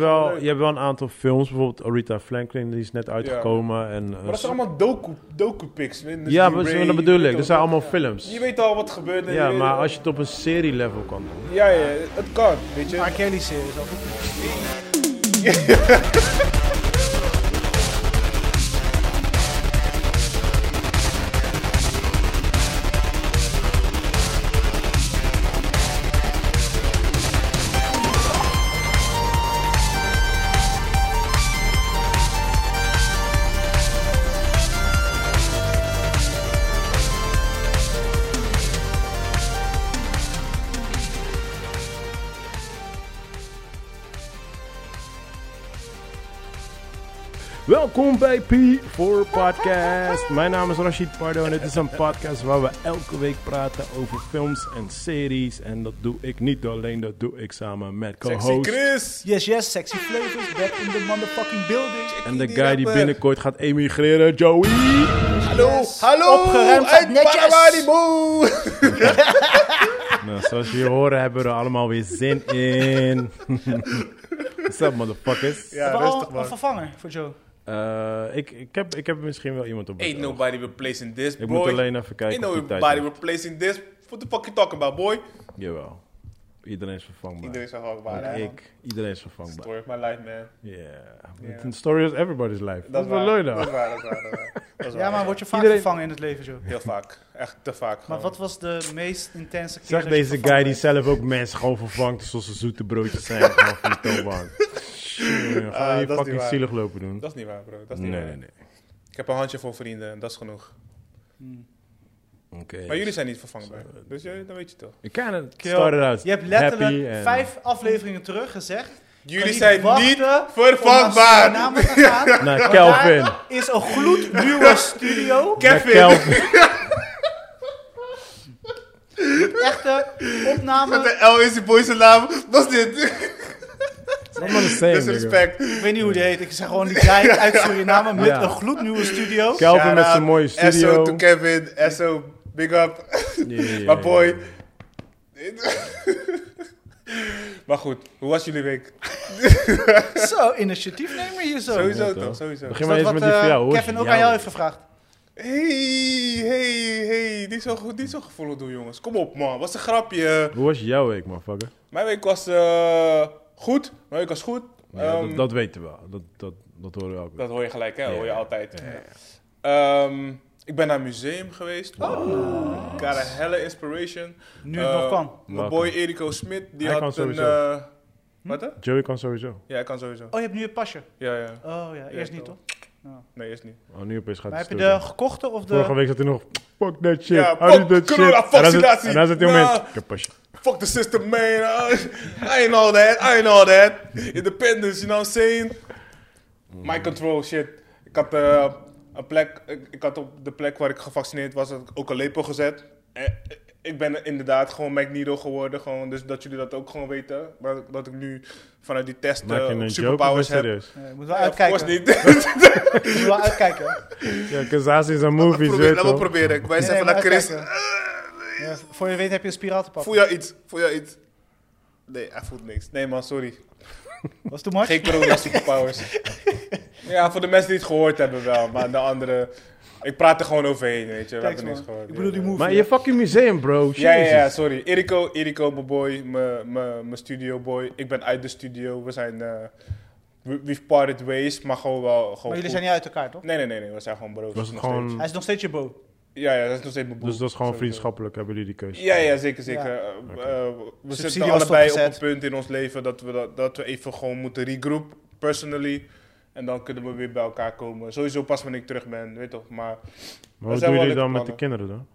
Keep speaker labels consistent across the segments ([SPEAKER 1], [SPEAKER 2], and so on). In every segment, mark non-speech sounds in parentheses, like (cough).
[SPEAKER 1] wel,
[SPEAKER 2] leuk.
[SPEAKER 1] je hebt wel een aantal films, bijvoorbeeld Aretha Franklin, die is net uitgekomen. En, eh,
[SPEAKER 2] Maar dat zijn allemaal docu, docu-pics. Dus
[SPEAKER 1] ja,
[SPEAKER 2] die
[SPEAKER 1] maar
[SPEAKER 2] Ray,
[SPEAKER 1] dat bedoel
[SPEAKER 2] je weet
[SPEAKER 1] ik.
[SPEAKER 2] al-
[SPEAKER 1] Dat zijn allemaal films.
[SPEAKER 2] Je weet al wat gebeurt. en
[SPEAKER 1] Ja,
[SPEAKER 2] je weet
[SPEAKER 1] maar
[SPEAKER 2] al-
[SPEAKER 1] als je het op een serie-level kan doen.
[SPEAKER 2] Ja, ja, het kan, weet je.
[SPEAKER 3] R. Kelly series. of-
[SPEAKER 1] Welkom bij P4 Podcast. Mijn naam is Rashid Pardo en dit is een podcast waar we elke week praten over films en series. En dat doe ik niet alleen, dat doe ik samen met
[SPEAKER 2] Sexy
[SPEAKER 1] co-host.
[SPEAKER 2] Chris.
[SPEAKER 3] Yes, yes, sexy flavors. Back in the motherfucking building.
[SPEAKER 1] En de
[SPEAKER 2] Die
[SPEAKER 1] guy die
[SPEAKER 2] rapper.
[SPEAKER 1] binnenkort gaat emigreren, Joey.
[SPEAKER 2] Hallo, hallo.
[SPEAKER 3] Opgeruimd
[SPEAKER 2] uit
[SPEAKER 3] en netjes.
[SPEAKER 2] Paramaribo.
[SPEAKER 1] Nou, zoals jullie horen hebben we er allemaal weer zin in. (laughs) What's up, motherfuckers?
[SPEAKER 2] Ja,
[SPEAKER 3] Hebben we al
[SPEAKER 2] rustig
[SPEAKER 3] een
[SPEAKER 2] man.
[SPEAKER 3] vervanger voor Joe.
[SPEAKER 1] Eh, ik, ik, heb, ik heb misschien wel iemand op het
[SPEAKER 2] Ain't
[SPEAKER 1] oog.
[SPEAKER 2] nobody replacing this,
[SPEAKER 1] Ik
[SPEAKER 2] boy.
[SPEAKER 1] moet alleen even
[SPEAKER 2] Ain't
[SPEAKER 1] kijken of die tijd
[SPEAKER 2] nobody
[SPEAKER 1] nog-
[SPEAKER 2] replacing this. What the fuck you talking about, boy?
[SPEAKER 1] Jawel. Iedereen is vervangbaar.
[SPEAKER 2] Iedereen zag ook
[SPEAKER 1] Ook
[SPEAKER 2] waar. hè?
[SPEAKER 1] ik. Iedereen is vervangbaar.
[SPEAKER 2] Story of my life, man.
[SPEAKER 1] Yeah.
[SPEAKER 2] Ja.
[SPEAKER 1] The story is everybody's life. Dat is wel
[SPEAKER 2] waar.
[SPEAKER 1] leuk
[SPEAKER 2] Dat
[SPEAKER 1] nou.
[SPEAKER 2] is waar, dat is waar, dat is waar. Dat is
[SPEAKER 3] Ja,
[SPEAKER 2] waar.
[SPEAKER 3] maar word je vaak
[SPEAKER 1] Iedereen-
[SPEAKER 3] vervangen in het leven, Joe?
[SPEAKER 2] Heel vaak. Echt te vaak.
[SPEAKER 3] Maar
[SPEAKER 2] gewoon.
[SPEAKER 3] wat was de meest intense keer?
[SPEAKER 1] Zeg
[SPEAKER 3] dat je
[SPEAKER 1] deze
[SPEAKER 3] vervangen
[SPEAKER 1] guy die
[SPEAKER 3] werd?
[SPEAKER 1] zelf ook mensen gewoon vervangt zoals ze zoete broodjes zijn gewoon van de
[SPEAKER 2] (laughs)
[SPEAKER 1] toonbank. Tjonge, Ga
[SPEAKER 2] Ah, dat is
[SPEAKER 1] je
[SPEAKER 2] niet
[SPEAKER 1] fucking
[SPEAKER 2] waar.
[SPEAKER 1] zielig lopen doen.
[SPEAKER 2] Dat is niet waar, bro. Dat is
[SPEAKER 1] Nee,
[SPEAKER 2] niet
[SPEAKER 1] nee,
[SPEAKER 2] waar.
[SPEAKER 1] nee.
[SPEAKER 2] Ik heb een handje vol vrienden en dat is genoeg.
[SPEAKER 1] Oké.
[SPEAKER 2] Maar jullie zijn niet vervangbaar. Dus jij, dan weet je toch.
[SPEAKER 1] Ik kan het.
[SPEAKER 3] Kill.
[SPEAKER 1] Start it out.
[SPEAKER 3] Je hebt
[SPEAKER 1] Happy
[SPEAKER 3] letterlijk
[SPEAKER 1] and-
[SPEAKER 3] vijf afleveringen terug gezegd.
[SPEAKER 2] Jullie
[SPEAKER 3] niet
[SPEAKER 2] zijn
[SPEAKER 3] wachten
[SPEAKER 2] niet
[SPEAKER 3] om
[SPEAKER 2] vervangbaar.
[SPEAKER 3] naar Suriname te
[SPEAKER 2] (laughs)
[SPEAKER 3] gaan.
[SPEAKER 1] Naar
[SPEAKER 3] Want
[SPEAKER 1] Kelvin.
[SPEAKER 3] daar is een gloednieuwe studio.
[SPEAKER 1] Naar
[SPEAKER 2] Kevin!
[SPEAKER 1] Kelvin.
[SPEAKER 3] Echte opname.
[SPEAKER 2] De L is die boy zijn naam. Wat is (laughs) dit?
[SPEAKER 1] Allemaal the same, nigga.
[SPEAKER 2] Disrespect.
[SPEAKER 3] Ik weet niet hoe die heet. Ik zeg gewoon die guy
[SPEAKER 2] (laughs)
[SPEAKER 3] uit Suriname met
[SPEAKER 1] Ja.
[SPEAKER 3] een gloednieuwe studio.
[SPEAKER 1] Kelvin met
[SPEAKER 2] Shout-out,
[SPEAKER 1] zijn mooie
[SPEAKER 2] SO
[SPEAKER 1] studio.
[SPEAKER 2] to Kevin. SO, big up.
[SPEAKER 1] Ja, ja, ja.
[SPEAKER 2] Maar boy. (laughs) maar goed, hoe was jullie week?
[SPEAKER 3] Zo, initiatiefnemer hier zo. Is
[SPEAKER 2] Sowieso
[SPEAKER 1] Ja,
[SPEAKER 2] toch,
[SPEAKER 1] toch?
[SPEAKER 2] sowieso.
[SPEAKER 1] Begin maar
[SPEAKER 3] dat
[SPEAKER 1] eens
[SPEAKER 3] wat
[SPEAKER 1] met die
[SPEAKER 3] eh,
[SPEAKER 1] van jou. Hoe is
[SPEAKER 3] Kevin ook
[SPEAKER 1] jouw
[SPEAKER 3] aan jou
[SPEAKER 1] week?
[SPEAKER 3] heeft gevraagd?
[SPEAKER 2] Hey, hey, hey. Niet zo goed, niet zo gevoelig doen jongens. Kom op man, was een grapje.
[SPEAKER 1] Hoe was jouw week, motherfucker?
[SPEAKER 2] Mijn week was eh, goed. Mijn week was goed.
[SPEAKER 1] Ja,
[SPEAKER 2] Ehm,
[SPEAKER 1] dat, dat weten we. wel. Dat, dat, dat horen we ook.
[SPEAKER 2] Dat hoor je gelijk, hè? Dat
[SPEAKER 1] Ja,
[SPEAKER 2] hoor je
[SPEAKER 1] ja.
[SPEAKER 2] altijd. Ehm, ik ben naar een museum geweest.
[SPEAKER 1] Oh,
[SPEAKER 2] Got a helle inspiration. Eh,
[SPEAKER 3] Nu het nog kan.
[SPEAKER 2] Mijn
[SPEAKER 1] Welkom.
[SPEAKER 2] boy Eriko Smit, die
[SPEAKER 1] Hij kan
[SPEAKER 2] had een...
[SPEAKER 1] sowieso.
[SPEAKER 2] eh, wat hè?
[SPEAKER 1] Joey kan sowieso.
[SPEAKER 2] Ja, hij kan sowieso.
[SPEAKER 3] Oh, je hebt nu het pasje.
[SPEAKER 2] Ja, ja.
[SPEAKER 3] Oh ja, eerst
[SPEAKER 2] Ja,
[SPEAKER 3] niet
[SPEAKER 2] toch.
[SPEAKER 3] toch?
[SPEAKER 2] Nee, is niet.
[SPEAKER 1] Oh, nu opeens gaat
[SPEAKER 3] Maar
[SPEAKER 1] hij
[SPEAKER 3] heb je
[SPEAKER 1] stuk, hè.
[SPEAKER 3] de gekochte of
[SPEAKER 1] Vorige
[SPEAKER 3] de...
[SPEAKER 1] week zat hij nog. Fuck that shit.
[SPEAKER 2] Ja,
[SPEAKER 1] I did
[SPEAKER 2] fuck
[SPEAKER 1] that shit.
[SPEAKER 2] corona,
[SPEAKER 1] En dan zit-
[SPEAKER 2] vaccinatie.
[SPEAKER 1] En dan zit hij omheen.
[SPEAKER 2] Nou.
[SPEAKER 1] Ik heb pasje.
[SPEAKER 2] Fuck the system, man. I I ain't all that. I ain't all that. Independence, you know what I'm saying? My control, shit. Ik had, eh, een plek, ik, ik had op de plek waar ik gevaccineerd was had ik ook een lepel gezet. En ik ben inderdaad gewoon Magneto geworden. Gewoon, dus dat jullie dat ook gewoon weten. Maar dat ik nu vanuit die testen
[SPEAKER 1] Maak je een joke of ben je
[SPEAKER 2] superpowers heb.
[SPEAKER 1] serieus?
[SPEAKER 3] Nee, moet wel
[SPEAKER 2] Ja, of course
[SPEAKER 3] uitkijken.
[SPEAKER 2] niet. (laughs)
[SPEAKER 3] Moet wel uitkijken.
[SPEAKER 1] Ja, Kazazi is een movie,
[SPEAKER 2] Probeer,
[SPEAKER 1] weet
[SPEAKER 2] laat me
[SPEAKER 1] je
[SPEAKER 2] proberen. Ik wijs
[SPEAKER 3] Nee,
[SPEAKER 2] even
[SPEAKER 3] maar
[SPEAKER 2] naar Chris.
[SPEAKER 3] uitkijken. (laughs) Ja, voor je weet heb je een spiraal te pakken.
[SPEAKER 2] Voel jij iets? Voel jij iets? Nee, hij voelt niks. Nee man, sorry.
[SPEAKER 3] Was too much?
[SPEAKER 2] Geen corona
[SPEAKER 3] (laughs)
[SPEAKER 2] superpowers. ja, voor de mensen die het gehoord hebben wel, maar de anderen... Ik praat er gewoon overheen, weet je. We
[SPEAKER 3] Thanks,
[SPEAKER 2] hebben niks
[SPEAKER 3] man.
[SPEAKER 2] gehoord.
[SPEAKER 3] Ik bedoel die
[SPEAKER 2] Ja.
[SPEAKER 3] movie.
[SPEAKER 1] Maar je fucking museum, bro.
[SPEAKER 2] Ja, ja, ja,
[SPEAKER 1] Jezus.
[SPEAKER 2] sorry. Eriko, Eriko, mijn boy, mijn- mijn mijn studio boy. Ik ben uit de studio. We zijn... eh, we- we've parted ways, maar gewoon wel... Gewoon
[SPEAKER 3] Maar jullie
[SPEAKER 2] goed.
[SPEAKER 3] zijn niet uit elkaar, toch?
[SPEAKER 2] Nee, nee, nee, nee. We zijn gewoon broers.
[SPEAKER 1] Was het
[SPEAKER 2] nog steeds.
[SPEAKER 3] Hij
[SPEAKER 1] gewoon.
[SPEAKER 3] is nog steeds je bo.
[SPEAKER 2] Ja, ja, dat is nog steeds mijn broer.
[SPEAKER 1] Dus dat is gewoon
[SPEAKER 2] Sowieso.
[SPEAKER 1] vriendschappelijk, hebben jullie die keuze?
[SPEAKER 2] Ja, ja, zeker, zeker.
[SPEAKER 3] Ja.
[SPEAKER 2] Eh, eh, we
[SPEAKER 3] Subsidie
[SPEAKER 2] zitten
[SPEAKER 3] was
[SPEAKER 2] allebei op
[SPEAKER 3] stopgezet.
[SPEAKER 2] een punt in ons leven dat we, dat, dat we even gewoon moeten regroup, personally. En dan kunnen we weer bij elkaar komen. Sowieso pas wanneer ik terug ben, weet toch. Maar
[SPEAKER 1] Maar wat
[SPEAKER 2] zijn
[SPEAKER 1] doen
[SPEAKER 2] wel
[SPEAKER 1] jullie dan
[SPEAKER 2] leuke
[SPEAKER 1] met de kinderen dan?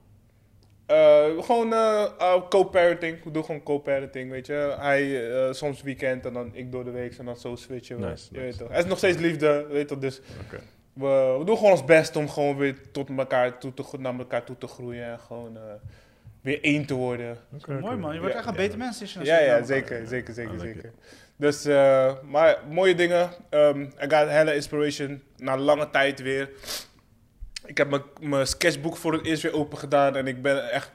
[SPEAKER 2] eh, gewoon eh, eh, co-parenting. We doen gewoon co-parenting, weet je. Hij eh, soms weekend en dan ik door de week. En dan zo switchen we.
[SPEAKER 1] Nice,
[SPEAKER 2] je
[SPEAKER 1] nice.
[SPEAKER 2] weet toch. Hij is nog steeds liefde, weet toch. Dus
[SPEAKER 1] Oké.
[SPEAKER 2] we, we doen gewoon ons best om gewoon weer tot elkaar toe te, gro- naar elkaar toe te groeien. En gewoon eh, weer één te worden.
[SPEAKER 1] Oké,
[SPEAKER 3] Mooi
[SPEAKER 1] oké.
[SPEAKER 3] man, je wordt
[SPEAKER 2] Ja,
[SPEAKER 3] echt een
[SPEAKER 1] ja.
[SPEAKER 3] beter mens. als je naar
[SPEAKER 2] Ja, ja,
[SPEAKER 3] Suriname
[SPEAKER 2] zeker, zeker,
[SPEAKER 1] I
[SPEAKER 2] zeker,
[SPEAKER 1] like
[SPEAKER 2] zeker. Dus, eh, maar mooie dingen. Ehm I got hella inspiration. Na lange tijd weer. Ik heb mijn- mijn sketchboek voor het eerst weer open gedaan. En ik ben echt...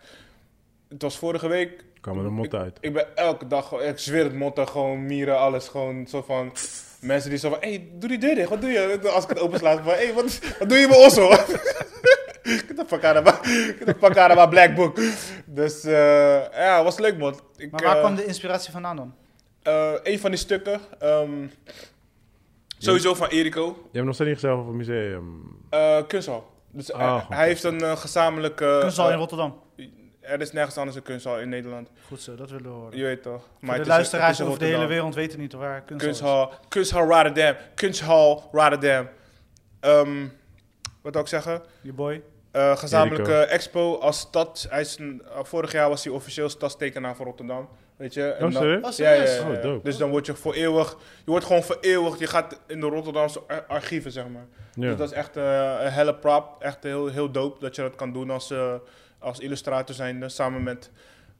[SPEAKER 2] Het was vorige week.
[SPEAKER 1] kwam er een mot uit.
[SPEAKER 2] Ik ben elke dag, gewoon- ik zweer het motten, gewoon mieren, alles. Gewoon zo van mensen die zo van: hé, hey, doe die deur dicht, wat doe je? Als ik het opensla, van: hé, hey, wat, wat doe je met osso? (laughs) Get the fuck out of my- get the fuck out of my black book. Dus eh, ja, was leuk, man. Ik,
[SPEAKER 3] Maar waar
[SPEAKER 2] eh,
[SPEAKER 3] kwam de inspiratie vandaan dan?
[SPEAKER 2] eh, een van die stukken, ehm, sowieso van Eriko,
[SPEAKER 1] Je hebt nog steeds niet gezegd over het museum.
[SPEAKER 2] Eh, kunsthal. Dus
[SPEAKER 1] Ah,
[SPEAKER 2] hij,
[SPEAKER 1] goed.
[SPEAKER 2] hij heeft een eh, gezamenlijke.
[SPEAKER 3] Kunsthal in
[SPEAKER 2] eh,
[SPEAKER 3] Rotterdam.
[SPEAKER 2] er is nergens anders een kunsthal in Nederland.
[SPEAKER 3] Goed zo, dat willen we horen.
[SPEAKER 2] Je weet toch? Maar
[SPEAKER 3] Voor
[SPEAKER 2] het
[SPEAKER 3] de
[SPEAKER 2] is-
[SPEAKER 3] luisteraars
[SPEAKER 2] het is in
[SPEAKER 3] over de hele
[SPEAKER 2] Rotterdam.
[SPEAKER 3] wereld weten niet waar kunsthal is.
[SPEAKER 2] Kunsthal, kunsthal Rotterdam, kunsthal Rotterdam. Ehm, wat wil ik zeggen?
[SPEAKER 3] Je boy. Oh,
[SPEAKER 2] Eh, gezamenlijke expo als stad. Hij is een- eh, vorig jaar was hij officieel stadstekenaar van Rotterdam. Weet je? En
[SPEAKER 1] Oh,
[SPEAKER 2] dan-
[SPEAKER 1] serieus?
[SPEAKER 3] Oh,
[SPEAKER 2] ja, ja,
[SPEAKER 3] serieus?
[SPEAKER 2] ja, ja.
[SPEAKER 1] Oh, dope.
[SPEAKER 2] Dus dan word je voor eeuwig, je wordt gewoon vereeuwigd. Je gaat in de Rotterdamse ar- archieven, zeg maar.
[SPEAKER 1] Ja.
[SPEAKER 2] Dus dat is echt eh, een helle prop. Echt heel, heel dope dat je dat kan doen als, eh, als illustrator zijnde. Samen met,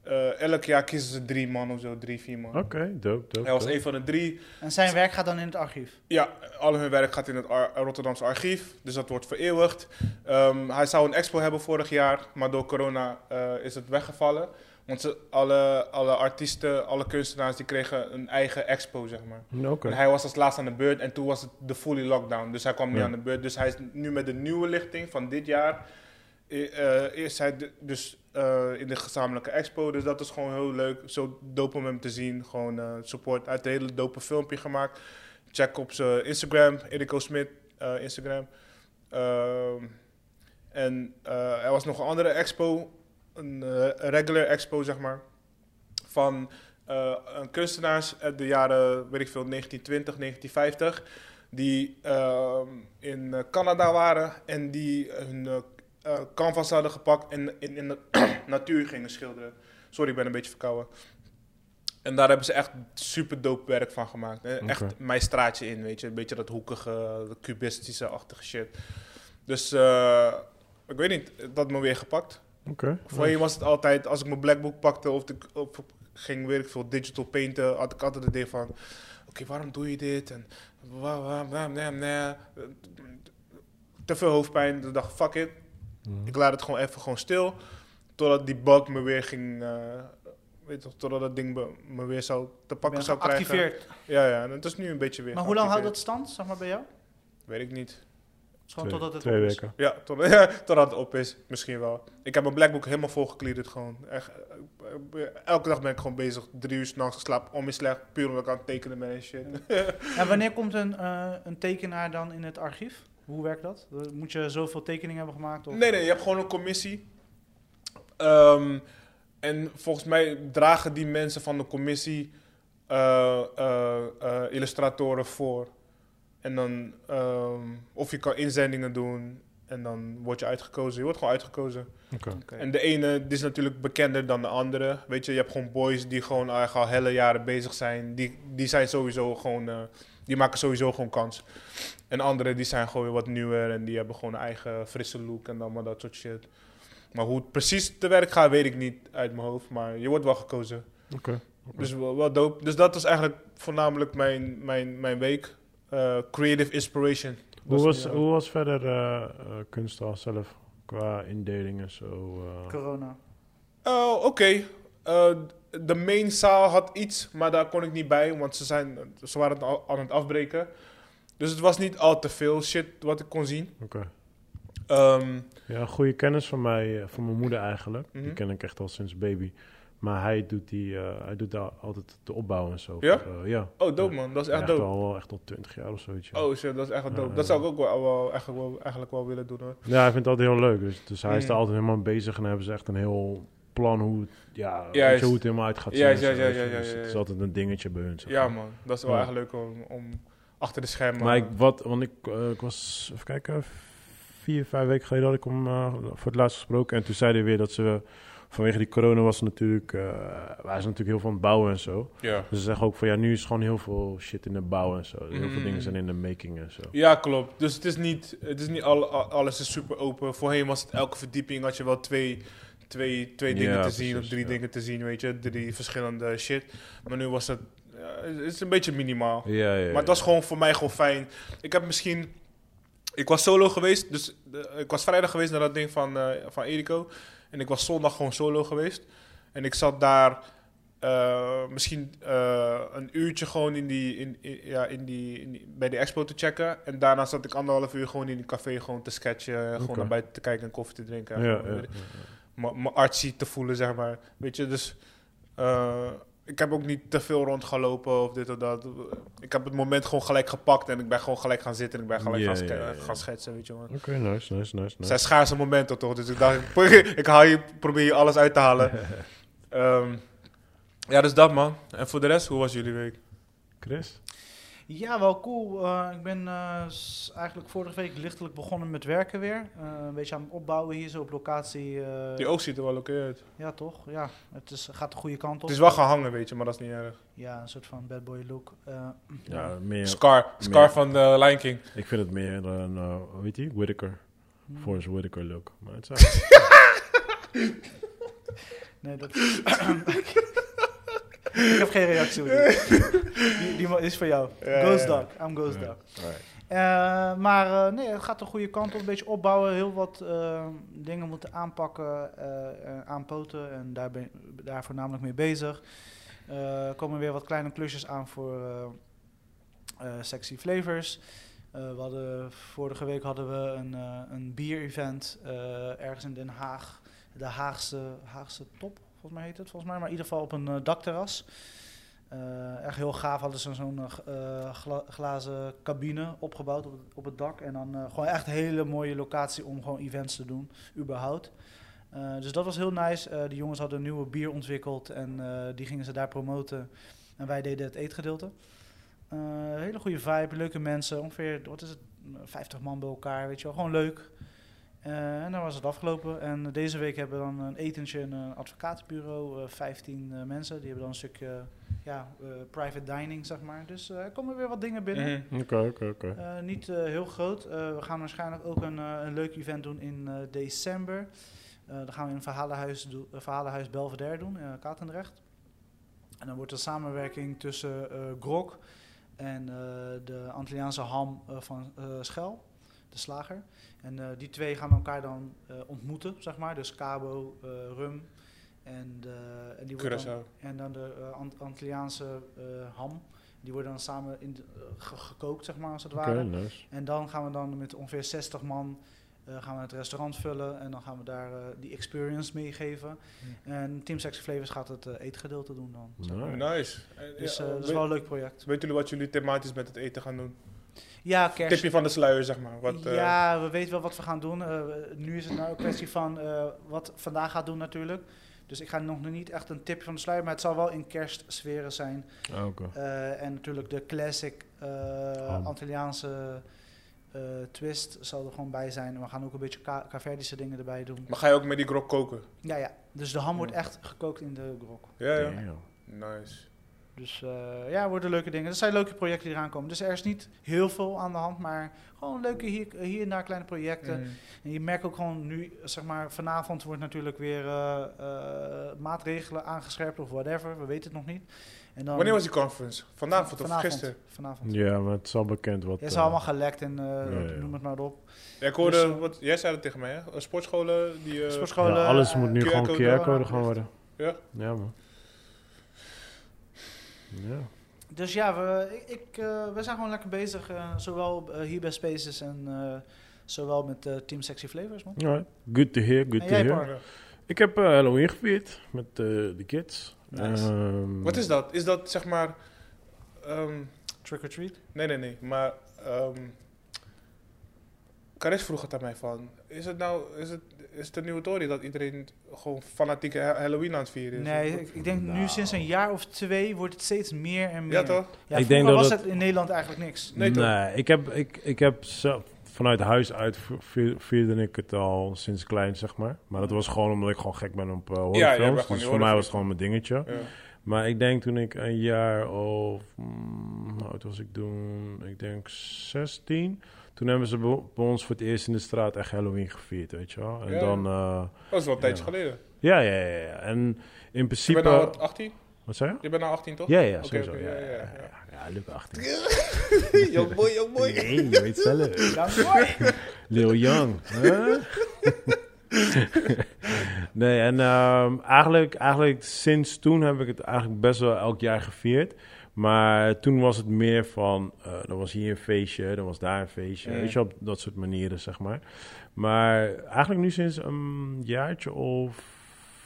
[SPEAKER 2] eh, elk jaar kiezen ze drie man of zo, drie, vier man.
[SPEAKER 1] Oké, dope, dope.
[SPEAKER 2] Hij was
[SPEAKER 1] dope.
[SPEAKER 2] een van de drie.
[SPEAKER 3] En zijn werk gaat dan in het archief.
[SPEAKER 2] Ja, al hun werk gaat in het Ar- Rotterdamse archief, dus dat wordt vereeuwigd. Ehm, hij zou een expo hebben vorig jaar, maar door corona eh, is het weggevallen. Want ze, alle, alle artiesten, alle kunstenaars, die kregen een eigen expo, zeg maar.
[SPEAKER 1] Oké.
[SPEAKER 2] En hij was als laatste aan de beurt en toen was het de fully lockdown, dus hij kwam niet
[SPEAKER 1] Ja.
[SPEAKER 2] aan de beurt. Dus hij is nu met de nieuwe lichting van dit jaar, eh, eh, is hij de- dus eh, in de gezamenlijke expo. Dus dat is gewoon heel leuk, zo dope om hem te zien. Gewoon eh, support, hij heeft een hele dope filmpje gemaakt. Check op zijn Instagram, Eriko Smit, eh, Instagram. Ehm, en eh, er was nog een andere expo, een eh, regular expo zeg maar, van eh, een kunstenaars uit de jaren, weet ik veel, 1920, 1950, die ehm, in eh, Canada waren en die hun eh, eh, canvas hadden gepakt en in, in de (clears throat) natuur gingen schilderen. Sorry, ik ben een beetje verkouden. En daar hebben ze echt super dope werk van gemaakt. Eh, Echt
[SPEAKER 1] Oké.
[SPEAKER 2] mijn straatje in, weet je. Een beetje dat hoekige, dat cubistische-achtige shit. Dus eh, ik weet niet, dat had me weer gepakt.
[SPEAKER 1] Oké.
[SPEAKER 2] Voorheen was het altijd, als ik mijn blackbook pakte of ik op, ging weer ik veel digital painten, had ik altijd het idee van, oké, waarom doe je dit? En wa- wa- wa- nee, nee. te veel hoofdpijn. Dus ik dacht, fuck it, ik laat het gewoon even gewoon stil. Totdat die bug me weer ging, eh, weet je toch, totdat dat ding me, me weer zou te pakken
[SPEAKER 3] Ben
[SPEAKER 2] zou krijgen.
[SPEAKER 3] geactiveerd.
[SPEAKER 2] Ja, ja, en het is nu een beetje weer
[SPEAKER 3] Maar hoe lang houdt dat
[SPEAKER 2] geactiveerd.
[SPEAKER 3] stand, zeg maar, bij jou?
[SPEAKER 2] Weet ik niet.
[SPEAKER 3] Het is Gewoon
[SPEAKER 1] Twee-
[SPEAKER 3] totdat het
[SPEAKER 1] Twee
[SPEAKER 3] op is.
[SPEAKER 1] weken.
[SPEAKER 2] Ja, tot, (laughs) ja, totdat het op is, misschien wel. Ik heb mijn blackbook helemaal volgekliederd gewoon. Echt, eh, eh, elke dag ben ik gewoon bezig. Drie uur s'nachts geslapen, om in slecht, puur omdat ik aan het tekenen ben en shit.
[SPEAKER 3] En wanneer komt een, eh, een tekenaar dan in het archief? Hoe werkt dat? Eh, Moet je zoveel tekeningen hebben gemaakt? Of?
[SPEAKER 2] Nee, nee, je hebt gewoon een commissie. Ehm, en volgens mij dragen die mensen van de commissie eh, eh, eh, illustratoren voor. En dan, ehm, of je kan inzendingen doen en dan word je uitgekozen. Je wordt gewoon uitgekozen.
[SPEAKER 1] Oké.
[SPEAKER 3] Oké.
[SPEAKER 2] En de ene die is natuurlijk bekender dan de andere. Weet je, je hebt gewoon boys die gewoon eigenlijk al hele jaren bezig zijn. Die, die zijn sowieso gewoon, eh, die maken sowieso gewoon kans. En anderen die zijn gewoon weer wat nieuwer en die hebben gewoon een eigen frisse look en allemaal dat soort shit. Maar hoe het precies te werk gaat, weet ik niet uit mijn hoofd. Maar je wordt wel gekozen.
[SPEAKER 1] Oké.
[SPEAKER 2] Dus wel, wel dope. Dus dat was eigenlijk voornamelijk mijn, mijn, mijn week. Eh, creative inspiration.
[SPEAKER 1] Hoe was,
[SPEAKER 2] ja.
[SPEAKER 1] hoe was verder eh eh kunsthal zelf qua indeling en zo? eh?
[SPEAKER 3] Corona.
[SPEAKER 2] Oh, oké. Eh, de main zaal had iets, maar daar kon ik niet bij, want ze, zijn, ze waren het al aan het afbreken. Dus het was niet al te veel shit wat ik kon zien.
[SPEAKER 1] Oké.
[SPEAKER 2] Ehm,
[SPEAKER 1] Ja, een goede kennis van mij, eh, van mijn moeder eigenlijk.
[SPEAKER 2] Mhm.
[SPEAKER 1] Die ken ik echt al sinds baby. Maar hij doet, die, eh, hij doet daar altijd de opbouw en zo.
[SPEAKER 2] Ja?
[SPEAKER 1] Eh, ja.
[SPEAKER 2] oh, dope man, dat is echt
[SPEAKER 1] Echt,
[SPEAKER 2] dope.
[SPEAKER 1] al, echt al 20 jaar of zoiets. ja.
[SPEAKER 2] Oh shit, dat is echt wel
[SPEAKER 1] Ja,
[SPEAKER 2] dope.
[SPEAKER 1] ja,
[SPEAKER 2] Dat
[SPEAKER 1] ja.
[SPEAKER 2] zou ik ook wel, wel, eigenlijk, wel, eigenlijk wel willen doen hoor.
[SPEAKER 1] Ja, hij vindt dat heel leuk. Dus, dus hij is
[SPEAKER 2] Mm.
[SPEAKER 1] daar altijd helemaal mee bezig en dan hebben ze echt een heel plan hoe het, ja, weet
[SPEAKER 2] Juist.
[SPEAKER 1] je, hoe het helemaal uit gaat zien.
[SPEAKER 2] Juist,
[SPEAKER 1] en zo,
[SPEAKER 2] juist,
[SPEAKER 1] weet je.
[SPEAKER 2] juist,
[SPEAKER 1] Dus
[SPEAKER 2] juist,
[SPEAKER 1] het is
[SPEAKER 2] juist.
[SPEAKER 1] altijd een dingetje bij hun. zeg
[SPEAKER 2] Ja
[SPEAKER 1] maar.
[SPEAKER 2] man, dat is wel
[SPEAKER 1] Ja.
[SPEAKER 2] echt leuk om, om achter de schermen...
[SPEAKER 1] Maar ik, wat, want ik, eh, ik was, even kijken, vier, vijf weken geleden had ik hem eh, voor het laatst gesproken. En toen zei hij weer dat ze, vanwege die corona was het natuurlijk, eh wij zijn natuurlijk heel van het bouwen en zo.
[SPEAKER 2] ja.
[SPEAKER 1] Dus ze zeggen ook van, ja, nu is gewoon heel veel shit in de bouw en zo. Dus Heel veel
[SPEAKER 2] Mm.
[SPEAKER 1] dingen zijn in de making en zo.
[SPEAKER 2] Ja, klopt. Dus het is niet, het is niet al, al- alles is super open. Voorheen was het elke verdieping had je wel twee, twee, twee
[SPEAKER 1] Ja,
[SPEAKER 2] dingen te
[SPEAKER 1] precies,
[SPEAKER 2] zien of drie
[SPEAKER 1] ja.
[SPEAKER 2] dingen te zien, weet je. Drie verschillende shit. Maar nu was het, ja, het is een beetje minimaal.
[SPEAKER 1] Ja, ja,
[SPEAKER 2] Maar het was gewoon voor mij gewoon fijn. Ik heb misschien... Ik was solo geweest, dus de- ik was vrijdag geweest naar dat ding van, eh, van Eriko. En ik was zondag gewoon solo geweest. En ik zat daar eh, misschien eh, een uurtje gewoon in die, in, in- ja, in die, in die- bij de expo te checken. En daarna zat ik anderhalf uur gewoon in een café gewoon te sketchen. Gewoon
[SPEAKER 1] Oké.
[SPEAKER 2] naar buiten te kijken en koffie te drinken.
[SPEAKER 1] Ja,
[SPEAKER 2] en
[SPEAKER 1] ja,
[SPEAKER 2] gewoon,
[SPEAKER 1] ja.
[SPEAKER 2] weet m- mijn artsy te voelen, zeg maar. Weet je, dus eh, ik heb ook niet te veel rondgelopen of dit of dat. Ik heb het moment gewoon gelijk gepakt en ik ben gewoon gelijk gaan zitten en ik ben gelijk
[SPEAKER 1] Ja,
[SPEAKER 2] gaan, ske-
[SPEAKER 1] ja, ja, ja.
[SPEAKER 2] gaan schetsen, weet je man.
[SPEAKER 1] Oké, nice, nice, nice.
[SPEAKER 2] Het
[SPEAKER 1] nice.
[SPEAKER 2] zijn schaarse momenten toch, dus ik dacht, (laughs) ik probeer- ik haal je, probeer je alles uit te
[SPEAKER 1] (laughs)
[SPEAKER 2] halen. Ehm, ja, dus dat man. En voor de rest, hoe was jullie week?
[SPEAKER 1] Chris?
[SPEAKER 3] Ja, wel cool. Eh, ik ben eh, s- eigenlijk vorige week lichtelijk begonnen met werken weer. Eh, een beetje aan het opbouwen hier zo op locatie. eh,
[SPEAKER 2] Die oog ziet er wel oké uit.
[SPEAKER 3] ja, toch? Ja, het is, gaat de goede kant op.
[SPEAKER 2] Het is wel gehangen, weet je, maar dat is niet erg.
[SPEAKER 3] Ja, een soort van bad boy look. Eh,
[SPEAKER 1] Ja, meer.
[SPEAKER 2] Scar, Scar van de Lion King.
[SPEAKER 1] Ik vind het meer een, eh, weet je, Whittaker.
[SPEAKER 3] hm.
[SPEAKER 1] Forrest Whittaker look. Maar het is
[SPEAKER 3] nee, dat... (laughs) ik heb geen reactie op die. Die, die man is voor jou.
[SPEAKER 2] Ja,
[SPEAKER 3] Ghost
[SPEAKER 2] ja, ja.
[SPEAKER 3] Dog. I'm Ghost Dog.
[SPEAKER 1] Alright.
[SPEAKER 3] Eh, maar eh, nee, het gaat de goede kant op. Een beetje opbouwen. Heel wat eh, dingen moeten aanpakken, eh, eh, aanpoten. En daar ben ik daar voornamelijk mee bezig. Eh, Er komen weer wat kleine klusjes aan voor eh, eh, sexy flavors. Eh, we hadden, vorige week hadden we een, eh, een bier-event eh, ergens in Den Haag. De Haagse, Haagse top, volgens mij heet het. Volgens mij, maar in ieder geval op een eh, dakterras. Eh, echt heel gaaf hadden ze zo'n eh, g- eh, gla- glazen cabine opgebouwd op, het- op het dak. En dan eh, gewoon echt een hele mooie locatie om gewoon events te doen, überhaupt. Eh, dus dat was heel nice. Eh de jongens hadden een nieuwe bier ontwikkeld en eh, die gingen ze daar promoten. En wij deden het eetgedeelte. Eh, hele goede vibe, leuke mensen. Ongeveer, wat is het, 50 man bij elkaar, weet je wel. Gewoon leuk. Eh, en dan was het afgelopen. En deze week hebben we dan een etentje in een advocatenbureau. eh 15 eh, mensen. Die hebben dan een stukje ja, eh, private dining, zeg maar. Dus eh, er komen weer wat dingen binnen.
[SPEAKER 1] (laughs)
[SPEAKER 2] Mhm.
[SPEAKER 1] Oké, oké, oké.
[SPEAKER 3] Eh, niet eh, heel groot. Eh, we gaan waarschijnlijk ook een, eh, een leuk event doen in eh, december. Eh, dan gaan we in een verhalenhuis, do- eh, verhalenhuis Belvedere doen, in Katendrecht. En dan wordt er samenwerking tussen eh Grok en eh, de Antilliaanse ham eh, van eh Schel, de slager. En eh, die twee gaan elkaar dan eh, ontmoeten, zeg maar. Dus Cabo, eh, Rum en, de- en die wordt dan-
[SPEAKER 2] Curaçao.
[SPEAKER 3] en dan de eh, Ant- Antilliaanse eh, ham. Die worden dan samen in de- eh, ge- gekookt, zeg maar, als het
[SPEAKER 1] Oké,
[SPEAKER 3] ware.
[SPEAKER 1] nice.
[SPEAKER 3] En dan gaan we dan met ongeveer 60 man eh, gaan we het restaurant vullen. En dan gaan we daar eh, die experience meegeven.
[SPEAKER 2] Hm.
[SPEAKER 3] En Team Sexy Flavors gaat het eh, eetgedeelte doen dan.
[SPEAKER 1] Nice.
[SPEAKER 2] Nice. En,
[SPEAKER 3] Dus
[SPEAKER 2] ja,
[SPEAKER 3] eh, dat is
[SPEAKER 2] weet-
[SPEAKER 3] wel een leuk project.
[SPEAKER 2] Weten jullie wat jullie thematisch met het eten gaan doen?
[SPEAKER 3] Ja, kerst.
[SPEAKER 2] Tipje van de sluier, zeg maar. Wat, eh,
[SPEAKER 3] ja, we weten wel wat we gaan doen. Eh, we- nu is het nou een kwestie van eh, wat vandaag gaat doen natuurlijk. Dus ik ga nog niet echt een tipje van de sluier, maar het zal wel in kerstsferen zijn.
[SPEAKER 1] Ah, Oké.
[SPEAKER 3] Eh, en natuurlijk de classic eh
[SPEAKER 1] Ham.
[SPEAKER 3] Antilliaanse eh, twist zal er gewoon bij zijn. En we gaan ook een beetje Ca- Caverdische dingen erbij doen.
[SPEAKER 2] eh, Maar ga je ook met die grok koken?
[SPEAKER 3] Ja, ja. Dus de ham wordt echt gekookt in de grok.
[SPEAKER 2] Ja, ja.
[SPEAKER 1] Damn.
[SPEAKER 2] Nice.
[SPEAKER 3] Dus eh, ja, worden leuke dingen. Dat zijn leuke projecten die eraan komen. Dus er is niet heel veel aan de hand, maar gewoon leuke hier, hier en daar kleine projecten.
[SPEAKER 2] Mhm.
[SPEAKER 3] En je merkt ook gewoon nu, zeg maar, vanavond wordt natuurlijk weer eh, eh, maatregelen aangescherpt of whatever. We weten het nog niet. En dan,
[SPEAKER 2] Wanneer was die conference? Vanavond of
[SPEAKER 3] Vanavond.
[SPEAKER 2] gisteren?
[SPEAKER 3] Vanavond.
[SPEAKER 1] Ja, maar het is al bekend wat...
[SPEAKER 3] Ja, het is
[SPEAKER 1] eh,
[SPEAKER 3] allemaal gelekt en eh,
[SPEAKER 1] ja, ja.
[SPEAKER 3] noem het maar op.
[SPEAKER 2] Ja, ik hoorde,
[SPEAKER 3] Dus, eh,
[SPEAKER 2] wat, jij zei dat tegen mij, hè? Eh, Sportscholen die... eh,
[SPEAKER 3] Sportscholen,
[SPEAKER 1] ja, alles
[SPEAKER 3] eh,
[SPEAKER 1] moet nu
[SPEAKER 2] QR
[SPEAKER 1] gewoon
[SPEAKER 2] code
[SPEAKER 1] QR-code gaan worden.
[SPEAKER 2] Ja.
[SPEAKER 1] Ja, man. Ja.
[SPEAKER 3] Dus ja, we, ik, ik, eh, we zijn gewoon lekker bezig. eh, zowel eh, hier bij Spaces en eh, zowel met eh, Team Sexy Flavors, man.
[SPEAKER 1] Alright. Good to hear, good
[SPEAKER 3] En
[SPEAKER 1] to
[SPEAKER 3] jij,
[SPEAKER 1] hear.
[SPEAKER 3] Park?
[SPEAKER 1] Ik heb eh, Halloween gevierd met eh, de kids.
[SPEAKER 3] Nice.
[SPEAKER 1] Ehm,
[SPEAKER 2] Wat is dat? Is dat zeg maar... ehm,
[SPEAKER 3] Trick or treat?
[SPEAKER 2] nee, nee, nee. Maar... ehm Karis vroeg het aan mij van... Is het nou... Is het, is het een nieuwe tory dat iedereen gewoon fanatieke Ha- Halloween aan het vieren is?
[SPEAKER 3] Nee, ik, ik denk nu
[SPEAKER 1] Nou.
[SPEAKER 3] sinds een jaar of twee wordt het steeds meer en meer.
[SPEAKER 2] Ja, toch?
[SPEAKER 3] Ja,
[SPEAKER 1] Ik
[SPEAKER 3] vroeger
[SPEAKER 1] denk dat
[SPEAKER 3] was
[SPEAKER 1] het-
[SPEAKER 3] het in Nederland eigenlijk niks.
[SPEAKER 2] Nee,
[SPEAKER 1] Nee,
[SPEAKER 2] toch?
[SPEAKER 1] ik heb, ik, ik heb zelf, vanuit huis uit vier- vierde ik het al sinds klein, zeg maar. Maar dat was gewoon omdat ik gewoon gek ben op eh horrorfilms.
[SPEAKER 2] jij bent gewoon die
[SPEAKER 1] dus voor mij
[SPEAKER 2] horrorfilm.
[SPEAKER 1] was het gewoon mijn dingetje.
[SPEAKER 2] Ja.
[SPEAKER 1] Maar ik denk toen ik een jaar of... mm, hoe oud was ik toen? Ik denk 16. Toen hebben ze bij- bij ons voor het eerst in de straat echt Halloween gevierd, weet je wel. En
[SPEAKER 2] Ja.
[SPEAKER 1] dan... eh,
[SPEAKER 2] Dat is wel een tijdje
[SPEAKER 1] Ja.
[SPEAKER 2] geleden.
[SPEAKER 1] ja, ja, ja, ja. En in
[SPEAKER 2] Je
[SPEAKER 1] principe...
[SPEAKER 2] bent nou wat, 18?
[SPEAKER 1] Wat zei je?
[SPEAKER 2] Je bent nou 18, toch?
[SPEAKER 1] Ja, ja,
[SPEAKER 2] Oké,
[SPEAKER 1] sowieso.
[SPEAKER 2] oké,
[SPEAKER 1] ja,
[SPEAKER 2] ja,
[SPEAKER 1] ja,
[SPEAKER 2] ja,
[SPEAKER 1] ja,
[SPEAKER 2] ja.
[SPEAKER 1] ja, Luc
[SPEAKER 2] (laughs)
[SPEAKER 1] 18.
[SPEAKER 2] Yo, boy, yo, boy.
[SPEAKER 1] Nee, je weet zelf.
[SPEAKER 3] Ja, mooi.
[SPEAKER 1] Lil Young. hè? (laughs) Nee, en ehm, eigenlijk, eigenlijk sinds toen heb ik het eigenlijk best wel elk jaar gevierd. Maar toen was het meer van, eh er was hier een feestje, er was daar een feestje.
[SPEAKER 2] Ja.
[SPEAKER 1] Weet je, op dat soort manieren, zeg maar. Maar eigenlijk nu sinds een jaartje of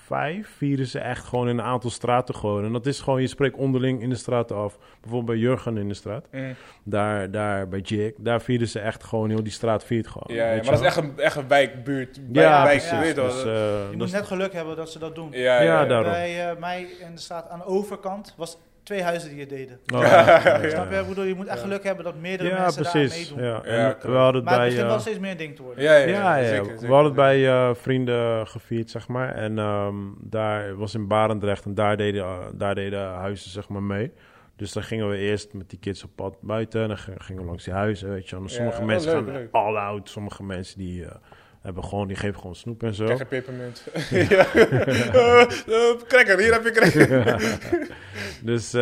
[SPEAKER 1] vijf vieren ze echt gewoon in een aantal straten gewoon. En dat is gewoon, je spreekt onderling in de straten af. Bijvoorbeeld bij Jurgen in de straat.
[SPEAKER 2] Mm.
[SPEAKER 1] Daar, daar bij Jake, daar vieren ze echt gewoon, heel die straat viert gewoon.
[SPEAKER 2] Ja, ja,
[SPEAKER 1] weet
[SPEAKER 2] maar
[SPEAKER 1] je
[SPEAKER 2] dat is
[SPEAKER 1] wel.
[SPEAKER 2] echt een, echt een wijkbuurt.
[SPEAKER 1] Ja,
[SPEAKER 2] wijk,
[SPEAKER 1] precies.
[SPEAKER 2] Weet je wel.
[SPEAKER 1] Dus, eh,
[SPEAKER 3] Je
[SPEAKER 1] (laughs) dat
[SPEAKER 3] moet
[SPEAKER 1] is-
[SPEAKER 3] net geluk hebben dat ze dat doen.
[SPEAKER 2] ja, ja,
[SPEAKER 1] Ja,
[SPEAKER 2] ja.
[SPEAKER 1] daarom.
[SPEAKER 3] Bij eh, mij in de straat aan de overkant was twee huizen die het deden.
[SPEAKER 1] Oh, ja, ja, ja.
[SPEAKER 3] Snap je? Ik bedoel, je moet echt
[SPEAKER 2] Ja.
[SPEAKER 3] geluk hebben dat meerdere
[SPEAKER 1] Ja,
[SPEAKER 3] mensen daar
[SPEAKER 1] precies.
[SPEAKER 3] meedoen.
[SPEAKER 1] Ja. En
[SPEAKER 2] Ja, klopt.
[SPEAKER 1] we hadden het
[SPEAKER 3] Maar het
[SPEAKER 1] bij.
[SPEAKER 3] begint
[SPEAKER 1] eh,
[SPEAKER 3] wel steeds meer een ding te worden.
[SPEAKER 2] Ja, ja,
[SPEAKER 1] ja, ja,
[SPEAKER 2] zeker,
[SPEAKER 1] we hadden
[SPEAKER 2] zeker.
[SPEAKER 1] het bij eh, vrienden gevierd, zeg maar. En ehm, daar was in Barendrecht en daar deden, eh, daar deden huizen, zeg maar, mee. Dus dan gingen we eerst met die kids op pad buiten en dan g- gingen we langs die huizen, weet je. wel. En
[SPEAKER 2] Ja,
[SPEAKER 1] sommige
[SPEAKER 2] oh,
[SPEAKER 1] mensen
[SPEAKER 2] leuk,
[SPEAKER 1] gaan
[SPEAKER 2] leuk.
[SPEAKER 1] all out, sommige mensen die eh, hebben gewoon, die geven gewoon snoep en zo.
[SPEAKER 2] Krijg je
[SPEAKER 1] (laughs)
[SPEAKER 2] pepermunt. (laughs) ja. Eh, eh, cracker, hier heb
[SPEAKER 1] (laughs)
[SPEAKER 2] je cracker.
[SPEAKER 1] Dus eh,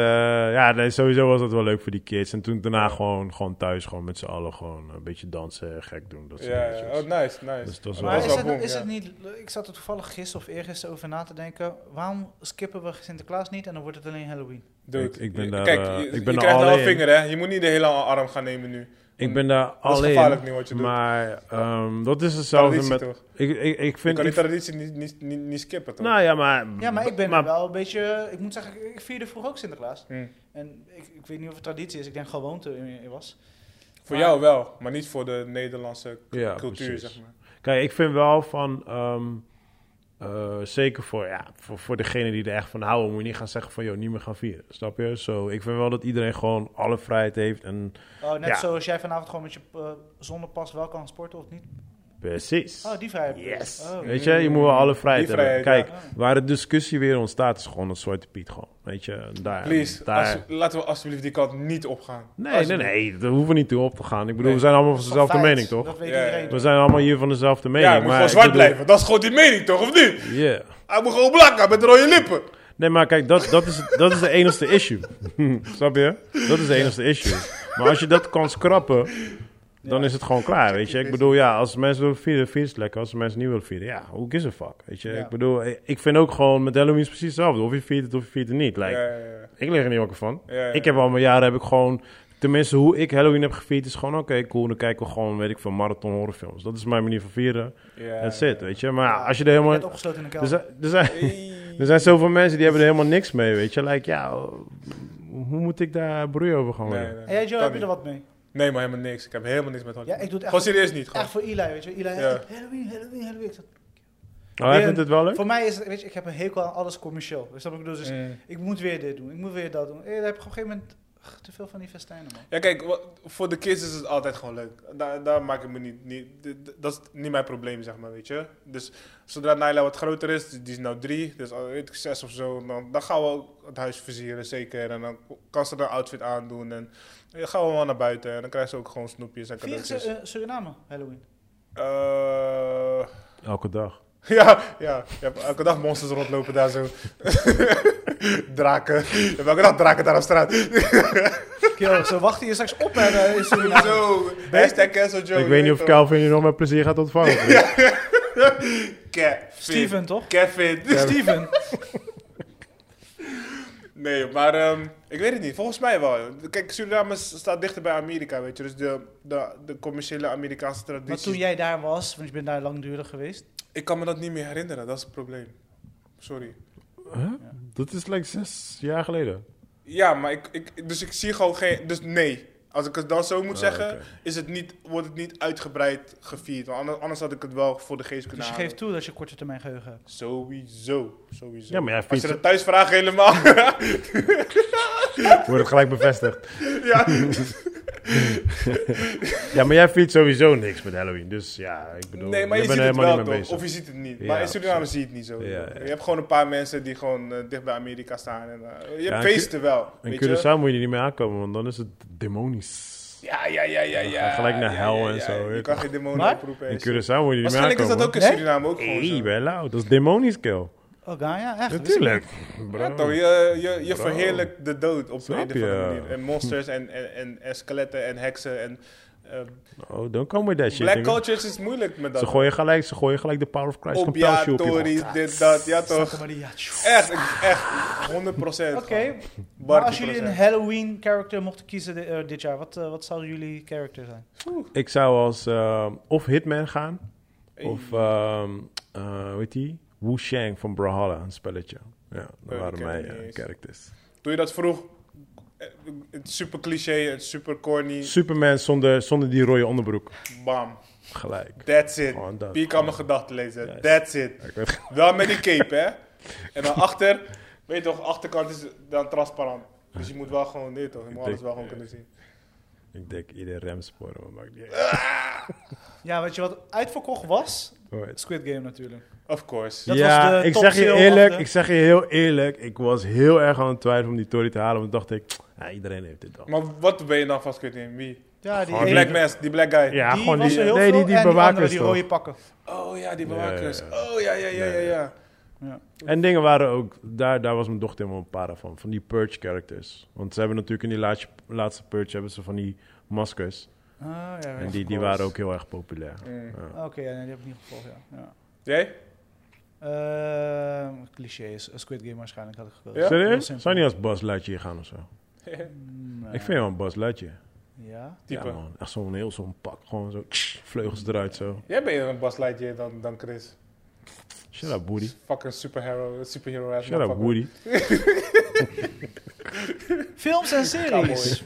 [SPEAKER 1] ja, nee, sowieso was dat wel leuk voor die kids. En toen daarna gewoon, gewoon thuis, gewoon met z'n allen gewoon een beetje dansen, gek doen. Dat soort
[SPEAKER 2] Ja,
[SPEAKER 1] dingetjes.
[SPEAKER 2] ja. Oh, nice, nice.
[SPEAKER 1] Dus dat is
[SPEAKER 3] Maar
[SPEAKER 1] wel-
[SPEAKER 3] is,
[SPEAKER 2] wel
[SPEAKER 3] het,
[SPEAKER 2] boem,
[SPEAKER 3] is
[SPEAKER 2] ja.
[SPEAKER 3] het niet... Ik zat er toevallig gisteren of eergisteren over na te denken. Waarom skippen we Sinterklaas niet en dan wordt het alleen Halloween?
[SPEAKER 2] Dude,
[SPEAKER 1] Ik- ik ben
[SPEAKER 2] je-
[SPEAKER 1] daar,
[SPEAKER 2] Kijk,
[SPEAKER 1] eh,
[SPEAKER 2] je,
[SPEAKER 1] ik ben
[SPEAKER 2] je
[SPEAKER 1] er
[SPEAKER 2] krijgt nou
[SPEAKER 1] alleen
[SPEAKER 2] een
[SPEAKER 1] in.
[SPEAKER 2] vinger, hè. Je moet niet de hele arm gaan nemen nu.
[SPEAKER 1] Ik ben daar
[SPEAKER 2] Dat is
[SPEAKER 1] alleen.
[SPEAKER 2] gevaarlijk nu wat je doet.
[SPEAKER 1] Maar ehm, dat is hetzelfde
[SPEAKER 2] Traditie
[SPEAKER 1] met.
[SPEAKER 2] toch?
[SPEAKER 1] Ik, ik, ik vind.
[SPEAKER 2] Je kan die
[SPEAKER 1] ik-
[SPEAKER 2] traditie niet, niet, niet, niet skippen, toch?
[SPEAKER 1] nou ja, maar.
[SPEAKER 2] Mm.
[SPEAKER 3] Ja, maar ik ben
[SPEAKER 1] maar,
[SPEAKER 3] wel een beetje... Ik moet zeggen, ik- ik vierde vroeger ook Sinterklaas.
[SPEAKER 2] Hm.
[SPEAKER 3] En ik, ik weet niet of het traditie is. Ik denk gewoonte in- in was.
[SPEAKER 2] Voor
[SPEAKER 3] Maar-
[SPEAKER 2] jou wel, maar niet voor de Nederlandse
[SPEAKER 1] Ja,
[SPEAKER 2] cultuur,
[SPEAKER 1] precies.
[SPEAKER 2] zeg maar.
[SPEAKER 1] Kijk, ik vind wel van. ehm, eh, zeker voor, ja, voor, voor degene die er echt van houden, moet je niet gaan zeggen van joh, niet meer gaan vieren. Snap je? Zo, ik vind wel dat iedereen gewoon alle vrijheid heeft. En
[SPEAKER 3] Oh, net
[SPEAKER 1] Ja.
[SPEAKER 3] zoals jij vanavond gewoon met je eh, zonnepas wel kan sporten of niet.
[SPEAKER 1] precies.
[SPEAKER 3] Oh, die vrijheid.
[SPEAKER 1] Yes.
[SPEAKER 3] Oh.
[SPEAKER 1] Weet je, je moet wel alle vrijheid,
[SPEAKER 2] Die
[SPEAKER 1] hebben.
[SPEAKER 2] vrijheid,
[SPEAKER 1] Kijk,
[SPEAKER 3] ja.
[SPEAKER 1] waar de discussie weer ontstaat, is gewoon dat Zwarte Piet gewoon. Weet je, daar.
[SPEAKER 2] Please,
[SPEAKER 1] daar,
[SPEAKER 2] als- laten we alsjeblieft die kant niet opgaan.
[SPEAKER 1] Nee, nee, nee, daar hoeven we niet toe op te gaan. Ik bedoel,
[SPEAKER 2] Nee.
[SPEAKER 1] we zijn allemaal van dezelfde
[SPEAKER 3] Feit,
[SPEAKER 1] mening, toch?
[SPEAKER 3] Dat weet
[SPEAKER 2] Ja, ja.
[SPEAKER 3] iedereen.
[SPEAKER 1] We zijn allemaal hier van dezelfde mening.
[SPEAKER 2] ja, hij moet
[SPEAKER 1] maar
[SPEAKER 2] gewoon
[SPEAKER 1] ik
[SPEAKER 2] zwart
[SPEAKER 1] bedoel-
[SPEAKER 2] blijven. Dat is gewoon die mening, toch? Of niet?
[SPEAKER 1] Yeah.
[SPEAKER 2] Hij moet gewoon blakken met rode lippen.
[SPEAKER 1] Nee, maar kijk, dat, dat, is, dat is de enigste issue. (laughs) Snap je? Dat is de enigste issue. Maar als je dat kan schrappen, dan is het gewoon klaar, weet je. Ik bedoel, ja, als mensen willen vieren, vieren ze lekker. Als mensen niet willen vieren, ja, hoe is een fuck, weet je.
[SPEAKER 3] Ja.
[SPEAKER 1] Ik bedoel, ik- ik vind ook gewoon, met Halloween is precies hetzelfde. Of je viert het of je viert het niet.
[SPEAKER 2] Ja,
[SPEAKER 1] Like,
[SPEAKER 2] ja, ja.
[SPEAKER 1] Ik lig er niet wakker van.
[SPEAKER 2] Ja, ja.
[SPEAKER 1] Ik heb al mijn jaren, heb ik gewoon... Tenminste, hoe ik Halloween heb gevierd, is gewoon... Oké, cool, dan kijken we gewoon, weet ik veel, marathon horrorfilms. Dat is mijn manier van vieren.
[SPEAKER 2] Ja.
[SPEAKER 1] That's it, weet je. Maar ja, als je er helemaal...
[SPEAKER 3] Net opgesloten in een
[SPEAKER 1] Er
[SPEAKER 3] kelder.
[SPEAKER 1] zijn, er, zijn, (laughs) er zijn zoveel mensen die hebben er helemaal niks mee, weet je. Like, ja, hoe moet ik daar broei over gaan
[SPEAKER 2] Nee,
[SPEAKER 1] worden?
[SPEAKER 2] nee, nee.
[SPEAKER 3] en jij, Joe,
[SPEAKER 2] Kan
[SPEAKER 3] heb je
[SPEAKER 2] niet.
[SPEAKER 3] er wat mee?
[SPEAKER 2] Nee, maar helemaal niks. Ik heb helemaal niks met Hollywood.
[SPEAKER 3] Ja, ik doe het echt-
[SPEAKER 2] Gewoon serieus niet. Gewoon.
[SPEAKER 3] Echt voor Eli, weet je. Eli,
[SPEAKER 2] Ja.
[SPEAKER 3] Halloween, Halloween, Halloween. Ik zeg,
[SPEAKER 1] Oh, hij
[SPEAKER 3] Weer-
[SPEAKER 1] vindt het wel leuk?
[SPEAKER 3] Voor mij is het, weet je, ik heb een hekel aan alles commercieel. Snap je wat ik bedoel? Dus
[SPEAKER 2] Mm.
[SPEAKER 3] ik moet weer dit doen, ik moet weer dat doen. Eh, daar heb ik op een gegeven moment ugh, te veel van die festijnen, man.
[SPEAKER 2] Ja, kijk, wa- voor de kids is het altijd gewoon leuk. Daar, daar maak ik me niet, niet... d- d- Dat is niet mijn probleem, zeg maar, weet je. Dus zodra Naila wat groter is, die die is nou drie, dus al weet ik, zes of zo, dan, dan gaan we ook het huis versieren, zeker. En dan kan ze haar outfit aandoen en dan gaan we wel naar buiten. En dan krijgt ze ook gewoon snoepjes en
[SPEAKER 3] Vier
[SPEAKER 2] cadeautjes.
[SPEAKER 3] eh, Suriname, Halloween.
[SPEAKER 2] Eh, (laughs)
[SPEAKER 1] Elke dag.
[SPEAKER 2] ja, ja. Je hebt elke dag monsters rondlopen daar zo. (laughs) draken. Je hebt elke dag draken daar op straat.
[SPEAKER 3] Yo, ze wachten je straks op en eh, in Suriname.
[SPEAKER 2] Zo, hashtag cancel Joe.
[SPEAKER 1] ik weet niet of
[SPEAKER 2] Cal
[SPEAKER 1] Calvin je nog met plezier gaat
[SPEAKER 2] (laughs)
[SPEAKER 1] ontvangen. vriend.
[SPEAKER 2] Kevin.
[SPEAKER 3] Steven, toch?
[SPEAKER 2] Kevin.
[SPEAKER 3] Steven.
[SPEAKER 2] (laughs) Nee, maar ehm, ik weet het niet. Volgens mij wel. Kijk, Suriname s- staat dichter bij Amerika, weet je. Dus de, de, de commerciële Amerikaanse
[SPEAKER 3] Maar
[SPEAKER 2] traditie.
[SPEAKER 3] toen jij daar was, want je bent daar langdurig geweest.
[SPEAKER 2] Ik kan me dat niet meer herinneren, dat is het probleem. Sorry.
[SPEAKER 1] Huh? Dat is like zes jaar geleden.
[SPEAKER 2] Ja, maar ik, ik, dus ik zie gewoon geen... Dus nee. Als ik het dan zo moet
[SPEAKER 1] Ah,
[SPEAKER 2] zeggen,
[SPEAKER 1] oké.
[SPEAKER 2] is het niet, wordt het niet uitgebreid gevierd. Want anders, anders had ik het wel voor de geest kunnen
[SPEAKER 3] Dus je
[SPEAKER 2] halen.
[SPEAKER 3] geeft toe dat je korte termijn geheugen hebt.
[SPEAKER 2] Sowieso, sowieso.
[SPEAKER 1] Ja, maar jij
[SPEAKER 2] Als je
[SPEAKER 1] fietst,
[SPEAKER 2] dat thuis vraagt helemaal. (laughs)
[SPEAKER 1] wordt het gelijk bevestigd.
[SPEAKER 2] ja.
[SPEAKER 1] Ja, maar jij vindt sowieso niks met Halloween. Dus ja, ik bedoel,
[SPEAKER 2] Nee, maar je,
[SPEAKER 1] bent
[SPEAKER 2] ziet
[SPEAKER 1] er
[SPEAKER 2] het
[SPEAKER 1] helemaal
[SPEAKER 2] wel
[SPEAKER 1] niet mee
[SPEAKER 2] toch?
[SPEAKER 1] bezig.
[SPEAKER 2] Of je ziet het niet.
[SPEAKER 1] Ja,
[SPEAKER 2] maar in Suriname
[SPEAKER 1] precies.
[SPEAKER 2] zie je het niet zo.
[SPEAKER 1] Ja, ja.
[SPEAKER 2] Je hebt gewoon een paar mensen die gewoon eh, dicht bij Amerika staan. En, eh, je
[SPEAKER 1] Ja, en
[SPEAKER 2] hebt feesten wel.
[SPEAKER 1] En Curaçao
[SPEAKER 2] weet je?
[SPEAKER 1] moet je er niet mee aankomen, want dan is het demonisch.
[SPEAKER 2] Ja, ja, ja, ja,
[SPEAKER 1] Dan
[SPEAKER 2] ja.
[SPEAKER 1] ga je gelijk naar
[SPEAKER 2] ja,
[SPEAKER 1] hel
[SPEAKER 2] ja,
[SPEAKER 1] en
[SPEAKER 2] ja.
[SPEAKER 1] zo,
[SPEAKER 2] Je
[SPEAKER 1] weet
[SPEAKER 2] kan
[SPEAKER 1] je.
[SPEAKER 2] geen demonen
[SPEAKER 3] Maar?
[SPEAKER 2] oproepen.
[SPEAKER 1] In
[SPEAKER 2] en zo.
[SPEAKER 1] Curaçao moet je er niet mee aankomen.
[SPEAKER 2] Waarschijnlijk is dat ook in
[SPEAKER 3] Nee?
[SPEAKER 2] Suriname ook gewoon
[SPEAKER 1] Hey,
[SPEAKER 2] zo.
[SPEAKER 1] ben je lauw. Dat is demonisch, kill.
[SPEAKER 3] Oh, Gaia, echt?
[SPEAKER 1] Natuurlijk. Bro.
[SPEAKER 2] Ja, toch, je je, je
[SPEAKER 1] Bro.
[SPEAKER 2] verheerlijkt de dood op
[SPEAKER 1] Snap
[SPEAKER 2] een of andere
[SPEAKER 1] je?
[SPEAKER 2] manier. En monsters en, en, en, en skeletten en heksen en eh,
[SPEAKER 1] Oh, don't come with that shit.
[SPEAKER 2] black
[SPEAKER 1] nigga.
[SPEAKER 2] cultures is moeilijk met
[SPEAKER 1] Ze
[SPEAKER 2] dat.
[SPEAKER 1] gooien gelijk, ze gooien gelijk de Power of Christ compel shoe op je hoofd.
[SPEAKER 2] Opiatorisch, dit, dat, ja toch.
[SPEAKER 3] Santa Maria. Oké,
[SPEAKER 2] Echt, echt, 100 procent.
[SPEAKER 3] maar als jullie een Halloween character mochten kiezen di- eh, dit jaar, wat, eh, wat zou jullie character zijn?
[SPEAKER 1] Ik zou als eh, of Hitman gaan, of ehm weet je, Wu Shang van Brawlhalla, een spelletje. Ja, dat
[SPEAKER 2] die
[SPEAKER 1] waren
[SPEAKER 2] ken
[SPEAKER 1] mijn
[SPEAKER 2] ik niet
[SPEAKER 1] eh,
[SPEAKER 2] eens.
[SPEAKER 1] characters.
[SPEAKER 2] Toen je dat vroeg, eh, het is super cliché, het is super corny,
[SPEAKER 1] Superman zonder, zonder die rode onderbroek.
[SPEAKER 2] bam,
[SPEAKER 1] Gelijk.
[SPEAKER 2] that's it.
[SPEAKER 1] Gewoon Oh, dat.
[SPEAKER 2] Wie kan mijn gedachten lezen?
[SPEAKER 1] Juist.
[SPEAKER 2] That's it.
[SPEAKER 1] Ik weet-
[SPEAKER 2] Wel met die cape, hè? En dan achter, weet je toch, achterkant is dan transparant. Dus je moet wel gewoon, dit toch, je moet
[SPEAKER 1] Ik
[SPEAKER 2] alles
[SPEAKER 1] denk-
[SPEAKER 2] wel gewoon kunnen zien.
[SPEAKER 1] Ik denk ieder remspoor, maar maakt niet
[SPEAKER 3] Ah.
[SPEAKER 1] uit.
[SPEAKER 3] Ja, weet je wat uitverkocht was?
[SPEAKER 1] Alright.
[SPEAKER 3] Squid Game natuurlijk.
[SPEAKER 2] Of course.
[SPEAKER 3] Dat
[SPEAKER 1] Ja,
[SPEAKER 3] was de
[SPEAKER 1] ik
[SPEAKER 3] top
[SPEAKER 1] zeg je
[SPEAKER 3] sale
[SPEAKER 1] eerlijk,
[SPEAKER 3] af de-
[SPEAKER 1] ik zeg je heel eerlijk, ik was heel erg aan het twijfelen om die Tory te halen, want dacht ik, ja, iedereen heeft dit al.
[SPEAKER 2] Maar wat ben je dan vast kwijt in? Wie?
[SPEAKER 3] Ja, die,
[SPEAKER 1] Gewoon
[SPEAKER 2] Die
[SPEAKER 3] die,
[SPEAKER 2] black mask, die black guy.
[SPEAKER 1] Oh, Ja, gewoon
[SPEAKER 3] was
[SPEAKER 1] die,
[SPEAKER 3] er heel
[SPEAKER 1] nee,
[SPEAKER 3] veel
[SPEAKER 1] die, die
[SPEAKER 3] en die andere,
[SPEAKER 1] bewakers
[SPEAKER 3] die
[SPEAKER 1] toch.
[SPEAKER 3] rode pakken.
[SPEAKER 2] Oh ja, die
[SPEAKER 1] Ja,
[SPEAKER 2] bewakers.
[SPEAKER 1] ja,
[SPEAKER 2] Oh ja, ja, ja, ja, ja.
[SPEAKER 1] En dingen waren ook, daar, daar was mijn dochter helemaal een para van, van die purge characters. Want ze hebben natuurlijk in die laatste, laatste purge hebben ze van die maskers.
[SPEAKER 3] Ah, ja,
[SPEAKER 1] En die,
[SPEAKER 3] ja.
[SPEAKER 1] die
[SPEAKER 2] course.
[SPEAKER 1] waren ook heel erg populair.
[SPEAKER 2] Mm.
[SPEAKER 1] Ja.
[SPEAKER 3] Oké, ja, nee, die heb ik niet gevolgd, ja. ja.
[SPEAKER 2] Jij? (laughs)
[SPEAKER 3] Ehm, cliché is eh, Squid Game waarschijnlijk had ik gekozen.
[SPEAKER 2] Ja?
[SPEAKER 3] Heel
[SPEAKER 1] Serieus?
[SPEAKER 3] simpel.
[SPEAKER 1] Zou je niet als Bas Luitje hier gaan of zo?
[SPEAKER 3] Mm, eh,
[SPEAKER 1] Ik vind wel een Bas Luitje.
[SPEAKER 3] Ja?
[SPEAKER 2] Type.
[SPEAKER 1] Ja man, echt zo'n heel zo'n pak. Gewoon zo, vleugels eruit zo.
[SPEAKER 2] Jij bent een Bas Lightyear dan, dan Chris.
[SPEAKER 1] Shut up Woody.
[SPEAKER 2] Fucking superhero, superhero ass
[SPEAKER 1] Shut up Woody.
[SPEAKER 2] motherfucker.
[SPEAKER 3] Films en series.
[SPEAKER 2] Alright,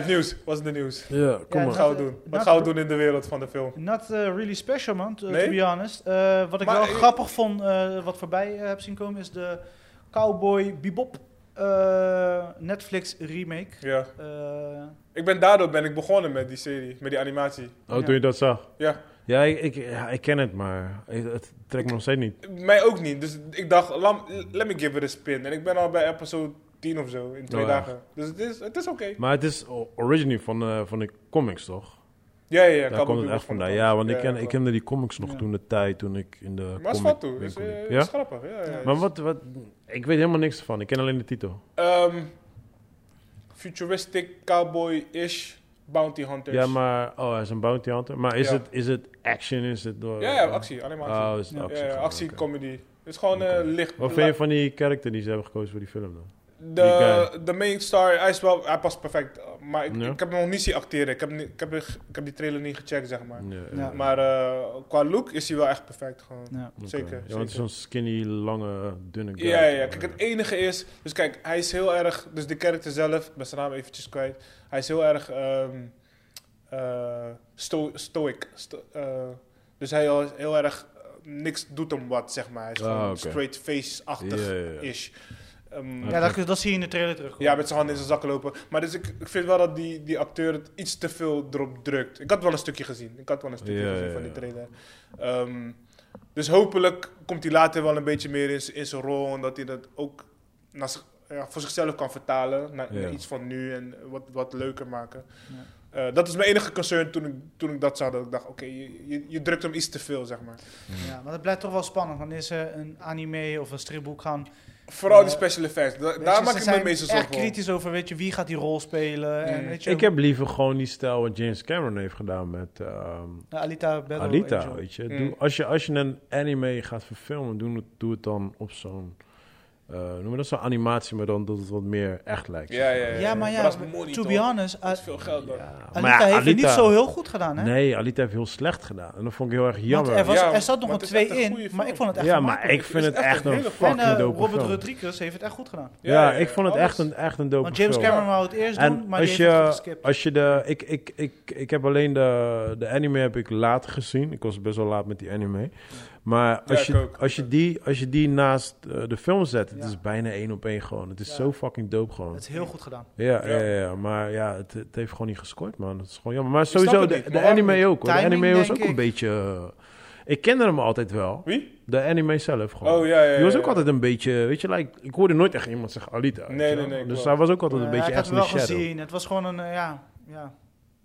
[SPEAKER 2] Ah, nieuws. Wat is de nieuws?
[SPEAKER 1] Ja, kom
[SPEAKER 3] Ja,
[SPEAKER 2] Wat
[SPEAKER 1] maar.
[SPEAKER 2] gaan we doen? Wat
[SPEAKER 3] Nou,
[SPEAKER 2] gaan we doen in de wereld van de film?
[SPEAKER 3] Not eh, really special, man, to,
[SPEAKER 2] Nee?
[SPEAKER 3] to be honest. Eh, wat ik
[SPEAKER 2] Maar,
[SPEAKER 3] wel
[SPEAKER 2] eh,
[SPEAKER 3] grappig vond, eh, wat voorbij eh, heb zien komen, is de Cowboy Bebop eh, Netflix remake.
[SPEAKER 2] Ja.
[SPEAKER 3] Eh,
[SPEAKER 2] Ik ben daardoor ben ik begonnen met die serie, met die animatie.
[SPEAKER 1] Oh, toen je dat zag?
[SPEAKER 2] Ja.
[SPEAKER 1] Ja, ik, ik, ja, ik ken het, maar het- het trekt me nog steeds niet.
[SPEAKER 2] Mij ook niet. Dus ik dacht, lam- let me give it a spin. En ik ben al bij episode 10 of zo, in twee
[SPEAKER 1] Oh, ja.
[SPEAKER 2] dagen. Dus het is, het is oké.
[SPEAKER 1] Maar het is o- originally van, eh, van de comics, toch?
[SPEAKER 2] Ja, ja, ja.
[SPEAKER 1] Daar komt het echt vandaan. Ja, want ik, ken, ik kende die comics nog
[SPEAKER 3] Ja.
[SPEAKER 1] toen de tijd, toen ik in de
[SPEAKER 2] Maar het
[SPEAKER 1] comic-
[SPEAKER 2] valt toe. Het is,
[SPEAKER 1] winkel liep.
[SPEAKER 2] eh,
[SPEAKER 1] ja?
[SPEAKER 2] is grappig. Ja, ja, ja.
[SPEAKER 1] Maar wat, wat... Ik weet helemaal niks ervan. Ik ken alleen de titel.
[SPEAKER 2] Ehm, futuristic cowboy-ish bounty hunters.
[SPEAKER 1] Ja, maar... Oh, hij is een bounty hunter. Maar is,
[SPEAKER 2] Dus- Ja.
[SPEAKER 1] het, is het action? Is het door...
[SPEAKER 2] Ja, ja, actie, animatie.
[SPEAKER 1] Oh, is het
[SPEAKER 3] Ja.
[SPEAKER 1] actie.
[SPEAKER 2] ja, ja,
[SPEAKER 1] gewoon,
[SPEAKER 2] actie,
[SPEAKER 1] oké.
[SPEAKER 2] comedy. Het is gewoon
[SPEAKER 1] Oké.
[SPEAKER 2] eh, licht.
[SPEAKER 1] Wat vind je van die character die ze hebben gekozen voor die film dan?
[SPEAKER 2] De, de main star, hij, is wel, hij past perfect. Uh, Maar ik,
[SPEAKER 1] Ja?
[SPEAKER 2] ik heb hem nog niet zien acteren. Ik heb, ni- ik, heb, ik heb die trailer niet gecheckt, zeg maar.
[SPEAKER 1] Ja,
[SPEAKER 3] Ja.
[SPEAKER 1] eh,
[SPEAKER 2] Maar eh, qua look is hij wel echt perfect. Gewoon.
[SPEAKER 3] ja.
[SPEAKER 1] oké.
[SPEAKER 2] zeker,
[SPEAKER 1] Ja, want
[SPEAKER 2] zeker.
[SPEAKER 1] het is zo'n skinny, lange, dunne guy.
[SPEAKER 2] Ja, ja, ja. Kijk, het enige is... Dus kijk, hij is heel erg... Dus de character zelf, ik ben zijn naam eventjes kwijt. Hij is heel erg ehm eh, sto- stoic. Sto- eh, dus hij is heel erg... eh, niks doet hem wat, zeg maar. Hij is
[SPEAKER 1] Ah,
[SPEAKER 2] gewoon
[SPEAKER 1] oké.
[SPEAKER 2] straight face-achtig-ish.
[SPEAKER 1] Ja, ja, ja.
[SPEAKER 2] Ehm,
[SPEAKER 3] ja dat, dat zie je in de trailer terug.
[SPEAKER 2] Ja, met zijn handen in zijn zakken lopen. Maar dus ik, ik vind wel dat die, die acteur het iets te veel erop drukt. Ik had wel een stukje gezien. Ik had wel een stukje
[SPEAKER 1] Ja,
[SPEAKER 2] gezien
[SPEAKER 1] ja,
[SPEAKER 2] van die
[SPEAKER 1] ja.
[SPEAKER 2] trailer. Ehm, dus hopelijk komt hij later wel een beetje meer in, z'n- in zijn rol. En dat hij dat ook naar zich- ja, voor zichzelf kan vertalen. Naar,
[SPEAKER 1] Ja.
[SPEAKER 2] naar iets van nu en wat, wat leuker maken.
[SPEAKER 3] Ja.
[SPEAKER 2] Eh, dat is mijn enige concern toen ik, toen ik dat zag. Dat ik dacht, oké, je, je, je drukt hem iets te veel, zeg maar.
[SPEAKER 3] Ja, maar dat blijft toch wel spannend. Wanneer ze een anime of een stripboek gaan.
[SPEAKER 2] Vooral
[SPEAKER 3] Eh,
[SPEAKER 2] die special effects. Da- daar
[SPEAKER 3] weet je,
[SPEAKER 2] maak
[SPEAKER 3] ze
[SPEAKER 2] ik me
[SPEAKER 3] zijn
[SPEAKER 2] meeste
[SPEAKER 3] echt
[SPEAKER 2] zorgen om.
[SPEAKER 3] kritisch over. Weet je, wie gaat die rol spelen? En,
[SPEAKER 2] Mm.
[SPEAKER 3] weet je,
[SPEAKER 1] Ik heb liever gewoon die stijl wat James Cameron heeft gedaan met ehm,
[SPEAKER 3] eh, Alita Battle
[SPEAKER 1] Alita,
[SPEAKER 3] Angel.
[SPEAKER 1] weet je.
[SPEAKER 2] Mm.
[SPEAKER 1] Doe, als je. Als je een anime gaat verfilmen, doe het, doe het dan op zo'n... eh noem maar dat zo'n animatie, maar dan dat het wat meer echt lijkt.
[SPEAKER 2] Ja, ja,
[SPEAKER 3] Ja, maar ja,
[SPEAKER 2] Eh, dat is money,
[SPEAKER 3] to be
[SPEAKER 2] toch?
[SPEAKER 3] honest, A-
[SPEAKER 2] Dat is veel geld, dan.
[SPEAKER 1] Ja,
[SPEAKER 3] Alita
[SPEAKER 1] maar ja,
[SPEAKER 3] heeft het niet
[SPEAKER 1] Alita-
[SPEAKER 3] zo heel goed gedaan, hè?
[SPEAKER 1] Nee, Alita heeft heel slecht gedaan. En dat vond ik heel erg
[SPEAKER 3] Want
[SPEAKER 1] jammer.
[SPEAKER 3] er, was,
[SPEAKER 2] Ja,
[SPEAKER 3] er zat
[SPEAKER 2] maar
[SPEAKER 3] nog een
[SPEAKER 2] het is
[SPEAKER 3] twee
[SPEAKER 2] echt een goede
[SPEAKER 3] in, maar
[SPEAKER 2] film.
[SPEAKER 3] ik vond het echt
[SPEAKER 1] ja, maar
[SPEAKER 3] gemakkelijk.
[SPEAKER 1] ik vind
[SPEAKER 2] Het
[SPEAKER 1] het
[SPEAKER 2] is echt
[SPEAKER 1] echt
[SPEAKER 2] een
[SPEAKER 1] een
[SPEAKER 2] hele
[SPEAKER 1] fucking
[SPEAKER 3] en eh,
[SPEAKER 1] dope
[SPEAKER 3] Robert
[SPEAKER 1] film.
[SPEAKER 3] Rodriguez heeft het echt goed gedaan.
[SPEAKER 1] Ja, ik vond het
[SPEAKER 2] alles.
[SPEAKER 1] echt een, echt een dope
[SPEAKER 3] Want James
[SPEAKER 1] film.
[SPEAKER 3] Cameron wou het eerst doen,
[SPEAKER 1] En
[SPEAKER 3] Dus maar
[SPEAKER 1] als
[SPEAKER 3] die heeft het
[SPEAKER 1] je,
[SPEAKER 3] geskipt.
[SPEAKER 1] als je de... Ik, ik, ik, ik heb alleen de, de anime heb ik laat gezien. Ik was best wel laat met die anime. Maar
[SPEAKER 2] Ja,
[SPEAKER 1] als,
[SPEAKER 2] ik
[SPEAKER 1] je,
[SPEAKER 2] ook.
[SPEAKER 1] als, je, die, als je die naast eh, de film zet, het
[SPEAKER 3] Ja.
[SPEAKER 1] is bijna één op één gewoon. Het is
[SPEAKER 3] Ja.
[SPEAKER 1] zo fucking dope gewoon.
[SPEAKER 3] Het is heel goed gedaan.
[SPEAKER 1] Ja, ja.
[SPEAKER 2] Ja.
[SPEAKER 1] Ja, ja, maar ja, het, het heeft gewoon niet gescoord, man. Het is gewoon jammer. Maar
[SPEAKER 2] snap
[SPEAKER 1] sowieso,
[SPEAKER 2] het
[SPEAKER 1] de,
[SPEAKER 2] niet,
[SPEAKER 1] de
[SPEAKER 2] maar
[SPEAKER 1] anime ook. Hoor. De
[SPEAKER 3] timing,
[SPEAKER 1] anime was ook
[SPEAKER 3] denk
[SPEAKER 1] een
[SPEAKER 3] ik.
[SPEAKER 1] beetje... eh, ik kende hem altijd wel.
[SPEAKER 2] Wie?
[SPEAKER 1] De anime zelf gewoon.
[SPEAKER 2] Oh ja, ja.
[SPEAKER 1] Die was
[SPEAKER 2] ja,
[SPEAKER 1] ook
[SPEAKER 2] ja.
[SPEAKER 1] altijd een beetje, weet je, like, ik hoorde nooit echt iemand zeggen Alita. weet
[SPEAKER 2] Nee,
[SPEAKER 1] je
[SPEAKER 2] nee,
[SPEAKER 1] wel.
[SPEAKER 2] nee,
[SPEAKER 1] Dus
[SPEAKER 2] klopt.
[SPEAKER 1] hij was ook altijd een
[SPEAKER 3] Eh,
[SPEAKER 1] beetje
[SPEAKER 3] ik had
[SPEAKER 1] echt
[SPEAKER 3] het
[SPEAKER 1] in de
[SPEAKER 3] wel
[SPEAKER 1] shadow.
[SPEAKER 3] gezien. Het was gewoon een, eh, ja, ja,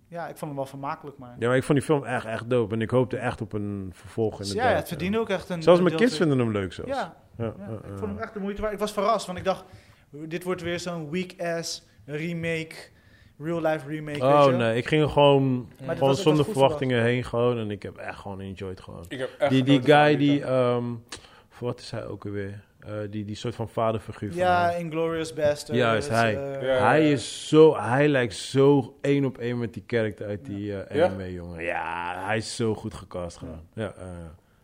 [SPEAKER 3] ja, ik vond hem wel vermakelijk, maar...
[SPEAKER 1] Ja, maar ik vond die film echt, echt dope. En ik hoopte echt op een vervolg
[SPEAKER 3] Dus
[SPEAKER 1] inderdaad.
[SPEAKER 3] ja, het verdiende ook echt een...
[SPEAKER 1] Zelfs
[SPEAKER 3] een
[SPEAKER 1] mijn
[SPEAKER 3] deel
[SPEAKER 1] kids vinden hem leuk
[SPEAKER 3] twee.
[SPEAKER 1] zelfs.
[SPEAKER 3] Ja,
[SPEAKER 1] Ja,
[SPEAKER 3] ja,
[SPEAKER 1] ja,
[SPEAKER 3] ik
[SPEAKER 1] ja.
[SPEAKER 3] vond hem echt de moeite waard. Ik was verrast, want ik dacht, dit wordt weer zo'n weak-ass remake real life remake.
[SPEAKER 1] Oh
[SPEAKER 3] weet je?
[SPEAKER 1] nee, ik ging er gewoon,
[SPEAKER 3] dit was
[SPEAKER 1] gewoon
[SPEAKER 3] ook
[SPEAKER 1] zonder
[SPEAKER 3] als voetbal.
[SPEAKER 1] verwachtingen heen gewoon. En ik heb echt gewoon enjoyed gewoon.
[SPEAKER 2] Ik heb echt
[SPEAKER 1] Die, die
[SPEAKER 2] genoten van
[SPEAKER 1] guy
[SPEAKER 2] die
[SPEAKER 1] die,
[SPEAKER 2] tijd.
[SPEAKER 1] ehm, voor wat is hij ook alweer? Eh, die, die soort van vaderfiguur van
[SPEAKER 3] Ja,
[SPEAKER 1] hem.
[SPEAKER 3] Inglorious Bastards.
[SPEAKER 1] Juist, hij.
[SPEAKER 3] eh,
[SPEAKER 2] Ja.
[SPEAKER 1] Hij is zo, hij lijkt zo één op één met die character uit die eh
[SPEAKER 2] Ja?
[SPEAKER 1] anime, jongen. Ja, hij is zo goed gecast gewoon. Ja, eh,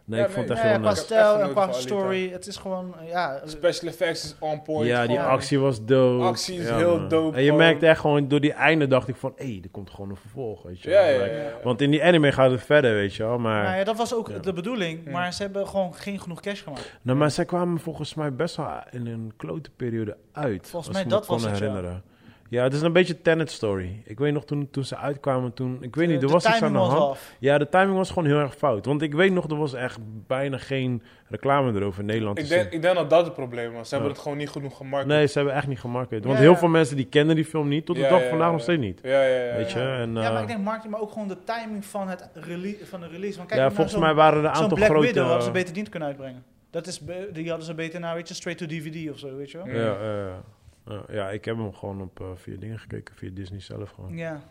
[SPEAKER 1] nee,
[SPEAKER 2] Ja,
[SPEAKER 1] ik vond
[SPEAKER 2] nee,
[SPEAKER 1] het echt
[SPEAKER 3] Ja, ja,
[SPEAKER 1] heel
[SPEAKER 3] qua
[SPEAKER 1] nice.
[SPEAKER 3] stijl en
[SPEAKER 2] genoten
[SPEAKER 3] qua
[SPEAKER 2] van Alita.
[SPEAKER 3] story. Het is gewoon, eh, ja... eh,
[SPEAKER 2] Special effects is on point.
[SPEAKER 1] Ja, die
[SPEAKER 2] gewoon.
[SPEAKER 1] actie was dope.
[SPEAKER 2] Actie is
[SPEAKER 1] Ja,
[SPEAKER 2] heel
[SPEAKER 1] man.
[SPEAKER 2] dope,
[SPEAKER 1] En je
[SPEAKER 2] gewoon.
[SPEAKER 1] merkte echt gewoon, door die einde dacht ik van, hé, er komt gewoon een vervolg, weet je.
[SPEAKER 2] Ja,
[SPEAKER 1] wel.
[SPEAKER 2] ja,
[SPEAKER 1] Like,
[SPEAKER 2] ja, ja.
[SPEAKER 1] Want in die anime gaat het verder, weet je wel. Maar,
[SPEAKER 3] Nou ja, dat was ook
[SPEAKER 1] Ja.
[SPEAKER 3] de bedoeling.
[SPEAKER 2] Ja.
[SPEAKER 3] Maar ze hebben gewoon geen genoeg cash gemaakt.
[SPEAKER 1] nou, maar zij kwamen volgens mij best wel in een klote periode uit.
[SPEAKER 3] Volgens
[SPEAKER 1] als
[SPEAKER 3] mij
[SPEAKER 1] ik me
[SPEAKER 3] dat was
[SPEAKER 1] kon
[SPEAKER 3] het, ja.
[SPEAKER 1] herinneren. Ja, het is een beetje Tenet story. Ik weet nog toen, toen ze uitkwamen, toen... Ik weet niet, er
[SPEAKER 3] De- Eh, de
[SPEAKER 1] was iets aan
[SPEAKER 3] timing
[SPEAKER 1] de hand.
[SPEAKER 3] was af.
[SPEAKER 1] Ja, de timing was gewoon heel erg fout. Want ik weet nog, er was echt bijna geen reclame erover in Nederland.
[SPEAKER 2] Ik
[SPEAKER 1] te
[SPEAKER 2] denk, ik denk dat dat het probleem was. Ze hebben
[SPEAKER 1] Ja.
[SPEAKER 2] het gewoon niet genoeg
[SPEAKER 1] zien.
[SPEAKER 2] gemarket.
[SPEAKER 1] Nee, ze hebben echt niet gemarket. Want
[SPEAKER 3] Ja,
[SPEAKER 1] heel
[SPEAKER 3] ja.
[SPEAKER 1] veel mensen die kennen die film niet, tot de
[SPEAKER 2] Ja,
[SPEAKER 1] dag
[SPEAKER 2] ja,
[SPEAKER 1] vandaag
[SPEAKER 2] ja,
[SPEAKER 1] nog
[SPEAKER 2] ja.
[SPEAKER 1] steeds niet.
[SPEAKER 2] Ja, ja, ja.
[SPEAKER 1] Weet je, en,
[SPEAKER 3] ja, maar
[SPEAKER 1] eh,
[SPEAKER 3] ik denk marketing, maar ook gewoon de timing van, het rele- van de release. Want kijk
[SPEAKER 1] ja,
[SPEAKER 3] naar
[SPEAKER 1] volgens
[SPEAKER 3] zo'n-
[SPEAKER 1] mij waren er een
[SPEAKER 3] Zo'n
[SPEAKER 1] aantal
[SPEAKER 3] Black
[SPEAKER 1] grote... eh,
[SPEAKER 3] Widow hadden ze beter niet kunnen uitbrengen. Dat is, be- die hadden ze beter naar, weet je, straight to DVD of zo, weet je wel.
[SPEAKER 2] Ja.
[SPEAKER 1] Ja, eh, ja, ja, ik heb hem gewoon op eh, via dingen gekeken, via Disney zelf gewoon.
[SPEAKER 3] Ja.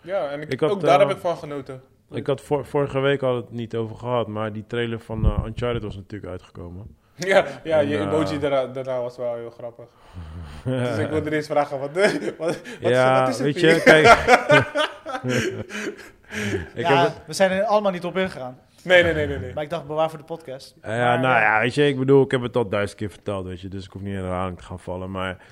[SPEAKER 2] Ja, en ik,
[SPEAKER 1] Ik had,
[SPEAKER 2] ook daar
[SPEAKER 1] eh,
[SPEAKER 2] heb ik van genoten. (laughs)
[SPEAKER 1] Ik had vor- vorige week al het niet over gehad, maar die trailer van eh, Uncharted was natuurlijk uitgekomen.
[SPEAKER 2] Ja, ja je
[SPEAKER 1] En, eh,
[SPEAKER 2] emoji daarna, daarna was wel heel
[SPEAKER 1] (laughs)
[SPEAKER 2] grappig. Dus ik wilde eens vragen, wat, wat, (laughs) wat, is-
[SPEAKER 1] ja,
[SPEAKER 2] wat is het
[SPEAKER 1] weet
[SPEAKER 2] hier?
[SPEAKER 1] je,
[SPEAKER 3] (laughs)
[SPEAKER 1] kijk. (laughs) ik
[SPEAKER 3] ja,
[SPEAKER 1] heb het-
[SPEAKER 3] we zijn er allemaal niet op ingegaan.
[SPEAKER 2] Nee, nee, nee, nee. nee.
[SPEAKER 3] Maar ik dacht, bewaar voor de podcast.
[SPEAKER 1] eh, ja,
[SPEAKER 3] Maar,
[SPEAKER 1] nou
[SPEAKER 3] eh,
[SPEAKER 1] ja, weet je, ik bedoel, ik heb het al duizend keer verteld, weet je, dus ik hoef niet in herhaling te gaan vallen. Maar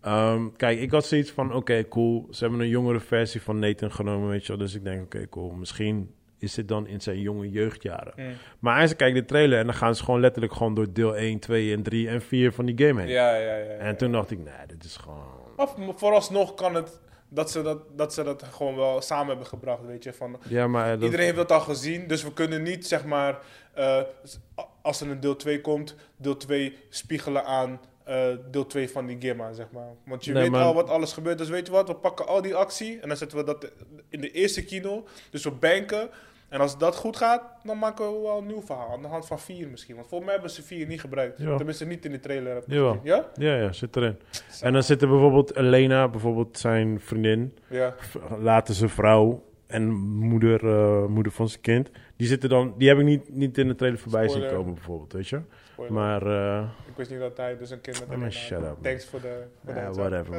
[SPEAKER 1] ehm, kijk, ik had zoiets van, oké, cool, ze hebben een jongere versie van Nathan genomen, weet je wel. Dus ik denk, oké, cool, misschien is dit dan in zijn jonge jeugdjaren.
[SPEAKER 2] Mm.
[SPEAKER 1] Maar eigenlijk kijk de trailer en dan gaan ze gewoon letterlijk gewoon door deel 1, 2 en 3 en 4 van die game heen.
[SPEAKER 2] Ja, ja, ja. ja.
[SPEAKER 1] En toen dacht ik, nee, dit is gewoon...
[SPEAKER 2] Maar v- vooralsnog kan het dat ze dat, dat ze dat gewoon wel samen hebben gebracht, weet je. Van,
[SPEAKER 1] Ja, maar dat...
[SPEAKER 2] Iedereen heeft dat al gezien, dus we kunnen niet, zeg maar, eh, s- a- als er een deel 2 komt, deel 2 spiegelen aan eh, deel 2 van die game aan, zeg maar. Want je
[SPEAKER 1] Nee,
[SPEAKER 2] weet
[SPEAKER 1] maar-
[SPEAKER 2] al wat alles gebeurt, dus weet je wat, we pakken al die actie en dan zetten we dat in de eerste kino, dus we banken. En als dat goed gaat, dan maken we wel een nieuw verhaal, aan de hand van 4 misschien. Want volgens mij hebben ze 4 niet gebruikt,
[SPEAKER 1] Ja.
[SPEAKER 2] tenminste niet in de trailer. heb ik
[SPEAKER 1] Jawel.
[SPEAKER 2] gezien. Ja?
[SPEAKER 1] Ja, ja, zit erin. En dan zit er bijvoorbeeld Elena, bijvoorbeeld zijn vriendin,
[SPEAKER 2] Ja.
[SPEAKER 1] v- later zijn vrouw en moeder, eh, moeder van zijn kind. Die zitten dan... Die heb ik niet, niet in de trailer voorbij zien
[SPEAKER 2] Spoiler.
[SPEAKER 1] komen, bijvoorbeeld, weet je.
[SPEAKER 2] Spoiler.
[SPEAKER 1] Maar, eh,
[SPEAKER 2] Ik wist niet dat hij dus een kind met
[SPEAKER 1] Ah, maar
[SPEAKER 2] een
[SPEAKER 1] shut up, man.
[SPEAKER 2] Thanks voor de... voor de
[SPEAKER 1] ja,
[SPEAKER 2] heads up. Oh,
[SPEAKER 1] whatever. (laughs)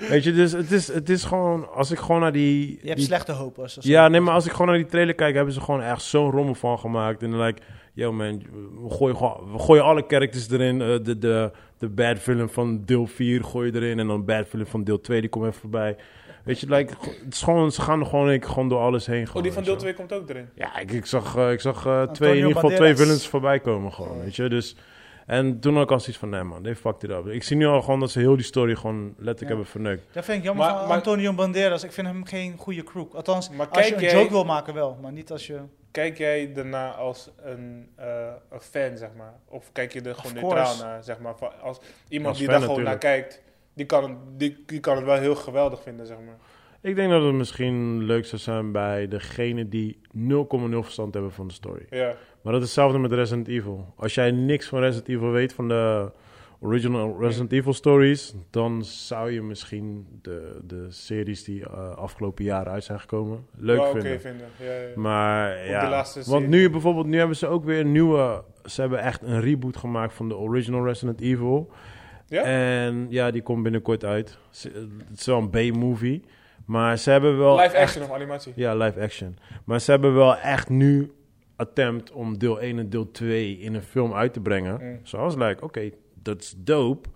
[SPEAKER 1] man. weet je, dus het is, het is gewoon... Als ik gewoon naar die...
[SPEAKER 3] Je hebt
[SPEAKER 1] die
[SPEAKER 3] slechte hoop. Als dat zo
[SPEAKER 1] Ja,
[SPEAKER 3] is.
[SPEAKER 1] nee, maar als ik gewoon naar die trailer kijk, hebben ze gewoon echt zo'n rommel van gemaakt. En dan like, yo man, we gooien, gewoon- we gooien alle characters erin. eh, de, de, de bad villain van deel 4 gooi je erin. En dan bad villain van deel 2, die komt even voorbij. Weet je, like, go- het is gewoon, ze gaan er gewoon, ik, gewoon door alles heen.
[SPEAKER 2] Oh,
[SPEAKER 1] Gewoon,
[SPEAKER 2] die van
[SPEAKER 1] weet
[SPEAKER 2] deel
[SPEAKER 1] je wel.
[SPEAKER 2] 2 komt ook erin.
[SPEAKER 1] Ja, ik, ik zag, eh, ik zag eh, twee, in ieder geval twee
[SPEAKER 3] Banderas.
[SPEAKER 1] villains voorbij komen gewoon, weet je. Dus, en toen had ik al zoiets van, nee man, they fucked it up. Ik zie nu al gewoon dat ze heel die story gewoon letterlijk
[SPEAKER 3] Ja.
[SPEAKER 1] hebben verneukt.
[SPEAKER 3] Dat vind ik jammer
[SPEAKER 2] Maar-
[SPEAKER 3] van
[SPEAKER 2] maar-
[SPEAKER 3] Antonio Banderas. Ik vind hem geen goede crook. Althans,
[SPEAKER 2] Maar
[SPEAKER 3] als je
[SPEAKER 2] kijk
[SPEAKER 3] een
[SPEAKER 2] jij-
[SPEAKER 3] joke wil maken wel, maar niet als je...
[SPEAKER 2] Kijk jij daarna als een, eh, een fan, zeg maar? Of kijk je er gewoon
[SPEAKER 3] Of
[SPEAKER 2] neutraal
[SPEAKER 3] course.
[SPEAKER 2] naar, zeg maar? Van- Als iemand
[SPEAKER 1] Als
[SPEAKER 2] die
[SPEAKER 1] fan
[SPEAKER 2] daar gewoon naar kijkt, die kan, het- die, die kan het wel heel geweldig vinden, zeg maar.
[SPEAKER 1] Ik denk dat het misschien leuk zou zijn bij degene die 0,0 verstand hebben van de story.
[SPEAKER 2] Ja,
[SPEAKER 1] Maar dat is hetzelfde met Resident Evil. Als jij niks van Resident Evil weet, van de original Resident Evil stories, dan zou je misschien de, de series die eh, afgelopen jaren uit zijn gekomen leuk
[SPEAKER 2] wel oké
[SPEAKER 1] vinden.
[SPEAKER 2] vinden. Ja, ja.
[SPEAKER 1] Maar
[SPEAKER 2] de
[SPEAKER 1] ja,
[SPEAKER 2] laatste
[SPEAKER 1] want
[SPEAKER 2] serie.
[SPEAKER 1] nu bijvoorbeeld, nu hebben ze ook weer een nieuwe, ze hebben echt een reboot gemaakt van de original Resident Evil.
[SPEAKER 2] Ja?
[SPEAKER 1] En ja, die komt binnenkort uit. Ze- Het is wel een B-movie, maar ze hebben wel...
[SPEAKER 2] Live
[SPEAKER 1] echt-
[SPEAKER 2] action of animatie.
[SPEAKER 1] ja, live action. Maar ze hebben wel echt nu attempt om deel 1 en deel 2 in een film uit te brengen.
[SPEAKER 2] Mm.
[SPEAKER 1] Zo was like, oké, dat is dope.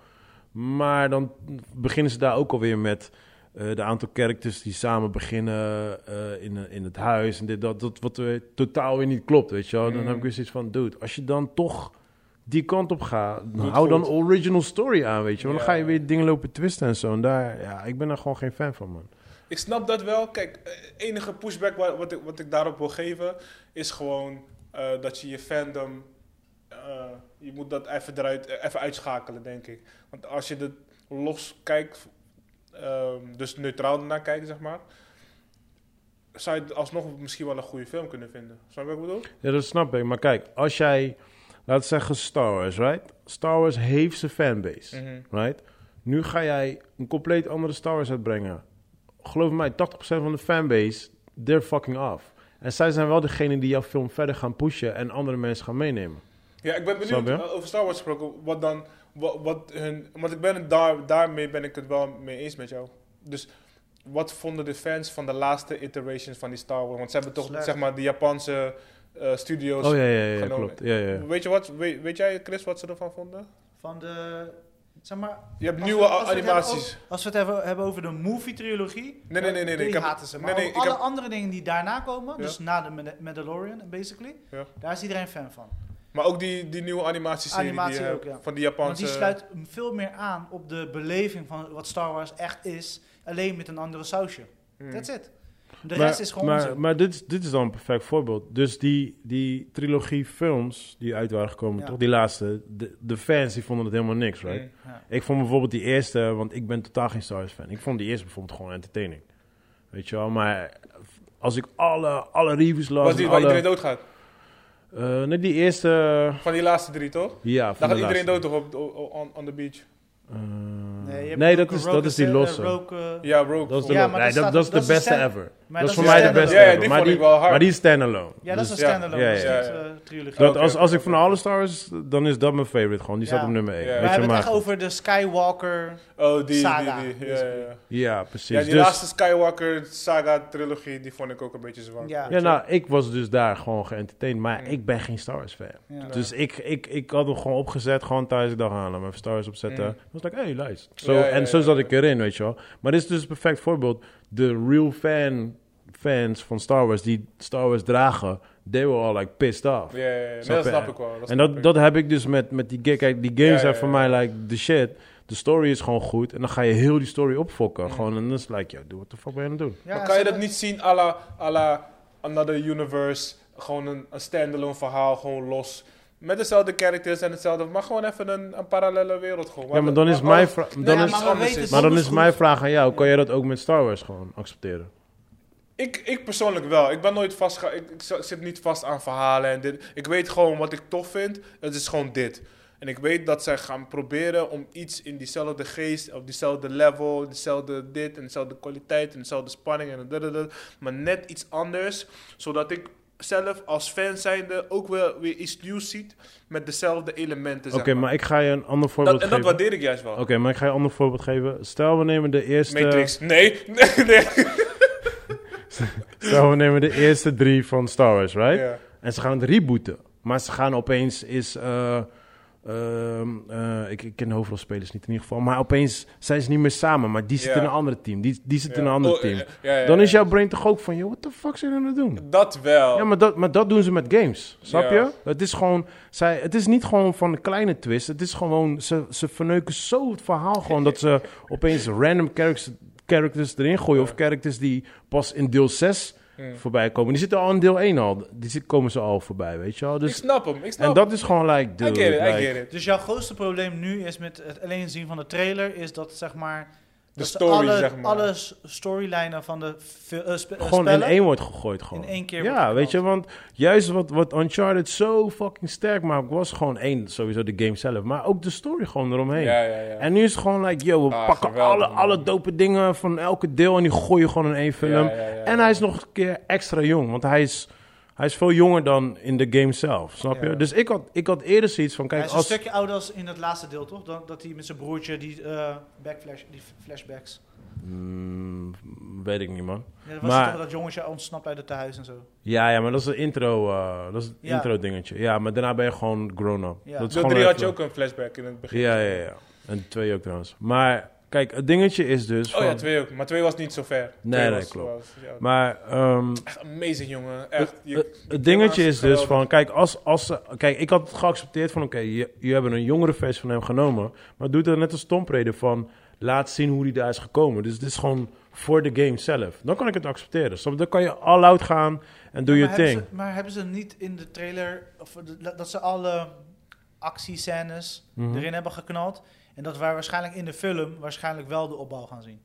[SPEAKER 1] Maar dan beginnen ze daar ook alweer met eh, de aantal characters die samen beginnen eh, in, in het huis. En dit, dat, dat wat eh, totaal weer niet klopt, weet je wel. Dan
[SPEAKER 2] Mm.
[SPEAKER 1] heb ik weer zoiets van, dude, als je dan toch die kant op gaat,
[SPEAKER 2] Doe het
[SPEAKER 1] hou dan
[SPEAKER 2] goed.
[SPEAKER 1] original story aan, weet je wel. Dan
[SPEAKER 2] Ja.
[SPEAKER 1] ga je weer dingen lopen twisten en zo. En daar, ja, ik ben daar gewoon geen fan van, man.
[SPEAKER 2] Ik snap dat wel. Kijk, eh, enige pushback wa- wat ik, wat ik daarop wil geven, is gewoon eh, dat je je fandom. eh, je moet dat even, eruit, eh, even uitschakelen, denk ik. Want als je het los kijkt, ehm, dus neutraal naar kijkt, zeg maar. Zou je het alsnog misschien wel een goede film kunnen vinden? Snap je wat ik bedoel?
[SPEAKER 1] Ja, dat snap ik. Maar kijk, als jij, laten we zeggen Star Wars, right? Star Wars heeft zijn fanbase, right? Nu ga jij een compleet andere Star Wars uitbrengen. geloof mij, 80% van de fanbase, they're fucking off. En zij zijn wel degene die jouw film verder gaan pushen en andere mensen gaan meenemen.
[SPEAKER 2] Ja, ik ben benieuwd
[SPEAKER 1] Snap je?
[SPEAKER 2] eh, over Star Wars gesproken. Wat dan, wat, wat hun, want ik ben het daar, daarmee ben ik het wel mee eens met jou. Dus wat vonden de fans van de laatste iterations van die Star Wars? Want ze hebben toch,
[SPEAKER 3] Slecht.
[SPEAKER 2] zeg maar, de Japanse eh, studios.
[SPEAKER 1] Oh ja, ja, ja,
[SPEAKER 2] genomen.
[SPEAKER 1] klopt. Ja, ja.
[SPEAKER 2] Weet, je wat, weet, weet jij, Chris, wat ze ervan vonden?
[SPEAKER 3] Van de, zeg maar...
[SPEAKER 2] Je hebt
[SPEAKER 3] als
[SPEAKER 2] nieuwe
[SPEAKER 3] we- als we het
[SPEAKER 2] animaties.
[SPEAKER 3] hebben over- Als we het hebben, hebben over de movie-trilogie,
[SPEAKER 2] Nee, nee, nee, nee, nee,
[SPEAKER 3] die
[SPEAKER 2] ik heb-
[SPEAKER 3] haten ze. Maar
[SPEAKER 2] nee, nee,
[SPEAKER 3] over
[SPEAKER 2] ik
[SPEAKER 3] alle
[SPEAKER 2] heb-
[SPEAKER 3] andere dingen die daarna komen,
[SPEAKER 2] Ja.
[SPEAKER 3] dus na de Manda- Mandalorian, basically,
[SPEAKER 2] Ja.
[SPEAKER 3] daar is iedereen fan van.
[SPEAKER 2] Maar ook die, die nieuwe animatieserie
[SPEAKER 3] Animatie
[SPEAKER 2] die, je
[SPEAKER 3] ook,
[SPEAKER 2] hebt,
[SPEAKER 3] ja.
[SPEAKER 2] van die Japanse...
[SPEAKER 3] Want die sluit veel meer aan op de beleving van wat Star Wars echt is, alleen met een andere sausje.
[SPEAKER 2] Hmm.
[SPEAKER 3] That's it. De
[SPEAKER 1] maar,
[SPEAKER 3] rest is gewoon
[SPEAKER 1] maar,
[SPEAKER 3] onzin.
[SPEAKER 1] maar dit, is, dit is dan een perfect voorbeeld. Dus die, die trilogie films die uit waren gekomen,
[SPEAKER 3] Ja.
[SPEAKER 1] toch? Die laatste. De, de fans die vonden het helemaal niks, right?
[SPEAKER 2] Mm.
[SPEAKER 1] Ik vond bijvoorbeeld die eerste, want ik ben totaal geen Star Wars fan. Ik vond die eerste bijvoorbeeld gewoon entertaining. Weet je wel, maar als ik alle, alle reviews las...
[SPEAKER 2] Was
[SPEAKER 1] en
[SPEAKER 2] die waar
[SPEAKER 1] alle,
[SPEAKER 2] iedereen doodgaat?
[SPEAKER 1] Eh, nee, die eerste... eh,
[SPEAKER 2] Van die laatste drie, toch?
[SPEAKER 1] Ja, van
[SPEAKER 2] Daar
[SPEAKER 1] de
[SPEAKER 2] gaat iedereen
[SPEAKER 1] laatste.
[SPEAKER 2] dood, toch, op, op- on, on the beach?
[SPEAKER 1] Eh,
[SPEAKER 3] Nee, je
[SPEAKER 2] Mm.
[SPEAKER 1] nee, dat,
[SPEAKER 3] hebt Rogue
[SPEAKER 1] is, dat is die
[SPEAKER 3] Ascend- eh,
[SPEAKER 1] losse.
[SPEAKER 3] Rogue, eh,
[SPEAKER 2] Ja, Rogue.
[SPEAKER 1] dat is de,
[SPEAKER 3] Ja,
[SPEAKER 1] lo-
[SPEAKER 3] maar
[SPEAKER 1] nee,
[SPEAKER 3] dat
[SPEAKER 1] dat,
[SPEAKER 3] staat-
[SPEAKER 1] dat is
[SPEAKER 3] dat
[SPEAKER 1] de
[SPEAKER 3] is de
[SPEAKER 1] beste
[SPEAKER 3] stand-
[SPEAKER 1] ever.
[SPEAKER 3] maar
[SPEAKER 1] dat is voor
[SPEAKER 3] een
[SPEAKER 1] mij de
[SPEAKER 3] standalone.
[SPEAKER 1] beste
[SPEAKER 2] Ja, ja,
[SPEAKER 1] ever.
[SPEAKER 2] die
[SPEAKER 1] maar,
[SPEAKER 2] vond
[SPEAKER 1] die,
[SPEAKER 2] ik wel hard.
[SPEAKER 1] maar die is standalone.
[SPEAKER 3] Ja, dat
[SPEAKER 1] Dus
[SPEAKER 3] is een
[SPEAKER 2] ja.
[SPEAKER 3] standalone
[SPEAKER 1] Ja, ja,
[SPEAKER 3] nog
[SPEAKER 1] ja.
[SPEAKER 3] steeds, eh, trilogie.
[SPEAKER 1] dat,
[SPEAKER 2] Oké,
[SPEAKER 1] als,
[SPEAKER 2] oké,
[SPEAKER 1] als ik
[SPEAKER 2] oké,
[SPEAKER 1] van
[SPEAKER 2] oké.
[SPEAKER 1] alle Star Wars, dan is dat mijn favorite gewoon. Die staat
[SPEAKER 3] Ja.
[SPEAKER 1] op nummer 1.
[SPEAKER 2] Ja.
[SPEAKER 1] Weet
[SPEAKER 3] we
[SPEAKER 1] je,
[SPEAKER 3] hebben
[SPEAKER 1] maar,
[SPEAKER 3] het echt over de Skywalker.
[SPEAKER 2] Oh, die, die,
[SPEAKER 3] Saga,
[SPEAKER 2] die. Ja, ja,
[SPEAKER 3] basically.
[SPEAKER 2] ja.
[SPEAKER 1] Ja, precies.
[SPEAKER 2] Ja, die
[SPEAKER 1] Dus-
[SPEAKER 2] laatste Skywalker saga trilogie, die vond ik ook een beetje zwak.
[SPEAKER 3] Ja.
[SPEAKER 1] ja, nou, ik was dus daar gewoon geëntertained. Maar
[SPEAKER 2] Mm.
[SPEAKER 1] ik ben geen Star Wars fan.
[SPEAKER 3] Ja.
[SPEAKER 1] Dus ik, ik, ik had hem gewoon opgezet, gewoon thuis. Ik dacht, ah, laat me even Star Wars opzetten.
[SPEAKER 2] Mm.
[SPEAKER 1] Ik was like, hey, luister. Zo,
[SPEAKER 2] Ja, ja,
[SPEAKER 1] en zo
[SPEAKER 2] ja,
[SPEAKER 1] zat
[SPEAKER 2] ja.
[SPEAKER 1] ik erin, weet je wel. Maar dit is dus een perfect voorbeeld. De real fan, fans van Star Wars, die Star Wars dragen, they were all like pissed off.
[SPEAKER 2] Ja, ja, ja. Nee,
[SPEAKER 1] Snap
[SPEAKER 2] dat
[SPEAKER 1] je?
[SPEAKER 2] snap ik wel.
[SPEAKER 1] En
[SPEAKER 2] snap ik.
[SPEAKER 1] dat, dat heb ik dus met, met die gig. Kijk, die games
[SPEAKER 2] Ja, ja,
[SPEAKER 1] zijn
[SPEAKER 2] ja.
[SPEAKER 1] voor mij like the shit. De story is gewoon goed. En dan ga je heel die story opfokken. Gewoon, en dan is het like, yo, dude, what the fuck ben je aan het doen?
[SPEAKER 3] Ja,
[SPEAKER 2] maar kan je
[SPEAKER 3] ze-
[SPEAKER 2] dat niet zien à la, à la Another Universe? Gewoon een, een standalone verhaal, gewoon los. Met dezelfde characters en hetzelfde, maar gewoon even een, een parallele wereld gewoon.
[SPEAKER 1] Ja,
[SPEAKER 2] Waar-
[SPEAKER 1] maar dan is
[SPEAKER 2] waar
[SPEAKER 1] mijn
[SPEAKER 2] alles-
[SPEAKER 1] vraag...
[SPEAKER 2] Nee,
[SPEAKER 1] dan
[SPEAKER 3] ja,
[SPEAKER 1] is-
[SPEAKER 2] maar-
[SPEAKER 3] we
[SPEAKER 2] anders
[SPEAKER 3] weten
[SPEAKER 2] is.
[SPEAKER 1] Maar dan
[SPEAKER 3] soms
[SPEAKER 1] is
[SPEAKER 3] goed.
[SPEAKER 1] mijn vraag aan jou: kan jij dat ook met Star Wars gewoon accepteren?
[SPEAKER 2] Ik, ik persoonlijk wel. Ik ben nooit vast. Ik, ik zo- zit niet vast aan verhalen en dit. Ik weet gewoon wat ik tof vind. Het is gewoon dit. En ik weet dat zij gaan proberen om iets in diezelfde geest, op diezelfde level, dezelfde dit en dezelfde kwaliteit en dezelfde spanning en dat, maar net iets anders, zodat ik zelf als fan zijnde ook wel weer iets nieuws ziet met dezelfde elementen.
[SPEAKER 1] Oké,
[SPEAKER 2] zeg
[SPEAKER 1] maar ik ga je een ander voorbeeld
[SPEAKER 2] dat, en dat
[SPEAKER 1] geven.
[SPEAKER 2] waardeer ik juist wel.
[SPEAKER 1] Oké, maar ik ga je een ander voorbeeld geven. Stel, we nemen de eerste,
[SPEAKER 2] Matrix. Nee, (laughs) nee, nee.
[SPEAKER 1] Stel, we nemen de eerste drie van Star Wars, right?
[SPEAKER 2] Ja.
[SPEAKER 1] En ze gaan het rebooten. Maar ze gaan opeens is. eh, ehm, eh, ik, ik ken de hoofdrolspelers niet in ieder geval. Maar opeens zijn ze niet meer samen. Maar die zit
[SPEAKER 2] Ja.
[SPEAKER 1] in een ander team. Die, die zit in
[SPEAKER 2] Ja.
[SPEAKER 1] een ander
[SPEAKER 2] Oh,
[SPEAKER 1] team.
[SPEAKER 2] ja, ja, ja,
[SPEAKER 1] Dan is
[SPEAKER 2] ja.
[SPEAKER 1] jouw brain toch ook van: joh, what the fuck zijn we aan het doen?
[SPEAKER 2] Dat wel.
[SPEAKER 1] Ja, maar dat, maar dat doen ze met games. Snap
[SPEAKER 2] Ja.
[SPEAKER 1] je? Het is gewoon, zij, het is niet gewoon van een kleine twist. Het is gewoon, ze, ze verneuken zo het verhaal gewoon dat
[SPEAKER 2] (laughs)
[SPEAKER 1] ze opeens random characters, characters erin gooien. Of characters die pas in deel 6 voorbij komen. Die zitten al in deel 1 al. Die zit- komen ze al voorbij, weet je wel.
[SPEAKER 2] ik
[SPEAKER 1] Dus,
[SPEAKER 2] snap hem. Ik snap
[SPEAKER 1] en dat is gewoon like,
[SPEAKER 2] hem. I
[SPEAKER 1] dude.
[SPEAKER 2] get it, I
[SPEAKER 1] like-
[SPEAKER 2] get it.
[SPEAKER 3] Dus jouw grootste probleem nu is met het alleen zien van de trailer, is dat zeg maar... dat ze
[SPEAKER 2] story,
[SPEAKER 3] alle,
[SPEAKER 2] zeg maar.
[SPEAKER 3] alle s- storylijnen van de fi- eh, spe- eh,
[SPEAKER 1] Gewoon in
[SPEAKER 3] spellen-
[SPEAKER 1] één wordt gegooid gewoon.
[SPEAKER 3] In één keer wordt
[SPEAKER 1] Ja,
[SPEAKER 3] geknald.
[SPEAKER 1] weet je, want juist wat, wat Uncharted zo fucking sterk maakt... was gewoon één, sowieso de game zelf... maar ook de story gewoon eromheen.
[SPEAKER 2] Ja, ja, ja.
[SPEAKER 1] En nu is het gewoon like, yo, we
[SPEAKER 2] Ah,
[SPEAKER 1] pakken
[SPEAKER 2] geweldig,
[SPEAKER 1] alle,
[SPEAKER 2] man.
[SPEAKER 1] alle dope dingen van elke deel en die gooien gewoon in één film.
[SPEAKER 2] Ja, ja, ja,
[SPEAKER 1] En
[SPEAKER 2] ja.
[SPEAKER 1] hij is nog een keer extra jong, want hij is, hij is veel jonger dan in de game zelf, snap je?
[SPEAKER 2] Ja.
[SPEAKER 1] Dus ik had, ik had eerder zoiets van,
[SPEAKER 3] Hij
[SPEAKER 1] kijk,
[SPEAKER 3] is een
[SPEAKER 1] als...
[SPEAKER 3] stukje ouder als in het laatste deel, toch? Dan, dat hij met zijn broertje die, eh, backflash, die f- flashbacks...
[SPEAKER 1] Mm, weet ik niet, man.
[SPEAKER 3] Ja, dat was
[SPEAKER 1] Maar-
[SPEAKER 3] het toch dat jongetje ontsnapt uit het tehuis en zo.
[SPEAKER 1] Ja, ja, maar dat is een intro, eh, dat is een
[SPEAKER 3] Ja.
[SPEAKER 1] intro dingetje. Ja, maar daarna ben je gewoon grown-up.
[SPEAKER 3] Ja.
[SPEAKER 1] Dat is
[SPEAKER 2] Deel
[SPEAKER 1] gewoon
[SPEAKER 2] 3 had je
[SPEAKER 1] even-
[SPEAKER 2] ook een flashback in het begin.
[SPEAKER 1] Ja, ja, ja. En twee ook trouwens. Maar kijk, het dingetje is dus
[SPEAKER 2] Oh
[SPEAKER 1] van...
[SPEAKER 2] ja, twee ook. Maar twee was niet zo ver.
[SPEAKER 1] Nee,
[SPEAKER 2] Twee
[SPEAKER 1] nee,
[SPEAKER 2] was-
[SPEAKER 1] klopt.
[SPEAKER 2] was- ja.
[SPEAKER 1] Maar ehm,
[SPEAKER 2] Echt amazing, jongen. Echt. Je-
[SPEAKER 1] Het- het dingetje is dus
[SPEAKER 2] geweldig.
[SPEAKER 1] van, kijk, als, als ze, kijk, ik had het geaccepteerd van, oké, je, je hebt een jongere versie van hem genomen, maar doe er net een stompreden van, laat zien hoe die daar is gekomen. Dus dit is gewoon voor de game zelf. Dan kan ik het accepteren. Snap je? Dan kan je all out gaan en doe je
[SPEAKER 3] maar,
[SPEAKER 1] ding.
[SPEAKER 3] Hebben ze, maar hebben ze niet in de trailer, of de- dat ze alle actiescènes
[SPEAKER 1] Mhm.
[SPEAKER 3] erin hebben geknald? En dat wij waarschijnlijk in de film waarschijnlijk wel de opbouw gaan zien.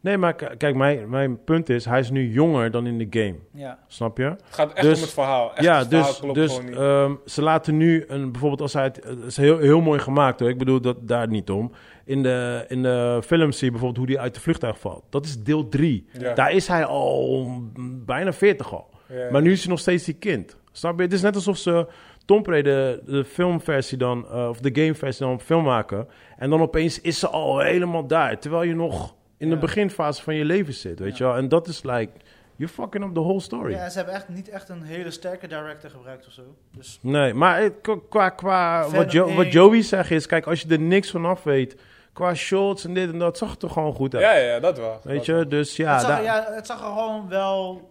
[SPEAKER 1] Nee, maar k- kijk, mijn, mijn punt is, hij is nu jonger dan in de game.
[SPEAKER 3] Ja.
[SPEAKER 1] Snap je?
[SPEAKER 2] Het gaat echt
[SPEAKER 1] Dus-
[SPEAKER 2] om het verhaal. Echt,
[SPEAKER 1] ja,
[SPEAKER 2] het verhaal
[SPEAKER 1] dus,
[SPEAKER 2] klopt
[SPEAKER 1] dus
[SPEAKER 2] gewoon niet.
[SPEAKER 1] ehm, ze laten nu een, bijvoorbeeld als hij het, het is heel, heel mooi gemaakt hoor. Ik bedoel dat daar niet om. In de, in de film zie je bijvoorbeeld hoe hij uit de vliegtuig valt. Dat is deel 3.
[SPEAKER 2] Ja.
[SPEAKER 1] Daar is hij al mm, bijna 40 al.
[SPEAKER 2] Ja.
[SPEAKER 1] Maar nu is hij nog steeds die kind. Snap je? Het is net alsof ze Tom de, de filmversie dan, eh, of de gameversie dan op film maken. En dan opeens is ze al helemaal daar. Terwijl je nog in de
[SPEAKER 3] Ja.
[SPEAKER 1] beginfase van je leven zit, weet je wel. En dat is like, you're fucking up the whole story.
[SPEAKER 3] ja, en ze hebben echt niet echt een hele sterke director gebruikt of zo. Dus
[SPEAKER 1] Nee, maar eh, k- qua, qua
[SPEAKER 3] Verder
[SPEAKER 1] wat, Jo-
[SPEAKER 3] nee.
[SPEAKER 1] wat Joey zegt is, kijk, als je er niks van af weet, qua shots en dit en dat, zag het er gewoon goed uit.
[SPEAKER 2] ja, ja, dat wel.
[SPEAKER 1] Weet
[SPEAKER 2] Dat
[SPEAKER 1] je,
[SPEAKER 2] wel.
[SPEAKER 1] dus
[SPEAKER 3] het,
[SPEAKER 1] ja,
[SPEAKER 3] zag, er-
[SPEAKER 1] daar, ja.
[SPEAKER 3] ja, het zag er gewoon wel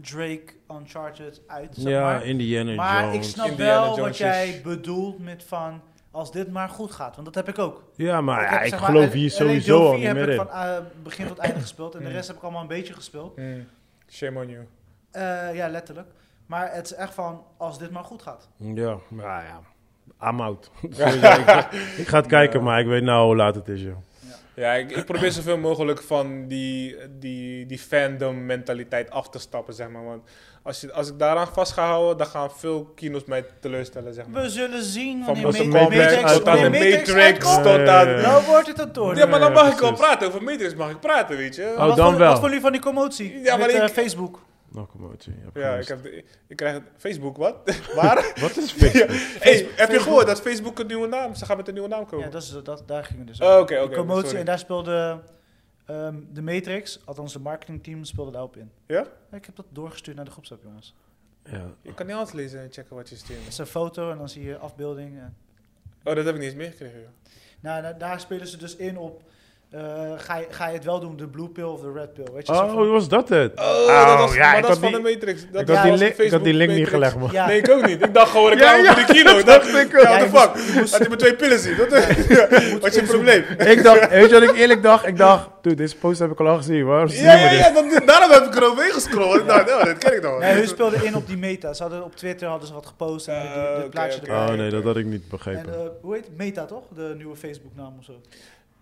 [SPEAKER 3] Drake Uncharted uit, zeg maar.
[SPEAKER 1] Indiana
[SPEAKER 3] Maar ik
[SPEAKER 1] Jones.
[SPEAKER 3] snap
[SPEAKER 2] Indiana
[SPEAKER 3] wel
[SPEAKER 2] Jones
[SPEAKER 3] wat
[SPEAKER 2] is-
[SPEAKER 3] jij bedoelt met van, als dit maar goed gaat. Want dat heb ik ook.
[SPEAKER 1] Ja, maar
[SPEAKER 3] ik
[SPEAKER 1] ik,
[SPEAKER 3] heb, zeg maar,
[SPEAKER 1] geloof
[SPEAKER 3] al-
[SPEAKER 1] hier
[SPEAKER 3] alleen
[SPEAKER 1] sowieso
[SPEAKER 3] deel
[SPEAKER 1] al
[SPEAKER 3] vier
[SPEAKER 1] niet meer
[SPEAKER 3] heb
[SPEAKER 1] in.
[SPEAKER 3] ik van eh, begin tot einde
[SPEAKER 1] (clears throat)
[SPEAKER 3] gespeeld. En de rest heb ik allemaal een beetje gespeeld.
[SPEAKER 2] Mm. Shame on you.
[SPEAKER 3] Eh, ja, letterlijk. Maar het is echt van, als dit maar goed gaat.
[SPEAKER 1] Ja, maar ja, I'm
[SPEAKER 3] (laughs)
[SPEAKER 1] out. (laughs) Sowieso, ik, ga- ik ga het kijken, maar ik weet nou hoe laat het is, joh.
[SPEAKER 2] Ja, ik, ik probeer zoveel mogelijk van die, die, die fandom mentaliteit af te stappen, zeg maar. Want als, je, als ik daaraan vast ga houden, dan gaan veel kino's mij teleurstellen, zeg maar.
[SPEAKER 3] We zullen zien
[SPEAKER 2] Van
[SPEAKER 3] wanneer
[SPEAKER 1] Boston
[SPEAKER 3] Ma-
[SPEAKER 1] Complex
[SPEAKER 3] Matrix,
[SPEAKER 1] uit
[SPEAKER 2] tot aan de
[SPEAKER 1] wanneer
[SPEAKER 2] Matrix,
[SPEAKER 3] uitkomt.
[SPEAKER 2] tot aan...
[SPEAKER 1] Ja, ja,
[SPEAKER 3] Dan Nou wordt het een toren.
[SPEAKER 2] Ja, maar dan
[SPEAKER 1] Oh, Ja,
[SPEAKER 2] mag ik wel
[SPEAKER 1] precies.
[SPEAKER 2] praten. Over Matrix mag ik praten, weet je.
[SPEAKER 1] Oh,
[SPEAKER 3] wat
[SPEAKER 1] dan
[SPEAKER 3] vond-
[SPEAKER 1] wel.
[SPEAKER 3] Wat vonden jullie van die commotie
[SPEAKER 2] Ja, maar
[SPEAKER 3] met eh,
[SPEAKER 2] ik-
[SPEAKER 3] Facebook?
[SPEAKER 1] Nog een motie, heb
[SPEAKER 2] Ja, ik,
[SPEAKER 1] gemist.
[SPEAKER 2] heb de- ik krijg het- Facebook, wat? (laughs) Waar?
[SPEAKER 1] Wat is Facebook?
[SPEAKER 2] hey, heb je gehoord dat Facebook een nieuwe naam... Ze gaan met een nieuwe naam komen.
[SPEAKER 3] Ja, dat is, dat, daar gingen we dus
[SPEAKER 2] Oh,
[SPEAKER 3] over.
[SPEAKER 2] oké,
[SPEAKER 3] Die
[SPEAKER 2] oké,
[SPEAKER 3] commotie,
[SPEAKER 2] sorry.
[SPEAKER 3] en daar speelde ehm, de Matrix, althans de marketingteam, speelde daarop in.
[SPEAKER 2] Ja?
[SPEAKER 3] Ik heb dat doorgestuurd naar de groepsapp, jongens.
[SPEAKER 1] Ja.
[SPEAKER 2] Je kan niet alles lezen en checken wat je stuurt.
[SPEAKER 3] Het is een foto en dan zie je afbeelding. En...
[SPEAKER 2] Oh, dat heb ik niet eens meegekregen. joh.
[SPEAKER 3] Nou, da- daar spelen ze dus in op, eh, ga, je, ga je het wel doen, de blue pill of de red pill, weet je? zo
[SPEAKER 1] Oh,
[SPEAKER 3] van-
[SPEAKER 1] was dat het?
[SPEAKER 2] Oh, dat was,
[SPEAKER 1] ja,
[SPEAKER 2] maar
[SPEAKER 1] ik
[SPEAKER 2] dat
[SPEAKER 1] had
[SPEAKER 2] is
[SPEAKER 1] die,
[SPEAKER 2] van de Matrix. Dat
[SPEAKER 1] ik had
[SPEAKER 3] was
[SPEAKER 1] die,
[SPEAKER 2] de
[SPEAKER 1] link- ik had die
[SPEAKER 2] Facebook
[SPEAKER 1] link niet
[SPEAKER 2] Matrix.
[SPEAKER 1] gelegd, man.
[SPEAKER 3] ja,
[SPEAKER 2] Nee, ik ook niet. Ik dacht gewoon reclame
[SPEAKER 1] Ja, ja,
[SPEAKER 2] voor de
[SPEAKER 1] (laughs)
[SPEAKER 2] kino.
[SPEAKER 1] dat
[SPEAKER 2] Dat
[SPEAKER 1] dacht ik ook.
[SPEAKER 2] Ja, what
[SPEAKER 3] Ja,
[SPEAKER 1] (laughs)
[SPEAKER 2] the fuck? Had hij maar twee pillen zien. (laughs) Dat, wat is je probleem?
[SPEAKER 1] Ik dacht, weet je wat ik eerlijk dacht? Ik dacht, dude, deze post heb ik al lang gezien. Waarom zien
[SPEAKER 2] Ja,
[SPEAKER 1] we
[SPEAKER 2] ja,
[SPEAKER 1] dit?
[SPEAKER 2] ja. Dat, daarom heb ik er overheen gescrollt. Ik dacht, oh, dat ken ik dan wel.
[SPEAKER 3] Nee, hun speelden in op die meta. Ze hadden op Twitter hadden ze wat gepost en dit-
[SPEAKER 2] Eh,
[SPEAKER 3] dit,
[SPEAKER 2] oké,
[SPEAKER 3] plaatje
[SPEAKER 2] oké.
[SPEAKER 3] erbij.
[SPEAKER 1] Oh nee, dat had ik niet begrepen.
[SPEAKER 3] En eh, hoe heet het? Meta toch? De nieuwe Facebook naam of zo.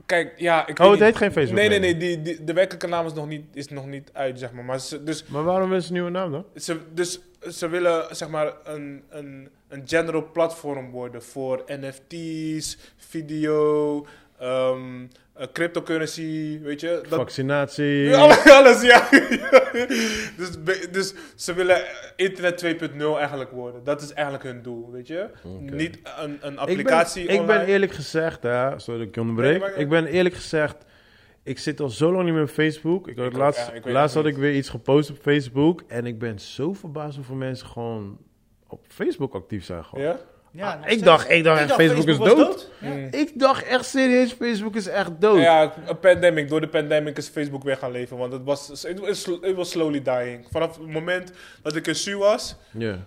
[SPEAKER 2] Kijk, ja,
[SPEAKER 1] oh,
[SPEAKER 2] ik weet
[SPEAKER 1] het
[SPEAKER 2] niet.
[SPEAKER 1] heet geen Facebook.
[SPEAKER 2] Nee, nee, nee. Die, die, de werkelijke naam is nog niet, is nog niet uit, zeg maar. maar ze, dus,
[SPEAKER 1] Maar waarom is het een nieuwe naam dan?
[SPEAKER 2] ze, dus ze willen, zeg maar, een, een, een general platform worden voor NFT's, video, ehm, eh, cryptocurrency, weet je. Dat,
[SPEAKER 1] Vaccinatie.
[SPEAKER 2] Ja, alle- (laughs) alles, ja. (laughs) dus, be- dus ze willen internet 2.0 eigenlijk worden. Dat is eigenlijk hun doel, weet je. Niet een, een
[SPEAKER 1] ik,
[SPEAKER 2] applicatie
[SPEAKER 1] ben, ik ben
[SPEAKER 2] online.
[SPEAKER 1] eerlijk gezegd, hè, sorry dat ik je
[SPEAKER 2] Nee,
[SPEAKER 1] onderbreek.
[SPEAKER 2] maar-
[SPEAKER 1] ik ben eerlijk gezegd, ik zit al zo lang niet meer op Facebook. Ik had
[SPEAKER 2] ook,
[SPEAKER 1] laatst
[SPEAKER 2] ja, ik weet
[SPEAKER 1] laatst
[SPEAKER 2] het
[SPEAKER 1] had ik weer iets gepost op Facebook. En ik ben zo verbaasd hoeveel mensen gewoon op Facebook actief zijn. Gewoon.
[SPEAKER 2] Ja?
[SPEAKER 3] Ja, nou,
[SPEAKER 1] Ah,
[SPEAKER 3] nog
[SPEAKER 1] ik
[SPEAKER 3] steeds.
[SPEAKER 1] dacht- ik dacht, Facebook is
[SPEAKER 3] was
[SPEAKER 1] dood.
[SPEAKER 3] Ja.
[SPEAKER 2] Mm.
[SPEAKER 1] Ik dacht echt serieus, Facebook is echt dood.
[SPEAKER 2] Ja, een pandemic. Door de pandemic is Facebook weer gaan leven. Want het was, it was, it was slowly dying. Vanaf het moment dat ik in SU was,
[SPEAKER 1] Ja.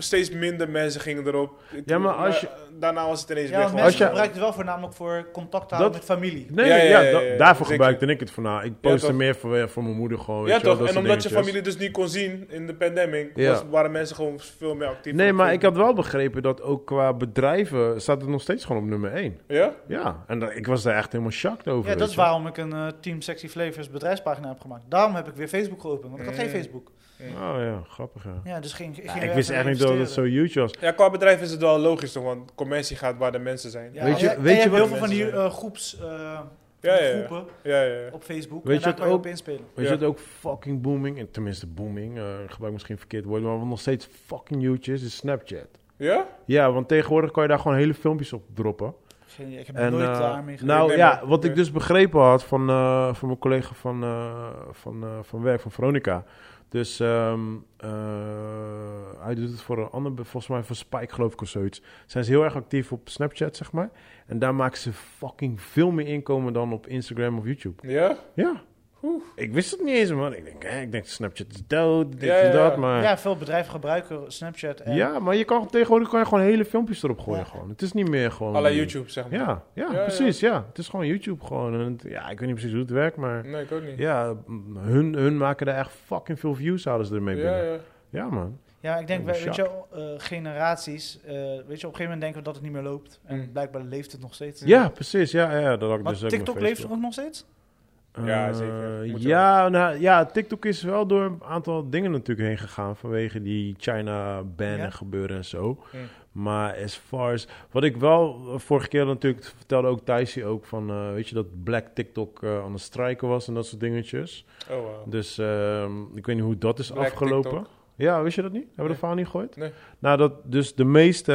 [SPEAKER 2] steeds minder mensen gingen erop. Ik-
[SPEAKER 1] Ja, maar als je-
[SPEAKER 2] eh, Daarna was het ineens
[SPEAKER 3] Ja,
[SPEAKER 2] weer
[SPEAKER 3] want
[SPEAKER 2] gewoon...
[SPEAKER 3] mensen
[SPEAKER 1] Als je-
[SPEAKER 3] gebruiken het wel voornamelijk voor contact houden
[SPEAKER 1] Dat-
[SPEAKER 3] met familie.
[SPEAKER 1] Nee,
[SPEAKER 2] Ja,
[SPEAKER 1] ja,
[SPEAKER 2] ja, ja,
[SPEAKER 1] da-
[SPEAKER 2] ja, ja,
[SPEAKER 1] daarvoor
[SPEAKER 2] zeker.
[SPEAKER 1] gebruikte ik het voorna. Ik postte
[SPEAKER 2] toch.
[SPEAKER 1] meer voor, voor mijn moeder gewoon. weet
[SPEAKER 2] Ja
[SPEAKER 1] je wel,
[SPEAKER 2] toch,
[SPEAKER 1] dat
[SPEAKER 2] en
[SPEAKER 1] soort
[SPEAKER 2] omdat je
[SPEAKER 1] dingetjes.
[SPEAKER 2] familie dus niet kon zien in de pandemic,
[SPEAKER 1] Ja.
[SPEAKER 2] was, waren mensen gewoon veel meer actief.
[SPEAKER 1] Nee,
[SPEAKER 2] op
[SPEAKER 1] maar ik
[SPEAKER 2] Facebook.
[SPEAKER 1] had wel begrepen dat ook qua bedrijven staat het nog steeds gewoon op nummer 1.
[SPEAKER 2] Ja?
[SPEAKER 1] Ja, en dat- ik was daar echt helemaal shocked over.
[SPEAKER 3] Ja,
[SPEAKER 1] weet
[SPEAKER 3] dat is
[SPEAKER 1] je wel.
[SPEAKER 3] waarom ik een eh, Team Sexy Flavors bedrijfspagina heb gemaakt. Daarom heb ik weer Facebook geopend, want ik had geen
[SPEAKER 2] Mm.
[SPEAKER 3] Facebook.
[SPEAKER 1] Oh ja, grappig ja.
[SPEAKER 3] Ja, dus ging, ging
[SPEAKER 1] Ja, ik
[SPEAKER 3] weer even
[SPEAKER 1] wist echt niet dat het zo
[SPEAKER 3] investeren.
[SPEAKER 1] huge was.
[SPEAKER 2] Ja, qua bedrijf is het wel logisch, toch? Want commercie gaat waar de mensen zijn.
[SPEAKER 3] Ja,
[SPEAKER 1] Weet
[SPEAKER 3] en
[SPEAKER 1] je-
[SPEAKER 3] en
[SPEAKER 1] weet je
[SPEAKER 3] hebt
[SPEAKER 1] wat-
[SPEAKER 3] heel veel van die
[SPEAKER 2] mensen
[SPEAKER 3] eh, groeps, eh,
[SPEAKER 2] Ja, ja, ja.
[SPEAKER 3] groepen
[SPEAKER 2] Ja, ja, ja.
[SPEAKER 3] op Facebook.
[SPEAKER 1] Weet
[SPEAKER 3] en
[SPEAKER 1] je
[SPEAKER 3] daar
[SPEAKER 1] wat
[SPEAKER 3] kan je
[SPEAKER 1] ook-
[SPEAKER 3] op inspelen.
[SPEAKER 1] Weet
[SPEAKER 2] Ja.
[SPEAKER 1] je dat ook fucking booming, en tenminste booming, eh, ik gebruik misschien verkeerd woord, maar wat nog steeds fucking huge is, is Snapchat.
[SPEAKER 2] Ja?
[SPEAKER 1] Ja, want tegenwoordig kan je daar gewoon hele filmpjes op droppen.
[SPEAKER 3] Geen, idee, ik heb
[SPEAKER 1] En,
[SPEAKER 3] nooit
[SPEAKER 1] eh,
[SPEAKER 3] daarmee gedaan.
[SPEAKER 1] nou
[SPEAKER 2] Nee,
[SPEAKER 1] ja,
[SPEAKER 2] maar-
[SPEAKER 1] wat ik
[SPEAKER 2] nee.
[SPEAKER 1] dus begrepen had van, eh, van mijn collega van, eh, van, eh, van werk, van Veronica. Dus ehm, eh, hij doet het voor een ander, volgens mij voor Spike geloof ik of zoiets. Zijn ze heel erg actief op Snapchat, zeg maar. En daar maken ze fucking veel meer inkomen dan op Instagram of YouTube.
[SPEAKER 2] Ja?
[SPEAKER 1] Ja.
[SPEAKER 2] Oeh.
[SPEAKER 1] Ik wist het niet eens, man. Ik denk, hè, ik denk Snapchat is dood, dit
[SPEAKER 2] Ja,
[SPEAKER 1] en
[SPEAKER 2] ja,
[SPEAKER 1] dat,
[SPEAKER 2] ja.
[SPEAKER 1] maar... Ja.
[SPEAKER 3] ja, veel bedrijven gebruiken Snapchat. En,
[SPEAKER 1] maar je kan tegenwoordig kan je gewoon hele filmpjes erop gooien.
[SPEAKER 3] Ja.
[SPEAKER 1] Gewoon. Het is niet meer gewoon.
[SPEAKER 2] Alla YouTube, zeg maar.
[SPEAKER 1] Oh, Ja, ja,
[SPEAKER 2] Ja, ja.
[SPEAKER 1] precies. Ja. Het is gewoon YouTube gewoon. En het- ja, ik weet niet precies hoe het werkt, maar
[SPEAKER 2] Nee, ik ook niet.
[SPEAKER 1] ja, m- hun, hun maken daar echt fucking veel views, hadden ze ermee
[SPEAKER 2] ja,
[SPEAKER 1] binnen.
[SPEAKER 2] ja.
[SPEAKER 1] Ja, man.
[SPEAKER 3] Ja, ik denk,
[SPEAKER 1] Holy
[SPEAKER 3] we- weet je, eh, generaties, eh, weet je, op een gegeven moment denken we dat het niet meer loopt. En
[SPEAKER 2] Mm.
[SPEAKER 3] blijkbaar leeft het nog steeds.
[SPEAKER 1] Ja, precies. Ja, ja, dat had ik
[SPEAKER 3] Want
[SPEAKER 1] dus ook met
[SPEAKER 3] TikTok leeft
[SPEAKER 1] Facebook.
[SPEAKER 3] ook nog steeds?
[SPEAKER 2] Ja,
[SPEAKER 1] Eh,
[SPEAKER 2] zeker. Moet je
[SPEAKER 1] ja, nou, ja, TikTok is wel door een aantal dingen natuurlijk heen gegaan vanwege die China-ban
[SPEAKER 3] Ja.
[SPEAKER 1] en gebeuren en zo.
[SPEAKER 2] Mm.
[SPEAKER 1] Maar as far as... Wat ik wel eh, vorige keer natuurlijk vertelde ook Thijsie ook van, eh, weet je, dat Black TikTok eh, aan het strijken was en dat soort dingetjes.
[SPEAKER 2] Oh, wow.
[SPEAKER 1] Dus ehm, ik weet niet hoe dat is
[SPEAKER 2] Black
[SPEAKER 1] afgelopen.
[SPEAKER 2] TikTok.
[SPEAKER 1] Ja, wist je dat niet? Hebben we
[SPEAKER 2] Nee.
[SPEAKER 1] de verhaal niet gegooid?
[SPEAKER 2] Nee.
[SPEAKER 1] Nou, dat, dus de meeste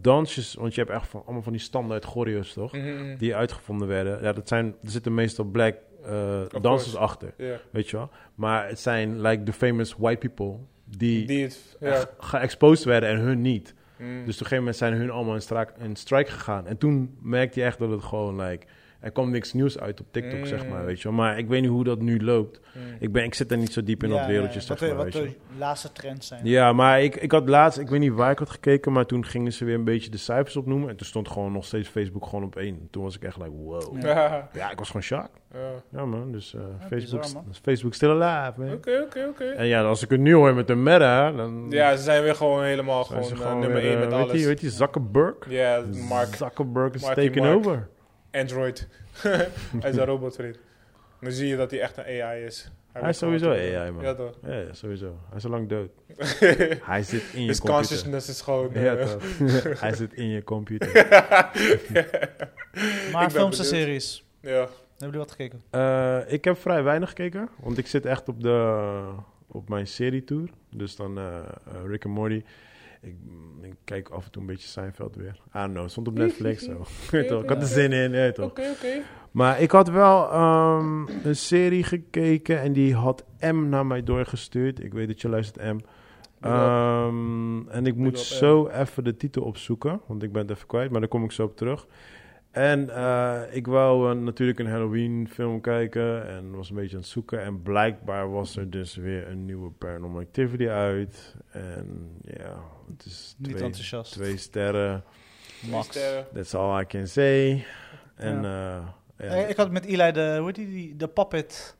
[SPEAKER 1] dansjes, want je hebt echt van, allemaal van die standaard choreo's, toch?
[SPEAKER 2] Mhm.
[SPEAKER 1] die uitgevonden werden. Ja, dat zijn, er zitten meestal black eh, dansers
[SPEAKER 2] course.
[SPEAKER 1] achter,
[SPEAKER 2] Ja.
[SPEAKER 1] weet je wel. Maar het zijn like the famous white people die,
[SPEAKER 2] Die het... Ja.
[SPEAKER 1] echt geëxposed werden en hun niet.
[SPEAKER 2] Mm.
[SPEAKER 1] Dus op een gegeven moment zijn hun allemaal in, straak, in strike gegaan. En toen merkte je echt dat het gewoon like... Er kwam niks nieuws uit op TikTok,
[SPEAKER 2] Mm.
[SPEAKER 1] zeg maar, weet je wel. Maar ik weet niet hoe dat nu loopt.
[SPEAKER 2] Mm.
[SPEAKER 1] Ik, ben, ik zit er niet zo diep in dat wereldje,
[SPEAKER 3] Wat,
[SPEAKER 1] zeg maar,
[SPEAKER 2] eh,
[SPEAKER 1] weet
[SPEAKER 3] de- wat
[SPEAKER 1] je wel.
[SPEAKER 3] de laatste trends zijn.
[SPEAKER 1] Ja, maar ik, ik had laatst, ik weet niet waar ik had gekeken, maar toen gingen ze weer een beetje de cijfers opnoemen. En toen stond gewoon nog steeds Facebook gewoon op één. Toen was ik echt like, wow.
[SPEAKER 3] Ja.
[SPEAKER 2] Ja.
[SPEAKER 1] Ja, ik was gewoon shock.
[SPEAKER 2] Ja.
[SPEAKER 1] Ja man, dus eh, Facebook,
[SPEAKER 3] bizar, man.
[SPEAKER 1] Facebook still alive man.
[SPEAKER 2] Oké, oké, oké.
[SPEAKER 1] En ja, als ik het nu hoor met de meta, dan
[SPEAKER 2] Ja, ze zijn weer gewoon helemaal
[SPEAKER 1] zijn
[SPEAKER 2] gewoon,
[SPEAKER 1] ze
[SPEAKER 2] eh, nummer
[SPEAKER 1] weer,
[SPEAKER 2] 1
[SPEAKER 1] eh,
[SPEAKER 2] met
[SPEAKER 1] weet Je,
[SPEAKER 2] alles.
[SPEAKER 1] weet je, Zuckerberg?
[SPEAKER 2] Ja, Mark
[SPEAKER 1] Zuckerberg is
[SPEAKER 2] Marky
[SPEAKER 1] taken
[SPEAKER 2] Mark.
[SPEAKER 1] over.
[SPEAKER 2] Android. (laughs) hij
[SPEAKER 1] (laughs)
[SPEAKER 2] is een robotvriend. Dan zie je dat hij echt een AI is.
[SPEAKER 1] Hij is
[SPEAKER 2] wordt
[SPEAKER 1] sowieso
[SPEAKER 2] gewoon-
[SPEAKER 1] AI man.
[SPEAKER 2] Ja toch.
[SPEAKER 1] Ja, ja, sowieso. Hij is al lang dood.
[SPEAKER 2] (laughs)
[SPEAKER 1] Hij zit in je
[SPEAKER 2] His
[SPEAKER 1] computer.
[SPEAKER 2] consciousness is gewoon... eh,
[SPEAKER 1] Ja,
[SPEAKER 2] (laughs)
[SPEAKER 1] toch. (laughs) Hij zit in je computer.
[SPEAKER 3] Maar
[SPEAKER 2] ben
[SPEAKER 3] films en
[SPEAKER 2] benieuwd.
[SPEAKER 3] series.
[SPEAKER 2] ja.
[SPEAKER 3] Hebben jullie wat gekeken?
[SPEAKER 1] Eh, ik heb vrij weinig gekeken, want ik zit echt op, de, op mijn serietour. Dus dan eh, eh, Rick and Morty. Ik, ik kijk af en toe een beetje Seinfeld weer. Ah, no, stond op
[SPEAKER 2] (laughs)
[SPEAKER 1] Netflix. zo. Weet toch, (laughs) ik had er zin in, weet toch.
[SPEAKER 2] Oké, oké.
[SPEAKER 1] Maar ik had wel ehm, een serie gekeken en die had M naar mij doorgestuurd. Ik weet dat je luistert, M.
[SPEAKER 2] Big up.
[SPEAKER 1] Ehm, en ik moet
[SPEAKER 2] up, M.
[SPEAKER 1] zo even de titel opzoeken, want ik ben het even kwijt, maar daar kom ik zo op terug. En eh, ik wou eh, natuurlijk een Halloween film kijken en was een beetje aan het zoeken. En blijkbaar was er dus weer een nieuwe Paranormal Activity uit. En ja, het is
[SPEAKER 3] Niet
[SPEAKER 1] twee,
[SPEAKER 3] enthousiast.
[SPEAKER 1] twee sterren.
[SPEAKER 3] Max.
[SPEAKER 2] Drie sterren.
[SPEAKER 1] That's all I can say. En eh, ja.
[SPEAKER 3] Eh, Ik had met Eli de, hoe heet die, die- de Puppet.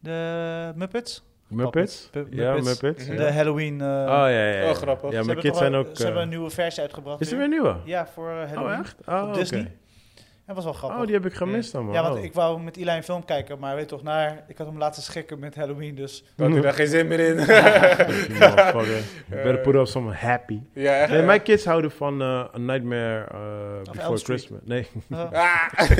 [SPEAKER 3] De Muppets?
[SPEAKER 1] Muppets?
[SPEAKER 3] Puppets.
[SPEAKER 1] Ja,
[SPEAKER 3] Muppets.
[SPEAKER 1] Muppets.
[SPEAKER 2] Mhm.
[SPEAKER 1] ja.
[SPEAKER 3] De Halloween. eh,
[SPEAKER 1] Oh ja, ja. ja.
[SPEAKER 2] Oh, grappig. Ze
[SPEAKER 1] Ja, mijn
[SPEAKER 3] ze hebben
[SPEAKER 1] kids
[SPEAKER 3] toch
[SPEAKER 1] zijn
[SPEAKER 3] wel-
[SPEAKER 1] ook...
[SPEAKER 3] Ze hebben
[SPEAKER 1] eh,
[SPEAKER 3] een nieuwe versie uitgebracht.
[SPEAKER 1] Is er
[SPEAKER 3] nu.
[SPEAKER 1] weer een nieuwe?
[SPEAKER 3] Ja, voor eh,
[SPEAKER 1] Oh,
[SPEAKER 3] Halloween.
[SPEAKER 1] echt? Oh,
[SPEAKER 3] Op
[SPEAKER 1] oké.
[SPEAKER 3] Disney. Dat was wel grappig.
[SPEAKER 1] Oh, die heb ik gemist dan, man.
[SPEAKER 3] Ja, want
[SPEAKER 1] Oh. (laughs)
[SPEAKER 3] ik wou met Eli een film kijken, maar weet toch, naar, ik had hem laten schikken met
[SPEAKER 1] (laughs)
[SPEAKER 3] Halloween, dus...
[SPEAKER 2] Dat had hij daar geen zin meer in. (laughs)
[SPEAKER 1] Fucking motherfucker. You Better put up some happy.
[SPEAKER 2] ja, echt.
[SPEAKER 1] Nee, mijn kids houden van eh, A Nightmare eh, Before
[SPEAKER 3] Elm Street.
[SPEAKER 1] Christmas. Nee,
[SPEAKER 3] eh,
[SPEAKER 2] Ah,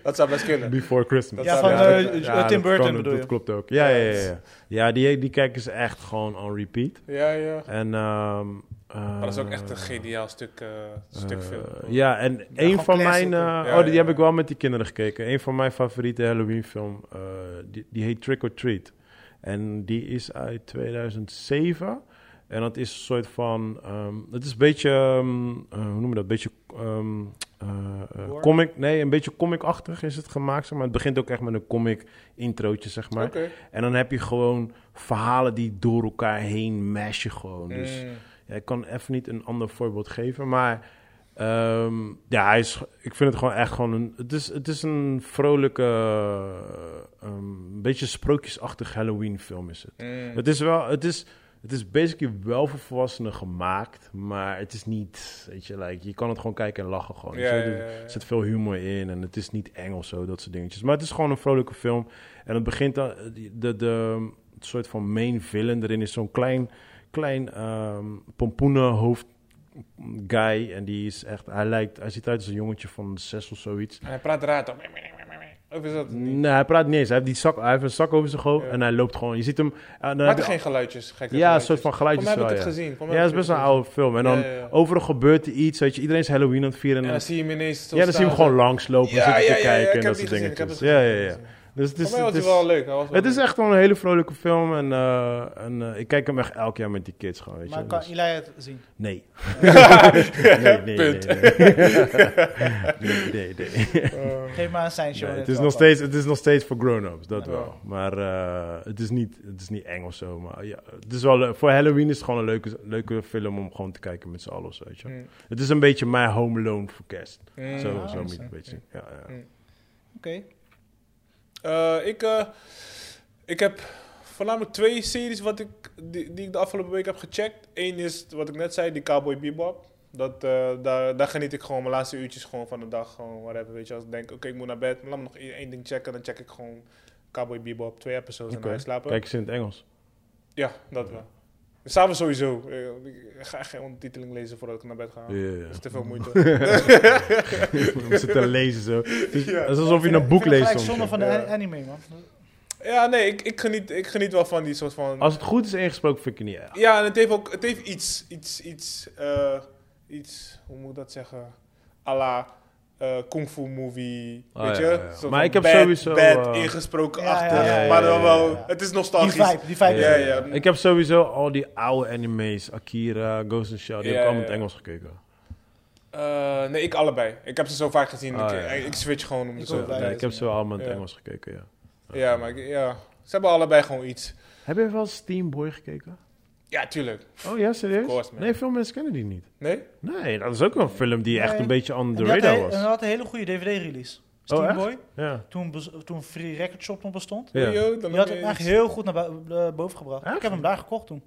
[SPEAKER 2] (laughs) dat zou best
[SPEAKER 1] (laughs)
[SPEAKER 2] kunnen.
[SPEAKER 1] Before Christmas.
[SPEAKER 2] Dat Ja, zou- van, ja, eh,
[SPEAKER 3] dat- Tim Burton
[SPEAKER 1] kan,
[SPEAKER 3] bedoel je?
[SPEAKER 1] Dat klopt ook. Ja, ja, ja. Ja, ja die, die kijken ze echt gewoon on repeat.
[SPEAKER 2] Ja, ja.
[SPEAKER 1] En... ehm,
[SPEAKER 2] Maar dat is ook
[SPEAKER 1] eh,
[SPEAKER 2] echt een geniaal stuk, eh, stuk
[SPEAKER 1] Eh,
[SPEAKER 2] film.
[SPEAKER 1] ja, en een
[SPEAKER 3] gewoon
[SPEAKER 1] van
[SPEAKER 3] classic,
[SPEAKER 1] mijn...
[SPEAKER 3] hè?
[SPEAKER 1] eh,
[SPEAKER 2] Ja,
[SPEAKER 1] oh, die
[SPEAKER 2] ja,
[SPEAKER 1] heb
[SPEAKER 2] ja.
[SPEAKER 1] ik wel met die kinderen gekeken. Een van mijn favoriete Halloween film, eh, die, die heet Trick or Treat. En die is uit 2007. En dat is een soort van... ehm, het is een beetje... ehm, eh, hoe noem je dat? Een beetje... ehm, eh, eh,
[SPEAKER 3] Gore?
[SPEAKER 1] comic, nee, een beetje comicachtig is het gemaakt. Zeg maar het begint ook echt met een comic introotje, zeg maar.
[SPEAKER 2] Oké.
[SPEAKER 1] En dan heb je gewoon verhalen die door elkaar heen mashen gewoon. Dus...
[SPEAKER 2] Mm.
[SPEAKER 1] Ja, ik kan even niet een ander voorbeeld geven, maar ehm, ja, hij is, ik vind het gewoon echt gewoon een. Het is, het is een vrolijke, eh, ehm, een beetje sprookjesachtig Halloween-film is het.
[SPEAKER 2] Mm.
[SPEAKER 1] Het is wel, het is, het is basically wel voor volwassenen gemaakt, maar het is niet, weet je, like, je kan het gewoon kijken en lachen gewoon.
[SPEAKER 2] Ja,
[SPEAKER 1] Weet je,
[SPEAKER 2] ja, ja,
[SPEAKER 1] er
[SPEAKER 2] ja.
[SPEAKER 1] zit veel humor in en het is niet eng of zo, dat soort dingetjes. Maar het is gewoon een vrolijke film en het begint dan, de, de, de het soort van main villain erin is zo'n klein, klein ehm pompoenen hoofd guy en die is echt, hij lijkt, hij ziet uit als een jongetje van zes of zoiets.
[SPEAKER 2] En hij praat raar toch? Of is dat het niet?
[SPEAKER 1] Nee, hij praat niet eens. Hij heeft, die zak, hij heeft een zak over zijn hoofd
[SPEAKER 2] Ja.
[SPEAKER 1] en hij loopt gewoon. Je ziet hem. en dan heb
[SPEAKER 2] Maakt
[SPEAKER 1] je
[SPEAKER 2] er geen geluidjes? Gekke
[SPEAKER 1] ja, een soort van
[SPEAKER 2] Kom,
[SPEAKER 1] geluidjes
[SPEAKER 2] heb ik
[SPEAKER 1] wel,
[SPEAKER 2] het
[SPEAKER 1] ja.
[SPEAKER 2] gezien. Kom, heb
[SPEAKER 1] Ja, het
[SPEAKER 2] ik
[SPEAKER 1] is best
[SPEAKER 2] het
[SPEAKER 1] wel een
[SPEAKER 2] gezien.
[SPEAKER 1] oude film. En dan
[SPEAKER 2] Ja, ja, ja.
[SPEAKER 1] overal gebeurt er iets, weet je. Iedereen is Halloween aan het vieren. En
[SPEAKER 2] En
[SPEAKER 1] dan,
[SPEAKER 2] dan zie je hem ineens zo
[SPEAKER 1] ja, dan zie je hem
[SPEAKER 2] staan.
[SPEAKER 1] gewoon langslopen en zitten te kijken en
[SPEAKER 2] ik
[SPEAKER 1] dat
[SPEAKER 2] heb die
[SPEAKER 1] soort
[SPEAKER 2] gezien, ik heb
[SPEAKER 1] dingetjes.
[SPEAKER 2] het
[SPEAKER 1] Ja,
[SPEAKER 2] gezien,
[SPEAKER 1] ja,
[SPEAKER 2] ik heb
[SPEAKER 1] ja.
[SPEAKER 2] het gezien.
[SPEAKER 1] Dus het is,
[SPEAKER 2] Voor mij was
[SPEAKER 1] het
[SPEAKER 2] hij
[SPEAKER 1] is,
[SPEAKER 2] wel leuk. hij was wel
[SPEAKER 1] het is
[SPEAKER 2] leuk.
[SPEAKER 1] echt gewoon een hele vrolijke film. En, eh, en eh, ik kijk hem echt elk jaar met die kids gewoon, weet je.
[SPEAKER 3] maar kan
[SPEAKER 1] Dus-
[SPEAKER 3] Eli het zien?
[SPEAKER 1] Nee. (laughs) nee, nee, nee,
[SPEAKER 2] Punt.
[SPEAKER 1] Nee, nee, nee. nee.
[SPEAKER 2] Eh,
[SPEAKER 3] Geef maar een seintje.
[SPEAKER 1] Nee,
[SPEAKER 3] hoor,
[SPEAKER 1] het, is
[SPEAKER 3] dit
[SPEAKER 1] nog
[SPEAKER 3] wel.
[SPEAKER 1] steeds, het is nog steeds voor grown-ups, dat
[SPEAKER 2] Ja.
[SPEAKER 1] wel. Maar eh, het, is niet, het is niet eng of zo. Maar ja, het is wel, leuk. voor Halloween is het gewoon een leuke, leuke film om gewoon te kijken met z'n allen. of zo, Weet je. wel.
[SPEAKER 2] Mm.
[SPEAKER 1] Het is een beetje mijn home loan voor kerst.
[SPEAKER 2] Mm.
[SPEAKER 1] zo
[SPEAKER 3] ah,
[SPEAKER 1] zo moet je het
[SPEAKER 3] zo.
[SPEAKER 1] een beetje zien. Ja, ja.
[SPEAKER 3] Oké.
[SPEAKER 2] Eh, ik, eh, ik heb voornamelijk twee series wat ik, die, die ik de afgelopen week heb gecheckt. Eén is wat ik net zei, die Cowboy Bebop. Dat, eh, daar, daar geniet ik gewoon mijn laatste uurtjes gewoon van de dag. Gewoon whatever, weet je. Als ik denk, oké, ik moet naar bed. maar Laat me nog één één ding checken. Dan check ik gewoon Cowboy Bebop. Twee episodes en
[SPEAKER 1] Oké.
[SPEAKER 2] dan ga ik slapen.
[SPEAKER 1] Kijk eens in het Engels.
[SPEAKER 2] Ja, dat wel. Samen sowieso. Eh, Ik ga geen ondertiteling lezen voordat ik naar bed ga.
[SPEAKER 1] Ja, ja, ja. (laughs)
[SPEAKER 2] Dat is te veel moeite. (laughs)
[SPEAKER 1] Om ze te lezen zo. Het is,
[SPEAKER 2] Ja.
[SPEAKER 1] het is alsof je een boek leest
[SPEAKER 3] gelijk
[SPEAKER 1] soms.
[SPEAKER 3] zonde
[SPEAKER 1] joh.
[SPEAKER 3] van de
[SPEAKER 2] Ja.
[SPEAKER 3] an- anime, man.
[SPEAKER 2] ja, nee, ik, ik, geniet, ik geniet wel van die soort van...
[SPEAKER 1] Als het goed is ingesproken, vind ik het niet erg.
[SPEAKER 2] Ja, en het heeft ook het heeft iets, iets, iets, eh, iets, hoe moet ik dat zeggen? À la eh, kung fu movie,
[SPEAKER 1] Ah,
[SPEAKER 2] weet je?
[SPEAKER 1] ja, ja, ja.
[SPEAKER 2] Een soort
[SPEAKER 1] Maar
[SPEAKER 2] van
[SPEAKER 1] ik heb
[SPEAKER 2] bad,
[SPEAKER 1] sowieso,
[SPEAKER 2] Bad
[SPEAKER 1] eh,
[SPEAKER 2] ingesproken
[SPEAKER 3] Ja, ja,
[SPEAKER 2] achter,
[SPEAKER 1] ja, ja,
[SPEAKER 2] maar dan
[SPEAKER 1] ja,
[SPEAKER 2] wel,
[SPEAKER 3] ja.
[SPEAKER 2] het is
[SPEAKER 3] Die
[SPEAKER 2] nostalgisch.
[SPEAKER 3] vibe, die vibe.
[SPEAKER 2] Ja, ja.
[SPEAKER 1] Ik heb sowieso al die oude animes, Akira, Ghost in the Shell, die
[SPEAKER 2] Ja,
[SPEAKER 1] heb ik
[SPEAKER 2] ja,
[SPEAKER 1] allemaal in het
[SPEAKER 2] ja.
[SPEAKER 1] Engels gekeken.
[SPEAKER 2] Eh, nee, ik allebei. Ik heb ze zo vaak gezien,
[SPEAKER 1] Ah,
[SPEAKER 2] ik,
[SPEAKER 1] ja, ja.
[SPEAKER 2] ik switch gewoon om de
[SPEAKER 3] Ik
[SPEAKER 2] zoveel
[SPEAKER 3] ook.
[SPEAKER 2] tijd.
[SPEAKER 1] Ja, ik heb ze wel allemaal in het
[SPEAKER 2] Ja.
[SPEAKER 1] Engels gekeken, ja.
[SPEAKER 2] Ja, maar ik- ja. ze hebben allebei gewoon iets.
[SPEAKER 1] Heb je wel Steamboy gekeken?
[SPEAKER 2] Ja, tuurlijk.
[SPEAKER 1] Oh ja, serieus?
[SPEAKER 2] Of course, man.
[SPEAKER 1] nee, veel mensen kennen die niet.
[SPEAKER 2] Nee?
[SPEAKER 1] Nee, dat is ook een film die echt
[SPEAKER 3] Nee.
[SPEAKER 1] een beetje on the
[SPEAKER 3] En die had
[SPEAKER 1] radar
[SPEAKER 3] een- En
[SPEAKER 1] was. Oh,
[SPEAKER 3] dat had een hele goede DVD-release.
[SPEAKER 1] echt?
[SPEAKER 3] Steamboy,
[SPEAKER 1] Ja.
[SPEAKER 3] toen, bes- toen Free Record Shop nog bestond.
[SPEAKER 1] Ja.
[SPEAKER 2] Yo, dan
[SPEAKER 3] Die had
[SPEAKER 2] heb
[SPEAKER 3] het
[SPEAKER 2] je
[SPEAKER 3] echt
[SPEAKER 2] iets.
[SPEAKER 3] heel goed naar bu- eh, boven gebracht.
[SPEAKER 1] Echt?
[SPEAKER 3] Ik heb hem daar gekocht toen.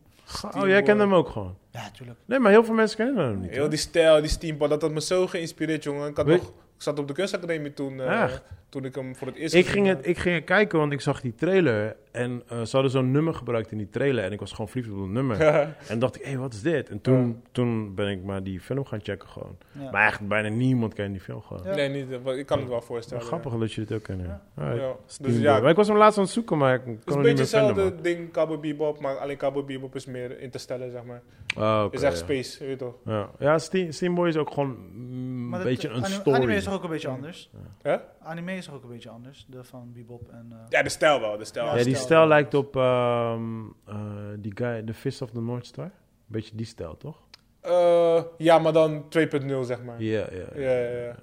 [SPEAKER 1] Oh, jij kent hem ook gewoon.
[SPEAKER 3] Ja, tuurlijk.
[SPEAKER 1] Nee, maar heel veel mensen kennen hem niet.
[SPEAKER 2] Heel die stijl, die steampunk, dat had me zo geïnspireerd, jongen. Ik, had
[SPEAKER 1] Weet-
[SPEAKER 2] nog, ik zat op de kunstacademie toen, eh,
[SPEAKER 1] Echt?
[SPEAKER 2] toen ik hem voor het eerst
[SPEAKER 1] Ik ging,
[SPEAKER 2] gezien
[SPEAKER 1] het, ik ging het kijken, want ik zag die trailer. En eh, ze hadden zo'n nummer gebruikt in die trailer. En ik was gewoon verliefd op dat nummer. en dacht ik, hé, wat is dit? En toen, toen ben ik maar die film gaan checken gewoon.
[SPEAKER 3] Ja.
[SPEAKER 1] Maar echt bijna niemand kent die film gewoon.
[SPEAKER 3] Ja.
[SPEAKER 2] had. Nee, niet, eh, maar ik kan het wel
[SPEAKER 1] Wel
[SPEAKER 2] voorstellen.
[SPEAKER 1] grappig dat je dit ook kent. Ja.
[SPEAKER 2] ja.
[SPEAKER 1] Alright.
[SPEAKER 2] Ja. Dus
[SPEAKER 1] Steamboy.
[SPEAKER 2] ja,
[SPEAKER 1] Maar
[SPEAKER 2] het
[SPEAKER 1] ik was hem laatst aan het zoeken, maar ik kon
[SPEAKER 2] is een
[SPEAKER 1] hem niet
[SPEAKER 2] beetje
[SPEAKER 1] meer vinden.
[SPEAKER 2] hetzelfde ding, Cowboy Bebop, maar alleen Cowboy Bebop is meer interstellar, zeg maar.
[SPEAKER 1] man. Ah, oké,
[SPEAKER 2] is echt
[SPEAKER 1] ja.
[SPEAKER 2] space, weet je toch?
[SPEAKER 1] Ja, ja Steam, Steamboy is ook gewoon mm,
[SPEAKER 3] Maar
[SPEAKER 1] een
[SPEAKER 3] dat-
[SPEAKER 1] beetje een
[SPEAKER 3] anime-
[SPEAKER 1] story.
[SPEAKER 3] Anime is toch ook een beetje anders?
[SPEAKER 2] Hè?
[SPEAKER 3] Anime is toch ook een beetje anders? De van Bebop en... eh,
[SPEAKER 2] Ja, de stijl wel, de stijl.
[SPEAKER 3] Ja,
[SPEAKER 1] ja, die
[SPEAKER 3] stijl.
[SPEAKER 1] stijl lijkt op ehm, eh, die guy, The Fist of the North Star. Beetje die stijl, toch?
[SPEAKER 2] Eh, ja, maar dan 2.0, zeg maar.
[SPEAKER 1] Ja, ja.
[SPEAKER 2] Ja, ja, ja.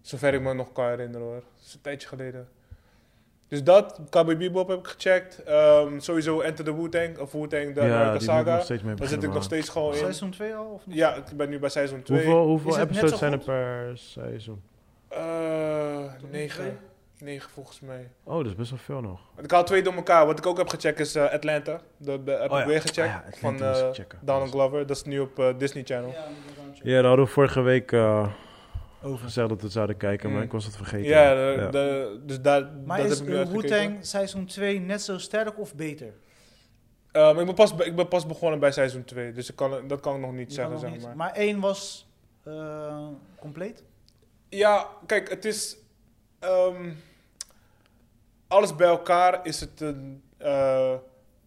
[SPEAKER 2] Zover ik me nog kan herinneren hoor. Dat is een tijdje geleden. Dus dat, Cowboy Bebop heb ik gecheckt. Ehm, sowieso Enter the Wu-Tang, of Wu-Tang, de
[SPEAKER 1] Ja,
[SPEAKER 2] Amerika
[SPEAKER 1] die moet ik nog
[SPEAKER 2] Saga.
[SPEAKER 1] steeds mee
[SPEAKER 2] Daar zit
[SPEAKER 1] beginnen,
[SPEAKER 2] ik nog
[SPEAKER 1] man.
[SPEAKER 2] steeds gewoon in.
[SPEAKER 3] Seizoen 2 al? Of
[SPEAKER 2] oh,
[SPEAKER 3] niet?
[SPEAKER 2] Ja, ik ben nu bij seizoen 2.
[SPEAKER 1] Hoeveel,
[SPEAKER 3] Is
[SPEAKER 1] hoeveel
[SPEAKER 3] het net zo
[SPEAKER 1] episodes zijn er
[SPEAKER 3] goed?
[SPEAKER 1] per seizoen?
[SPEAKER 2] Eh,
[SPEAKER 3] Tot nu twee?
[SPEAKER 2] 9. 9 volgens mij.
[SPEAKER 1] Oh, dat is best wel veel nog.
[SPEAKER 2] Want Ik haal twee door elkaar. Wat ik ook heb gecheckt is eh, Atlanta. Dat eh, heb
[SPEAKER 1] Oh
[SPEAKER 2] ik
[SPEAKER 1] ja.
[SPEAKER 2] weer
[SPEAKER 1] Ah
[SPEAKER 2] gecheckt.
[SPEAKER 1] ja, Atlanta
[SPEAKER 2] van
[SPEAKER 1] moest ik
[SPEAKER 2] eh,
[SPEAKER 1] checken.
[SPEAKER 2] Donald Glover. Dat is nu op eh, Disney Channel. Ja,
[SPEAKER 1] Ja, daar hadden we vorige week eh,
[SPEAKER 3] Over.
[SPEAKER 1] gezegd dat we het zouden kijken, maar
[SPEAKER 2] Mm.
[SPEAKER 1] ik was het vergeten.
[SPEAKER 2] de- de- dus daar,
[SPEAKER 3] Maar
[SPEAKER 2] dat
[SPEAKER 3] is
[SPEAKER 2] heb ik nu
[SPEAKER 3] eh,
[SPEAKER 2] uitgekeken.
[SPEAKER 3] Wu-Tang seizoen 2 net zo sterk of beter?
[SPEAKER 2] Eh, maar ik ben, pas, be- ik ben pas begonnen bij seizoen 2, dus ik kan, dat kan ik nog niet
[SPEAKER 3] Je kan
[SPEAKER 2] zeggen,
[SPEAKER 3] nog
[SPEAKER 2] zeg
[SPEAKER 3] niet-
[SPEAKER 2] maar.
[SPEAKER 3] Maar 1 was eh, compleet?
[SPEAKER 2] Ja, kijk, het is... ehm, alles bij elkaar is het een... eh,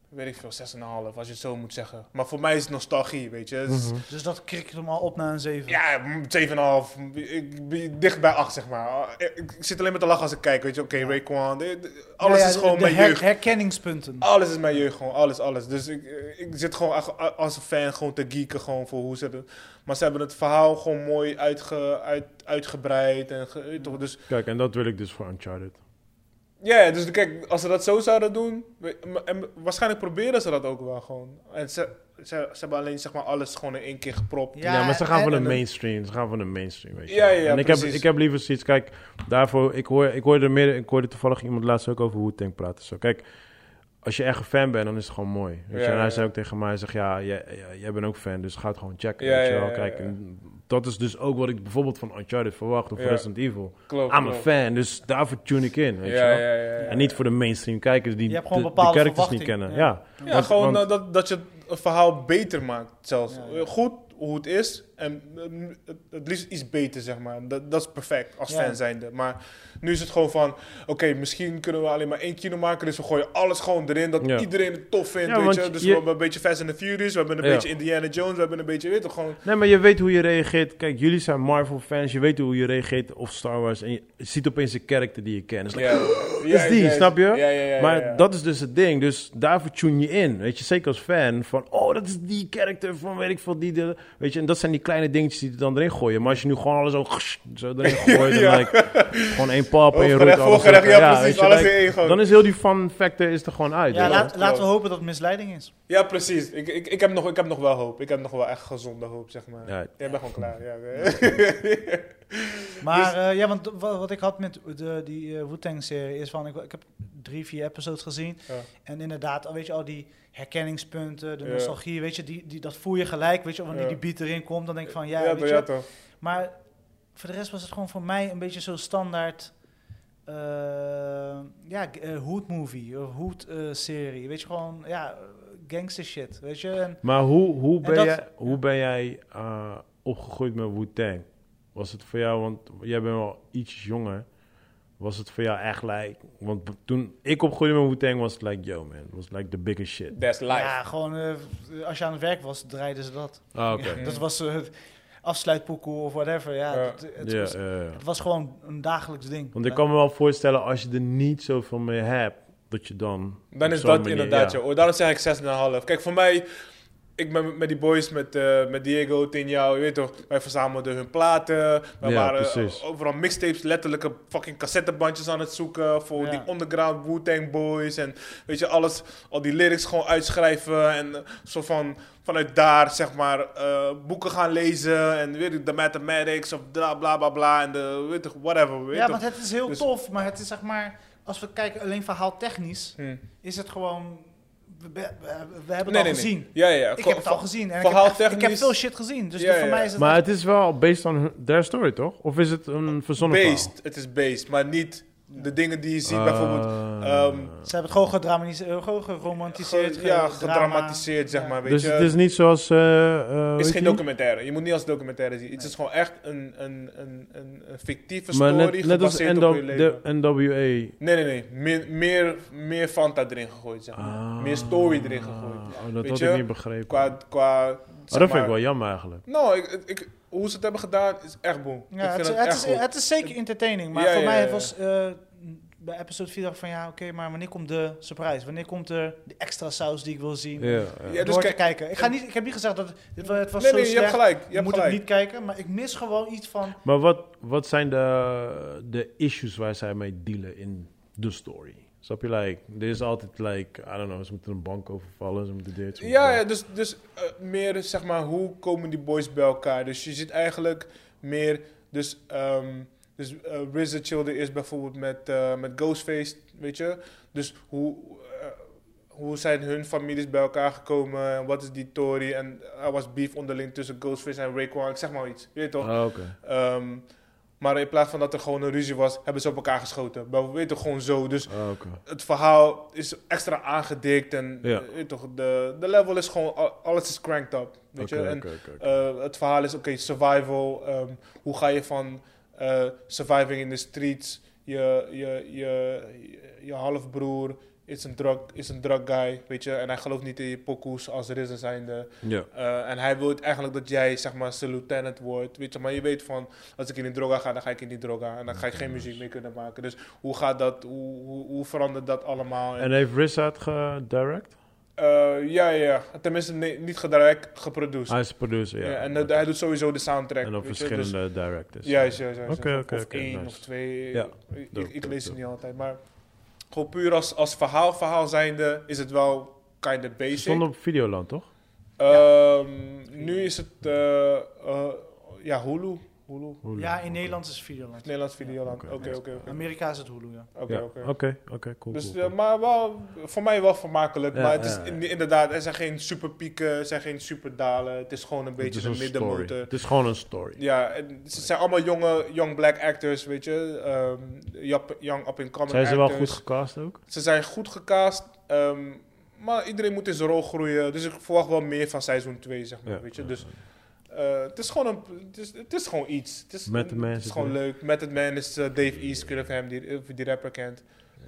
[SPEAKER 2] weet ik veel, 6,5, als je het zo moet zeggen. Maar voor mij is het nostalgie, weet je. Het is-
[SPEAKER 1] Mhm.
[SPEAKER 3] Dus dat krikt hem al op naar een 7.
[SPEAKER 2] Ja, mm, 7,5. Ik ben dicht bij 8, zeg maar. Ik, ik zit alleen maar te lachen als ik kijk, weet je. Oké, Rayquan, dit- dit- alles
[SPEAKER 3] Ja, ja,
[SPEAKER 2] is gewoon
[SPEAKER 3] de
[SPEAKER 2] mijn
[SPEAKER 3] her-
[SPEAKER 2] jeugd.
[SPEAKER 3] Herkenningspunten.
[SPEAKER 2] Alles is mijn jeugd, gewoon alles, alles. Dus ik, ik zit gewoon echt als een fan gewoon te geeken gewoon voor hoe ze het... Maar ze hebben het verhaal gewoon mooi uitge, uit, uitgebreid en... ge- weet je toch, dus
[SPEAKER 1] Kijk, en dat wil ik dus voor Uncharted.
[SPEAKER 2] ja, ja, dus kijk, als ze dat zo zouden doen... we- maar- En waarschijnlijk proberen ze dat ook wel gewoon. En ze, ze, ze hebben alleen zeg maar alles gewoon in één keer gepropt.
[SPEAKER 1] Ja, maar ze gaan
[SPEAKER 3] en-
[SPEAKER 1] voor de
[SPEAKER 2] en-
[SPEAKER 1] mainstream. Ze gaan voor de mainstream, weet je.
[SPEAKER 2] Ja, ja, ja,
[SPEAKER 1] en ik heb,
[SPEAKER 2] precies.
[SPEAKER 1] ik heb liever zoiets, kijk, daarvoor, ik, hoor, ik, hoorde meer, ik hoorde toevallig iemand laatst ook over Wu-Tang praten. Zo. Kijk, als je echt een fan bent, dan is het gewoon mooi. Weet je?
[SPEAKER 2] Ja,
[SPEAKER 1] En hij
[SPEAKER 2] ja.
[SPEAKER 1] zei ook tegen mij, hij zegt, ja, jij, ja, jij bent ook fan, dus ga het gewoon checken,
[SPEAKER 2] Ja,
[SPEAKER 1] weet je
[SPEAKER 2] ja,
[SPEAKER 1] wel.
[SPEAKER 2] ja,
[SPEAKER 1] Kijk,
[SPEAKER 2] ja.
[SPEAKER 1] en dat is dus ook wat ik bijvoorbeeld van Uncharted verwacht, of
[SPEAKER 2] Ja.
[SPEAKER 1] Resident Evil.
[SPEAKER 2] Klopt,
[SPEAKER 1] I'm a
[SPEAKER 2] klopt.
[SPEAKER 1] fan, dus daarvoor tune ik in, weet je
[SPEAKER 2] Ja,
[SPEAKER 1] wel.
[SPEAKER 2] ja, ja, ja.
[SPEAKER 1] En niet voor de mainstream kijkers die
[SPEAKER 3] Je hebt
[SPEAKER 1] de,
[SPEAKER 3] gewoon
[SPEAKER 1] de
[SPEAKER 3] bepaalde
[SPEAKER 1] characters niet
[SPEAKER 3] verwachtingen,
[SPEAKER 1] kennen.
[SPEAKER 3] ja.
[SPEAKER 1] Ja,
[SPEAKER 2] Ja,
[SPEAKER 1] Want-
[SPEAKER 2] gewoon
[SPEAKER 1] want-
[SPEAKER 2] eh, dat, dat je het verhaal beter maakt zelfs.
[SPEAKER 3] Ja, ja.
[SPEAKER 2] Goed hoe het is en mm, het, het liefst iets beter, zeg maar. Dat, dat is perfect als
[SPEAKER 3] Ja.
[SPEAKER 2] fan zijnde. Maar nu is het gewoon van, oké, misschien kunnen we alleen maar één kilo maken. Dus we gooien alles gewoon erin, dat
[SPEAKER 1] Ja.
[SPEAKER 2] iedereen het tof vindt,
[SPEAKER 1] Ja,
[SPEAKER 2] weet
[SPEAKER 1] want
[SPEAKER 2] je. Dus
[SPEAKER 1] je-
[SPEAKER 2] we hebben een beetje Fast and the Furious, we hebben een
[SPEAKER 1] Ja.
[SPEAKER 2] beetje Indiana Jones, we hebben een beetje, weet je, gewoon...
[SPEAKER 1] Nee, maar je weet hoe je reageert. Kijk, jullie zijn Marvel-fans. Je weet hoe je reageert of Star Wars. En je ziet opeens een karakter die je kent. Dus like, is die, snap je?
[SPEAKER 2] Ja, ja, ja,
[SPEAKER 1] maar
[SPEAKER 2] ja, ja.
[SPEAKER 1] dat is dus het ding. Dus daarvoor tune je in. Weet je, zeker als fan. Van, oh, dat is die karakter van weet ik veel. Die, de, weet je, en dat zijn die kleine dingetjes die er dan erin gooien. Maar als je nu gewoon alles zo, (laughs) zo
[SPEAKER 2] (laughs)
[SPEAKER 1] erin gooit. en like, gewoon één pap en je roept
[SPEAKER 2] Hoofdgerecht,
[SPEAKER 1] alles
[SPEAKER 2] voorgerecht,
[SPEAKER 1] lekker.
[SPEAKER 2] ja, precies,
[SPEAKER 1] weet je,
[SPEAKER 2] alles
[SPEAKER 1] like,
[SPEAKER 2] in één gewoon.
[SPEAKER 1] Dan is heel die fun factor is er gewoon uit.
[SPEAKER 3] Ja,
[SPEAKER 1] weet je.
[SPEAKER 3] laat- laten we hopen dat het misleiding is.
[SPEAKER 2] Ja, precies. Ik, ik, ik, heb nog, ik heb nog wel hoop. Ik heb nog wel echt gezonde hoop, zeg maar.
[SPEAKER 1] Ja.
[SPEAKER 2] Jij bent gewoon klaar, ja. Dus-
[SPEAKER 3] Maar eh, ja, want wa- wat ik had met de, die eh, Wu-Tang-serie is van... Ik, ik heb drie, vier episodes gezien.
[SPEAKER 2] Ja.
[SPEAKER 3] En inderdaad, al weet je, al die herkenningspunten, de
[SPEAKER 2] Ja.
[SPEAKER 3] nostalgie, weet je, die, die, dat voel je gelijk. Weet je, wanneer
[SPEAKER 2] Ja.
[SPEAKER 3] die beat erin komt, dan denk ik van ja,
[SPEAKER 2] ja,
[SPEAKER 3] weet
[SPEAKER 2] toch,
[SPEAKER 3] je.
[SPEAKER 2] ja, toch.
[SPEAKER 3] Maar voor de rest was het gewoon voor mij een beetje zo standaard. eh, ja, g- eh, hood movie, of hood eh, serie. Weet je gewoon, ja, eh, gangster shit. Weet je, en
[SPEAKER 1] Maar hoe, hoe,
[SPEAKER 3] En
[SPEAKER 1] ben,
[SPEAKER 3] dat-
[SPEAKER 1] jij, hoe ben jij eh, opgegroeid met Wu-Tang? Was het voor jou, want jij bent wel iets jonger. Was het voor jou echt like... Want b- toen ik opgroeide met Wu-Tang was het like, yo man. Was like the biggest shit.
[SPEAKER 2] That's life.
[SPEAKER 3] ja, gewoon eh, als je aan het werk was, draaiden ze dat.
[SPEAKER 1] Ah, oké.
[SPEAKER 3] Ja, dat was eh, het afsluitpoekoe of whatever. Ja,
[SPEAKER 2] Ja.
[SPEAKER 3] Het, het
[SPEAKER 1] Ja,
[SPEAKER 3] was,
[SPEAKER 1] ja, ja.
[SPEAKER 3] het was gewoon een dagelijks ding.
[SPEAKER 1] Want ik kan me wel voorstellen, als je er niet zoveel mee hebt, dat je dan...
[SPEAKER 2] Dan
[SPEAKER 1] op
[SPEAKER 2] is
[SPEAKER 1] zo'n
[SPEAKER 2] dat
[SPEAKER 1] manier-
[SPEAKER 2] inderdaad,
[SPEAKER 1] ja.
[SPEAKER 2] joh. Oh, Daarom zeg ik 6,5. Kijk, voor mij, ik ben met die boys, met, eh, met Diego, Tinjao, je weet toch, wij verzamelden hun platen. We
[SPEAKER 1] Ja,
[SPEAKER 2] waren
[SPEAKER 1] precies.
[SPEAKER 2] eh, overal mixtapes, letterlijke fucking cassettebandjes aan het zoeken voor
[SPEAKER 3] Ja.
[SPEAKER 2] die underground Wu-Tang boys. En weet je, alles, al die lyrics gewoon uitschrijven en eh, zo van, vanuit daar, zeg maar, eh, boeken gaan lezen. En weet ik, de mathematics of bla bla bla bla en de, weet toch, whatever, weet
[SPEAKER 3] Ja,
[SPEAKER 2] toch.
[SPEAKER 3] want het is heel
[SPEAKER 2] Dus-
[SPEAKER 3] tof, maar het is zeg maar, als we kijken alleen verhaaltechnisch,
[SPEAKER 2] Hm.
[SPEAKER 3] is het gewoon, we, we- we hebben het al
[SPEAKER 2] Nee, nee, nee.
[SPEAKER 3] gezien.
[SPEAKER 2] Ja, ja.
[SPEAKER 3] Ik heb het al gezien. En ik, heb,
[SPEAKER 2] verhaaltechnisch-
[SPEAKER 3] ik heb veel shit gezien. Dus
[SPEAKER 2] Ja,
[SPEAKER 3] voor
[SPEAKER 2] ja.
[SPEAKER 3] mij is het...
[SPEAKER 1] Maar het is wel based on hun- their story, toch? Of is het een verzonnen verhaal?
[SPEAKER 2] Based, het is based, maar niet de dingen die je ziet, bijvoorbeeld.
[SPEAKER 1] Ah.
[SPEAKER 2] ehm,
[SPEAKER 3] ze hebben het gewoon, gedramatiseerd, gewoon geromantiseerd.
[SPEAKER 2] ge-
[SPEAKER 3] ge-
[SPEAKER 2] ja,
[SPEAKER 3] eh, drama.
[SPEAKER 2] gedramatiseerd, zeg
[SPEAKER 3] Ja.
[SPEAKER 2] maar. Weet
[SPEAKER 1] Dus
[SPEAKER 2] je.
[SPEAKER 1] het is niet zoals... eh, eh,
[SPEAKER 2] Het
[SPEAKER 1] weet
[SPEAKER 2] is
[SPEAKER 1] je
[SPEAKER 2] geen
[SPEAKER 1] wie?
[SPEAKER 2] documentaire. Je moet niet als documentaire zien. Het is gewoon echt een, een, een, een, een fictieve
[SPEAKER 1] Maar
[SPEAKER 2] story
[SPEAKER 1] net, net als
[SPEAKER 2] gebaseerd
[SPEAKER 1] NW
[SPEAKER 2] op je leven.
[SPEAKER 1] de NWA.
[SPEAKER 2] Nee, nee, nee. Meer, meer, meer Fanta erin gegooid, zeg maar.
[SPEAKER 1] Ah.
[SPEAKER 2] Meer story erin gegooid.
[SPEAKER 1] Oh, dat
[SPEAKER 2] Weet
[SPEAKER 1] had
[SPEAKER 2] je?
[SPEAKER 1] ik niet begrepen.
[SPEAKER 2] Qua, qua
[SPEAKER 1] Maar dat
[SPEAKER 2] zeg
[SPEAKER 1] vind ik
[SPEAKER 2] maar-
[SPEAKER 1] wel jammer eigenlijk.
[SPEAKER 2] Nou, ik, ik, hoe ze het hebben gedaan is echt boem.
[SPEAKER 3] Ja,
[SPEAKER 2] ik vind
[SPEAKER 3] het, is-
[SPEAKER 2] het,
[SPEAKER 3] het
[SPEAKER 2] echt
[SPEAKER 3] is,
[SPEAKER 2] goed.
[SPEAKER 3] het is zeker entertaining. Maar
[SPEAKER 2] Ja,
[SPEAKER 3] voor
[SPEAKER 2] ja,
[SPEAKER 3] mij
[SPEAKER 2] ja.
[SPEAKER 3] was eh, bij episode 4 dacht ik van ja, oké, maar wanneer komt de surprise? Wanneer komt er de extra saus die ik wil zien?
[SPEAKER 1] Ja,
[SPEAKER 2] Ja,
[SPEAKER 1] ja.
[SPEAKER 2] dus
[SPEAKER 3] door te
[SPEAKER 2] kijk-
[SPEAKER 3] kijken. Ik, ga niet, ik heb niet gezegd dat het, dit wa- het was
[SPEAKER 2] nee,
[SPEAKER 3] zo
[SPEAKER 2] nee, je
[SPEAKER 3] slecht.
[SPEAKER 2] hebt gelijk. Je
[SPEAKER 3] je
[SPEAKER 2] hebt
[SPEAKER 3] moet
[SPEAKER 2] gelijk.
[SPEAKER 3] het niet kijken, maar ik mis gewoon iets van...
[SPEAKER 1] Maar wat, wat zijn de, de issues waar zij mee dealen in de story? Snap je, like, er is altijd, like, I don't know, ze moeten een bank overvallen, ze moeten dit, ze moeten
[SPEAKER 2] Ja,
[SPEAKER 1] dat.
[SPEAKER 2] ja dus, dus eh, meer zeg maar, hoe komen die boys bij elkaar? Dus je ziet eigenlijk meer, dus, ehm dus eh, RZA chillde is bijvoorbeeld met, eh, met Ghostface, weet je? Dus hoe, eh, hoe zijn hun families bij elkaar gekomen? En wat is die story? En er was beef onderling tussen Ghostface en Raekwon, ik zeg maar iets, weet je toch?
[SPEAKER 1] Ah, oké.
[SPEAKER 2] Ehm, maar in plaats van dat er gewoon een ruzie was, hebben ze op elkaar geschoten. Maar we weten gewoon zo, dus
[SPEAKER 1] Ah, oké.
[SPEAKER 2] het verhaal is extra aangedikt en
[SPEAKER 1] Ja.
[SPEAKER 2] eh, weet toch, de, de level is gewoon, al- alles is cranked up. Weet
[SPEAKER 1] Oké,
[SPEAKER 2] je? En
[SPEAKER 1] oké, oké, oké.
[SPEAKER 2] eh, het verhaal is, oké, survival, ehm, hoe ga je van eh, surviving in the streets, je, je, je, je halfbroer is een, drug, is een drug guy, weet je, en hij gelooft niet in je pokoes als RZA zijnde.
[SPEAKER 1] Ja.
[SPEAKER 2] Eh, en hij wil het eigenlijk dat jij, zeg maar, zijn lieutenant wordt. Weet je, maar je weet van, als ik in die droga ga, dan ga ik in die droga. En dan ga ik geen muziek meer kunnen maken. Dus hoe gaat dat, hoe, hoe, hoe verandert dat allemaal? En,
[SPEAKER 1] En heeft Riz het gedirect?
[SPEAKER 2] eh, ja, ja, ja. Tenminste, nee, niet gedirect, geproduced.
[SPEAKER 1] Ah, Hij is producer, ja.
[SPEAKER 2] ja, en
[SPEAKER 1] Oké.
[SPEAKER 2] dat- hij doet sowieso de soundtrack.
[SPEAKER 1] en op
[SPEAKER 2] weet je, dus-
[SPEAKER 1] verschillende directors.
[SPEAKER 2] Juist, juist, juist.
[SPEAKER 1] Oké,
[SPEAKER 2] Of-
[SPEAKER 1] oké,
[SPEAKER 2] Of
[SPEAKER 1] oké,
[SPEAKER 2] één
[SPEAKER 1] nice.
[SPEAKER 2] of twee.
[SPEAKER 1] Ja,
[SPEAKER 2] Ik,
[SPEAKER 1] dope,
[SPEAKER 2] ik
[SPEAKER 1] dope,
[SPEAKER 2] lees het
[SPEAKER 1] dope.
[SPEAKER 2] niet altijd, maar gewoon puur als, als verhaal, verhaal zijnde is het wel kind of
[SPEAKER 1] Ze
[SPEAKER 2] basic.
[SPEAKER 1] stonden op Videoland, toch?
[SPEAKER 2] Ehm, nu is het eh, eh, ja, Hulu. Hulu.
[SPEAKER 1] Hoe
[SPEAKER 3] Ja,
[SPEAKER 1] lang?
[SPEAKER 3] in
[SPEAKER 1] Oké.
[SPEAKER 3] Nederland is het Videoland.
[SPEAKER 2] Nederlands Videoland.
[SPEAKER 1] Oké.
[SPEAKER 2] Oké, oké. oké.
[SPEAKER 3] Amerika is het Hulu, ja.
[SPEAKER 2] Oké,
[SPEAKER 1] Ja,
[SPEAKER 2] oké.
[SPEAKER 1] Oké, oké, cool,
[SPEAKER 2] Dus,
[SPEAKER 1] cool, cool.
[SPEAKER 2] eh, maar wel, voor mij wel vermakelijk.
[SPEAKER 1] Ja,
[SPEAKER 2] maar het is
[SPEAKER 1] ja, ja.
[SPEAKER 2] in- inderdaad, er zijn geen superpieken, er zijn geen superdalen. Het is gewoon een
[SPEAKER 1] Het
[SPEAKER 2] beetje
[SPEAKER 1] is
[SPEAKER 2] een
[SPEAKER 1] een story.
[SPEAKER 2] middenmotor.
[SPEAKER 1] Het is gewoon een story.
[SPEAKER 2] Ja, en ze zijn allemaal jonge, young black actors, weet je. Ehm, jap- young up-and-coming
[SPEAKER 1] Zijn ze wel goed
[SPEAKER 2] actors.
[SPEAKER 1] gecast ook?
[SPEAKER 2] Ze zijn goed gecast, ehm, maar iedereen moet in zijn rol groeien. Dus ik verwacht wel meer van seizoen 2, zeg maar.
[SPEAKER 1] Ja,
[SPEAKER 2] weet je?
[SPEAKER 1] ja,
[SPEAKER 2] Dus eh, het, is gewoon een, het, is, het is gewoon iets. Het is,
[SPEAKER 1] Method Man
[SPEAKER 2] het is
[SPEAKER 1] zit
[SPEAKER 2] gewoon
[SPEAKER 1] erin.
[SPEAKER 2] leuk. Method Man is eh, Dave East, ik weet niet of je hem die, of je die rapper kent.
[SPEAKER 1] Eh,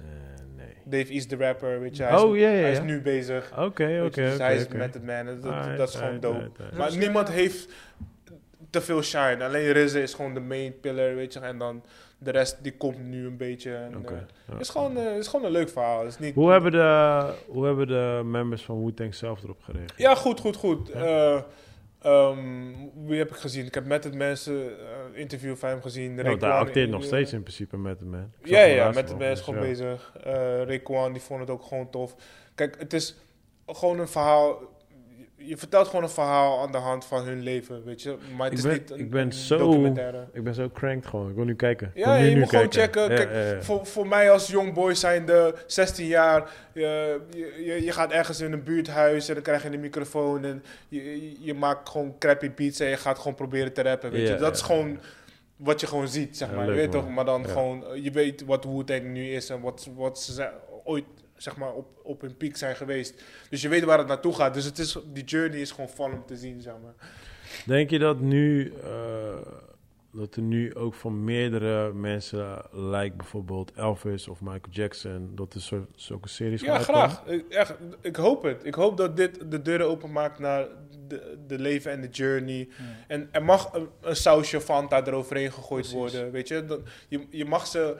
[SPEAKER 1] nee.
[SPEAKER 2] Dave East, de rapper, weet je. Hij is,
[SPEAKER 1] Oh, ja, ja,
[SPEAKER 2] hij is
[SPEAKER 1] ja.
[SPEAKER 2] nu bezig.
[SPEAKER 1] Oké, oké,
[SPEAKER 2] weet je, dus
[SPEAKER 1] oké,
[SPEAKER 2] hij is
[SPEAKER 1] oké.
[SPEAKER 2] Method Man, en dat,
[SPEAKER 1] Alright,
[SPEAKER 2] dat is dus gewoon
[SPEAKER 1] alright,
[SPEAKER 2] dope.
[SPEAKER 1] alright, alright.
[SPEAKER 2] Maar niemand heeft te veel shine. Alleen RZA is gewoon de main pillar, weet je. En dan de rest, die komt nu een beetje. en,
[SPEAKER 1] Oké,
[SPEAKER 2] eh,
[SPEAKER 1] ja.
[SPEAKER 2] het, is gewoon, eh, het is gewoon een leuk verhaal. Het is niet,
[SPEAKER 1] Hoe hebben, de, hoe hebben de members van Wu-Tang zelf erop gereageerd?
[SPEAKER 2] Ja, goed, goed, goed. Eh, ehm, wie heb ik gezien? Ik heb met het mensen eh, interview van hem gezien.
[SPEAKER 1] Ja, want
[SPEAKER 2] Raekwon
[SPEAKER 1] hij Oh, acteert nog
[SPEAKER 2] in-
[SPEAKER 1] steeds in principe met hem, hè? Ik zag
[SPEAKER 2] Ja,
[SPEAKER 1] hem
[SPEAKER 2] ja,
[SPEAKER 1] laatst
[SPEAKER 2] met het
[SPEAKER 1] nog,
[SPEAKER 2] mensen
[SPEAKER 1] dus
[SPEAKER 2] gewoon
[SPEAKER 1] ja.
[SPEAKER 2] bezig. Eh Raekwon, die vond het ook gewoon tof. Kijk, het is gewoon een verhaal. je vertelt gewoon een verhaal aan de hand van hun leven, weet je. Maar
[SPEAKER 1] Ik
[SPEAKER 2] het is
[SPEAKER 1] ben-
[SPEAKER 2] niet een,
[SPEAKER 1] ik ben
[SPEAKER 2] een
[SPEAKER 1] zo-
[SPEAKER 2] documentaire.
[SPEAKER 1] Ik ben zo cranked gewoon. Ik wil nu kijken. Ik
[SPEAKER 2] Ja,
[SPEAKER 1] wil nu,
[SPEAKER 2] je
[SPEAKER 1] nu
[SPEAKER 2] moet gewoon
[SPEAKER 1] kijken.
[SPEAKER 2] checken.
[SPEAKER 1] Ja,
[SPEAKER 2] Kijk,
[SPEAKER 1] ja, ja.
[SPEAKER 2] Voor, voor mij als jong boy zijnde, 16 jaar, eh, je, je, je gaat ergens in een buurthuis en dan krijg je een microfoon en je, je- je maakt gewoon crappy beats en je gaat gewoon proberen te rappen, weet
[SPEAKER 1] Ja,
[SPEAKER 2] je. Dat
[SPEAKER 1] ja,
[SPEAKER 2] is gewoon wat je gewoon ziet, zeg
[SPEAKER 1] Ja,
[SPEAKER 2] maar.
[SPEAKER 1] leuk,
[SPEAKER 2] je weet
[SPEAKER 1] man.
[SPEAKER 2] toch, maar dan
[SPEAKER 1] Ja.
[SPEAKER 2] gewoon, eh, je weet wat Wu-Tang nu is en wat, wat ze zijn- ooit, zeg maar, op, op hun piek zijn geweest. Dus je weet waar het naartoe gaat. Dus het is, die journey is gewoon fun om te zien, zeg maar.
[SPEAKER 1] Denk je dat nu... eh, dat er nu ook van meerdere mensen... Like bijvoorbeeld Elvis of Michael Jackson... Dat er zo, zulke series
[SPEAKER 2] Ja,
[SPEAKER 1] gaan uitkomen?
[SPEAKER 2] graag. Ik, echt, ik hoop het. Ik hoop dat dit de deuren openmaakt naar de, de leven en de journey. En er mag een, een sausje Fanta eroverheen gegooid
[SPEAKER 3] Precies.
[SPEAKER 2] worden. Weet je? Dat, je, je mag ze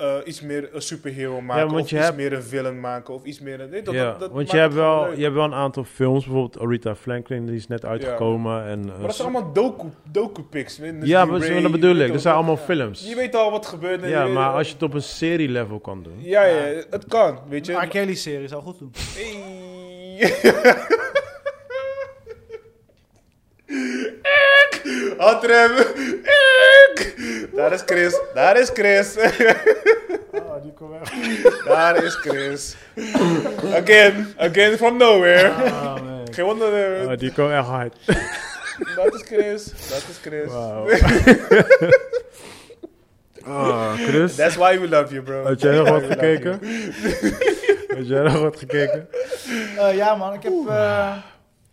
[SPEAKER 2] eh, iets meer een superhero maken.
[SPEAKER 1] want
[SPEAKER 2] of
[SPEAKER 1] je
[SPEAKER 2] iets
[SPEAKER 1] hebt-
[SPEAKER 2] meer een villain maken. Of iets meer een... Nee, dat,
[SPEAKER 1] ja,
[SPEAKER 2] dat- dat
[SPEAKER 1] want
[SPEAKER 2] maakt
[SPEAKER 1] je hebt,
[SPEAKER 2] het gewoon
[SPEAKER 1] wel,
[SPEAKER 2] leuk.
[SPEAKER 1] je hebt wel een aantal films. Bijvoorbeeld Aretha Franklin, die is net uitgekomen. En, eh,
[SPEAKER 2] Maar dat zijn allemaal docu, docu-pics.
[SPEAKER 1] ja, maar zo- dat bedoel ik. Dat zijn allemaal
[SPEAKER 2] Je
[SPEAKER 1] films.
[SPEAKER 2] weet al wat gebeurt. en
[SPEAKER 1] Ja,
[SPEAKER 2] je-
[SPEAKER 1] maar als je het op een serie-level kan doen.
[SPEAKER 2] Ja, ja, het kan, weet je.
[SPEAKER 3] Een R. Kelly-serie zou goed doen.
[SPEAKER 2] Atrem. Daar is Chris. Daar is Chris.
[SPEAKER 3] Oh, die komt weg.
[SPEAKER 2] Daar is Chris. Again. Again from nowhere.
[SPEAKER 3] Ah, nee.
[SPEAKER 2] Geen wonder. eh,
[SPEAKER 1] Ah, die komen echt hard.
[SPEAKER 2] Dat is Chris. Dat is Chris. (laughs)
[SPEAKER 1] Wauw. Ah, Chris,
[SPEAKER 2] That's why we love you, bro.
[SPEAKER 1] had jij nog
[SPEAKER 2] That's
[SPEAKER 1] wat
[SPEAKER 2] why we love you.
[SPEAKER 1] gekeken? (laughs) Had jij nog wat gekeken?
[SPEAKER 3] Eh, ja, man, ik heb. eh,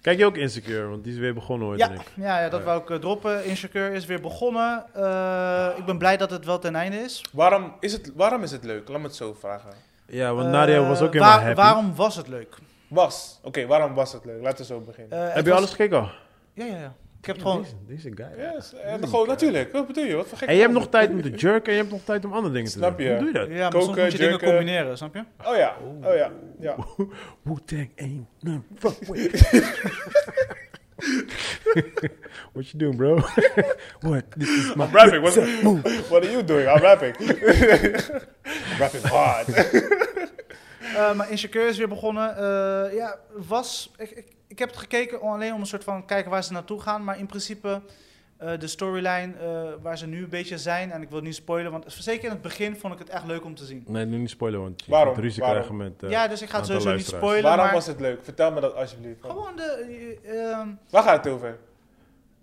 [SPEAKER 1] Kijk je ook Insecure, want die is weer begonnen hoor,
[SPEAKER 3] ja,
[SPEAKER 1] denk ik.
[SPEAKER 3] ja, ja, dat wou ik eh, droppen. Insecure is weer begonnen. Eh, ik ben blij dat het wel ten einde is.
[SPEAKER 2] Waarom is, het, waarom is het leuk? Laat me het zo vragen.
[SPEAKER 1] Ja, want
[SPEAKER 3] Eh,
[SPEAKER 1] Nadia was ook
[SPEAKER 3] waar-
[SPEAKER 1] helemaal happy.
[SPEAKER 3] Waarom was het leuk?
[SPEAKER 2] Was. Oké, waarom was het leuk? Laten we zo beginnen.
[SPEAKER 3] Eh,
[SPEAKER 1] Heb je
[SPEAKER 3] het was-
[SPEAKER 1] alles gekeken al?
[SPEAKER 3] Ja, ja, ja. Ik heb het gewoon.
[SPEAKER 1] Deze- Deze guy.
[SPEAKER 2] yes. eh, gewoon, natuurlijk. Wat bedoel je? Wat voor gek.
[SPEAKER 1] En je hebt nog tijd om te jerken en je hebt nog tijd om andere dingen te
[SPEAKER 2] Snap
[SPEAKER 1] doen.
[SPEAKER 2] je?
[SPEAKER 1] Hoe doe je dat?
[SPEAKER 3] Ja, maar soms
[SPEAKER 2] Koken,
[SPEAKER 3] moet je dingen
[SPEAKER 2] jerken.
[SPEAKER 3] combineren, snap je?
[SPEAKER 2] Oh ja. Oh ja. ja.
[SPEAKER 1] Wu-Tang ain't no fuck with.
[SPEAKER 3] (laughs)
[SPEAKER 1] What you doing,
[SPEAKER 3] (laughs)
[SPEAKER 1] bro? What? This is my
[SPEAKER 2] I'm rapping. What,
[SPEAKER 1] move.
[SPEAKER 2] what are you doing? I'm rapping. (laughs) I'm rapping hard.
[SPEAKER 3] Eh, maar Insecure is weer begonnen. Eh, ja, was. Ik, ik, ik heb het gekeken om- alleen om een soort van kijken waar ze naartoe gaan. Maar in principe, eh, de storyline eh, waar ze nu een beetje zijn. En ik wil het niet spoilen, want zeker in het begin vond ik het echt leuk om te zien.
[SPEAKER 1] Nee, doe niet spoilen, want je
[SPEAKER 2] Waarom?
[SPEAKER 1] gaat ruzie
[SPEAKER 2] Waarom?
[SPEAKER 1] krijgen met... eh,
[SPEAKER 3] ja, dus ik ga het
[SPEAKER 1] aantal
[SPEAKER 3] sowieso niet
[SPEAKER 1] luisteraars.
[SPEAKER 3] spoilen.
[SPEAKER 2] Waarom
[SPEAKER 3] maar
[SPEAKER 2] was het leuk? Vertel me dat alsjeblieft.
[SPEAKER 3] Gewoon de. eh, ehm,
[SPEAKER 2] Waar gaat het over?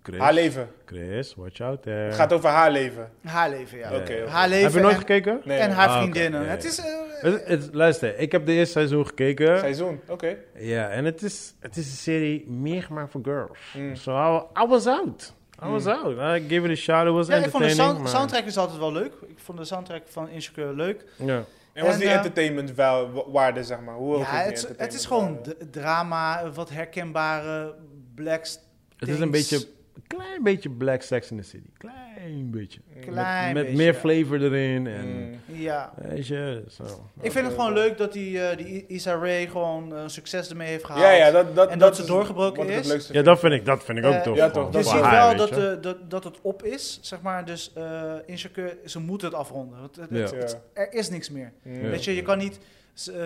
[SPEAKER 1] Chris,
[SPEAKER 2] Haar leven.
[SPEAKER 1] Chris, watch out there.
[SPEAKER 2] Het gaat over haar leven.
[SPEAKER 3] haar leven, ja.
[SPEAKER 2] Oké.
[SPEAKER 1] Ja.
[SPEAKER 2] oké.
[SPEAKER 3] Haar leven.
[SPEAKER 1] Heb je nooit
[SPEAKER 3] en-
[SPEAKER 1] gekeken?
[SPEAKER 2] Oh, Nee,
[SPEAKER 3] En
[SPEAKER 2] nee.
[SPEAKER 3] haar
[SPEAKER 1] Ah, oké.
[SPEAKER 3] vriendinnen.
[SPEAKER 1] Ja, ja.
[SPEAKER 3] Het is. eh,
[SPEAKER 1] Het- het- luister, ik heb de eerste seizoen gekeken.
[SPEAKER 2] Seizoen. Oké.
[SPEAKER 1] Ja, en het is, het is een serie meer gemaakt voor girls.
[SPEAKER 2] Mm.
[SPEAKER 1] So I, I was out. I was out. I gave it a shot. It was
[SPEAKER 3] Mm. ja, ik vond de
[SPEAKER 1] entertaining.
[SPEAKER 3] sound-
[SPEAKER 1] maar-
[SPEAKER 3] soundtrack is altijd wel leuk. Ik vond de soundtrack van Insecure leuk.
[SPEAKER 1] Ja.
[SPEAKER 2] En wat is
[SPEAKER 3] En,
[SPEAKER 2] die
[SPEAKER 3] eh,
[SPEAKER 2] entertainment wa- wa- waarde, zeg maar? Hoe hoog
[SPEAKER 3] Ja,
[SPEAKER 2] is die
[SPEAKER 3] het, is- het
[SPEAKER 2] entertainment
[SPEAKER 3] is gewoon
[SPEAKER 2] waarde?
[SPEAKER 3] d- drama, wat herkenbare blacks.
[SPEAKER 1] Het is een beetje, een klein beetje Black Sex in the City. Klein beetje.
[SPEAKER 3] Klein
[SPEAKER 1] met met
[SPEAKER 3] beetje,
[SPEAKER 1] meer
[SPEAKER 3] ja.
[SPEAKER 1] flavor erin. En,
[SPEAKER 2] Mm.
[SPEAKER 3] Ja.
[SPEAKER 1] Weet je, zo.
[SPEAKER 3] Ik vind het gewoon leuk dat die, eh, die Isa Ray gewoon eh, succes ermee heeft gehaald.
[SPEAKER 2] Ja, ja, dat, dat,
[SPEAKER 3] En dat
[SPEAKER 2] is
[SPEAKER 3] ze doorgebroken
[SPEAKER 2] wat ik het
[SPEAKER 3] is.
[SPEAKER 2] leukste
[SPEAKER 1] Ja,
[SPEAKER 2] vind.
[SPEAKER 1] dat vind ik, dat vind ik ook
[SPEAKER 3] Eh,
[SPEAKER 1] tof.
[SPEAKER 2] ja,
[SPEAKER 1] gewoon.
[SPEAKER 2] toch.
[SPEAKER 3] Je
[SPEAKER 2] Dat
[SPEAKER 1] Voor
[SPEAKER 2] is
[SPEAKER 3] ziet
[SPEAKER 2] waar,
[SPEAKER 1] haar,
[SPEAKER 3] wel
[SPEAKER 1] weet
[SPEAKER 3] dat,
[SPEAKER 1] je.
[SPEAKER 3] eh, dat, dat het op is, zeg maar. Dus eh Insecure, ze moeten het afronden. Want het- het-
[SPEAKER 1] Ja.
[SPEAKER 2] Ja.
[SPEAKER 3] er is niks meer.
[SPEAKER 2] Mm.
[SPEAKER 1] Ja.
[SPEAKER 3] Weet je, je kan niet z- eh,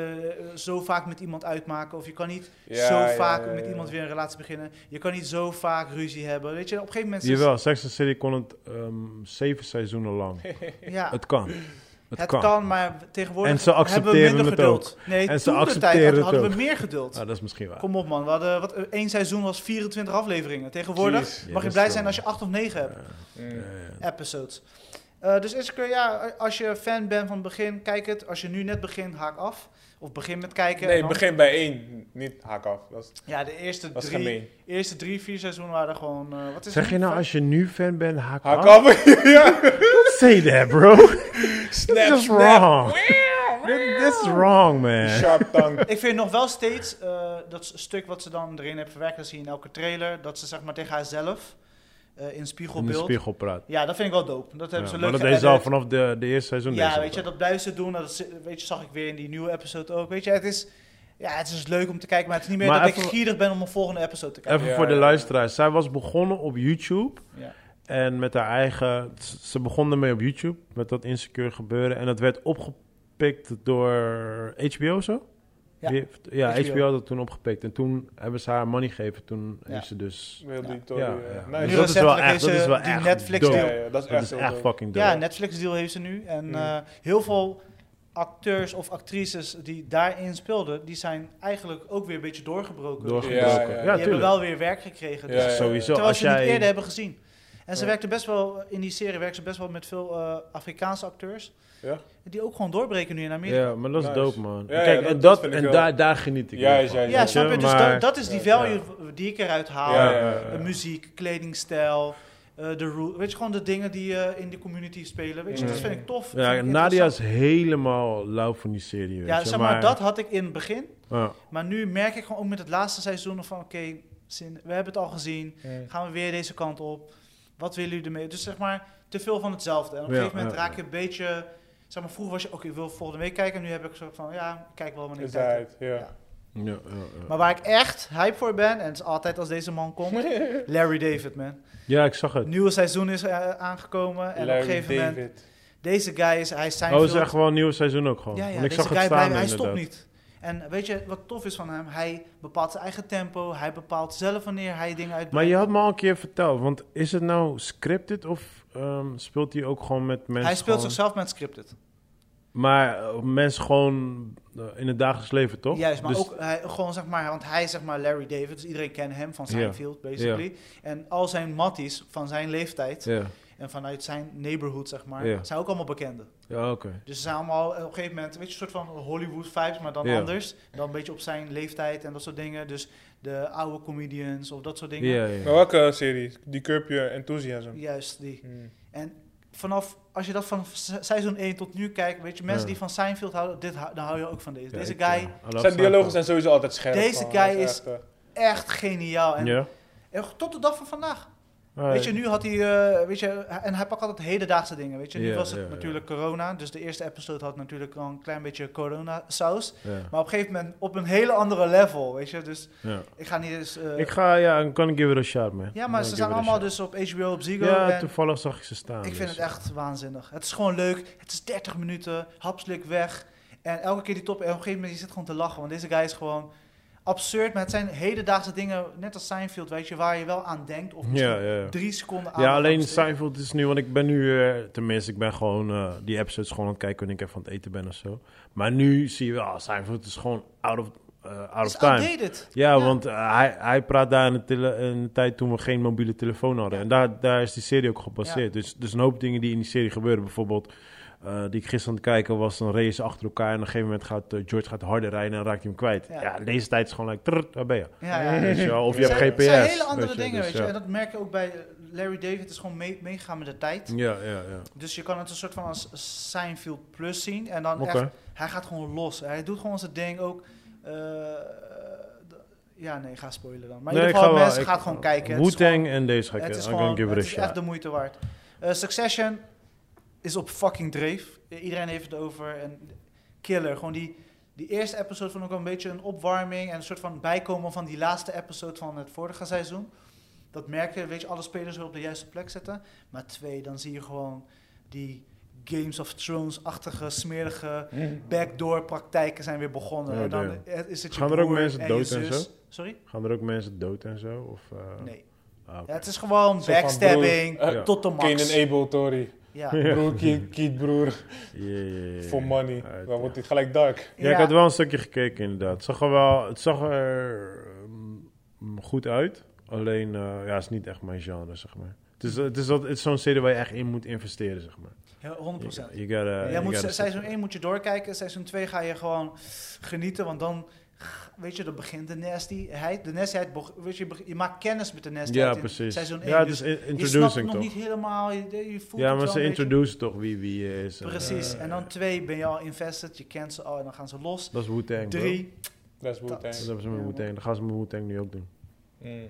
[SPEAKER 3] zo vaak met iemand uitmaken. Of je kan niet
[SPEAKER 2] Ja,
[SPEAKER 3] zo
[SPEAKER 2] ja,
[SPEAKER 3] vaak
[SPEAKER 2] ja,
[SPEAKER 3] met
[SPEAKER 2] ja.
[SPEAKER 3] iemand weer een relatie beginnen. Je kan niet zo vaak ruzie hebben. Weet je, op een gegeven moment... is-
[SPEAKER 1] Jawel, Sex and the City kon het ehm, zeven seizoenen lang.
[SPEAKER 3] Ja, het,
[SPEAKER 1] Het
[SPEAKER 3] (laughs)
[SPEAKER 1] kan. Het,
[SPEAKER 3] kan.
[SPEAKER 1] kan.
[SPEAKER 3] maar tegenwoordig
[SPEAKER 1] En ze
[SPEAKER 3] hebben we minder
[SPEAKER 1] accepteren het
[SPEAKER 3] geduld.
[SPEAKER 1] ook.
[SPEAKER 3] Nee,
[SPEAKER 1] En ze
[SPEAKER 3] toen de tijd
[SPEAKER 1] accepteren
[SPEAKER 3] hadden,
[SPEAKER 1] het
[SPEAKER 3] hadden we
[SPEAKER 1] ook.
[SPEAKER 3] meer geduld.
[SPEAKER 1] Ah, dat is misschien waar.
[SPEAKER 3] Kom op man, we hadden, wat, eh, één seizoen was 24 afleveringen. Tegenwoordig
[SPEAKER 2] Jeez.
[SPEAKER 1] Ja, dat
[SPEAKER 3] mag je
[SPEAKER 1] is
[SPEAKER 3] blij
[SPEAKER 1] wel-
[SPEAKER 3] zijn als je 8 of 9 hebt,
[SPEAKER 2] Mm.
[SPEAKER 3] episodes. Eh, dus Insecure, ja, als je fan bent van het begin, kijk het. Als je nu net begint, haak af. Of begin met kijken. en
[SPEAKER 2] Nee,
[SPEAKER 3] dan-
[SPEAKER 2] begin bij één. Niet haak af. Dat is,
[SPEAKER 3] Ja, de eerste
[SPEAKER 2] dat is
[SPEAKER 3] drie,
[SPEAKER 2] gemeen.
[SPEAKER 3] eerste drie, vier seizoenen waren gewoon... eh, wat is
[SPEAKER 1] Zeg je nou, als je nu fan bent, haak
[SPEAKER 2] Haak
[SPEAKER 1] af?
[SPEAKER 2] af. (laughs) ja.
[SPEAKER 1] Say that, bro. This
[SPEAKER 2] Snap,
[SPEAKER 1] is
[SPEAKER 2] snap.
[SPEAKER 1] wrong. This is wrong, man.
[SPEAKER 2] Sharp tongue.
[SPEAKER 3] Ik vind nog wel steeds eh, dat stuk wat ze dan erin heeft verwerkt, dat zie je in elke trailer, dat ze zeg maar tegen haarzelf eh, in
[SPEAKER 1] In de
[SPEAKER 3] spiegelbeeld.
[SPEAKER 1] spiegel praat.
[SPEAKER 3] Ja, dat vind ik wel dope. Dat hebben
[SPEAKER 1] Ja,
[SPEAKER 3] ze
[SPEAKER 1] maar
[SPEAKER 3] leuk
[SPEAKER 1] dat deed ze al
[SPEAKER 3] geëdit.
[SPEAKER 1] vanaf de, de eerste seizoen. deed
[SPEAKER 3] Ja,
[SPEAKER 1] ze
[SPEAKER 3] weet je,
[SPEAKER 1] dat.
[SPEAKER 3] dat blijven ze doen. Dat is- weet je, zag ik weer in die nieuwe episode ook. Weet je, het is, ja, het is dus leuk om te kijken, maar het is niet meer
[SPEAKER 1] Maar
[SPEAKER 3] dat
[SPEAKER 1] even-
[SPEAKER 3] ik gierig ben om een volgende episode te kijken.
[SPEAKER 1] Even
[SPEAKER 2] Ja,
[SPEAKER 1] voor de
[SPEAKER 2] ja.
[SPEAKER 1] luisteraars. Zij was begonnen op YouTube.
[SPEAKER 3] Ja.
[SPEAKER 1] En met haar eigen... Ze begon ermee op YouTube. Met dat insecure gebeuren. En dat werd opgepikt door HBO, zo?
[SPEAKER 3] Ja.
[SPEAKER 1] Wie heeft- ja,
[SPEAKER 3] HBO.
[SPEAKER 1] HBO. had dat toen opgepikt. En toen hebben ze haar money gegeven. Toen
[SPEAKER 3] Ja.
[SPEAKER 1] heeft ze dus...
[SPEAKER 2] Wil die Tory,
[SPEAKER 1] Ja,
[SPEAKER 2] eh,
[SPEAKER 1] ja.
[SPEAKER 2] nice.
[SPEAKER 1] Dus dat is wel
[SPEAKER 3] recentelijk
[SPEAKER 1] echt,
[SPEAKER 3] is,
[SPEAKER 1] dat is
[SPEAKER 3] eh,
[SPEAKER 1] wel
[SPEAKER 3] die
[SPEAKER 1] echt
[SPEAKER 3] Netflix
[SPEAKER 1] dope.
[SPEAKER 2] Ja,
[SPEAKER 3] deal.
[SPEAKER 2] ja, ja, dat is
[SPEAKER 1] Dat
[SPEAKER 2] echt
[SPEAKER 1] is
[SPEAKER 2] zo.
[SPEAKER 1] echt
[SPEAKER 2] dope.
[SPEAKER 1] fucking dope.
[SPEAKER 3] Ja, Netflix deal heeft ze nu. En
[SPEAKER 2] Mm.
[SPEAKER 3] eh, heel veel acteurs of actrices die daarin speelden, die zijn eigenlijk ook weer een beetje doorgebroken.
[SPEAKER 1] Doorgebroken. Ja,
[SPEAKER 2] Ja, ja, ja.
[SPEAKER 3] die hebben
[SPEAKER 1] tuurlijk.
[SPEAKER 3] wel weer werk gekregen.
[SPEAKER 2] Ja,
[SPEAKER 3] dus,
[SPEAKER 2] ja, ja.
[SPEAKER 1] Sowieso.
[SPEAKER 3] Terwijl
[SPEAKER 1] Als
[SPEAKER 3] ze het niet eerder
[SPEAKER 1] jij...
[SPEAKER 3] hebben gezien. En ze
[SPEAKER 2] Ja.
[SPEAKER 3] werkte best wel, in die serie werkte ze best wel met veel eh, Afrikaanse acteurs.
[SPEAKER 2] Ja.
[SPEAKER 3] Die ook gewoon doorbreken nu in Amerika.
[SPEAKER 1] Ja, maar dat is
[SPEAKER 2] Nice.
[SPEAKER 1] dope, man.
[SPEAKER 2] Ja, ja,
[SPEAKER 1] Kijk,
[SPEAKER 2] dat-
[SPEAKER 1] en,
[SPEAKER 2] dat
[SPEAKER 1] dat,
[SPEAKER 2] vind ik
[SPEAKER 1] en
[SPEAKER 2] wel.
[SPEAKER 1] daar, daar geniet ik
[SPEAKER 2] Ja,
[SPEAKER 1] wel
[SPEAKER 2] ja,
[SPEAKER 1] van.
[SPEAKER 2] ja.
[SPEAKER 3] Ja,
[SPEAKER 1] weet
[SPEAKER 3] snap je? Dus
[SPEAKER 1] maar-
[SPEAKER 3] dat, dat is die
[SPEAKER 2] Ja,
[SPEAKER 3] value
[SPEAKER 1] ja.
[SPEAKER 3] v- die ik eruit haal.
[SPEAKER 2] Ja, ja,
[SPEAKER 3] Eh,
[SPEAKER 2] ja.
[SPEAKER 3] Muziek, kledingstijl, eh, de rule. Weet je, gewoon de dingen die eh, in de community spelen. Weet je,
[SPEAKER 2] Mm.
[SPEAKER 3] dat vind ik tof. Dat
[SPEAKER 1] Ja,
[SPEAKER 3] vind ik
[SPEAKER 1] Nadia is
[SPEAKER 3] interessant.
[SPEAKER 1] helemaal lauw van die serie, weet
[SPEAKER 3] Ja,
[SPEAKER 1] je.
[SPEAKER 3] zeg maar, dat had ik in het begin.
[SPEAKER 1] ja.
[SPEAKER 3] Maar nu merk ik gewoon ook met het laatste seizoen van... Oké, zin- we hebben het al gezien.
[SPEAKER 2] Mm.
[SPEAKER 3] Gaan we weer deze kant op? Wat willen jullie ermee? Dus zeg maar, te veel van hetzelfde. En op een
[SPEAKER 1] Ja,
[SPEAKER 3] gegeven moment
[SPEAKER 1] ja,
[SPEAKER 3] raak
[SPEAKER 1] ja.
[SPEAKER 3] je een beetje... Zeg maar, vroeger was je... Oké, ik wil volgende week kijken. En nu heb ik zo van... Ja, ik kijk wel wanneer ik
[SPEAKER 2] Is
[SPEAKER 3] tijd heb.
[SPEAKER 2] uit, ja.
[SPEAKER 1] Ja, ja, ja.
[SPEAKER 3] Maar waar ik echt hype voor ben, en het is altijd als deze
[SPEAKER 2] (laughs)
[SPEAKER 3] man komt, Larry David, man.
[SPEAKER 1] Ja, ik zag het.
[SPEAKER 3] Het nieuwe seizoen is eh, aangekomen en
[SPEAKER 2] Larry
[SPEAKER 3] op een gegeven moment,
[SPEAKER 2] David.
[SPEAKER 3] deze guy is, hij is zijn
[SPEAKER 1] Oh, het is
[SPEAKER 3] veel-
[SPEAKER 1] echt wel een nieuw seizoen ook gewoon.
[SPEAKER 3] ja, ja,
[SPEAKER 1] Want ik
[SPEAKER 3] deze
[SPEAKER 1] zag
[SPEAKER 3] guy
[SPEAKER 1] het staan
[SPEAKER 3] blijft- hij stopt
[SPEAKER 1] inderdaad.
[SPEAKER 3] niet. En weet je wat tof is van hem? Hij bepaalt zijn eigen tempo, hij bepaalt zelf wanneer hij dingen uitbrengt.
[SPEAKER 1] Maar je had me al een keer verteld, want is het nou scripted of ehm, speelt hij ook gewoon met mensen?
[SPEAKER 3] hij speelt
[SPEAKER 1] gewoon-
[SPEAKER 3] zichzelf met scripted.
[SPEAKER 1] Maar eh, mensen gewoon eh, in het dagelijks leven, toch?
[SPEAKER 3] Juist, maar
[SPEAKER 1] Dus-
[SPEAKER 3] ook hij, gewoon zeg maar, want hij is zeg maar Larry David, dus iedereen kent hem van
[SPEAKER 1] Ja.
[SPEAKER 3] Seinfeld, basically. En al zijn matties van zijn leeftijd
[SPEAKER 1] Ja,
[SPEAKER 3] en vanuit zijn neighborhood, zeg maar,
[SPEAKER 1] Ja.
[SPEAKER 3] zijn ook allemaal bekenden.
[SPEAKER 1] ja oké.
[SPEAKER 3] Dus ze zijn allemaal op een gegeven moment, weet je, een soort van Hollywood vibes, maar dan
[SPEAKER 1] Ja.
[SPEAKER 3] anders. Dan een beetje op zijn leeftijd en dat soort dingen. Dus de oude comedians of dat soort dingen.
[SPEAKER 1] Ja,
[SPEAKER 2] Maar
[SPEAKER 1] ja.
[SPEAKER 2] welke serie? Die Curb Your Enthusiasm.
[SPEAKER 3] Juist die.
[SPEAKER 2] Hmm.
[SPEAKER 3] En vanaf, als je dat van se- seizoen 1 tot nu kijkt, weet je, mensen
[SPEAKER 1] Ja.
[SPEAKER 3] die van Seinfeld houden, dit, hou- dan hou je ook van deze.
[SPEAKER 1] Ja,
[SPEAKER 3] Dus Deze
[SPEAKER 1] ik,
[SPEAKER 3] guy,
[SPEAKER 1] eh, I love
[SPEAKER 2] Zijn dialogen
[SPEAKER 1] Seinfeld.
[SPEAKER 2] zijn sowieso altijd scherp.
[SPEAKER 3] Deze
[SPEAKER 2] man.
[SPEAKER 3] guy
[SPEAKER 2] Dat
[SPEAKER 3] is-
[SPEAKER 2] echt, eh,
[SPEAKER 3] echt geniaal. En,
[SPEAKER 1] Ja?
[SPEAKER 3] en tot de dag van vandaag.
[SPEAKER 1] Ah,
[SPEAKER 3] Weet je, nu had hij, eh, weet je, en hij pakt altijd hedendaagse dingen, weet je. Nu
[SPEAKER 1] Ja,
[SPEAKER 3] was het
[SPEAKER 1] ja, ja.
[SPEAKER 3] natuurlijk corona, dus de eerste episode had natuurlijk al een klein beetje corona-saus.
[SPEAKER 1] ja,
[SPEAKER 3] Maar op een gegeven moment op een hele andere level, weet je. Dus
[SPEAKER 1] ja.
[SPEAKER 3] ik ga niet eens... eh,
[SPEAKER 1] Ik ga, ja, I'm gonna give it a shot, man.
[SPEAKER 3] Ja,
[SPEAKER 1] I'm
[SPEAKER 3] maar
[SPEAKER 1] gonna
[SPEAKER 3] ze
[SPEAKER 1] give
[SPEAKER 3] zijn
[SPEAKER 1] it a
[SPEAKER 3] allemaal
[SPEAKER 1] shot.
[SPEAKER 3] dus op HBO, op Ziggo.
[SPEAKER 1] Ja,
[SPEAKER 3] en
[SPEAKER 1] toevallig zag ik ze staan.
[SPEAKER 3] ik vind
[SPEAKER 1] dus,
[SPEAKER 3] het echt waanzinnig. Het is gewoon leuk. Het is 30 minuten, hapslik weg. En elke keer die top, en op een gegeven moment je zit gewoon te lachen. Want deze guy is gewoon absurd. Maar het zijn hedendaagse dingen, net als Seinfeld, weet je, waar je wel aan denkt. Of misschien
[SPEAKER 1] Ja, ja, ja.
[SPEAKER 3] drie seconden aan.
[SPEAKER 1] Ja,
[SPEAKER 3] gaat
[SPEAKER 1] alleen
[SPEAKER 3] besteden.
[SPEAKER 1] Seinfeld is nu, want ik ben nu, eh, tenminste, ik ben gewoon eh, die episodes gewoon aan het kijken wanneer ik even aan het eten ben of zo. Maar nu zie je wel, ah, Seinfeld is gewoon out of, eh, out
[SPEAKER 3] Het
[SPEAKER 1] of
[SPEAKER 3] is
[SPEAKER 1] time.
[SPEAKER 3] outdated.
[SPEAKER 1] Ja,
[SPEAKER 3] Ja.
[SPEAKER 1] want eh, hij, hij praat daar in de, tele- in de tijd toen we geen mobiele telefoon hadden. En daar, daar is die serie ook gebaseerd. Dus, dus een hoop dingen die in die serie gebeuren. Bijvoorbeeld, eh, die ik gisteren aan het kijken was, een race achter elkaar. En op een gegeven moment gaat eh, George gaat harder rijden en raakt hij hem kwijt.
[SPEAKER 3] Ja.
[SPEAKER 1] Ja, deze tijd is gewoon like, trrr, waar ben je?
[SPEAKER 3] Ja, ja. Het
[SPEAKER 1] Weet je wel, Of je hebt
[SPEAKER 3] zijn-
[SPEAKER 1] GPS.
[SPEAKER 3] het zijn hele andere
[SPEAKER 1] weet je,
[SPEAKER 3] dingen,
[SPEAKER 1] dus
[SPEAKER 3] weet je. En dat merk je ook bij eh, Larry David. Het is gewoon mee- meegegaan met de tijd.
[SPEAKER 1] Ja, ja, ja.
[SPEAKER 3] Dus je kan het een soort van als Seinfeld Plus zien. En dan
[SPEAKER 1] Oké.
[SPEAKER 3] echt Hij gaat gewoon los. Hij doet gewoon zijn ding ook. eh, d- ja, nee, ik ga spoilen dan. Maar in ieder geval, mensen gaan gewoon kijken. Het is
[SPEAKER 1] Wu-Tang
[SPEAKER 3] gewoon-
[SPEAKER 1] en deze ga ik
[SPEAKER 3] Het
[SPEAKER 1] I'm
[SPEAKER 3] is
[SPEAKER 1] gonna
[SPEAKER 3] gewoon,
[SPEAKER 1] give
[SPEAKER 3] het
[SPEAKER 1] it a
[SPEAKER 3] is echt
[SPEAKER 1] shot.
[SPEAKER 3] de moeite waard. Eh, Succession is op fucking dreef. I- Iedereen heeft het over. En killer. Gewoon die, die eerste episode vond ik wel een beetje een opwarming. En een soort van bijkomen van die laatste episode van het vorige seizoen. Dat merk je, weet je, alle spelers weer op de juiste plek zetten. Maar twee, dan zie je gewoon die Games of Thrones-achtige, smerige
[SPEAKER 2] eh,
[SPEAKER 3] backdoor praktijken zijn weer begonnen.
[SPEAKER 1] Oh,
[SPEAKER 3] en dan
[SPEAKER 1] damn.
[SPEAKER 3] eh, is het je
[SPEAKER 1] Gaan er ook
[SPEAKER 3] broer
[SPEAKER 1] mensen
[SPEAKER 3] je
[SPEAKER 1] dood en
[SPEAKER 3] zus.
[SPEAKER 1] zo?
[SPEAKER 3] Sorry?
[SPEAKER 1] Gaan er ook mensen dood en zo? Of, eh,
[SPEAKER 3] Nee.
[SPEAKER 1] ah, oké.
[SPEAKER 3] Ja, het is gewoon
[SPEAKER 2] Zo van
[SPEAKER 3] backstabbing
[SPEAKER 2] broer, eh,
[SPEAKER 3] tot de max.
[SPEAKER 2] Cain and Abel, Tory.
[SPEAKER 1] (laughs)
[SPEAKER 3] Ja.
[SPEAKER 2] Broer, Keith, Keith, broer.
[SPEAKER 1] Yeah, yeah, yeah,
[SPEAKER 2] For
[SPEAKER 1] yeah.
[SPEAKER 2] money.
[SPEAKER 1] Uit,
[SPEAKER 2] Dan
[SPEAKER 1] ja.
[SPEAKER 2] wordt hij gelijk dark.
[SPEAKER 1] Ja, ik had wel een stukje gekeken inderdaad. Het zag er, wel, het zag er mm, goed uit. Alleen, eh, ja, het is niet echt mijn genre, zeg maar. Het is, het is, dat- het is zo'n serie waar je echt in moet investeren, zeg maar.
[SPEAKER 3] Ja, 100%.
[SPEAKER 1] You gotta,
[SPEAKER 3] Jij
[SPEAKER 1] you
[SPEAKER 3] moet,
[SPEAKER 1] gotta-
[SPEAKER 3] se- seizoen 1 moet je doorkijken, seizoen 2 ga je gewoon genieten, want dan, weet je, dan begint de nastyheid. De nastyheid, beg- weet je, je, beg- je maakt kennis met de nastyheid
[SPEAKER 1] Ja,
[SPEAKER 3] in
[SPEAKER 1] precies.
[SPEAKER 3] seizoen 1.
[SPEAKER 1] ja, het
[SPEAKER 3] dus
[SPEAKER 1] is in-
[SPEAKER 3] je snapt het
[SPEAKER 1] introducing
[SPEAKER 3] nog
[SPEAKER 1] toch?
[SPEAKER 3] niet helemaal, je, je voelt
[SPEAKER 1] Ja,
[SPEAKER 3] het
[SPEAKER 1] maar
[SPEAKER 3] wel
[SPEAKER 1] ze
[SPEAKER 3] een beetje.
[SPEAKER 1] introducen toch wie wie eh, is. en,
[SPEAKER 3] Precies,
[SPEAKER 1] eh,
[SPEAKER 3] en dan 2 ben je al invested, je kent ze al en dan gaan ze los.
[SPEAKER 1] Dat is Wu-Tang, bro.
[SPEAKER 3] 3,
[SPEAKER 2] Dat is
[SPEAKER 1] Dat
[SPEAKER 3] Dat-
[SPEAKER 2] Wu-Tang.
[SPEAKER 1] hebben ze met
[SPEAKER 3] Ja,
[SPEAKER 1] Wu-Tang. Dat gaan ze met Wu-Tang nu ook doen.
[SPEAKER 2] Mm.
[SPEAKER 1] Hmm.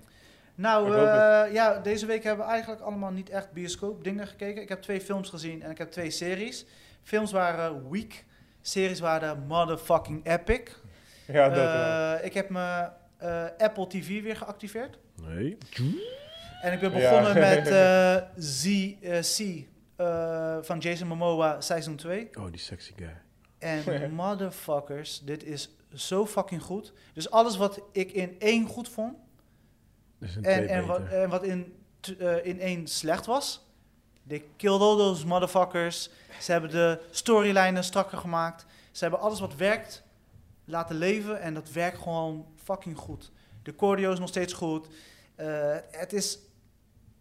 [SPEAKER 3] nou
[SPEAKER 2] Ik hoop
[SPEAKER 3] eh, ja, deze week hebben we eigenlijk allemaal niet echt bioscoop dingen gekeken. Ik heb twee films gezien en ik heb twee series. Films waren weak, series waren motherfucking epic.
[SPEAKER 2] (laughs) Ja, dat wel.
[SPEAKER 3] Eh, ik heb mijn eh, Apple TV weer geactiveerd.
[SPEAKER 1] Nee.
[SPEAKER 3] En ik ben
[SPEAKER 2] Ja. (laughs)
[SPEAKER 3] begonnen met eh Z, eh, C eh, van Jason Momoa Seizoen 2.
[SPEAKER 1] Oh, die sexy guy.
[SPEAKER 2] (laughs)
[SPEAKER 3] En motherfuckers, dit is zo fucking goed. Dus alles wat ik in één goed vond
[SPEAKER 1] Dus een
[SPEAKER 3] en,
[SPEAKER 1] twee
[SPEAKER 3] en, wat,
[SPEAKER 1] beter.
[SPEAKER 3] en wat in, t- eh, in één slecht was, they killed all those motherfuckers. Ze hebben de storylijnen strakker gemaakt. Ze hebben alles wat werkt laten leven en dat werkt gewoon fucking goed. De choreo is nog steeds goed. Eh, het is,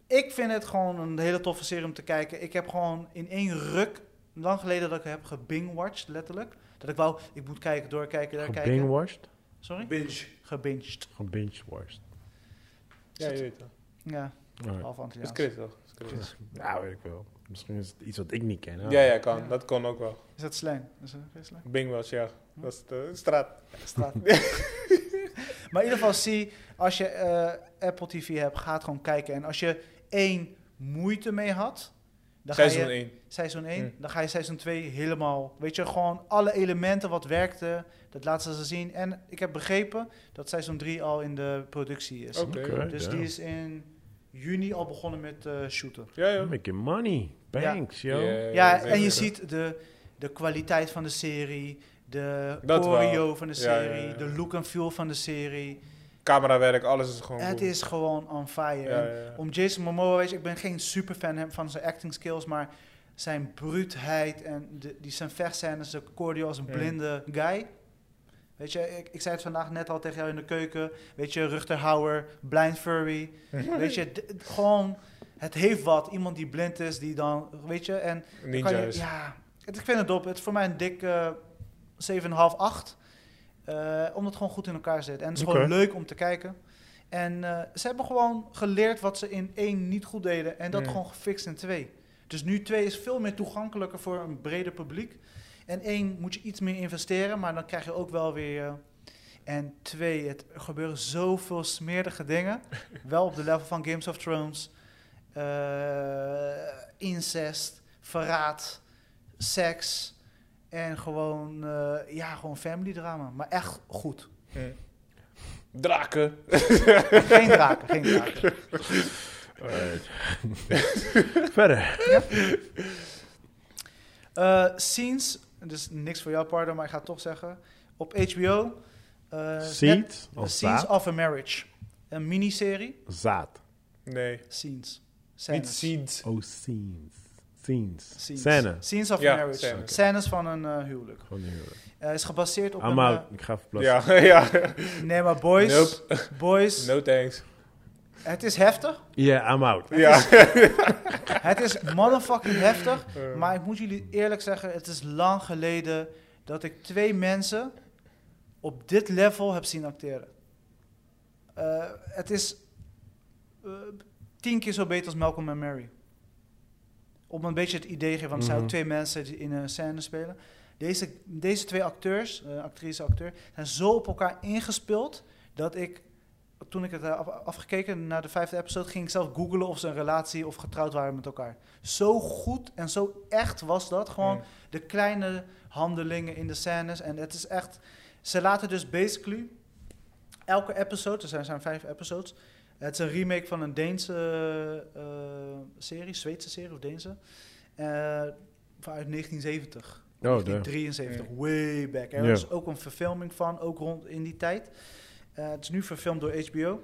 [SPEAKER 3] ik vind het gewoon een hele toffe serie om te kijken. Ik heb gewoon in één ruk, lang geleden dat ik heb gebingwatched, letterlijk. Dat ik wou, ik moet kijken, doorkijken, daar kijken.
[SPEAKER 1] Gebingewashed?
[SPEAKER 3] Sorry?
[SPEAKER 4] Binge.
[SPEAKER 3] Gebinged.
[SPEAKER 1] Gebingewashed.
[SPEAKER 2] Ja, je weet het.
[SPEAKER 3] Ja,
[SPEAKER 1] Alright.
[SPEAKER 3] half
[SPEAKER 2] Dat is
[SPEAKER 3] Antilliaans.
[SPEAKER 2] Chris, toch? Dat is Chris.
[SPEAKER 1] Ja, weet ik wel. Misschien is het iets wat ik niet ken. hè?
[SPEAKER 2] Ja, ja, kan.
[SPEAKER 3] Ja.
[SPEAKER 2] Dat kon ook wel.
[SPEAKER 3] Is dat slang? Is dat geen slang?
[SPEAKER 2] Bingwas, ja.
[SPEAKER 3] Hm?
[SPEAKER 2] Dat is de straat.
[SPEAKER 3] Straat. (laughs) maar in ieder geval, zie, als je eh, Apple TV hebt, ga het gewoon kijken. En als je één moeite mee had, dan ga
[SPEAKER 2] Seizoen
[SPEAKER 3] je
[SPEAKER 2] 1.
[SPEAKER 3] seizoen 1,
[SPEAKER 2] Mm.
[SPEAKER 3] dan ga je seizoen 2 helemaal. Weet je, gewoon alle elementen wat werkte, dat laten ze zien. En ik heb begrepen dat seizoen 3 al in de productie is.
[SPEAKER 2] Oké.
[SPEAKER 1] Oké.
[SPEAKER 3] Dus
[SPEAKER 1] damn.
[SPEAKER 3] die is in juni al begonnen met eh, shooten.
[SPEAKER 2] Ja, ja.
[SPEAKER 1] Making money. Thanks, yo.
[SPEAKER 3] Ja, en je
[SPEAKER 2] zeker.
[SPEAKER 3] ziet de, de kwaliteit van de serie, de
[SPEAKER 2] Dat wel.
[SPEAKER 3] choreo van de
[SPEAKER 2] Ja, ja,
[SPEAKER 3] serie,
[SPEAKER 2] ja.
[SPEAKER 3] de look en feel van de serie.
[SPEAKER 2] Camerawerk, alles is gewoon
[SPEAKER 3] Het
[SPEAKER 2] goed.
[SPEAKER 3] is gewoon on fire.
[SPEAKER 2] Ja,
[SPEAKER 3] En
[SPEAKER 2] ja, ja.
[SPEAKER 3] Om Jason Momoa, weet je, ik ben geen superfan hem- van zijn acting skills, maar zijn bruutheid en de, die zijn vechtscènes, de cordio als een
[SPEAKER 2] Mm.
[SPEAKER 3] blinde guy. Weet je, ik, ik zei het vandaag net al tegen jou in de keuken. Weet je, Ruchterhauer, Blind
[SPEAKER 2] (laughs)
[SPEAKER 3] Furry. weet je, d- d- gewoon, het heeft wat. Iemand die blind is, die dan, weet je, en dan
[SPEAKER 2] Ninja
[SPEAKER 3] kan je-
[SPEAKER 2] is.
[SPEAKER 3] ja, het, ik vind het dop. Het is voor mij een dik eh 7,5, 8. eh, omdat het gewoon goed in elkaar zit. En het is
[SPEAKER 1] Oké.
[SPEAKER 3] gewoon leuk om te kijken. En eh, ze hebben gewoon geleerd wat ze in één niet goed deden. En dat
[SPEAKER 2] Mm.
[SPEAKER 3] gewoon gefixt in twee. Dus nu twee is veel meer toegankelijker voor een breder publiek. En één moet je iets meer investeren, maar dan krijg je ook wel weer... eh, en twee, het, er gebeuren zoveel smerige dingen. wel op de level van Games of Thrones. Eh, incest, verraad, seks. En gewoon, eh, ja, gewoon family drama. Maar echt goed.
[SPEAKER 2] Hm. Draken.
[SPEAKER 3] Geen draken, geen draken.
[SPEAKER 1] Alright. (laughs) Verder.
[SPEAKER 3] Eh, scenes, dus niks voor jou, pardon, maar ik ga het toch zeggen. Op HBO. eh, net-
[SPEAKER 1] Seed. Als
[SPEAKER 3] Scenes
[SPEAKER 1] zaad.
[SPEAKER 3] of a Marriage. Een miniserie.
[SPEAKER 1] Zaad.
[SPEAKER 2] Nee.
[SPEAKER 3] Scenes.
[SPEAKER 2] Niet
[SPEAKER 3] Scènes.
[SPEAKER 2] seeds.
[SPEAKER 1] Oh, scenes. Scenes.
[SPEAKER 3] Scenes.
[SPEAKER 1] Scène.
[SPEAKER 3] Scenes of
[SPEAKER 2] Ja,
[SPEAKER 3] a Marriage.
[SPEAKER 2] scènes.
[SPEAKER 3] Scènes van een eh, huwelijk.
[SPEAKER 1] Gewoon heel-
[SPEAKER 3] Eh, is gebaseerd op
[SPEAKER 1] I'm
[SPEAKER 3] een...
[SPEAKER 1] out. Ik ga verplassen.
[SPEAKER 2] Ja, (laughs) ja.
[SPEAKER 3] eh, nee, maar boys.
[SPEAKER 2] (laughs)
[SPEAKER 3] Boys.
[SPEAKER 2] No thanks.
[SPEAKER 3] Het is heftig.
[SPEAKER 1] Ja, I'm out.
[SPEAKER 2] Ja.
[SPEAKER 3] Het is motherfucking heftig. Maar ik moet jullie eerlijk zeggen, het is lang geleden dat ik twee mensen op dit level heb zien acteren. Eh, het is eh, tien keer zo beter als Malcolm en Mary. Om een beetje het idee te geven, want het zijn ook
[SPEAKER 1] Mhm.
[SPEAKER 3] twee mensen die in een scène spelen. Deze, deze twee acteurs, eh, actrice acteur, zijn zo op elkaar ingespeeld dat ik, toen ik het heb afgekeken naar de vijfde episode, ging ik zelf googlen of ze een relatie of getrouwd waren met elkaar. Zo goed en zo echt was dat.
[SPEAKER 2] Mm.
[SPEAKER 3] Gewoon de kleine handelingen in de scènes. En het is echt. Ze laten dus basically elke episode, er zijn, zijn vijf episodes. Het is een remake van een Deense eh, serie, Zweedse serie of Deense. eh uit 1970.
[SPEAKER 1] Oh, damn.
[SPEAKER 3] 1973, way back. Er
[SPEAKER 1] Ja.
[SPEAKER 3] is ook een verfilming van, ook rond in die tijd. Eh, het is nu verfilmd door HBO.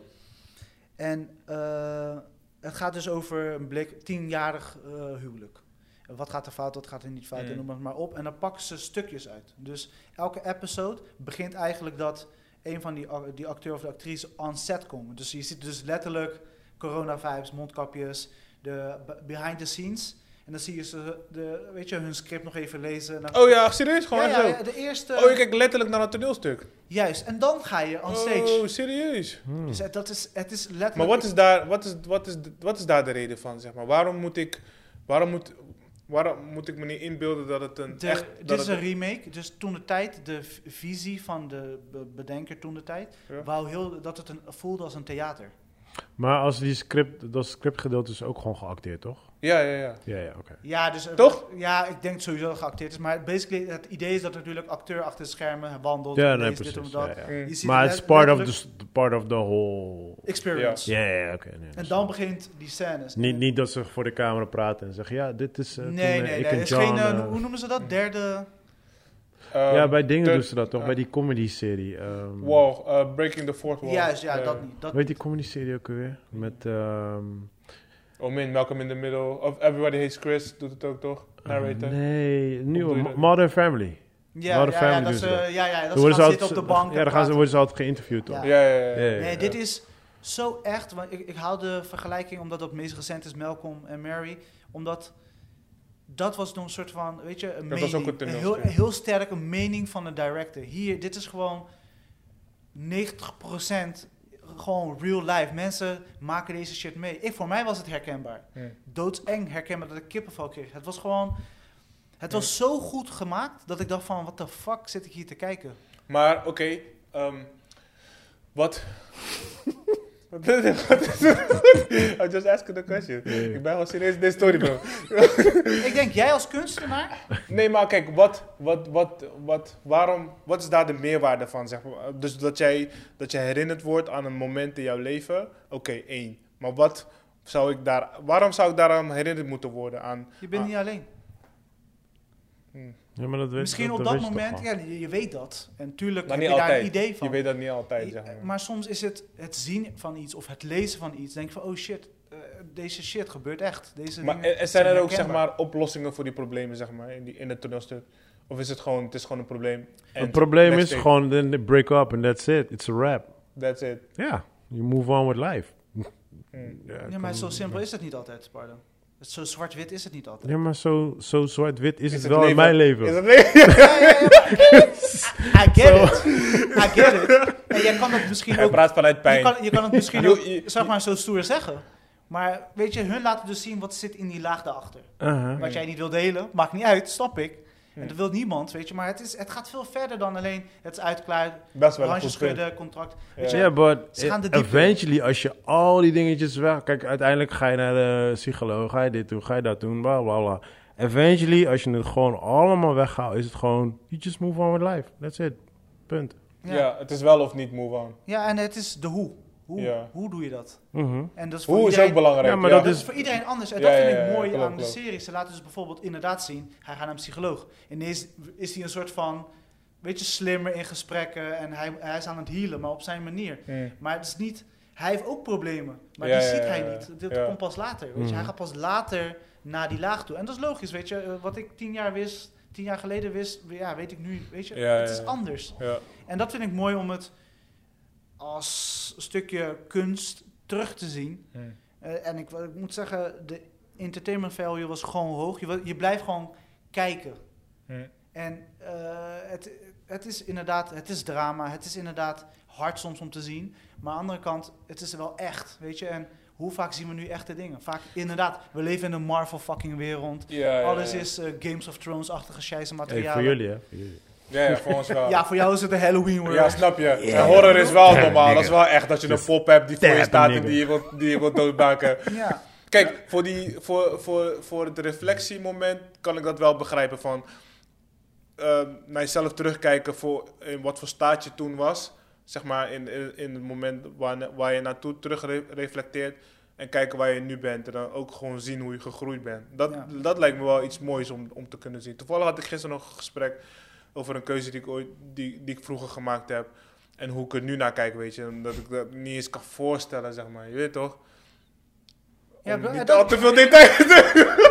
[SPEAKER 3] En eh, het gaat dus over een blik, tienjarig eh, huwelijk. En Wat gaat er fout, wat gaat er niet fout, en
[SPEAKER 2] Mm.
[SPEAKER 3] noem het maar op. En dan pakken ze stukjes uit. Dus elke episode begint eigenlijk dat een van die, ac- die acteur of de actrice on set komen. Dus je ziet dus letterlijk corona-vibes, mondkapjes, de b- behind the scenes. En dan zie je ze de, weet je, hun script nog even lezen. En dan-
[SPEAKER 2] Oh ja, serieus? Gewoon
[SPEAKER 3] ja, ja,
[SPEAKER 2] zo?
[SPEAKER 3] ja, de eerste.
[SPEAKER 2] Oh, je kijkt letterlijk naar een toneelstuk.
[SPEAKER 3] Juist, en dan ga je on stage.
[SPEAKER 2] Oh, serieus?
[SPEAKER 1] Hmm.
[SPEAKER 3] Dus het- dat is, het is letterlijk.
[SPEAKER 2] Maar wat is, daar, wat, is, wat, is, wat is daar de reden van, zeg maar? Waarom moet ik, waarom moet, waarom moet ik me niet inbeelden dat het een
[SPEAKER 3] De-
[SPEAKER 2] echt...
[SPEAKER 3] dit
[SPEAKER 2] dat
[SPEAKER 3] is
[SPEAKER 2] het-
[SPEAKER 3] een remake, dus toen de tijd, de v- visie van de be- bedenker toen de tijd,
[SPEAKER 2] Ja.
[SPEAKER 3] wou heel, dat het een, voelde als een theater.
[SPEAKER 1] Maar als die script, dat scriptgedeelte is ook gewoon geacteerd, toch?
[SPEAKER 2] Ja, ja, ja.
[SPEAKER 1] Ja, ja, oké.
[SPEAKER 3] Ja, dus, er-
[SPEAKER 2] Toch?
[SPEAKER 3] Ja, ik denk sowieso dat het geacteerd is, maar basically het idee is dat er natuurlijk acteur achter de schermen wandelt,
[SPEAKER 1] Ja,
[SPEAKER 3] en
[SPEAKER 1] nee,
[SPEAKER 3] deze, dit en
[SPEAKER 1] precies.
[SPEAKER 3] dat.
[SPEAKER 1] Ja, ja.
[SPEAKER 2] Mm.
[SPEAKER 3] Je ziet
[SPEAKER 1] Maar
[SPEAKER 3] het
[SPEAKER 1] het is
[SPEAKER 3] le-
[SPEAKER 1] part of, the,
[SPEAKER 3] letterlijk
[SPEAKER 1] s- part of the whole...
[SPEAKER 3] experience.
[SPEAKER 1] Ja, ja, ja, oké. nee,
[SPEAKER 3] En
[SPEAKER 1] dat
[SPEAKER 3] dan
[SPEAKER 1] is-
[SPEAKER 3] begint die scènes.
[SPEAKER 1] niet, niet dat ze voor de camera praten en zeggen... Ja, dit is... eh,
[SPEAKER 3] Nee,
[SPEAKER 1] toen,
[SPEAKER 3] nee,
[SPEAKER 1] eh,
[SPEAKER 3] nee.
[SPEAKER 1] ik
[SPEAKER 3] Er
[SPEAKER 1] en
[SPEAKER 3] is
[SPEAKER 1] John,
[SPEAKER 3] geen, eh,
[SPEAKER 1] eh,
[SPEAKER 3] hoe noemen ze dat? Derde.
[SPEAKER 2] Ehm,
[SPEAKER 1] ja, bij dingen dus.
[SPEAKER 2] de-
[SPEAKER 1] doen ze dat toch?
[SPEAKER 2] ja.
[SPEAKER 1] bij die comedy-serie. ehm,
[SPEAKER 2] Wow, eh, Breaking the Fourth Wall.
[SPEAKER 3] Juist, ja,
[SPEAKER 2] Eh,
[SPEAKER 3] dat niet. Dat
[SPEAKER 1] Weet die comedy-serie ook weer? Met. ehm,
[SPEAKER 2] Oh man, Malcolm in the Middle. Of Everybody Hates Chris doet het ook toch? Narrator.
[SPEAKER 1] Ah, eh, nee,
[SPEAKER 2] Hoe
[SPEAKER 1] nieuwe
[SPEAKER 2] doe je
[SPEAKER 1] Mo-
[SPEAKER 2] dat?
[SPEAKER 1] Modern Family.
[SPEAKER 3] ja,
[SPEAKER 1] Modern
[SPEAKER 3] ja, ja,
[SPEAKER 1] Family
[SPEAKER 3] dat
[SPEAKER 1] doen
[SPEAKER 3] ze,
[SPEAKER 1] ze dat.
[SPEAKER 3] ja, ja, dat
[SPEAKER 1] Dan
[SPEAKER 3] ze
[SPEAKER 1] worden
[SPEAKER 3] gaan
[SPEAKER 1] ze altijd-
[SPEAKER 3] zitten op de bank.
[SPEAKER 1] (laughs) Ja, dan gaan ze, worden ze altijd geïnterviewd toch?
[SPEAKER 3] Ja.
[SPEAKER 2] Ja, ja, ja.
[SPEAKER 1] Ja, ja, ja.
[SPEAKER 3] Nee, dit is zo echt. Want ik, ik hou de vergelijking, omdat dat het meest recent is, Malcolm en Mary. Omdat dat was nog een soort van, weet je, een
[SPEAKER 2] Dat was
[SPEAKER 3] mening.
[SPEAKER 2] ook een
[SPEAKER 3] een heel,
[SPEAKER 2] toneelstuk.
[SPEAKER 3] een heel sterk een mening van de director. Hier, dit is gewoon 90% gewoon real life. Mensen maken deze shit mee. Ik, voor mij was het herkenbaar.
[SPEAKER 2] Hmm.
[SPEAKER 3] Doodseng herkenbaar dat ik kippenvel kreeg. Het was gewoon... Het was zo goed gemaakt dat ik dacht van, wat de fuck zit ik hier te kijken?
[SPEAKER 2] Maar oké, ehm, wat. (laughs) Wat is het? Wat is (laughs) het? I'm just asking the question. Ik ben wel serieus in deze story, bro.
[SPEAKER 3] ik denk, jij als kunstenaar...
[SPEAKER 2] Nee, maar kijk, wat, wat, wat, wat, waarom, wat is daar de meerwaarde van? Zeg maar? Dus dat jij, dat je herinnerd wordt aan een moment in jouw leven. Oké, één. Maar wat zou ik daar, waarom zou ik daaraan herinnerd moeten worden? Aan,
[SPEAKER 3] Je bent
[SPEAKER 2] aan-
[SPEAKER 3] niet alleen.
[SPEAKER 1] Ja, maar dat weet-
[SPEAKER 3] Misschien op
[SPEAKER 1] dat
[SPEAKER 3] dat
[SPEAKER 1] weet je toch
[SPEAKER 3] moment,
[SPEAKER 1] al?
[SPEAKER 3] ja, je, je weet dat. En tuurlijk
[SPEAKER 2] maar
[SPEAKER 3] heb
[SPEAKER 2] niet
[SPEAKER 3] je daar
[SPEAKER 2] altijd.
[SPEAKER 3] een idee van.
[SPEAKER 2] Je weet dat niet altijd, zeg
[SPEAKER 3] Je-
[SPEAKER 2] maar.
[SPEAKER 3] Maar soms is het het zien van iets of het lezen van iets. Denk je van, oh shit, eh, deze shit gebeurt echt. Deze
[SPEAKER 2] Maar
[SPEAKER 3] dingen
[SPEAKER 2] er- er zijn er ook zeg
[SPEAKER 3] herkenbaar.
[SPEAKER 2] maar, oplossingen voor die problemen zeg maar, in, die, in het toneelstuk? Of is het gewoon, het is gewoon een probleem? en
[SPEAKER 1] Het probleem
[SPEAKER 2] next
[SPEAKER 1] is
[SPEAKER 2] take,
[SPEAKER 1] gewoon, then they break up and that's it. It's a wrap.
[SPEAKER 2] That's it.
[SPEAKER 1] Ja, you move on with life.
[SPEAKER 2] Hmm.
[SPEAKER 1] Ja,
[SPEAKER 3] Ja, maar
[SPEAKER 1] kom-
[SPEAKER 3] zo simpel is het niet altijd, pardon. Het- Zo zwart-wit is het niet altijd.
[SPEAKER 1] Ja, maar zo, zo zwart-wit is,
[SPEAKER 2] Is
[SPEAKER 1] het wel in
[SPEAKER 2] leven-
[SPEAKER 1] mijn leven.
[SPEAKER 2] Is het
[SPEAKER 3] (laughs)
[SPEAKER 2] leven?
[SPEAKER 3] Ja, ja, ja, maar- I get it. I get it. En jij kan dat
[SPEAKER 2] (laughs)
[SPEAKER 3] misschien
[SPEAKER 2] Hij
[SPEAKER 3] ook...
[SPEAKER 2] praat vanuit
[SPEAKER 3] Je
[SPEAKER 2] pijn.
[SPEAKER 3] kan, je kan
[SPEAKER 2] (laughs)
[SPEAKER 3] het misschien
[SPEAKER 2] Je-
[SPEAKER 3] ook,
[SPEAKER 2] je-
[SPEAKER 3] zeg maar, zo stoer zeggen. Maar weet je, hun laten dus zien wat zit in die laag daarachter.
[SPEAKER 1] Aha.
[SPEAKER 3] Wat jij niet wil delen, maakt niet uit, snap ik. En dat wil niemand, weet je. Maar het, is, het gaat veel verder dan alleen het is uitklaar,
[SPEAKER 2] Best wel een
[SPEAKER 3] handjes
[SPEAKER 2] goed punt.
[SPEAKER 3] schudden, contract.
[SPEAKER 2] Ja.
[SPEAKER 1] Ja, but
[SPEAKER 3] Ze gaan de diepte
[SPEAKER 1] eventually als je al die dingetjes weg... Kijk, uiteindelijk ga je naar de psycholoog, ga je dit doen, ga je dat doen, bla bla bla. Eventually, als je het gewoon allemaal weghaalt, is het gewoon... You just move on with life. That's it. Punt.
[SPEAKER 2] Ja.
[SPEAKER 3] Ja. ja.
[SPEAKER 2] het is wel of niet move on.
[SPEAKER 3] en het is de hoe. Hoe,
[SPEAKER 2] Ja.
[SPEAKER 3] hoe doe je dat?
[SPEAKER 1] Mhm.
[SPEAKER 3] En dat is voor
[SPEAKER 2] Hoe is
[SPEAKER 3] iedereen,
[SPEAKER 2] ook belangrijk.
[SPEAKER 1] Ja, maar
[SPEAKER 3] dat is voor iedereen anders. En
[SPEAKER 2] Ja,
[SPEAKER 3] dat vind
[SPEAKER 2] ja, ja,
[SPEAKER 3] ik mooi
[SPEAKER 2] klopt,
[SPEAKER 3] aan
[SPEAKER 2] klopt.
[SPEAKER 3] de serie. Ze laten dus bijvoorbeeld inderdaad zien, hij gaat naar een psycholoog. Ineens is hij een soort van, weet je, slimmer in gesprekken. En hij, hij is aan het healen, maar op zijn manier.
[SPEAKER 2] Hmm.
[SPEAKER 3] Maar het is niet, hij heeft ook problemen, maar
[SPEAKER 2] Ja,
[SPEAKER 3] die
[SPEAKER 2] ja,
[SPEAKER 3] ziet
[SPEAKER 2] ja,
[SPEAKER 3] hij
[SPEAKER 2] ja.
[SPEAKER 3] niet. Dat
[SPEAKER 2] Ja.
[SPEAKER 3] komt pas later, weet je. Hij
[SPEAKER 1] Mhm.
[SPEAKER 3] gaat pas later naar die laag toe. En dat is logisch, weet je. Eh, Wat ik tien jaar wist, tien jaar geleden wist, ja, weet ik nu, weet je.
[SPEAKER 2] Ja,
[SPEAKER 3] het
[SPEAKER 2] ja,
[SPEAKER 3] is
[SPEAKER 2] ja.
[SPEAKER 3] anders.
[SPEAKER 2] Ja.
[SPEAKER 3] En dat vind ik mooi om het als stukje kunst terug te zien.
[SPEAKER 2] Hmm.
[SPEAKER 3] Eh, en ik, ik moet zeggen, de entertainment value was gewoon hoog. Je, wil- je blijft gewoon kijken.
[SPEAKER 2] Hmm.
[SPEAKER 3] En eh, het, het is inderdaad, het is drama, het is inderdaad hard soms om te zien. Maar aan de andere kant, het is wel echt, weet je. En hoe vaak zien we nu echte dingen? Vaak, inderdaad, we leven in een Marvel fucking wereld.
[SPEAKER 2] Ja, ja,
[SPEAKER 3] Alles
[SPEAKER 2] ja.
[SPEAKER 3] is eh, Games of Thrones-achtige scheisse
[SPEAKER 1] Hey,
[SPEAKER 3] materiaal.
[SPEAKER 1] voor jullie, hè. Voor jullie.
[SPEAKER 2] Ja, ja, voor ons wel.
[SPEAKER 3] Ja, voor jou is het een Halloween world.
[SPEAKER 2] Ja, snap je. En horror is wel
[SPEAKER 1] Ja,
[SPEAKER 2] normaal. Dat
[SPEAKER 1] nigga.
[SPEAKER 2] is wel echt dat je een pop hebt die voor je
[SPEAKER 1] Stab,
[SPEAKER 2] staat en
[SPEAKER 1] nigga.
[SPEAKER 2] die je wilt, die je wilt doodmaken.
[SPEAKER 3] ja.
[SPEAKER 2] Kijk, voor, die, voor, voor, voor het reflectiemoment kan ik dat wel begrijpen van eh, naar jezelf terugkijken voor in wat voor staat je toen was. Zeg maar in, in, in het moment waar, waar je naartoe terug re- reflecteert en kijken waar je nu bent. En dan ook gewoon zien hoe je gegroeid bent. Dat,
[SPEAKER 3] Ja.
[SPEAKER 2] dat lijkt me wel iets moois om, om te kunnen zien. Toevallig had ik gisteren nog een gesprek over een keuze die ik, ooit, die, die ik vroeger gemaakt heb. En hoe ik er nu naar kijk, weet je. Omdat ik dat niet eens kan voorstellen, zeg maar. Je weet toch?
[SPEAKER 3] Ja,
[SPEAKER 2] Om
[SPEAKER 3] maar
[SPEAKER 2] niet
[SPEAKER 3] dat-
[SPEAKER 2] al te veel details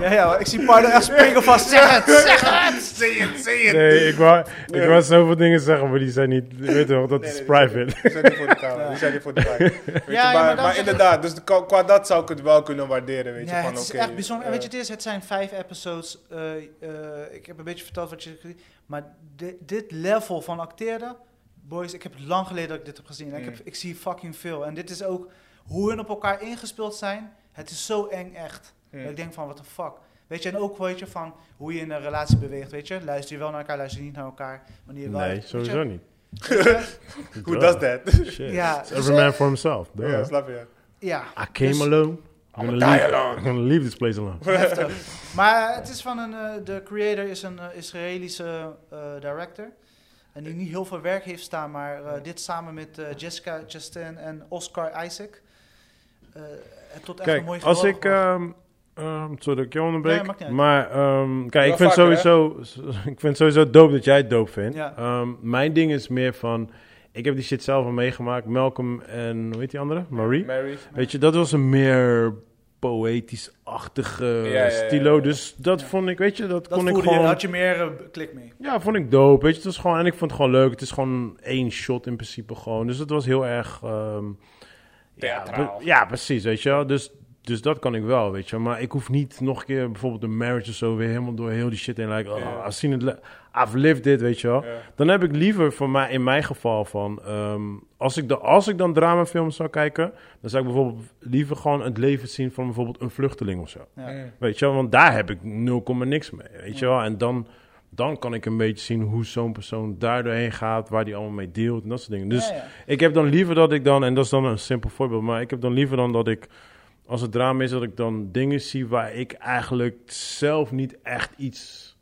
[SPEAKER 3] Ja, ja, ik zie Pardo echt
[SPEAKER 2] (laughs)
[SPEAKER 3] springen vast. Zeg het, zeg het!
[SPEAKER 2] Say it, say it.
[SPEAKER 1] Nee, ik wou,
[SPEAKER 2] Nee.
[SPEAKER 1] ik wou zoveel dingen zeggen, maar die zijn niet... Je weet toch, dat
[SPEAKER 2] Nee,
[SPEAKER 1] is
[SPEAKER 2] nee,
[SPEAKER 1] private.
[SPEAKER 2] Die zijn niet voor de camera. Die zijn niet voor de
[SPEAKER 1] (laughs)
[SPEAKER 2] camera. Weet je,
[SPEAKER 3] ja, maar
[SPEAKER 2] maar
[SPEAKER 3] dan
[SPEAKER 2] maar
[SPEAKER 3] zeg ik-
[SPEAKER 2] inderdaad, dus qua, qua dat zou ik het wel kunnen waarderen. Weet je,
[SPEAKER 3] Ja,
[SPEAKER 2] van,
[SPEAKER 3] het is
[SPEAKER 2] oké,
[SPEAKER 3] echt bijzonder. En
[SPEAKER 2] eh,
[SPEAKER 3] weet je, het, is, het zijn vijf episodes. Eh, eh, ik heb een beetje verteld wat je... Maar di- dit level van acteren... Boys, ik heb het lang geleden dat ik dit heb gezien. En Ik, heb,
[SPEAKER 2] Mm.
[SPEAKER 3] ik zie fucking veel. En dit is ook hoe hun op elkaar ingespeeld zijn. Het is zo eng echt.
[SPEAKER 2] Mm.
[SPEAKER 3] Dat ik denk van, what the fuck. Weet je, en ook weet je, van hoe je in een relatie beweegt, weet je. Luister je wel naar elkaar, luister je niet naar elkaar. Wanneer je wel-
[SPEAKER 1] Nee,
[SPEAKER 3] weet je,
[SPEAKER 1] sowieso
[SPEAKER 2] (laughs)
[SPEAKER 1] niet.
[SPEAKER 3] weet je,
[SPEAKER 2] Who does that?
[SPEAKER 1] Shit.
[SPEAKER 3] Ja,
[SPEAKER 1] It's
[SPEAKER 3] dus,
[SPEAKER 1] every man for himself. Duh.
[SPEAKER 2] (laughs) ja, snap je.
[SPEAKER 3] ja.
[SPEAKER 1] I came
[SPEAKER 3] Dus-
[SPEAKER 1] alone. I'm gonna, leave,
[SPEAKER 2] alone.
[SPEAKER 1] I'm gonna leave this place alone.
[SPEAKER 3] Heftig. (laughs) Maar het is van een, eh, de creator is een eh, Israëlische eh, director. En die niet heel veel werk heeft staan, maar eh, dit samen met eh, Jessica Chastain en Oscar Isaac. eh, het tot echt een
[SPEAKER 1] Kijk,
[SPEAKER 3] mooi
[SPEAKER 1] als
[SPEAKER 3] geweldig
[SPEAKER 1] ik,
[SPEAKER 3] wordt.
[SPEAKER 1] ehm, Ehm, sorry dat ik je onderbreek.
[SPEAKER 3] Nee, maakt niet uit.
[SPEAKER 1] maar ehm, kijk, ik
[SPEAKER 2] Wel
[SPEAKER 1] vind,
[SPEAKER 2] vaker,
[SPEAKER 1] sowieso, (laughs) ik vind sowieso dope dat jij het dope vindt.
[SPEAKER 3] Ja.
[SPEAKER 1] Ehm, mijn ding is meer van... Ik heb die shit zelf al meegemaakt. Malcolm en... Hoe heet die andere? Marie?
[SPEAKER 2] Mary.
[SPEAKER 1] Weet je, dat was een meer poëtisch-achtige
[SPEAKER 2] ja, ja,
[SPEAKER 1] stilo.
[SPEAKER 2] ja.
[SPEAKER 1] Dus dat
[SPEAKER 3] Ja.
[SPEAKER 1] vond ik, weet je, dat,
[SPEAKER 3] Dat
[SPEAKER 1] kon ik
[SPEAKER 3] voelde je,
[SPEAKER 1] gewoon...
[SPEAKER 3] daar had je meer eh, klik mee.
[SPEAKER 1] Ja, vond ik dope. Weet je, het was gewoon, en ik vond het gewoon leuk. Het is gewoon één shot in principe gewoon. Dus het was heel erg... ehm, Ja,
[SPEAKER 2] Theatraal.
[SPEAKER 1] pre- ja, precies, weet je wel. Dus, dus dat kan ik wel, weet je wel. Maar ik hoef niet nog een keer bijvoorbeeld een marriage of zo... weer helemaal door heel die shit heen. Like, oh,
[SPEAKER 2] Ja.
[SPEAKER 1] I've seen it, li- I've lived it, weet je wel.
[SPEAKER 2] Ja.
[SPEAKER 1] Dan heb ik liever voor mij, in mijn geval van... ehm, als, ik de, als ik dan dramafilms zou kijken... dan zou ik bijvoorbeeld liever gewoon het leven zien... van bijvoorbeeld een vluchteling of zo.
[SPEAKER 3] Ja.
[SPEAKER 2] Mm.
[SPEAKER 1] Weet je wel, want daar heb ik 0, niks mee. Weet je wel, en dan, dan kan ik een beetje zien hoe zo'n persoon daar doorheen gaat, waar die allemaal mee deelt en dat soort dingen. Dus
[SPEAKER 3] Ja, ja.
[SPEAKER 1] ik heb dan liever dat ik dan, en dat is dan een simpel voorbeeld, maar ik heb dan liever dan dat ik, als het drama is, dat ik dan dingen zie waar ik eigenlijk zelf niet echt iets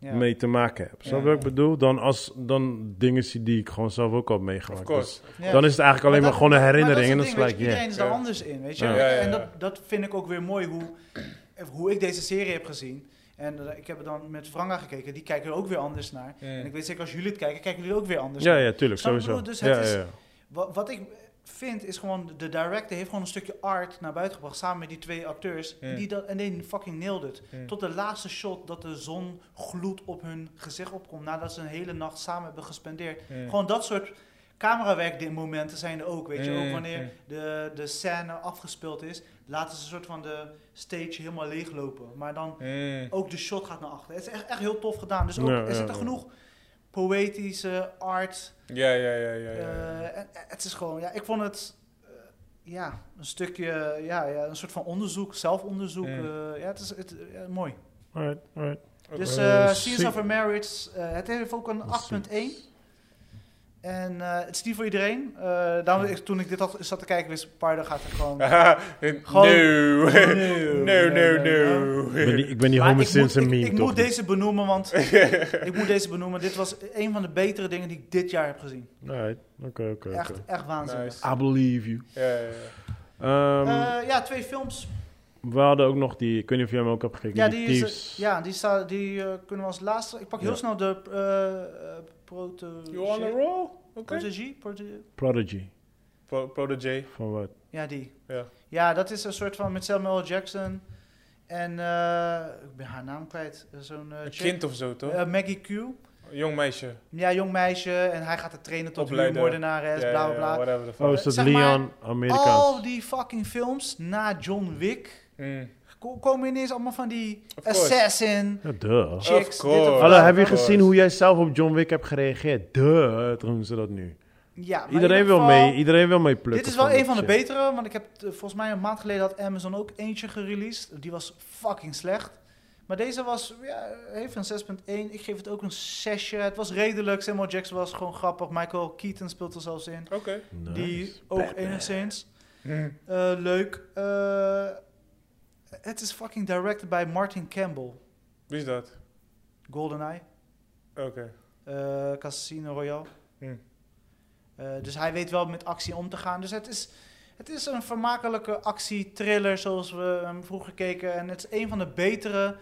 [SPEAKER 3] Ja.
[SPEAKER 1] mee te maken heb. Snap je
[SPEAKER 3] Ja,
[SPEAKER 1] wat ik
[SPEAKER 3] ja.
[SPEAKER 1] bedoel? Dan, als, dan dingen zie die ik gewoon zelf ook al heb meegemaakt.
[SPEAKER 2] Of course.
[SPEAKER 1] Dus
[SPEAKER 3] Ja.
[SPEAKER 1] dan is het eigenlijk alleen maar,
[SPEAKER 3] dat-
[SPEAKER 1] gewoon een
[SPEAKER 3] Maar dat
[SPEAKER 1] herinnering.
[SPEAKER 3] is
[SPEAKER 1] en
[SPEAKER 3] het
[SPEAKER 1] dat is like,
[SPEAKER 3] ding, weet je,
[SPEAKER 1] yeah.
[SPEAKER 3] Iedereen is daar anders in, weet je.
[SPEAKER 1] Ja.
[SPEAKER 2] Ja, ja, ja.
[SPEAKER 3] En dat, dat vind ik ook weer mooi, hoe, hoe ik deze serie heb gezien. En eh, ik heb er dan met Franga gekeken, die kijken er ook weer anders naar. En ik weet zeker, als jullie het kijken, kijken jullie ook weer anders
[SPEAKER 1] Ja,
[SPEAKER 3] naar.
[SPEAKER 1] ja, tuurlijk,
[SPEAKER 3] Snap je wat ik
[SPEAKER 1] sowieso.
[SPEAKER 3] bedoel? Dus
[SPEAKER 1] ja,
[SPEAKER 3] het is-
[SPEAKER 1] ja, ja.
[SPEAKER 3] Wat, wat ik vind is gewoon, de director heeft gewoon een stukje art naar buiten gebracht samen met die twee acteurs.
[SPEAKER 2] Ja.
[SPEAKER 3] Die dat, en die fucking nailed it.
[SPEAKER 2] Ja.
[SPEAKER 3] Tot de laatste shot dat de zon gloed op hun gezicht opkomt nadat ze een hele nacht samen hebben gespendeerd. Gewoon dat soort camerawerkmomenten zijn er ook, weet je.
[SPEAKER 2] Ja,
[SPEAKER 3] Ook
[SPEAKER 2] ja,
[SPEAKER 3] wanneer
[SPEAKER 2] ja.
[SPEAKER 3] de, de scène afgespeeld is, laten ze een soort van de stage helemaal leeglopen. Maar dan
[SPEAKER 2] Mm.
[SPEAKER 3] ook de shot gaat naar achter. Het is echt, echt heel tof gedaan. Dus ook,
[SPEAKER 1] Ja,
[SPEAKER 3] er
[SPEAKER 1] ja,
[SPEAKER 3] zitten
[SPEAKER 1] ja.
[SPEAKER 3] genoeg poëtische art
[SPEAKER 2] Ja, ja, ja, ja. ja. (laughs)
[SPEAKER 3] eh, en- en het is gewoon, ja, ik vond het eh, ja, een stukje, ja, ja, een soort van onderzoek, zelfonderzoek.
[SPEAKER 2] Mm.
[SPEAKER 3] eh, ja, het is het, eh, mooi.
[SPEAKER 1] Alright, alright.
[SPEAKER 2] Oké.
[SPEAKER 3] Dus
[SPEAKER 1] Eh,
[SPEAKER 3] eh
[SPEAKER 1] zie-
[SPEAKER 3] Seals of a Marriage, eh, het heeft ook een 8.1. En eh, het is niet voor iedereen. Eh, daarom, ik, toen ik dit had, zat te kijken, wist Pardo gaat er gewoon...
[SPEAKER 2] no.
[SPEAKER 3] (laughs)
[SPEAKER 2] No, no,
[SPEAKER 1] Ik ben
[SPEAKER 2] no.
[SPEAKER 1] die, ik ben die
[SPEAKER 3] Maar
[SPEAKER 1] Homer
[SPEAKER 3] ik moet,
[SPEAKER 1] Simpson
[SPEAKER 3] ik,
[SPEAKER 1] meme,
[SPEAKER 3] ik
[SPEAKER 1] toch?
[SPEAKER 3] moet deze benoemen,
[SPEAKER 1] (laughs)
[SPEAKER 3] want ik moet deze benoemen. Dit was een van de betere dingen die ik dit jaar heb gezien.
[SPEAKER 1] Alright, oké, oké, oké.
[SPEAKER 3] Echt, echt waanzinnig.
[SPEAKER 2] Nice.
[SPEAKER 1] I believe you.
[SPEAKER 2] Ja, ja, ja.
[SPEAKER 1] Ehm,
[SPEAKER 3] Eh, ja, twee films.
[SPEAKER 1] we hadden ook nog die, ik weet niet of jij hem ook hebt gekeken,
[SPEAKER 3] Ja,
[SPEAKER 1] die,
[SPEAKER 3] die, is,
[SPEAKER 1] Thieves.
[SPEAKER 3] eh, ja, die, sta, die eh, kunnen we als laatste. Ik pak heel
[SPEAKER 1] Ja.
[SPEAKER 3] snel de eh eh, protege.
[SPEAKER 2] You on a roll? Oké.
[SPEAKER 3] protege, protege-
[SPEAKER 1] Prodigy,
[SPEAKER 2] Pro Protege.
[SPEAKER 1] van wat?
[SPEAKER 3] Ja, die.
[SPEAKER 2] Ja.
[SPEAKER 3] Ja, dat is een soort van met Samuel L. Jackson. En eh, ik ben haar naam kwijt. Eh, Zo'n eh,
[SPEAKER 2] Een
[SPEAKER 3] chick.
[SPEAKER 2] kind of zo, toch?
[SPEAKER 3] Eh, Maggie Q.
[SPEAKER 2] Een jong meisje.
[SPEAKER 3] Ja, jong meisje. En hij gaat haar trainen tot
[SPEAKER 2] Opleiden.
[SPEAKER 3] huurmoordenares,
[SPEAKER 2] Ja,
[SPEAKER 3] bla
[SPEAKER 2] ja,
[SPEAKER 3] bla
[SPEAKER 2] ja,
[SPEAKER 3] bla.
[SPEAKER 2] Whatever the fuck.
[SPEAKER 1] Oh, is dat
[SPEAKER 3] zeg
[SPEAKER 1] Leon, Amerikaans?
[SPEAKER 3] Al die fucking films na John Wick
[SPEAKER 2] Mm.
[SPEAKER 3] ko- komen ineens allemaal van die
[SPEAKER 2] Of course.
[SPEAKER 3] assassin
[SPEAKER 1] Ja, duh.
[SPEAKER 2] Of
[SPEAKER 3] chicks. dit of
[SPEAKER 2] course.
[SPEAKER 3] Oh, dat.
[SPEAKER 1] Hallo, heb je
[SPEAKER 2] course.
[SPEAKER 1] gezien hoe jij zelf op John Wick hebt gereageerd? Duh, toen doen ze dat nu.
[SPEAKER 3] Ja, maar in
[SPEAKER 1] Iedereen
[SPEAKER 3] ieder
[SPEAKER 1] wil,
[SPEAKER 3] geval-
[SPEAKER 1] mee, iedereen wil mee plukken.
[SPEAKER 3] Dit is wel
[SPEAKER 1] dat
[SPEAKER 3] een van de
[SPEAKER 1] shit.
[SPEAKER 3] betere, want ik heb eh, volgens mij een maand geleden had Amazon ook eentje gereleased. Die was fucking slecht. Maar deze was, ja, heeft een 6.1. Ik geef het ook een 6. Het was redelijk. Samuel Jackson was gewoon grappig. Michael Keaton speelt er zelfs in.
[SPEAKER 2] Oké.
[SPEAKER 1] Nice.
[SPEAKER 3] Die ook enigszins
[SPEAKER 2] Mm.
[SPEAKER 3] eh, leuk. Eh, het is fucking directed by Martin Campbell.
[SPEAKER 2] Wie is dat?
[SPEAKER 3] GoldenEye.
[SPEAKER 2] Oké.
[SPEAKER 3] eh, Casino Royale.
[SPEAKER 2] Hmm.
[SPEAKER 3] Eh, dus hij weet wel met actie om te gaan. Dus het is, het is een vermakelijke actie-thriller zoals we hem vroeger keken. En het is een van de betere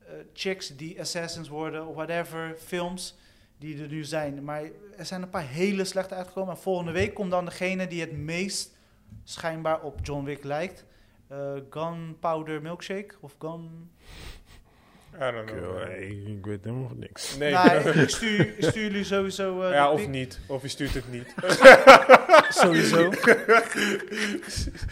[SPEAKER 3] eh, chicks die assassins worden of whatever films die er nu zijn. Maar er zijn een paar hele slechte uitgekomen. En volgende week komt dan degene die het meest schijnbaar op John Wick lijkt. Eh, Gunpowder Milkshake of Gun...
[SPEAKER 2] I don't know.
[SPEAKER 1] Yo, hey, ik weet helemaal niks.
[SPEAKER 2] Nee.
[SPEAKER 3] Nou, ik, ik stuur, ik stuur jullie sowieso...
[SPEAKER 2] (laughs)
[SPEAKER 3] eh,
[SPEAKER 2] ja,
[SPEAKER 3] de
[SPEAKER 2] of
[SPEAKER 3] pic.
[SPEAKER 2] niet. Of je stuurt
[SPEAKER 1] (laughs)
[SPEAKER 2] het niet.
[SPEAKER 3] Sowieso.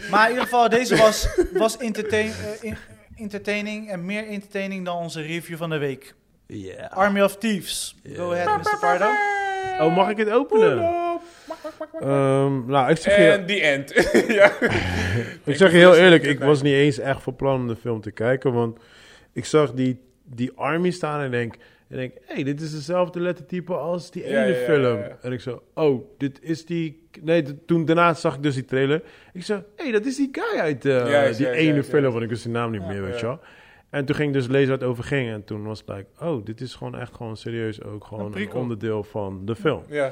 [SPEAKER 3] maar in ieder geval, deze was, was entertain, eh, in- entertaining en meer entertaining dan onze review van de week.
[SPEAKER 1] Yeah.
[SPEAKER 3] Army of Thieves. Go ahead, Mr. Pardo.
[SPEAKER 1] Oh, mag ik het openen? Ehm, nou, ik zeg je...
[SPEAKER 2] En the end. (laughs) ja.
[SPEAKER 1] Ik zeg je heel eerlijk, ik
[SPEAKER 2] Nee.
[SPEAKER 1] was niet eens echt van plan om de film te kijken. Want ik zag die, die Army staan en denk, en denk: hé, hey, dit is dezelfde lettertype als die ene
[SPEAKER 2] Ja, ja, ja,
[SPEAKER 1] film.
[SPEAKER 2] ja, ja.
[SPEAKER 1] En ik zo: oh, dit is die. Nee, d- toen daarna zag ik dus die trailer. Ik zei: hé, hey, dat is die guy uit eh,
[SPEAKER 2] Juist,
[SPEAKER 1] die
[SPEAKER 2] juist,
[SPEAKER 1] ene
[SPEAKER 2] juist,
[SPEAKER 1] film.
[SPEAKER 2] juist.
[SPEAKER 1] Want ik wist de naam niet meer, weet
[SPEAKER 2] ja.
[SPEAKER 1] je wel. En toen ging ik dus lezen wat het over ging. En toen was het like, oh, dit is gewoon echt gewoon serieus ook gewoon een,
[SPEAKER 3] prequel.
[SPEAKER 1] onderdeel van de film.
[SPEAKER 2] Ja.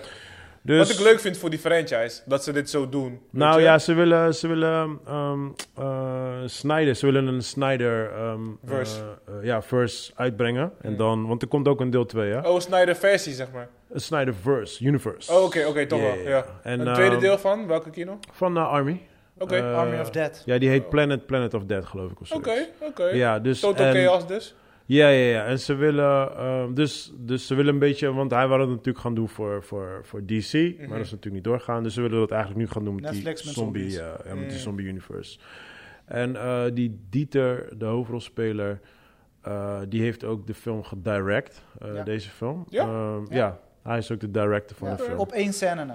[SPEAKER 1] Dus,
[SPEAKER 2] Wat ik leuk vind voor die franchise, dat ze dit zo doen. weet
[SPEAKER 1] nou
[SPEAKER 2] je?
[SPEAKER 1] ja, ze willen, ze willen ehm, eh, Snyder, ze willen een Snyder ehm,
[SPEAKER 2] Verse.
[SPEAKER 1] eh, eh, ja, verse uitbrengen. En
[SPEAKER 2] Hmm.
[SPEAKER 1] dan, want er komt ook een deel 2, hè?
[SPEAKER 2] Oh, Snyder versie, zeg maar.
[SPEAKER 1] Een Snyder verse, universe.
[SPEAKER 2] Oh, oké, oké, toch wel, ja.
[SPEAKER 1] En,
[SPEAKER 2] een tweede
[SPEAKER 1] ehm,
[SPEAKER 2] deel van, welke kino?
[SPEAKER 1] Van eh, Army.
[SPEAKER 2] Oké,
[SPEAKER 1] Eh,
[SPEAKER 3] Army of Dead.
[SPEAKER 1] Ja, die heet Planet, Planet of Dead, geloof ik. of zoiets.
[SPEAKER 2] Oh. oké, oké.
[SPEAKER 1] Ja, dus...
[SPEAKER 2] Total
[SPEAKER 1] en-
[SPEAKER 2] Chaos dus.
[SPEAKER 1] Ja, ja, ja. En ze willen, ehm, dus, dus ze willen een beetje, want hij wou dat natuurlijk gaan doen voor, voor, voor DC, maar dat is natuurlijk niet doorgaan. Dus ze willen dat eigenlijk nu gaan doen met
[SPEAKER 3] Mhm. Netflix
[SPEAKER 1] die
[SPEAKER 3] met
[SPEAKER 1] zombie,
[SPEAKER 3] zombies.
[SPEAKER 1] eh, ja, met die
[SPEAKER 2] Mm.
[SPEAKER 1] zombie universe. En eh, die Dieter, de hoofdrolspeler, eh, die heeft ook de film gedirect, eh,
[SPEAKER 3] Ja.
[SPEAKER 1] deze film.
[SPEAKER 2] Ja?
[SPEAKER 1] Ehm,
[SPEAKER 3] Ja.
[SPEAKER 1] ja, hij is ook de director van
[SPEAKER 3] Ja,
[SPEAKER 1] de film.
[SPEAKER 3] Op één scène na.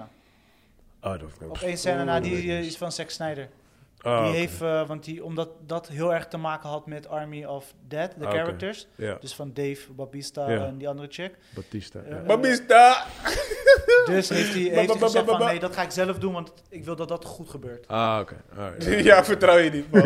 [SPEAKER 1] Oh, dat weet ik
[SPEAKER 3] Op
[SPEAKER 1] niet.
[SPEAKER 3] één scène na,
[SPEAKER 1] Oeh,
[SPEAKER 3] die
[SPEAKER 1] weet ik
[SPEAKER 3] eh,
[SPEAKER 1] niet.
[SPEAKER 3] is van Zack Snyder.
[SPEAKER 1] Oh, Ah,
[SPEAKER 3] die
[SPEAKER 1] oké.
[SPEAKER 3] heeft, eh, want die, omdat dat heel erg te maken had met Army of Dead, de
[SPEAKER 1] Ah, oké.
[SPEAKER 3] characters.
[SPEAKER 1] Ja,
[SPEAKER 3] Dus van Dave, Babista
[SPEAKER 1] Ja.
[SPEAKER 3] en die andere chick.
[SPEAKER 1] Batista. ja.
[SPEAKER 3] Eh,
[SPEAKER 2] Babista! (laughs)
[SPEAKER 3] Dus heeft hij heeft hij
[SPEAKER 2] ba- ba-
[SPEAKER 3] gezegd
[SPEAKER 2] ba-
[SPEAKER 3] van,
[SPEAKER 2] ba-
[SPEAKER 3] nee, dat ga ik zelf doen, want ik wil dat dat goed gebeurt.
[SPEAKER 1] Ah, oké. Alright.
[SPEAKER 3] (laughs)
[SPEAKER 2] ja, vertrouw
[SPEAKER 1] (laughs)
[SPEAKER 2] je niet. man.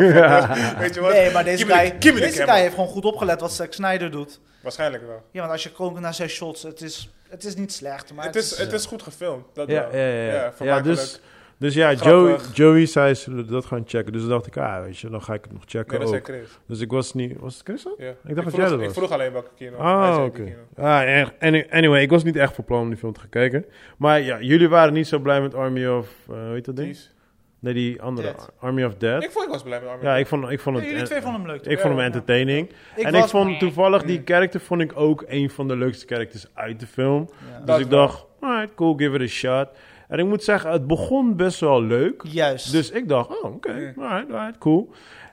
[SPEAKER 2] Weet je wat?
[SPEAKER 3] Nee, maar deze
[SPEAKER 2] Give me the-
[SPEAKER 3] guy,
[SPEAKER 2] give me the
[SPEAKER 3] deze
[SPEAKER 2] camera.
[SPEAKER 3] guy heeft gewoon goed opgelet wat Zack Snyder doet.
[SPEAKER 2] Waarschijnlijk wel.
[SPEAKER 3] Ja, want als je kijkt naar zijn shots, het is, het is eh, niet slecht, maar
[SPEAKER 2] het, is, het is goed gefilmd. Dat
[SPEAKER 1] Ja,
[SPEAKER 2] wel.
[SPEAKER 1] ja, ja. ja. ja
[SPEAKER 2] vermakelijk.
[SPEAKER 1] dus, dus ja, Joey,
[SPEAKER 2] Grappig.
[SPEAKER 1] Joey zei ze willen dat gaan checken. Dus dacht ik, ah, weet je, dan ga ik het nog checken
[SPEAKER 2] Nee, dat zei
[SPEAKER 1] ook.
[SPEAKER 2] Chris.
[SPEAKER 1] Dus ik was niet... Was het Chris dat?
[SPEAKER 2] Ja.
[SPEAKER 1] dat
[SPEAKER 2] Ik, vroeg,
[SPEAKER 1] jij dat
[SPEAKER 2] ik
[SPEAKER 1] was.
[SPEAKER 2] vroeg alleen welke kino. Hij
[SPEAKER 1] Ah,
[SPEAKER 2] zei
[SPEAKER 1] oké.
[SPEAKER 2] die kino.
[SPEAKER 1] Ah, en- any- anyway, ik was niet echt van plan om die film te gaan kijken. Maar ja, jullie waren niet zo blij met Army of... eh hoe heet dat ding?
[SPEAKER 2] Precies.
[SPEAKER 1] Nee, die andere.
[SPEAKER 3] Dead.
[SPEAKER 1] Army of Dead.
[SPEAKER 2] Ik vond ik was blij met Armin.
[SPEAKER 1] ja, ik vond, ik vond
[SPEAKER 3] Ja,
[SPEAKER 1] het...
[SPEAKER 3] jullie twee vonden hem leuk.
[SPEAKER 1] ik vond hem
[SPEAKER 3] Ja.
[SPEAKER 1] entertaining.
[SPEAKER 3] Ik
[SPEAKER 1] en
[SPEAKER 3] was-
[SPEAKER 1] ik vond toevallig die
[SPEAKER 2] Mm.
[SPEAKER 1] character vond ik ook een van de leukste characters uit de film.
[SPEAKER 3] Ja.
[SPEAKER 2] Dat
[SPEAKER 1] dus ik
[SPEAKER 2] wel.
[SPEAKER 1] dacht, alright, cool, give it a shot. En ik moet zeggen, het begon best wel leuk.
[SPEAKER 3] Juist.
[SPEAKER 1] Dus ik dacht, oh, oké,
[SPEAKER 2] Mm.
[SPEAKER 1] alright, alright, cool.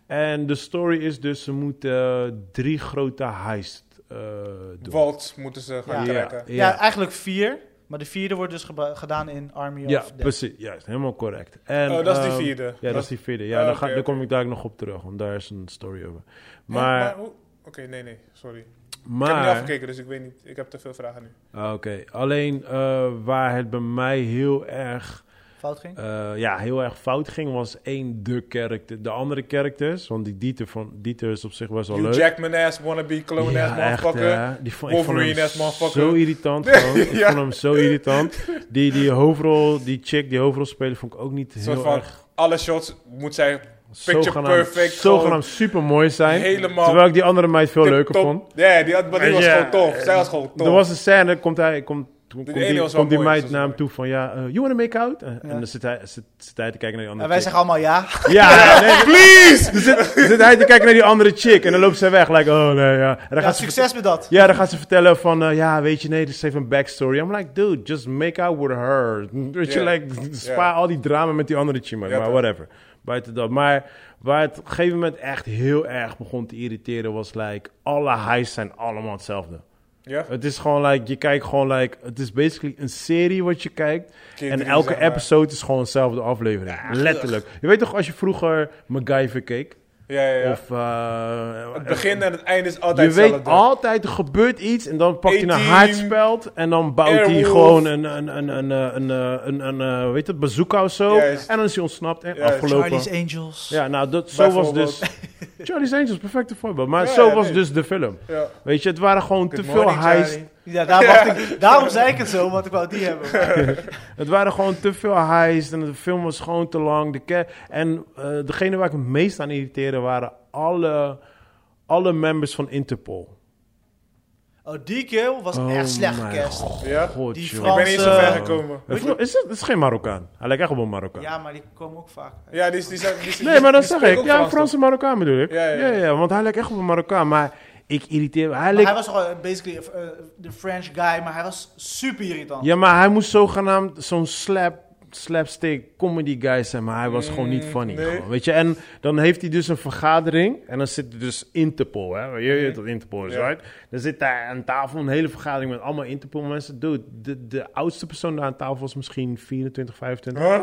[SPEAKER 1] En de story is dus, ze moeten eh, drie grote heist eh, doen.
[SPEAKER 2] Walt moeten ze gaan
[SPEAKER 1] Ja.
[SPEAKER 2] trekken.
[SPEAKER 1] Ja.
[SPEAKER 3] ja, eigenlijk vier. Maar de vierde wordt dus geba- gedaan in Army
[SPEAKER 1] ja,
[SPEAKER 3] of Dead.
[SPEAKER 1] precies, juist, helemaal correct. En,
[SPEAKER 2] Oh, dat is die
[SPEAKER 1] ehm,
[SPEAKER 2] vierde.
[SPEAKER 1] Ja, dat is die vierde. Ja,
[SPEAKER 2] Oh,
[SPEAKER 1] daar,
[SPEAKER 2] oké,
[SPEAKER 1] ga, daar
[SPEAKER 2] oké.
[SPEAKER 1] kom ik daar ook nog op terug, want daar is een story over.
[SPEAKER 2] Ja,
[SPEAKER 1] Maar,
[SPEAKER 2] hoe- Oké, nee, nee, sorry. Ik heb niet
[SPEAKER 1] maar,
[SPEAKER 2] afgekeken, dus ik weet niet. Ik heb te veel vragen nu.
[SPEAKER 1] Ah, oké, alleen eh, waar het bij mij heel erg
[SPEAKER 3] Fout ging?
[SPEAKER 1] eh, ja, heel erg fout ging, was één de character. De andere characters, want die Dieter, van, Dieter is op zich best wel
[SPEAKER 2] You
[SPEAKER 1] leuk.
[SPEAKER 2] Jackman ass, wannabe, clone ass,
[SPEAKER 1] Ja, echt,
[SPEAKER 2] motherfucker.
[SPEAKER 1] hè. die vond, ik vond
[SPEAKER 2] Wolverine ass
[SPEAKER 1] hem
[SPEAKER 2] motherfucker.
[SPEAKER 1] zo irritant. gewoon. Ik
[SPEAKER 2] (laughs) Ja.
[SPEAKER 1] vond hem zo irritant. Die, die hoofdrol, die chick, die hoofdrol spelen, vond ik ook niet
[SPEAKER 2] Een soort
[SPEAKER 1] heel
[SPEAKER 2] van,
[SPEAKER 1] erg
[SPEAKER 2] alle shots moet zijn
[SPEAKER 1] zogenaamd,
[SPEAKER 2] perfect, gewoon
[SPEAKER 1] zogenaamd super mooi zijn.
[SPEAKER 2] helemaal
[SPEAKER 1] Terwijl ik die andere meid veel leuker
[SPEAKER 2] tip-top.
[SPEAKER 1] vond.
[SPEAKER 2] Ja, die, had- maar die
[SPEAKER 1] Weet
[SPEAKER 2] was
[SPEAKER 1] je,
[SPEAKER 2] gewoon tof.
[SPEAKER 1] eh,
[SPEAKER 2] Zij was gewoon tof.
[SPEAKER 1] Er was een scène, komt hij, komt, komt
[SPEAKER 2] ene
[SPEAKER 1] die,
[SPEAKER 2] was wel
[SPEAKER 1] komt die
[SPEAKER 2] mooi,
[SPEAKER 1] meid
[SPEAKER 2] dat was
[SPEAKER 1] naar hem
[SPEAKER 2] mooi.
[SPEAKER 1] toe van, ja, eh, you wanna make out? En, en
[SPEAKER 3] Ja.
[SPEAKER 1] dan zit hij, zit, zit hij te kijken naar die
[SPEAKER 3] En
[SPEAKER 1] andere
[SPEAKER 3] wij
[SPEAKER 1] chick.
[SPEAKER 3] zeggen allemaal (laughs) ja.
[SPEAKER 2] (laughs)
[SPEAKER 1] Ja, nee, please! Dan zit, dan zit hij te kijken naar die andere chick en dan loopt zij weg. Like, oh nee, ja. En dan
[SPEAKER 3] ja
[SPEAKER 1] gaat ze
[SPEAKER 3] succes met dat.
[SPEAKER 1] Ja, dan gaat ze vertellen van, eh, ja, weet je, nee, dit is even een backstory. I'm like, dude, just make out with her. (laughs) Weet je,
[SPEAKER 2] Ja.
[SPEAKER 1] like, spaar
[SPEAKER 2] Ja.
[SPEAKER 1] al die drama met die andere chimmer.
[SPEAKER 2] Ja,
[SPEAKER 1] maar
[SPEAKER 2] toch.
[SPEAKER 1] whatever. Buiten dat. Maar waar het op een gegeven moment echt heel erg begon te irriteren was, like, alle heists zijn allemaal hetzelfde.
[SPEAKER 2] ja?
[SPEAKER 1] Het is gewoon, like, je kijkt gewoon, like, het is basically een serie wat je kijkt.
[SPEAKER 2] Keer
[SPEAKER 1] en
[SPEAKER 2] drie,
[SPEAKER 1] elke
[SPEAKER 2] zeg maar.
[SPEAKER 1] episode is gewoon dezelfde aflevering. Letterlijk. Je weet toch, als je vroeger MacGyver keek?
[SPEAKER 2] Ja, ja, ja.
[SPEAKER 1] Of, eh,
[SPEAKER 2] het begin en het einde is
[SPEAKER 1] je
[SPEAKER 2] altijd
[SPEAKER 1] weet
[SPEAKER 2] hetzelfde.
[SPEAKER 1] altijd, er gebeurt iets en dan pakt hij een
[SPEAKER 2] 18,
[SPEAKER 1] haardspeld en dan bouwt hij
[SPEAKER 2] Airwolf.
[SPEAKER 1] gewoon een, een, een, een, eh, een, eh, een, een, eh, weet het, bazooka of zo.
[SPEAKER 2] Juist.
[SPEAKER 1] En dan is hij ontsnapt en
[SPEAKER 2] Juist.
[SPEAKER 1] afgelopen.
[SPEAKER 3] Charlie's Angels.
[SPEAKER 1] Ja, nou, dat, zo was dus...
[SPEAKER 2] Bijvoorbeeld.
[SPEAKER 1] Charlie's Angels, perfecte voorbeeld. Maar
[SPEAKER 2] Ja,
[SPEAKER 1] zo
[SPEAKER 2] ja,
[SPEAKER 1] was
[SPEAKER 2] nee.
[SPEAKER 1] dus de film.
[SPEAKER 2] Ja.
[SPEAKER 1] Weet je, het waren gewoon
[SPEAKER 2] Good
[SPEAKER 1] te veel
[SPEAKER 2] morning,
[SPEAKER 1] heist.
[SPEAKER 2] Charlie.
[SPEAKER 3] Ja, daar wacht
[SPEAKER 1] (laughs)
[SPEAKER 3] ik, daarom zei ik het zo, want ik wou die hebben. Maar
[SPEAKER 1] Het waren gewoon te veel heist en de film was gewoon te lang. De ke- en eh, degene waar ik het meest aan irriteerde waren alle, alle members van Interpol.
[SPEAKER 3] Oh, die kill was
[SPEAKER 1] Oh
[SPEAKER 3] echt slecht
[SPEAKER 1] mijn
[SPEAKER 3] kerst.
[SPEAKER 2] Ja?
[SPEAKER 1] God,
[SPEAKER 3] Die
[SPEAKER 1] joh.
[SPEAKER 2] Ik ben
[SPEAKER 3] Frans,
[SPEAKER 2] niet zo ver
[SPEAKER 3] eh,
[SPEAKER 2] gekomen.
[SPEAKER 1] Is, het, is het is geen Marokkaan. Hij lijkt echt op een Marokkaan.
[SPEAKER 3] Ja, maar die komen ook vaak.
[SPEAKER 2] Ja, die, is- die, zijn- die, is-
[SPEAKER 1] nee, maar dat
[SPEAKER 2] die
[SPEAKER 1] zeg
[SPEAKER 2] spreekt
[SPEAKER 1] ik.
[SPEAKER 2] ook
[SPEAKER 1] Ja, een
[SPEAKER 2] Frans,
[SPEAKER 1] Franse Marokkaan bedoel ik.
[SPEAKER 2] Ja, ja, ja.
[SPEAKER 1] want hij lijkt echt op een Marokkaan. Maar ik irriteer me. Hij
[SPEAKER 3] Maar
[SPEAKER 1] leek-
[SPEAKER 3] hij was gewoon basically eh, de French guy, maar hij was super irritant.
[SPEAKER 1] Ja, maar hij moest zogenaamd zo'n slap, slapstick comedy guy zijn. Maar hij was gewoon niet funny.
[SPEAKER 2] Mm, nee.
[SPEAKER 1] gewoon, weet je, en dan heeft hij dus een vergadering. En dan zit er dus Interpol. Hè? Je weet wat Interpol is,
[SPEAKER 2] Mm. Ja.
[SPEAKER 1] right? Dan zit daar aan tafel een hele vergadering met allemaal Interpol mensen. Dude, de, de oudste persoon daar aan tafel was misschien 24, 25.
[SPEAKER 2] toch? Huh?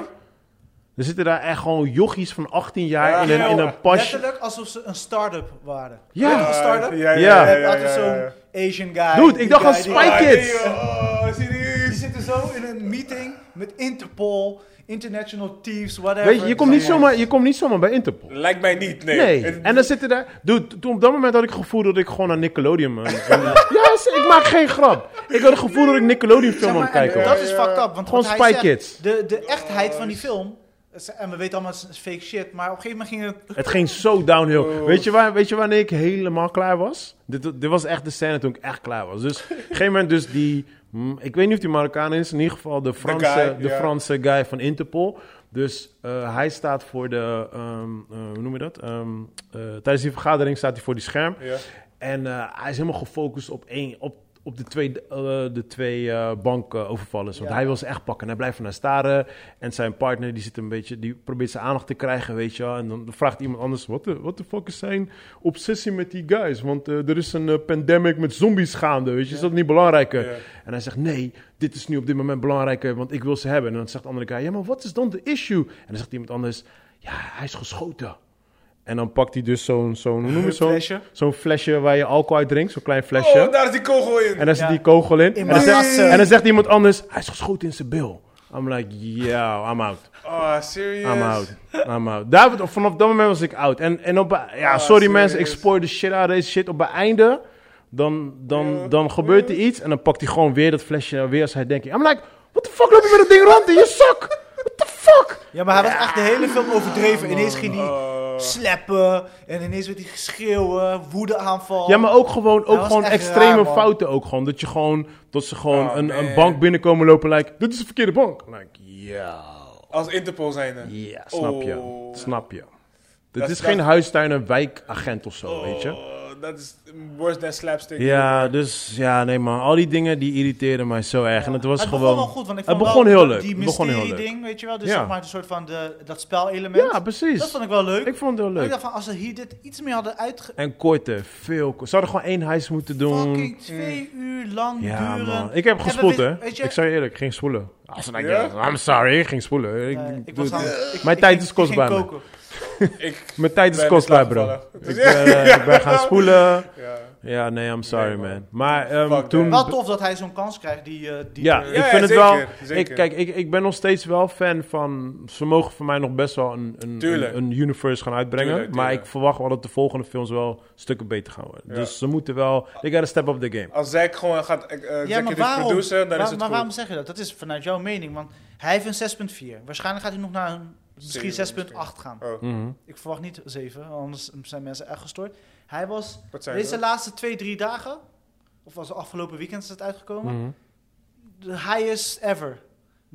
[SPEAKER 1] Er zitten daar echt gewoon jochies van 18 jaar
[SPEAKER 2] Ja,
[SPEAKER 1] in een, in een pasje.
[SPEAKER 3] Letterlijk alsof ze een start-up waren.
[SPEAKER 1] Ja.
[SPEAKER 3] Weet je, Een start-up?
[SPEAKER 2] Ja, ja,
[SPEAKER 1] Ja.
[SPEAKER 2] ja. ja,
[SPEAKER 3] Met
[SPEAKER 2] ja,
[SPEAKER 3] altijd
[SPEAKER 2] ja,
[SPEAKER 3] zo'n
[SPEAKER 2] ja.
[SPEAKER 3] Asian guy.
[SPEAKER 1] Dude, ik
[SPEAKER 3] die
[SPEAKER 1] dacht aan
[SPEAKER 3] guy die-
[SPEAKER 1] Spy
[SPEAKER 2] Ah,
[SPEAKER 1] Kids.
[SPEAKER 2] nee, joh. Oh,
[SPEAKER 3] Die
[SPEAKER 2] serieus.
[SPEAKER 3] zitten zo in een meeting met Interpol, International Thieves, whatever.
[SPEAKER 1] Weet je, je komt niet zomaar, je komt niet zomaar bij Interpol.
[SPEAKER 2] Lijkt mij niet, nee.
[SPEAKER 1] Nee.
[SPEAKER 2] Het-
[SPEAKER 1] En dan zitten daar. Dude, t- toen op dat moment had ik het gevoel dat ik gewoon naar Nickelodeon.
[SPEAKER 3] (laughs)
[SPEAKER 1] Man. ja, ze- ik maak geen grap. Ik had het gevoel dat ik Nickelodeon film aan
[SPEAKER 3] Zeg
[SPEAKER 1] het
[SPEAKER 3] maar, en
[SPEAKER 1] kijken
[SPEAKER 3] Dat
[SPEAKER 1] was.
[SPEAKER 3] is fucked up. Want
[SPEAKER 1] Gewoon
[SPEAKER 3] wat hij
[SPEAKER 1] Spy
[SPEAKER 3] zegt,
[SPEAKER 1] Kids.
[SPEAKER 3] De, de echtheid van die film. En we weten allemaal, het is fake shit. Maar op een gegeven moment ging het...
[SPEAKER 1] Het ging zo downhill.
[SPEAKER 2] Oh.
[SPEAKER 1] Weet, je waar, weet je wanneer ik helemaal klaar was? Dit, dit was echt de scène toen ik echt klaar was. Dus op een gegeven moment dus die... mm, Ik weet niet of die Marokkaan is. In ieder geval de Franse,
[SPEAKER 2] guy,
[SPEAKER 1] de
[SPEAKER 2] ja.
[SPEAKER 1] Franse guy van Interpol. Dus eh, hij staat voor de... ehm, eh, hoe noem je dat? Ehm, eh, tijdens die vergadering staat hij voor die scherm.
[SPEAKER 2] Ja.
[SPEAKER 1] En eh, hij is helemaal gefocust op, één, op, op de twee, eh, de twee eh bankovervallers. Want
[SPEAKER 3] Ja.
[SPEAKER 1] hij wil ze echt pakken. Hij blijft naar staren. En zijn partner die, zit een beetje, die probeert zijn aandacht te krijgen, weet je wel. En dan vraagt iemand anders, wat de what the fuck is zijn obsessie met die guys? Want eh, er is een eh, pandemic met zombies gaande, weet je. Is dat niet belangrijker?
[SPEAKER 2] Ja.
[SPEAKER 1] En hij zegt, nee, dit is nu op dit moment belangrijker, want ik wil ze hebben. En dan zegt de andere guy, ja, maar wat is dan de issue? En dan zegt iemand anders, ja, hij is geschoten. En dan pakt hij dus zo'n, zo'n hoe noem je zo'n
[SPEAKER 3] Flesje.
[SPEAKER 1] zo'n flesje waar je alcohol uit drinkt, zo'n klein flesje.
[SPEAKER 2] Oh, daar is die kogel in.
[SPEAKER 1] en daar zit
[SPEAKER 3] Ja.
[SPEAKER 1] die kogel in.
[SPEAKER 3] In
[SPEAKER 1] en, dan
[SPEAKER 3] mijn
[SPEAKER 1] zegt,
[SPEAKER 3] tas, eh.
[SPEAKER 1] en dan zegt iemand anders, hij is geschoten in zijn bil. I'm like, yo, I'm out.
[SPEAKER 2] Oh, serious?
[SPEAKER 1] I'm out. I'm out. Daar, vanaf dat moment was ik out. En, en op, ja,
[SPEAKER 2] Ah,
[SPEAKER 1] sorry mensen, ik
[SPEAKER 2] serieus.
[SPEAKER 1] spoor de shit uit deze shit. Op het einde, dan, dan, dan gebeurt er iets. En dan pakt hij gewoon weer dat flesje weer als hij denkt. I'm like, what the fuck loop je met dat ding rond in je zak? What the fuck?
[SPEAKER 3] Ja, maar hij was echt de hele film overdreven. ineens ging hij slappen. En ineens werd hij geschreeuwen. Woedeaanval.
[SPEAKER 1] Ja, maar ook gewoon, ook
[SPEAKER 3] was
[SPEAKER 1] gewoon
[SPEAKER 3] echt
[SPEAKER 1] extreme
[SPEAKER 3] raar, man.
[SPEAKER 1] fouten ook gewoon. Dat je gewoon, dat ze gewoon
[SPEAKER 2] Oh,
[SPEAKER 1] een,
[SPEAKER 2] man.
[SPEAKER 1] een bank binnenkomen lopen like, dit is de verkeerde bank. Like, ja,
[SPEAKER 2] Als Interpol zijnde.
[SPEAKER 1] ja, snap je,
[SPEAKER 2] Oh.
[SPEAKER 1] snap je. Dit
[SPEAKER 2] Dat-
[SPEAKER 1] is
[SPEAKER 2] dat-
[SPEAKER 1] geen huistuin en wijkagent of zo, weet je.
[SPEAKER 2] Oh, dat is worse than slapstick.
[SPEAKER 1] Ja, dus ja, nee man. Al die dingen die irriteerden mij zo erg. En het was
[SPEAKER 3] het
[SPEAKER 1] gewoon...
[SPEAKER 3] begon wel goed, want ik
[SPEAKER 1] het
[SPEAKER 3] vond
[SPEAKER 1] begon
[SPEAKER 3] wel
[SPEAKER 1] heel leuk.
[SPEAKER 3] die
[SPEAKER 1] Het begon heel leuk.
[SPEAKER 3] mysterie-ding, weet je wel. Dus
[SPEAKER 1] Ja.
[SPEAKER 3] zeg maar een soort van de, dat spelelement.
[SPEAKER 1] Ja,
[SPEAKER 3] Dat
[SPEAKER 1] precies.
[SPEAKER 3] vond ik wel leuk.
[SPEAKER 1] Ik vond het heel
[SPEAKER 3] Ik
[SPEAKER 1] leuk.
[SPEAKER 3] dacht van, als ze hier dit iets meer hadden uitge...
[SPEAKER 1] En korter, veel korter. Ze hadden gewoon één heis moeten doen.
[SPEAKER 3] Fucking twee uur lang
[SPEAKER 1] Mm. Ja
[SPEAKER 3] duren.
[SPEAKER 1] man. Ik heb
[SPEAKER 3] En we
[SPEAKER 1] gespoeld
[SPEAKER 3] weten-
[SPEAKER 1] hè.
[SPEAKER 3] weet je-
[SPEAKER 1] Ik zei eerlijk, ik ging spoelen. Ah, Als een
[SPEAKER 2] Ja?
[SPEAKER 1] I'm sorry, ik ging spoelen. Ik,
[SPEAKER 3] Nee, Eh, ik
[SPEAKER 1] doe
[SPEAKER 3] was
[SPEAKER 1] het.
[SPEAKER 3] aan- ik-
[SPEAKER 1] Mijn
[SPEAKER 3] ik
[SPEAKER 1] tijd
[SPEAKER 3] ging-
[SPEAKER 1] is
[SPEAKER 3] ik ging
[SPEAKER 1] kostbaar, man.
[SPEAKER 3] koken.
[SPEAKER 2] Ik
[SPEAKER 1] Mijn tijd is
[SPEAKER 2] ben
[SPEAKER 1] kostbaar
[SPEAKER 2] in slaap
[SPEAKER 1] bro.
[SPEAKER 2] gevallen.
[SPEAKER 1] Ik ben, eh,
[SPEAKER 2] (laughs)
[SPEAKER 1] ik ben gaan spoelen.
[SPEAKER 2] ja.
[SPEAKER 1] Ja, nee, I'm sorry
[SPEAKER 2] Nee, man.
[SPEAKER 1] man. Maar ehm,
[SPEAKER 2] Fuck
[SPEAKER 1] toen...
[SPEAKER 3] Wel tof dat hij zo'n kans krijgt. Die, eh, die
[SPEAKER 1] Ja,
[SPEAKER 3] eh,
[SPEAKER 1] ik
[SPEAKER 2] ja,
[SPEAKER 1] vind
[SPEAKER 2] zeker,
[SPEAKER 1] het wel.
[SPEAKER 2] zeker.
[SPEAKER 1] Ik, kijk, ik, ik ben nog steeds wel fan van. Ze mogen voor mij nog best wel een, een,
[SPEAKER 2] Tuurlijk.
[SPEAKER 1] een, een universe gaan uitbrengen.
[SPEAKER 2] Tuurlijk,
[SPEAKER 1] Maar
[SPEAKER 2] tuurlijk.
[SPEAKER 1] ik verwacht wel dat de volgende films wel stukken beter gaan worden.
[SPEAKER 2] Ja.
[SPEAKER 1] Dus ze moeten wel. They gotta step up the game.
[SPEAKER 2] Als Zack gewoon gaat eh, executive
[SPEAKER 3] ja, maar waarom?
[SPEAKER 2] produceren, dan
[SPEAKER 3] Waar-
[SPEAKER 2] is het
[SPEAKER 3] maar
[SPEAKER 2] goed.
[SPEAKER 3] waarom zeg je dat? Dat is vanuit jouw mening. Want hij heeft een 6.4. Waarschijnlijk gaat hij nog naar een, misschien
[SPEAKER 2] Zeven,
[SPEAKER 3] 6.8 gaan.
[SPEAKER 2] Oh,
[SPEAKER 1] Mhm.
[SPEAKER 3] Ik verwacht niet 7, anders zijn mensen echt gestoord. Hij was
[SPEAKER 2] wat zijn
[SPEAKER 3] deze
[SPEAKER 2] dat?
[SPEAKER 3] laatste 2, 3 dagen, of was het afgelopen weekend is het uitgekomen,
[SPEAKER 1] Mhm.
[SPEAKER 3] de highest ever.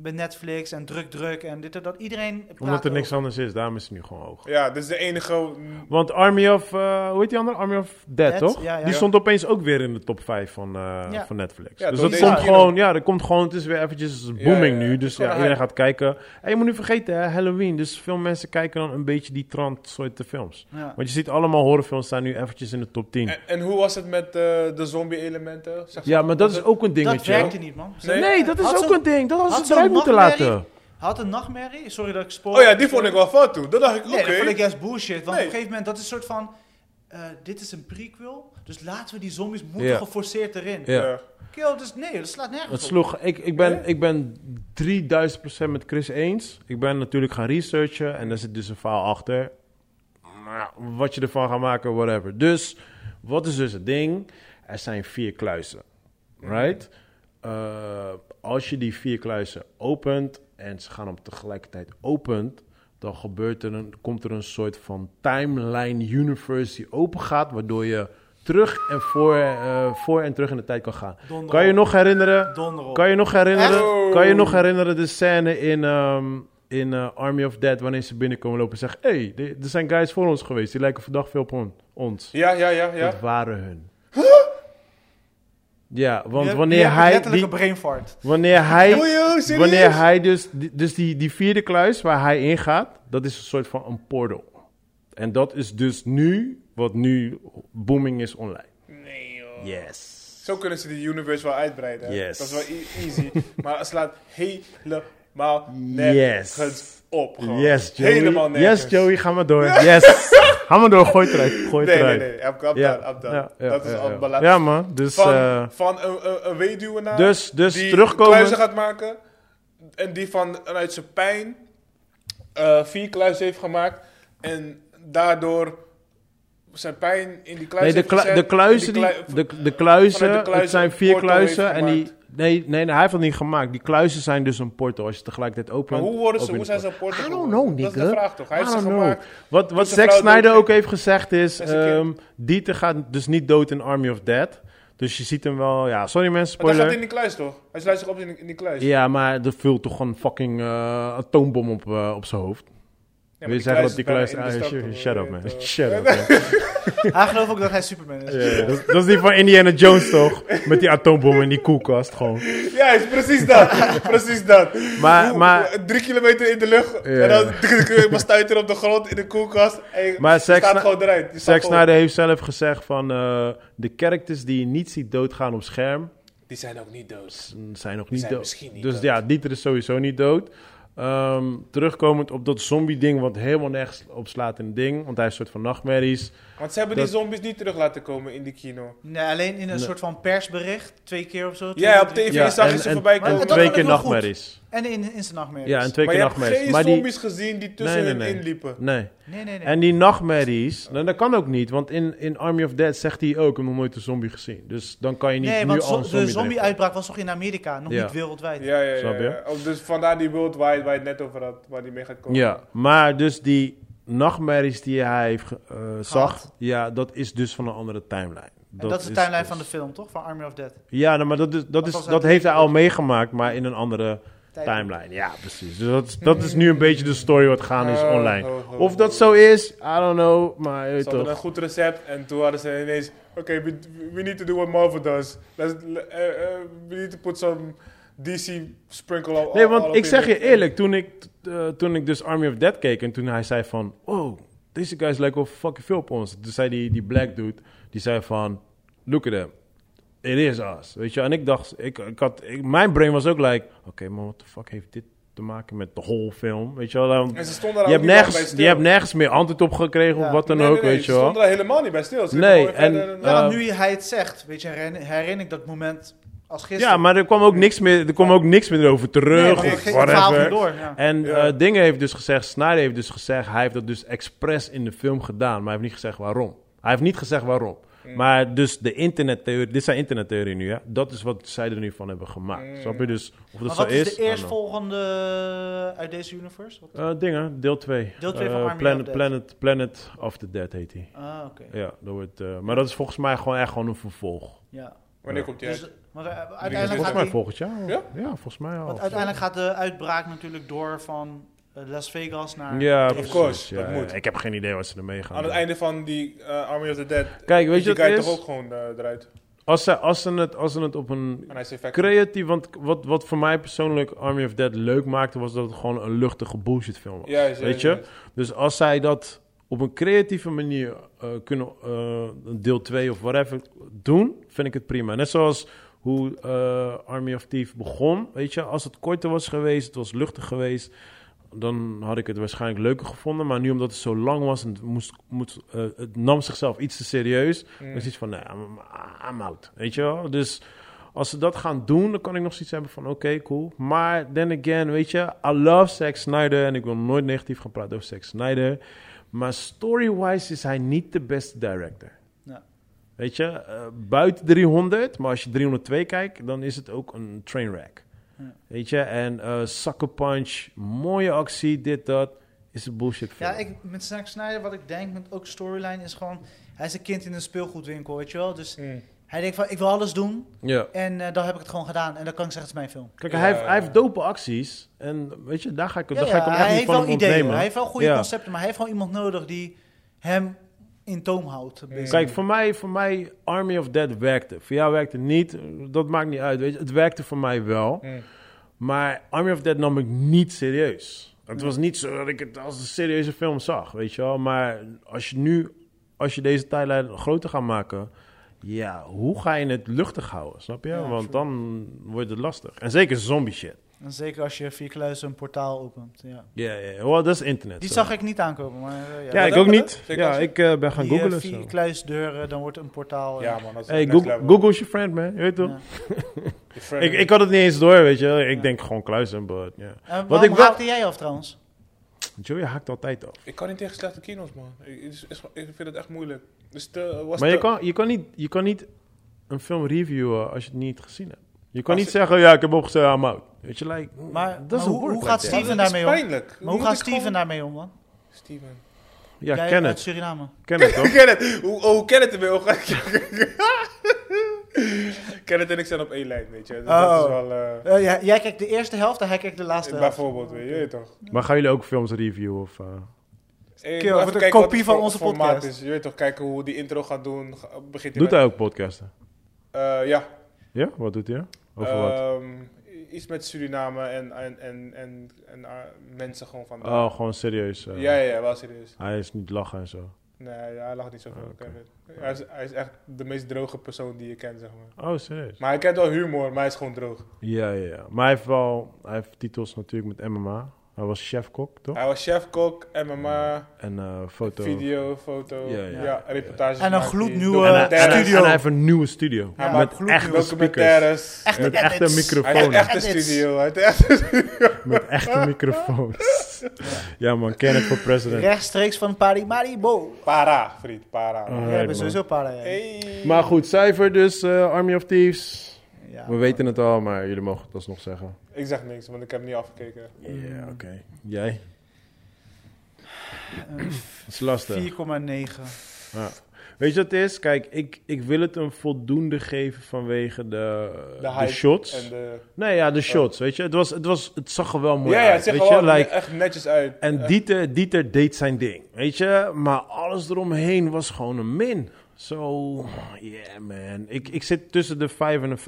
[SPEAKER 3] Bij Netflix en druk, druk en dit en dat. Iedereen praat
[SPEAKER 1] Omdat er
[SPEAKER 3] over.
[SPEAKER 1] niks anders is, daarom is het nu gewoon hoog.
[SPEAKER 2] Ja, dit is de enige...
[SPEAKER 1] Want Army of. eh, hoe heet die andere? Army of Dead,
[SPEAKER 3] Dead,
[SPEAKER 1] toch?
[SPEAKER 3] ja, ja.
[SPEAKER 1] Die
[SPEAKER 3] Ja.
[SPEAKER 1] stond opeens ook weer in de top 5 van, eh,
[SPEAKER 3] Ja.
[SPEAKER 1] van Netflix.
[SPEAKER 2] Ja,
[SPEAKER 1] dus
[SPEAKER 2] door
[SPEAKER 1] dat
[SPEAKER 2] deze
[SPEAKER 1] komt
[SPEAKER 2] kino.
[SPEAKER 1] gewoon. Ja, dat komt gewoon. Het is weer eventjes booming
[SPEAKER 2] ja, ja.
[SPEAKER 1] nu.
[SPEAKER 2] Het
[SPEAKER 1] Dus
[SPEAKER 2] is gewoon
[SPEAKER 1] ja,
[SPEAKER 2] een
[SPEAKER 1] iedereen gaat kijken. En je moet niet vergeten, hè, Halloween. Dus veel mensen kijken dan een beetje die trant soorten films.
[SPEAKER 3] Ja.
[SPEAKER 1] Want je ziet allemaal horrorfilms staan nu eventjes in de top 10.
[SPEAKER 2] En, en hoe was het met eh, de zombie-elementen? Zeg
[SPEAKER 1] Ja, maar dat is ook een
[SPEAKER 3] Dat
[SPEAKER 1] dingetje.
[SPEAKER 3] werkte niet, man.
[SPEAKER 2] Nee.
[SPEAKER 1] Nee, dat is
[SPEAKER 3] Had
[SPEAKER 1] ook
[SPEAKER 3] zo'n-
[SPEAKER 1] een ding. Dat hadden
[SPEAKER 3] had
[SPEAKER 1] ze
[SPEAKER 3] zo'n
[SPEAKER 1] eruit moeten
[SPEAKER 3] nachtmerrie?
[SPEAKER 1] laten.
[SPEAKER 3] Had een nachtmerrie, sorry dat ik spoor.
[SPEAKER 2] Oh ja, die vond ik wel fout toen. Dat dacht ik, oké.
[SPEAKER 3] Nee, dat vond ik juist bullshit. Want op
[SPEAKER 2] Nee.
[SPEAKER 3] een gegeven moment, dat is een soort van... eh, dit is een prequel, dus laten we die zombies moeten
[SPEAKER 1] Ja.
[SPEAKER 3] geforceerd erin.
[SPEAKER 1] Ja.
[SPEAKER 2] Ja.
[SPEAKER 3] Kill, dus nee, dat slaat nergens
[SPEAKER 1] Het
[SPEAKER 3] op.
[SPEAKER 1] sloeg, ik, ik, ben, ik ben 3000% met Chris eens. Ik ben natuurlijk gaan researchen en daar zit dus een verhaal achter. Maar ja, wat je ervan gaat maken, whatever. Dus, wat is dus het ding? Er zijn vier kluizen, right? Eh, als je die vier kluizen opent en ze gaan hem tegelijkertijd opent... dan gebeurt er een, komt er een soort van timeline universe die open gaat... waardoor je terug en voor, eh, voor en terug in de tijd kan gaan.
[SPEAKER 3] Donder
[SPEAKER 1] Kan je
[SPEAKER 3] op.
[SPEAKER 1] nog herinneren
[SPEAKER 3] Donder op.
[SPEAKER 1] kan je nog herinneren,
[SPEAKER 2] Echt?
[SPEAKER 1] kan je nog herinneren de scène in, ehm, in eh, Army of Dead wanneer ze binnenkomen lopen en zeggen: Hé, hey, de- er zijn guys voor ons geweest, die lijken vandaag veel op on- ons.
[SPEAKER 2] Ja, ja, ja, ja.
[SPEAKER 1] Dat waren hun. Ja,
[SPEAKER 3] Je
[SPEAKER 1] want
[SPEAKER 3] hebt-
[SPEAKER 1] wanneer
[SPEAKER 3] je hebt
[SPEAKER 1] hij.
[SPEAKER 3] letterlijk
[SPEAKER 1] Die,
[SPEAKER 3] een brain
[SPEAKER 1] (laughs)
[SPEAKER 3] fart.
[SPEAKER 1] wanneer hij.
[SPEAKER 2] Oei, oei, serieus?
[SPEAKER 1] Wanneer hij dus. die- Dus die, die vierde kluis waar hij ingaat, dat is een soort van een portal. En dat is dus nu wat nu booming is online.
[SPEAKER 2] Nee, joh.
[SPEAKER 1] Yes.
[SPEAKER 2] Zo kunnen ze die universe wel uitbreiden. hè.
[SPEAKER 1] Yes. (laughs)
[SPEAKER 2] Dat is wel e- easy. maar het slaat helemaal helemaal nergens
[SPEAKER 1] Yes.
[SPEAKER 2] op. Gewoon.
[SPEAKER 1] Yes, Joey.
[SPEAKER 2] Helemaal nergens.
[SPEAKER 1] yes, Joey, ga maar
[SPEAKER 2] (laughs)
[SPEAKER 1] door. Yes. ga maar door, gooi het eruit. Gooi het
[SPEAKER 2] Nee, nee,
[SPEAKER 1] eruit.
[SPEAKER 2] nee. Heb ik up
[SPEAKER 1] Ja,
[SPEAKER 2] down, up down.
[SPEAKER 1] ja, ja,
[SPEAKER 2] dat is
[SPEAKER 1] ja,
[SPEAKER 2] al
[SPEAKER 1] ja.
[SPEAKER 2] balans.
[SPEAKER 1] Ja, man. Dus,
[SPEAKER 2] van,
[SPEAKER 1] eh,
[SPEAKER 2] van een, een, een weduwe naar
[SPEAKER 1] dus, dus
[SPEAKER 2] die kluizen
[SPEAKER 1] terugkomen.
[SPEAKER 2] gaat maken. En die vanuit zijn pijn eh, vier kluizen heeft gemaakt. En daardoor zijn pijn in die
[SPEAKER 1] Nee,
[SPEAKER 2] kluizen
[SPEAKER 1] de, klu- de kluizen, die, de, de kluizen,
[SPEAKER 2] vanuit de
[SPEAKER 1] het
[SPEAKER 2] kluizen
[SPEAKER 1] zijn
[SPEAKER 2] een
[SPEAKER 1] vier
[SPEAKER 2] porto
[SPEAKER 1] kluizen
[SPEAKER 2] heeft
[SPEAKER 1] en die...
[SPEAKER 2] gemaakt.
[SPEAKER 1] Nee, nee, nee, hij heeft dat niet gemaakt. Die kluizen zijn dus een porto als je tegelijkertijd opent.
[SPEAKER 2] Maar hoe, worden ze,
[SPEAKER 1] open
[SPEAKER 2] hoe
[SPEAKER 1] je
[SPEAKER 2] zijn
[SPEAKER 1] het
[SPEAKER 2] ze een porto
[SPEAKER 1] I don't
[SPEAKER 2] geworden?
[SPEAKER 1] know, nigga.
[SPEAKER 2] Dat is de vraag toch? Hij
[SPEAKER 1] I
[SPEAKER 2] heeft ze
[SPEAKER 1] don't know.
[SPEAKER 2] gemaakt.
[SPEAKER 1] Wat, wat
[SPEAKER 2] zijn
[SPEAKER 1] Zack
[SPEAKER 2] vrouw
[SPEAKER 1] Snyder
[SPEAKER 2] doodging.
[SPEAKER 1] ook heeft gezegd is...
[SPEAKER 2] Dat is een
[SPEAKER 1] ehm, Dieter gaat dus niet dood in Army of Dead. Dus je ziet hem wel... Ja, sorry mensen,
[SPEAKER 2] Maar dat gaat
[SPEAKER 1] spoiler.
[SPEAKER 2] in die kluis toch? Hij sluit zich op in die, in die kluis.
[SPEAKER 1] Ja, maar er vult toch een fucking eh, atoombom op, eh, op zijn hoofd.
[SPEAKER 2] Ja,
[SPEAKER 1] Wil je
[SPEAKER 2] maar
[SPEAKER 1] zeggen dat die kluis...
[SPEAKER 2] bijna in
[SPEAKER 1] ah,
[SPEAKER 2] de
[SPEAKER 1] shut,
[SPEAKER 2] stad,
[SPEAKER 1] shut up,
[SPEAKER 2] eh,
[SPEAKER 1] man.
[SPEAKER 2] eh,
[SPEAKER 1] Shut up, man.
[SPEAKER 3] Hij gelooft ook dat hij Superman is.
[SPEAKER 1] Ja, dat, is- dat is die van Indiana Jones, toch? Met die atoombom in die koelkast, gewoon.
[SPEAKER 2] (laughs) Ja, is precies dat. (laughs) precies dat.
[SPEAKER 1] Maar-
[SPEAKER 2] Hoe-
[SPEAKER 1] maar-
[SPEAKER 2] drie kilometer in de lucht. En dan (laughs) mijn stuiter op de grond in de koelkast. En je
[SPEAKER 1] Maar Zack
[SPEAKER 2] staat
[SPEAKER 1] Sny-
[SPEAKER 2] gewoon eruit. Je staat
[SPEAKER 1] Zack
[SPEAKER 2] gewoon-
[SPEAKER 1] Snyder heeft zelf gezegd van... eh, de characters die je niet ziet doodgaan op scherm...
[SPEAKER 2] Die zijn ook niet dood.
[SPEAKER 1] Mm, zijn nog niet
[SPEAKER 2] zijn
[SPEAKER 1] dood.
[SPEAKER 2] misschien niet
[SPEAKER 1] dus
[SPEAKER 2] dood.
[SPEAKER 1] ja, Dieter is sowieso niet dood. Ehm, terugkomend op dat zombie-ding, wat helemaal nergens op slaat in het ding. Want hij is een soort van nachtmerries.
[SPEAKER 2] Want ze hebben die zombies niet terug laten komen in die kino.
[SPEAKER 3] Nee, alleen in een soort van persbericht, twee keer of zo. twee,
[SPEAKER 2] Ja, op
[SPEAKER 3] drie-
[SPEAKER 2] tv zag je ze voorbij
[SPEAKER 1] en,
[SPEAKER 2] komen.
[SPEAKER 3] dat
[SPEAKER 1] twee
[SPEAKER 3] vond ik
[SPEAKER 1] keer
[SPEAKER 3] wel goed.
[SPEAKER 1] nachtmerries.
[SPEAKER 3] En in, in zijn nachtmerries.
[SPEAKER 1] Ja, en twee
[SPEAKER 2] Maar
[SPEAKER 1] keer
[SPEAKER 2] je hebt
[SPEAKER 1] nachtmerries.
[SPEAKER 2] geen
[SPEAKER 1] maar die,
[SPEAKER 2] zombies gezien die tussen
[SPEAKER 1] Nee, nee,
[SPEAKER 2] hen
[SPEAKER 1] nee.
[SPEAKER 2] inliepen.
[SPEAKER 1] nee.
[SPEAKER 3] Nee, nee, nee.
[SPEAKER 1] En die nachtmerries, nou, dat kan ook niet. Want in, in Army of Dead zegt hij ook, ik heb nog nooit een zombie gezien. Dus dan kan je niet
[SPEAKER 3] nee,
[SPEAKER 1] nu
[SPEAKER 3] want
[SPEAKER 1] al een
[SPEAKER 3] zo- de
[SPEAKER 1] zombie erin
[SPEAKER 3] zombie-uitbraak was toch in Amerika, nog
[SPEAKER 1] Ja.
[SPEAKER 3] niet wereldwijd.
[SPEAKER 2] Ja, ja, ja.
[SPEAKER 1] Snap je?
[SPEAKER 2] ja. Oh, Dus vandaar die World Wide waar je het net over had, waar die mee gaat
[SPEAKER 1] gooien.
[SPEAKER 2] komen.
[SPEAKER 1] Ja, maar dus die nachtmerries die hij heeft, ge- eh, zag, ja, dat is dus van een andere timeline. dus-
[SPEAKER 3] en dat is de timeline van de film, toch? Van Army of Dead.
[SPEAKER 1] Ja, nou, maar dat, is, dat, is,
[SPEAKER 3] was dat
[SPEAKER 1] dat
[SPEAKER 3] niet?
[SPEAKER 1] heeft hij al meegemaakt, maar in een andere
[SPEAKER 3] Tijdlijn.
[SPEAKER 1] timeline. Ja, precies. Dus dat, is- dat is nu een beetje de story wat gaande is
[SPEAKER 2] Oh,
[SPEAKER 1] online.
[SPEAKER 2] oh, oh,
[SPEAKER 1] Of dat
[SPEAKER 2] oh.
[SPEAKER 1] zo is, I don't know, maar je weet
[SPEAKER 2] Ze hadden
[SPEAKER 1] toch.
[SPEAKER 2] een goed recept en toen hadden ze ineens... Oké, we, we need to do what Marvel does. Let's, eh, eh, we need to put some DC sprinkle all
[SPEAKER 1] Nee,
[SPEAKER 2] all
[SPEAKER 1] want
[SPEAKER 2] up
[SPEAKER 1] ik
[SPEAKER 2] in
[SPEAKER 1] zeg
[SPEAKER 2] it.
[SPEAKER 1] je eerlijk, toen ik, eh, toen ik dus Army of Dead keek en toen hij zei van... Wow, deze guys lijken wel fucking veel op ons. Toen zei die, die black dude, die zei van... Look at them. It is us. Weet je, en ik dacht... Ik, ik had, ik- mijn brain was ook like... Oké, man, what the fuck heeft dit te maken met de whole film? Weet je wel? dan-
[SPEAKER 2] En ze stonden daar
[SPEAKER 1] Je
[SPEAKER 2] ook
[SPEAKER 1] hebt,
[SPEAKER 2] niet lang bij
[SPEAKER 1] nergens,
[SPEAKER 2] stil.
[SPEAKER 1] je hebt nergens meer antwoord op gekregen of
[SPEAKER 3] Ja.
[SPEAKER 1] wat dan
[SPEAKER 2] Nee, nee,
[SPEAKER 1] ook,
[SPEAKER 2] nee,
[SPEAKER 1] weet je
[SPEAKER 2] Ze
[SPEAKER 1] wel.
[SPEAKER 2] stonden daar helemaal niet bij stil. Ze
[SPEAKER 1] Nee,
[SPEAKER 2] gingen gewoon
[SPEAKER 1] en-
[SPEAKER 2] verder
[SPEAKER 3] Ja, want
[SPEAKER 1] Eh,
[SPEAKER 3] nu hij het zegt, weet je, herinner, herinner ik dat moment als gisteren.
[SPEAKER 1] Ja, maar er kwam ook niks meer, er kwam ook niks meer over
[SPEAKER 3] Nee,
[SPEAKER 1] terug.
[SPEAKER 3] want
[SPEAKER 1] of
[SPEAKER 3] het verhaal
[SPEAKER 1] whatever.
[SPEAKER 3] ging door. Ja.
[SPEAKER 1] En
[SPEAKER 2] Ja.
[SPEAKER 1] eh, Dingen heeft dus gezegd, Snyder heeft dus gezegd, hij heeft dat dus expres in de film gedaan, maar hij heeft niet gezegd waarom. Hij heeft niet gezegd waarom.
[SPEAKER 3] Mm.
[SPEAKER 1] Maar dus de internettheorie, dit zijn internettheorieën nu, ja. Dat is wat zij er nu van hebben gemaakt. Snap je dus of dat
[SPEAKER 3] Mm. Maar
[SPEAKER 1] zo
[SPEAKER 3] wat is,
[SPEAKER 1] is?
[SPEAKER 3] de eerstvolgende uit deze universe? Wat-
[SPEAKER 1] eh, dingen, deel 2.
[SPEAKER 3] Deel twee van Army of
[SPEAKER 1] Planet,
[SPEAKER 3] Dead.
[SPEAKER 1] Planet, Planet of the Dead heet hij.
[SPEAKER 3] Ah, oké.
[SPEAKER 1] Ja, dat wordt, eh, maar dat is volgens mij gewoon echt gewoon een vervolg.
[SPEAKER 3] Ja.
[SPEAKER 2] Wanneer komt die
[SPEAKER 3] Dus,
[SPEAKER 2] uit?
[SPEAKER 3] want, eh, uiteindelijk,
[SPEAKER 1] Volgens
[SPEAKER 3] gaat
[SPEAKER 1] mij
[SPEAKER 3] die,
[SPEAKER 1] volgend jaar. al.
[SPEAKER 2] Ja?
[SPEAKER 1] Ja, volgens mij al.
[SPEAKER 3] want uiteindelijk gaat de uitbraak natuurlijk door van eh, Las Vegas naar...
[SPEAKER 1] Ja,
[SPEAKER 2] Of
[SPEAKER 1] precies,
[SPEAKER 2] course,
[SPEAKER 1] ja,
[SPEAKER 2] dat
[SPEAKER 1] ja.
[SPEAKER 2] moet.
[SPEAKER 1] Ik heb geen idee wat ze ermee gaan
[SPEAKER 2] Aan het
[SPEAKER 1] doen.
[SPEAKER 2] einde van die eh, Army of the Dead.
[SPEAKER 1] Kijk, weet
[SPEAKER 2] is
[SPEAKER 1] je
[SPEAKER 2] die
[SPEAKER 1] wat het is?
[SPEAKER 2] guy toch ook gewoon eh, eruit.
[SPEAKER 1] Als ze, als, ze het, als ze het op een
[SPEAKER 2] En hij is effect.
[SPEAKER 1] creatief... Want wat, wat voor mij persoonlijk Army of Dead leuk maakte... was dat het gewoon een luchtige bullshit film was.
[SPEAKER 2] Ja, juist,
[SPEAKER 1] weet je?
[SPEAKER 2] juist,
[SPEAKER 1] Dus als zij dat op een creatieve manier eh, kunnen... eh, deel 2 of whatever doen, vind ik het prima. Net zoals hoe eh, Army of Thief begon. Weet je, als het korter was geweest, het was luchtig geweest... dan had ik het waarschijnlijk leuker gevonden. Maar nu omdat het zo lang was en het, moest, moest, eh, het nam zichzelf iets te serieus...
[SPEAKER 2] Mm.
[SPEAKER 1] is iets van, nee, I'm, I'm out. Weet je wel? Dus als ze dat gaan doen, dan kan ik nog zoiets hebben van, oké, cool. Maar then again, weet je, I love Zack Snyder... en ik wil nooit negatief gaan praten over Zack Snyder... maar story-wise is hij niet de beste director.
[SPEAKER 3] Ja.
[SPEAKER 1] Weet je, eh, buiten 300, maar als je 302 kijkt, dan is het ook een trainwreck.
[SPEAKER 3] Ja.
[SPEAKER 1] Weet je, en eh Sucker Punch, mooie actie, dit, dat, is een bullshit film.
[SPEAKER 3] Ja, ik, met Zack Snyder, wat ik denk met ook storyline is gewoon... Hij is een kind in een speelgoedwinkel, weet je wel? Dus
[SPEAKER 2] Mm.
[SPEAKER 3] hij denkt van, ik wil alles doen.
[SPEAKER 1] Ja.
[SPEAKER 3] En eh, dan heb ik het gewoon gedaan. En dan kan ik zeggen, het is mijn film.
[SPEAKER 1] Kijk,
[SPEAKER 2] Ja,
[SPEAKER 1] hij, heeft,
[SPEAKER 2] ja,
[SPEAKER 1] hij
[SPEAKER 2] ja.
[SPEAKER 1] heeft dope acties. En weet je, daar ga ik, daar ga ik hem
[SPEAKER 3] hij
[SPEAKER 1] echt niet
[SPEAKER 3] heeft
[SPEAKER 1] van
[SPEAKER 3] wel
[SPEAKER 1] hem
[SPEAKER 3] ideeën.
[SPEAKER 1] ontnemen.
[SPEAKER 3] Hij heeft wel goede
[SPEAKER 1] Ja.
[SPEAKER 3] concepten, maar hij heeft gewoon iemand nodig die hem in toom houdt. basically.
[SPEAKER 1] Kijk, voor mij, voor mij, Army of Dead werkte. Voor jou werkte het niet. Dat maakt niet uit, weet je. Het werkte voor mij wel.
[SPEAKER 2] Mm.
[SPEAKER 1] Maar Army of Dead nam ik niet serieus. Het was niet zo dat ik het als een serieuze film zag, weet je wel. Maar als je nu, als je deze tijdlijn groter gaat maken... Ja, hoe ga je het luchtig houden, snap je?
[SPEAKER 3] Ja,
[SPEAKER 1] Want
[SPEAKER 3] true.
[SPEAKER 1] dan wordt het lastig. En zeker zombie shit.
[SPEAKER 3] En zeker als je via kluis een portaal opent. Ja.
[SPEAKER 1] Ja, ja, wel, dat is internet.
[SPEAKER 3] Die
[SPEAKER 1] zo.
[SPEAKER 3] zag ik niet aankomen. Maar, eh, ja,
[SPEAKER 1] Ja, ik
[SPEAKER 2] dat-
[SPEAKER 1] ook niet.
[SPEAKER 2] Zeker
[SPEAKER 1] Ja,
[SPEAKER 2] als je-
[SPEAKER 1] ik eh, ben gaan
[SPEAKER 3] Die, eh,
[SPEAKER 1] googlen.
[SPEAKER 3] via
[SPEAKER 1] zo.
[SPEAKER 3] kluisdeuren, dan wordt een portaal. eh,
[SPEAKER 2] Ja, man, dat is
[SPEAKER 1] Hey,
[SPEAKER 2] next
[SPEAKER 1] Google,
[SPEAKER 2] level.
[SPEAKER 1] Google is je friend, man. Je weet toch?
[SPEAKER 3] ja.
[SPEAKER 2] Je friend.
[SPEAKER 1] Ik, ik had het niet eens door, weet je. Ik
[SPEAKER 3] Ja.
[SPEAKER 1] denk gewoon kluizen, but, ja.
[SPEAKER 3] En
[SPEAKER 1] Wat
[SPEAKER 3] Wat
[SPEAKER 1] ik
[SPEAKER 3] ik
[SPEAKER 1] wel-
[SPEAKER 3] Eh, haakte jij af trouwens?
[SPEAKER 1] Joey haakt altijd af.
[SPEAKER 2] Ik kan niet tegen slechte kino's, man. Ik, het is- is- ik vind het echt moeilijk. Dus te, was
[SPEAKER 1] Maar je
[SPEAKER 2] te-
[SPEAKER 1] kan, je, kan niet, je kan niet een film reviewen als je het niet gezien hebt. Je kan
[SPEAKER 2] Als
[SPEAKER 1] niet
[SPEAKER 2] je-
[SPEAKER 1] zeggen, ja, ik heb opgezet, I'm out. Weet je, like,
[SPEAKER 3] Maar-
[SPEAKER 1] dat is
[SPEAKER 3] maar
[SPEAKER 1] een
[SPEAKER 3] hoe- hoe
[SPEAKER 1] woord
[SPEAKER 3] gaat
[SPEAKER 1] right
[SPEAKER 2] Maar
[SPEAKER 1] there.
[SPEAKER 3] Steven
[SPEAKER 2] dat is
[SPEAKER 3] daarmee om?
[SPEAKER 2] pijnlijk.
[SPEAKER 3] Maar hoe
[SPEAKER 2] moet
[SPEAKER 3] gaat
[SPEAKER 2] ik
[SPEAKER 3] Steven
[SPEAKER 2] gewoon-
[SPEAKER 3] daarmee om, man?
[SPEAKER 2] Steven.
[SPEAKER 1] Ja,
[SPEAKER 3] jij
[SPEAKER 1] ken
[SPEAKER 3] uit
[SPEAKER 1] het.
[SPEAKER 3] Suriname.
[SPEAKER 1] Ken het, toch?
[SPEAKER 2] Ken het. Hoe, oh, hoe ken het
[SPEAKER 3] (laughs)
[SPEAKER 2] ermee omgaan? ken het en ik zijn op één lijn, weet je. Dus Dat
[SPEAKER 3] Oh.
[SPEAKER 2] is wel... eh,
[SPEAKER 3] Eh, jij, jij kijkt de eerste helft en hij kijkt de laatste helft.
[SPEAKER 2] bijvoorbeeld, weet je, je weet toch.
[SPEAKER 1] Maar gaan jullie ook films reviewen? Of, eh?
[SPEAKER 2] Hey,
[SPEAKER 3] Kill,
[SPEAKER 2] even
[SPEAKER 3] wat een
[SPEAKER 2] kijken wat
[SPEAKER 3] kopie
[SPEAKER 2] het
[SPEAKER 3] van
[SPEAKER 2] for-
[SPEAKER 3] onze
[SPEAKER 2] formaat
[SPEAKER 3] podcast.
[SPEAKER 2] Is. Je weet toch, kijken hoe die intro gaat doen. Ga- Begint
[SPEAKER 1] Doet
[SPEAKER 2] hij met-
[SPEAKER 1] hij ook podcasten?
[SPEAKER 2] Eh, ja.
[SPEAKER 1] Ja? Wat doet hij? Over wat?
[SPEAKER 2] Ehm, iets met Suriname en, en, en, en, en ah, mensen gewoon van... daar.
[SPEAKER 1] Oh, gewoon serieus. eh.
[SPEAKER 2] ja, ja, ja, wel serieus.
[SPEAKER 1] Hij is niet lachen en zo.
[SPEAKER 2] Nee, hij lacht niet zoveel.
[SPEAKER 1] Oh, Oké.
[SPEAKER 2] Kevin. Hij, is, hij is echt de meest droge persoon die je kent, zeg maar.
[SPEAKER 1] Oh, serieus?
[SPEAKER 2] Maar hij kent wel humor, maar hij is gewoon droog.
[SPEAKER 1] Ja, ja, ja. Maar hij heeft wel... Hij heeft titels natuurlijk met MMA. Hij was chefkok, toch?
[SPEAKER 2] Hij was chef, kok, MMA,
[SPEAKER 1] En eh, foto.
[SPEAKER 2] video, foto,
[SPEAKER 1] Ja,
[SPEAKER 2] ja,
[SPEAKER 1] ja,
[SPEAKER 2] reportages.
[SPEAKER 3] En een
[SPEAKER 2] maakt hij,
[SPEAKER 3] gloednieuwe
[SPEAKER 1] En hij, en hij-
[SPEAKER 2] documentaires,
[SPEAKER 3] studio.
[SPEAKER 1] en hij heeft een nieuwe studio.
[SPEAKER 2] Ja,
[SPEAKER 1] met
[SPEAKER 3] maar
[SPEAKER 1] echte speakers.
[SPEAKER 2] Documentaires.
[SPEAKER 3] Echt
[SPEAKER 1] Met echte
[SPEAKER 2] Hij
[SPEAKER 3] edits.
[SPEAKER 2] heeft
[SPEAKER 1] microfoons.
[SPEAKER 2] echt een
[SPEAKER 3] Edits.
[SPEAKER 2] studio. Hij heeft echt
[SPEAKER 1] Met echte
[SPEAKER 2] (laughs)
[SPEAKER 1] microfoons. ja man, Kenneth voor president.
[SPEAKER 3] Rechtstreeks van Parimaribo.
[SPEAKER 2] Para, vriend, para.
[SPEAKER 1] Ah.
[SPEAKER 3] Ja,
[SPEAKER 1] Alright,
[SPEAKER 3] we hebben
[SPEAKER 1] man.
[SPEAKER 3] sowieso para. ja.
[SPEAKER 2] Hey.
[SPEAKER 1] Maar goed, cijfer dus eh, Army of Thieves.
[SPEAKER 3] Ja.
[SPEAKER 1] We weten het al, maar jullie mogen het alsnog zeggen.
[SPEAKER 2] Ik zeg niks, want ik heb niet afgekeken.
[SPEAKER 1] Ja, oké. Jij? Eh, Dat is lastig.
[SPEAKER 3] 4,9.
[SPEAKER 1] Weet je wat het is? Kijk, ik, ik wil het een voldoende geven vanwege de,
[SPEAKER 2] De,
[SPEAKER 1] de,
[SPEAKER 2] hype
[SPEAKER 1] shots.
[SPEAKER 2] En de...
[SPEAKER 1] Nee, ja, de shots, weet je. Het, was, het, was, het zag er wel mooi
[SPEAKER 2] Ja, ja, het
[SPEAKER 1] uit,
[SPEAKER 2] ziet
[SPEAKER 1] Oh weet
[SPEAKER 2] er wel
[SPEAKER 1] je. Like,
[SPEAKER 2] echt netjes uit.
[SPEAKER 1] En Dieter, Dieter deed zijn ding, weet je. Maar alles eromheen was gewoon een min. Zo, yeah man. Ik, ik zit tussen de 5 en de 5,5.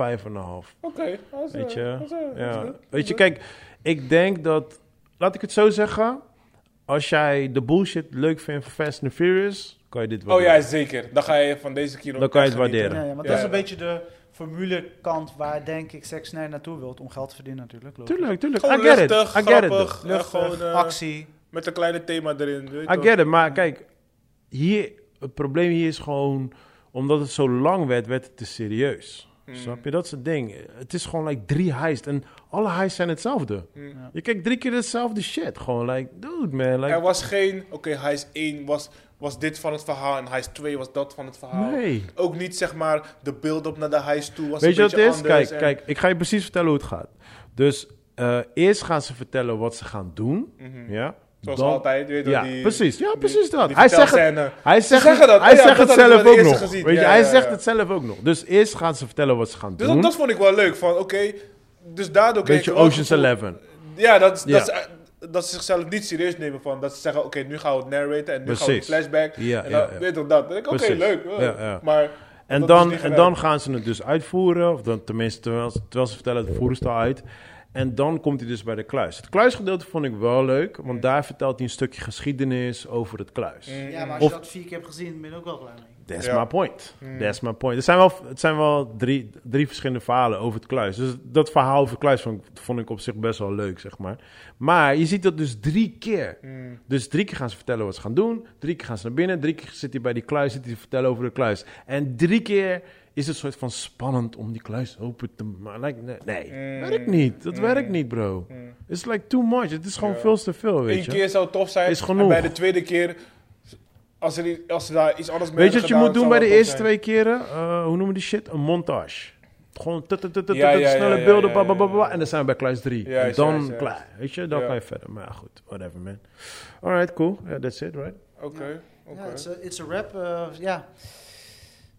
[SPEAKER 2] Oké, dat
[SPEAKER 1] Weet
[SPEAKER 2] is, eh, dat
[SPEAKER 1] je?
[SPEAKER 2] is, eh, dat is
[SPEAKER 1] Ja.
[SPEAKER 2] goed.
[SPEAKER 1] Weet je, kijk, ik denk dat, laat ik het zo zeggen. Als jij de bullshit leuk vindt van Fast and Furious, kan je dit wel
[SPEAKER 2] Oh ja, zeker. Dan ga je van deze kilo.
[SPEAKER 1] Dan kan je
[SPEAKER 2] echt
[SPEAKER 1] het
[SPEAKER 2] genieten.
[SPEAKER 1] waarderen.
[SPEAKER 3] Ja, ja, want
[SPEAKER 2] Ja,
[SPEAKER 3] dat is
[SPEAKER 2] ja.
[SPEAKER 3] een beetje de formulekant waar denk ik Zack Snyder naartoe wilt om geld te verdienen natuurlijk. logisch.
[SPEAKER 1] Tuurlijk, tuurlijk.
[SPEAKER 2] Gewoon
[SPEAKER 1] I get
[SPEAKER 2] luchtig,
[SPEAKER 1] it. I get it.
[SPEAKER 2] grappig.
[SPEAKER 1] though.
[SPEAKER 2] Ja,
[SPEAKER 3] Luchtig,
[SPEAKER 2] gewoon, eh,
[SPEAKER 3] actie.
[SPEAKER 2] Met een kleine thema erin. Weet je
[SPEAKER 1] I get it. Maar kijk, hier, het probleem hier is gewoon, omdat het zo lang werd, werd het te serieus.
[SPEAKER 2] Mm.
[SPEAKER 1] Snap je? Dat is het ding. Het is gewoon like drie heist. En alle heists zijn hetzelfde.
[SPEAKER 2] Mm.
[SPEAKER 3] Ja.
[SPEAKER 1] Je kijkt drie keer hetzelfde shit. Gewoon like, dude man.
[SPEAKER 2] Er
[SPEAKER 1] Like,
[SPEAKER 2] was geen, oké, hij is 1 was, was dit van het verhaal en hij is 2 was dat van het verhaal.
[SPEAKER 1] nee.
[SPEAKER 2] Ook niet zeg maar de build-up naar de heist toe was
[SPEAKER 1] Weet je
[SPEAKER 2] een
[SPEAKER 1] wat het
[SPEAKER 2] beetje
[SPEAKER 1] is? Kijk,
[SPEAKER 2] anders. en-
[SPEAKER 1] kijk, ik ga je precies vertellen hoe het gaat. Dus eh, eerst gaan ze vertellen wat ze gaan doen.
[SPEAKER 2] Mhm.
[SPEAKER 1] Ja.
[SPEAKER 2] Zoals
[SPEAKER 1] Dan-
[SPEAKER 2] altijd, weet je
[SPEAKER 1] Ja,
[SPEAKER 2] die,
[SPEAKER 1] precies. Ja,
[SPEAKER 2] die-
[SPEAKER 1] precies dat.
[SPEAKER 2] die
[SPEAKER 1] Hij zegt het-
[SPEAKER 2] vertelscène.
[SPEAKER 1] Hij zegt,
[SPEAKER 2] zeggen dat.
[SPEAKER 1] hij
[SPEAKER 2] Ja,
[SPEAKER 1] zegt het
[SPEAKER 2] dat hadden we
[SPEAKER 1] zelf
[SPEAKER 2] bij
[SPEAKER 1] ook
[SPEAKER 2] de
[SPEAKER 1] nog.
[SPEAKER 2] eerste gezien.
[SPEAKER 1] Weet je,
[SPEAKER 2] Ja,
[SPEAKER 1] hij
[SPEAKER 2] ja,
[SPEAKER 1] zegt
[SPEAKER 2] ja.
[SPEAKER 1] het zelf ook nog. Dus eerst gaan ze vertellen wat ze gaan
[SPEAKER 2] Dus
[SPEAKER 1] doen.
[SPEAKER 2] dat, dat vond ik wel leuk. Van oké, dus daardoor
[SPEAKER 1] Hm?
[SPEAKER 2] kreeg
[SPEAKER 1] Beetje
[SPEAKER 2] ik wel het
[SPEAKER 1] Ocean's
[SPEAKER 2] gevoel-
[SPEAKER 1] Eleven.
[SPEAKER 2] Ja, dat, is-
[SPEAKER 1] Ja.
[SPEAKER 2] Dat, ze, dat ze zichzelf niet serieus nemen van dat ze zeggen, oké, nu gaan we het narraten en nu gaan we een
[SPEAKER 1] Precies.
[SPEAKER 2] flashback.
[SPEAKER 1] Ja,
[SPEAKER 2] en
[SPEAKER 1] ja,
[SPEAKER 2] dan,
[SPEAKER 1] ja.
[SPEAKER 2] Weet je dat? Dan denk ik, oké,
[SPEAKER 1] Precies.
[SPEAKER 2] leuk.
[SPEAKER 1] Ja, ja.
[SPEAKER 2] Maar
[SPEAKER 1] En
[SPEAKER 2] dat is
[SPEAKER 1] dan,
[SPEAKER 2] niet
[SPEAKER 1] en
[SPEAKER 2] gelijk.
[SPEAKER 1] dan gaan ze het dus uitvoeren. Of dan, tenminste, terwijl, ze- terwijl ze vertellen, het voeren ze het al uit. En dan komt hij dus bij de kluis. Het kluisgedeelte vond ik wel leuk. Want daar vertelt hij een stukje geschiedenis over het kluis.
[SPEAKER 2] Mm.
[SPEAKER 3] Ja, maar als
[SPEAKER 1] Of-
[SPEAKER 3] je dat vier keer hebt gezien, ben je er ook wel blij mee.
[SPEAKER 1] That's
[SPEAKER 2] Ja. Hmm.
[SPEAKER 1] my point. That's my point. Het zijn wel, het zijn wel drie, drie verschillende verhalen over het kluis. Dus dat verhaal over het kluis vond, ik- vond ik op zich best wel leuk, zeg maar. Maar je ziet dat dus drie keer.
[SPEAKER 2] Hmm.
[SPEAKER 1] Dus drie keer gaan ze vertellen wat ze gaan doen. Drie keer gaan ze naar binnen. Drie keer zit hij bij die kluis, zit hij te vertellen over de kluis. En drie keer is het soort van spannend om die kluis open te maken. Like, nee,
[SPEAKER 2] Hmm.
[SPEAKER 1] nee. werkt niet. Dat werkt niet, bro. It's like too much. Het is gewoon veel te veel, weet
[SPEAKER 2] Eén
[SPEAKER 1] je.
[SPEAKER 2] keer zou tof zijn.
[SPEAKER 1] Is genoeg.
[SPEAKER 2] En bij de tweede keer, als ze, als ze daar iets anders mee
[SPEAKER 1] Weet je wat
[SPEAKER 2] hadden
[SPEAKER 1] je moet doen bij
[SPEAKER 2] gedaan, zou
[SPEAKER 1] de
[SPEAKER 2] wel tof
[SPEAKER 1] eerste
[SPEAKER 2] zijn.
[SPEAKER 1] twee keren? Eh, hoe noemen die shit? Een montage. Gewoon tut, tut, tut, tut,
[SPEAKER 2] Ja,
[SPEAKER 1] tut,
[SPEAKER 2] ja, ja,
[SPEAKER 1] snelle
[SPEAKER 2] ja,
[SPEAKER 1] beelden,
[SPEAKER 2] ja,
[SPEAKER 1] bla, bla,
[SPEAKER 2] ja,
[SPEAKER 1] bla, bla,
[SPEAKER 2] ja.
[SPEAKER 1] En dan zijn we bij kluis 3.
[SPEAKER 2] Juist,
[SPEAKER 1] en dan
[SPEAKER 2] juist, juist.
[SPEAKER 1] klaar. Weet je, dan
[SPEAKER 2] Ja.
[SPEAKER 1] kan je verder. Maar ja, goed, whatever man. Alright, cool. Yeah, that's it, right?
[SPEAKER 2] Oké,
[SPEAKER 3] Ja,
[SPEAKER 2] oké.
[SPEAKER 3] it's a, it's a rap. eh, ja.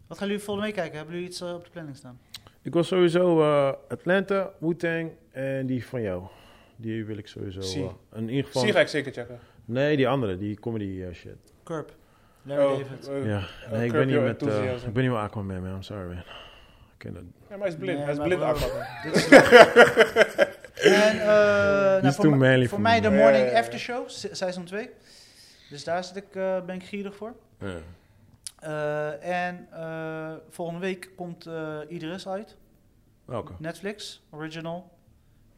[SPEAKER 3] Wat gaan jullie volgende week kijken? Hebben jullie iets eh, op de planning staan?
[SPEAKER 1] Ik wil sowieso eh, Atlanta, Wu-Tang en die van jou. Die wil ik sowieso.
[SPEAKER 2] Zie.
[SPEAKER 1] eh, in ieder
[SPEAKER 2] Zie ga
[SPEAKER 1] geval.
[SPEAKER 2] ik zeker checken.
[SPEAKER 1] Nee, die andere, die comedy eh, shit.
[SPEAKER 3] Curb. Larry
[SPEAKER 2] Oh,
[SPEAKER 3] David.
[SPEAKER 2] eh,
[SPEAKER 1] ja, nee, ik
[SPEAKER 2] Curb
[SPEAKER 1] ben niet
[SPEAKER 2] Your
[SPEAKER 1] met. eh,
[SPEAKER 2] Enthusiasm.
[SPEAKER 1] ik ben niet met Aquaman, man. I'm sorry, man. Ik ken dat.
[SPEAKER 2] ja, maar hij is blind.
[SPEAKER 3] Nee,
[SPEAKER 2] hij is
[SPEAKER 3] maar
[SPEAKER 2] blind
[SPEAKER 3] bro,
[SPEAKER 2] aanpakken.
[SPEAKER 3] (laughs) dit is En, eh, nou,
[SPEAKER 1] is
[SPEAKER 3] voor
[SPEAKER 1] too
[SPEAKER 3] mij-
[SPEAKER 1] manly
[SPEAKER 3] Voor
[SPEAKER 1] for
[SPEAKER 3] mij
[SPEAKER 1] me.
[SPEAKER 3] de
[SPEAKER 2] Ja,
[SPEAKER 3] morning
[SPEAKER 2] ja, ja.
[SPEAKER 3] after show, se- seizoen 2. Dus daar zit ik, eh, ben ik gierig voor.
[SPEAKER 1] Ja.
[SPEAKER 3] Eh, en eh, volgende week komt eh Idris uit.
[SPEAKER 2] Oh,
[SPEAKER 1] Welke?
[SPEAKER 3] Netflix, original.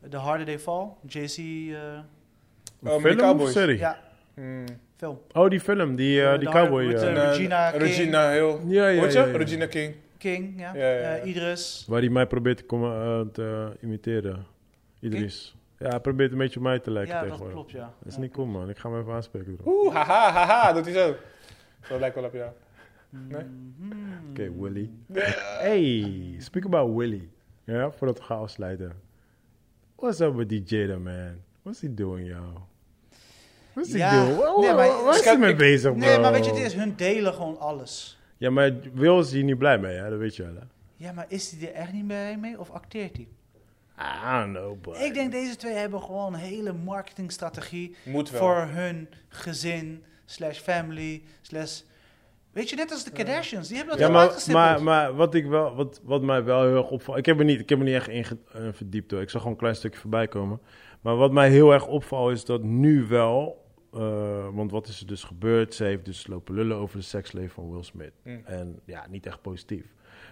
[SPEAKER 3] Eh, The Harder They Fall, JC, eh
[SPEAKER 1] Een
[SPEAKER 2] Oh, met die
[SPEAKER 1] film of
[SPEAKER 2] cowboys.
[SPEAKER 1] serie?
[SPEAKER 3] ja,
[SPEAKER 1] Eh,
[SPEAKER 2] Mm.
[SPEAKER 3] film.
[SPEAKER 1] Oh, die film, die, eh, die
[SPEAKER 3] Eh, de harde-
[SPEAKER 1] cowboy.
[SPEAKER 3] met,
[SPEAKER 1] eh,
[SPEAKER 3] eh,
[SPEAKER 2] eh,
[SPEAKER 3] Regina King.
[SPEAKER 2] Regina Hill.
[SPEAKER 1] Ja, ja,
[SPEAKER 2] Hoort je?
[SPEAKER 1] ja, ja.
[SPEAKER 2] Regina King.
[SPEAKER 3] King, ja.
[SPEAKER 2] Ja, ja, ja.
[SPEAKER 3] Eh, Idris.
[SPEAKER 1] Waar hij mij probeert te, komen, eh, te imiteren. Idris. Ja, hij probeert een beetje op mij te lijken
[SPEAKER 3] Ja, dat
[SPEAKER 1] tegenwoordig.
[SPEAKER 3] klopt, ja.
[SPEAKER 1] Dat is
[SPEAKER 3] Ja.
[SPEAKER 1] niet cool, man. Ik ga hem even aanspreken, bro.
[SPEAKER 2] Oeh, haha, haha, doet hij zo. Zo lijkt wel op jou. Nee?
[SPEAKER 3] Mhm.
[SPEAKER 1] Oké, Willy. Hey, speak about Willy. Ja, voordat we gaan afsluiten. What's up with die Jada, man? What's he doing, yo? What's he
[SPEAKER 3] Ja,
[SPEAKER 1] doing? Wa- wa-
[SPEAKER 3] nee, maar- dus
[SPEAKER 1] waar is hij mee bezig, bro?
[SPEAKER 3] Nee, maar weet je, het is, hun delen gewoon alles.
[SPEAKER 1] Ja, maar Will is hier niet blij mee, hè? Dat weet je wel, hè?
[SPEAKER 3] Ja, maar is hij er echt niet mee, mee of acteert hij?
[SPEAKER 1] I don't know, but...
[SPEAKER 3] Ik denk deze twee hebben gewoon een hele marketingstrategie
[SPEAKER 2] Moet wel.
[SPEAKER 3] voor hun gezin, slash family, slash... Weet je, net als de Kardashians, die hebben dat
[SPEAKER 1] Ja,
[SPEAKER 3] al
[SPEAKER 1] maar,
[SPEAKER 3] uitgestippeld.
[SPEAKER 1] maar, maar wat, ik wel, wat, wat mij wel heel erg opvalt... Ik heb er niet, ik heb er niet echt in ge- eh, verdiept, hoor. Ik zag gewoon een klein stukje voorbij komen. Maar wat mij heel erg opvalt is dat nu wel... eh, want wat is er dus gebeurd? Ze heeft dus lopen lullen over het seksleven van Will Smith.
[SPEAKER 2] Mm.
[SPEAKER 1] En ja, niet echt positief.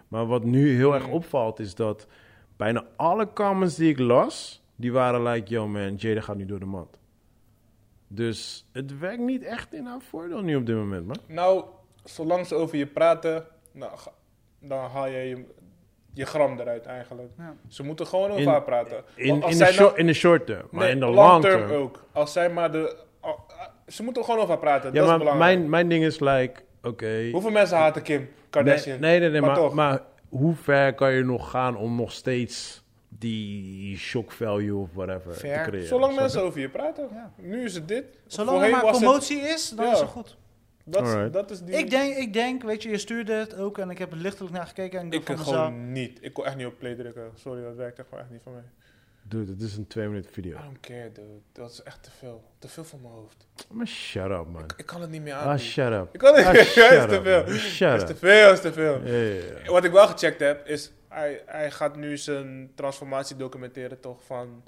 [SPEAKER 1] Maar wat nu heel
[SPEAKER 3] Mm.
[SPEAKER 1] erg opvalt is dat... Bijna alle comments die ik las... Die waren like, yo man, Jada gaat nu door de mand. Dus het werkt niet echt in haar voordeel nu op dit moment, man.
[SPEAKER 2] Nou, zolang ze over je praten, nou, ga- dan haal je, je je gram eruit eigenlijk.
[SPEAKER 3] Ja.
[SPEAKER 2] Ze moeten gewoon over
[SPEAKER 1] In-
[SPEAKER 2] haar praten.
[SPEAKER 1] In,
[SPEAKER 2] Als
[SPEAKER 1] in, de,
[SPEAKER 2] zij
[SPEAKER 1] short,
[SPEAKER 2] nou-
[SPEAKER 1] in de short term, maar
[SPEAKER 2] nee, eh,
[SPEAKER 1] in de long term.
[SPEAKER 2] ook. Als zij maar de... al- Ze moeten gewoon over haar praten,
[SPEAKER 1] Ja,
[SPEAKER 2] dat is
[SPEAKER 1] maar
[SPEAKER 2] belangrijk.
[SPEAKER 1] mijn, mijn ding is like, oké.
[SPEAKER 2] Hoeveel mensen haten Kim
[SPEAKER 1] nee,
[SPEAKER 2] Kardashian?
[SPEAKER 1] nee, nee, nee, maar,
[SPEAKER 2] toch.
[SPEAKER 1] maar, hoe ver kan je nog gaan om nog steeds die shock value of whatever
[SPEAKER 3] Ver.
[SPEAKER 1] te creëren?
[SPEAKER 2] Zolang
[SPEAKER 1] Snap je?
[SPEAKER 2] mensen over je praten.
[SPEAKER 3] Ja.
[SPEAKER 2] Nu is het dit.
[SPEAKER 3] Zolang er
[SPEAKER 2] Voorheen
[SPEAKER 3] maar
[SPEAKER 2] was het-
[SPEAKER 3] promotie is, dan
[SPEAKER 2] Ja.
[SPEAKER 3] is het goed.
[SPEAKER 2] Dat, is-
[SPEAKER 1] Alright.
[SPEAKER 2] dat is die...
[SPEAKER 3] Ik denk, ik denk, weet je, je stuurde het ook en ik heb er lichtelijk naar gekeken en ik dacht
[SPEAKER 2] Ik
[SPEAKER 3] van
[SPEAKER 2] kan
[SPEAKER 3] mezelf...
[SPEAKER 2] gewoon niet. Ik kon echt niet op play drukken. Sorry, dat werkt echt, gewoon echt niet voor mij.
[SPEAKER 1] Dude, het is een twee minute video.
[SPEAKER 2] I don't care, dude. Dat is echt te veel. Te veel voor mijn hoofd.
[SPEAKER 1] Maar shut up, man.
[SPEAKER 2] Ik kan het niet meer aan.
[SPEAKER 1] Ah, shut up.
[SPEAKER 2] (laughs) ik kan het
[SPEAKER 1] Ah,
[SPEAKER 2] niet
[SPEAKER 1] shut
[SPEAKER 2] meer aan.
[SPEAKER 1] up.
[SPEAKER 2] is te veel.
[SPEAKER 1] man. Shut
[SPEAKER 2] is te
[SPEAKER 1] up.
[SPEAKER 2] veel, is te veel.
[SPEAKER 1] Ja, ja, ja.
[SPEAKER 2] Wat ik wel gecheckt heb, is... Hij, hij gaat nu zijn transformatie documenteren, toch? Van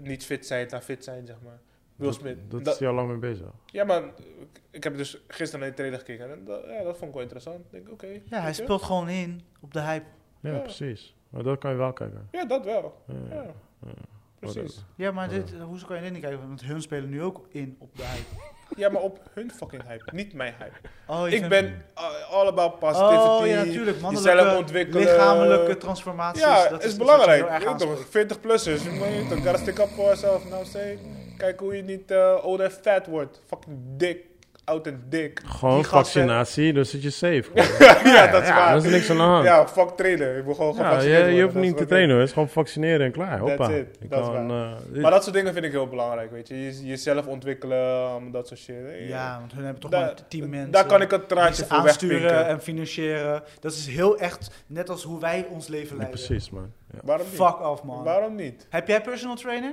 [SPEAKER 2] niet fit zijn naar fit zijn, zeg maar. Will
[SPEAKER 1] Dat-
[SPEAKER 2] Smith.
[SPEAKER 1] Dat,
[SPEAKER 2] Dat-
[SPEAKER 1] is hij al lang mee bezig.
[SPEAKER 2] Ja, maar ik- ik heb dus gisteren naar die trailer gekeken. En dat, ja, dat vond ik wel interessant. Ik denk, oké.
[SPEAKER 3] Ja, hij
[SPEAKER 2] weet je.
[SPEAKER 3] speelt gewoon in op de hype.
[SPEAKER 1] Ja,
[SPEAKER 2] Ja.
[SPEAKER 1] precies. Maar dat kan je wel kijken.
[SPEAKER 2] Ja, dat wel.
[SPEAKER 1] Ja,
[SPEAKER 2] Ja,
[SPEAKER 1] ja.
[SPEAKER 2] precies.
[SPEAKER 3] Ja, maar dit, hoezo kan je dit niet kijken? Want hun spelen nu ook in op de hype.
[SPEAKER 2] Ja, maar op hun fucking hype. Niet mijn hype.
[SPEAKER 3] Oh,
[SPEAKER 2] Ik
[SPEAKER 3] je vindt-
[SPEAKER 2] ben uh, all about positivity.
[SPEAKER 3] Oh ja, natuurlijk.
[SPEAKER 2] jezelf
[SPEAKER 3] Mannelijke,
[SPEAKER 2] ontwikkelen.
[SPEAKER 3] lichamelijke transformaties.
[SPEAKER 2] Ja, is
[SPEAKER 3] dat iets wat je
[SPEAKER 2] belangrijk.
[SPEAKER 3] heel erg
[SPEAKER 2] Je weet
[SPEAKER 3] aanspreekt.
[SPEAKER 2] toch, 40 plussers. You know, you gotta stick up for yourself. Nou, say. Kijk hoe je niet eh oud en fat wordt. Fucking dik. Oud en dik.
[SPEAKER 1] Gewoon
[SPEAKER 3] Die gasten-
[SPEAKER 1] vaccinatie, dan zit je safe.
[SPEAKER 2] (laughs) ja, dat
[SPEAKER 1] (laughs)
[SPEAKER 2] is
[SPEAKER 1] Ja,
[SPEAKER 2] waar.
[SPEAKER 1] dat is niks aan de hand.
[SPEAKER 2] Ja, fuck trainen. Ik wil gewoon
[SPEAKER 1] Ja,
[SPEAKER 2] gevaccineerd
[SPEAKER 1] je, je
[SPEAKER 2] worden.
[SPEAKER 1] hoeft
[SPEAKER 2] Dat is
[SPEAKER 1] niet te
[SPEAKER 2] wat
[SPEAKER 1] trainen hoor. Het is gewoon vaccineren en klaar.
[SPEAKER 2] That's
[SPEAKER 1] Hoppa.
[SPEAKER 2] it.
[SPEAKER 1] Je
[SPEAKER 2] Dat is
[SPEAKER 1] kan, eh,
[SPEAKER 2] ik- Maar dat soort dingen vind ik heel belangrijk, weet je. Je- Jezelf ontwikkelen, allemaal dat soort shit. Eh,
[SPEAKER 3] Ja, want hun hebben toch
[SPEAKER 2] Daar-
[SPEAKER 3] maar tien mensen.
[SPEAKER 2] Daar kan ik het
[SPEAKER 3] die
[SPEAKER 2] traantje
[SPEAKER 3] ze
[SPEAKER 2] voor
[SPEAKER 3] aansturen
[SPEAKER 2] wegpinken.
[SPEAKER 3] en financieren. Dat is heel echt net als hoe wij ons leven
[SPEAKER 1] ja,
[SPEAKER 3] leiden.
[SPEAKER 1] precies man. Ja.
[SPEAKER 2] Waarom niet?
[SPEAKER 3] Fuck off, man.
[SPEAKER 2] Waarom niet?
[SPEAKER 3] Heb jij personal trainer?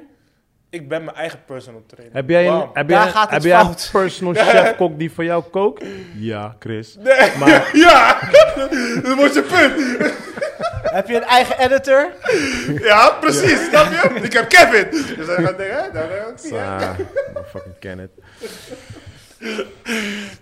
[SPEAKER 2] Ik ben mijn eigen personal trainer.
[SPEAKER 1] Heb jij een,
[SPEAKER 2] Waarom?
[SPEAKER 1] heb
[SPEAKER 3] Daar
[SPEAKER 1] jij,
[SPEAKER 3] gaat het
[SPEAKER 1] heb jij een
[SPEAKER 3] fout.
[SPEAKER 1] personal
[SPEAKER 2] (laughs)
[SPEAKER 1] chef kok die voor jou kookt? Ja, Chris.
[SPEAKER 2] Nee,
[SPEAKER 1] Maar-
[SPEAKER 2] ja, dat wordt je punt.
[SPEAKER 3] Heb je een eigen editor?
[SPEAKER 2] Ja, precies, snap je? Ik heb Kevin. Dus hij gaat denken, hè, daar ben ik ook niet, hè. (laughs)
[SPEAKER 1] Ah, fucking ken het.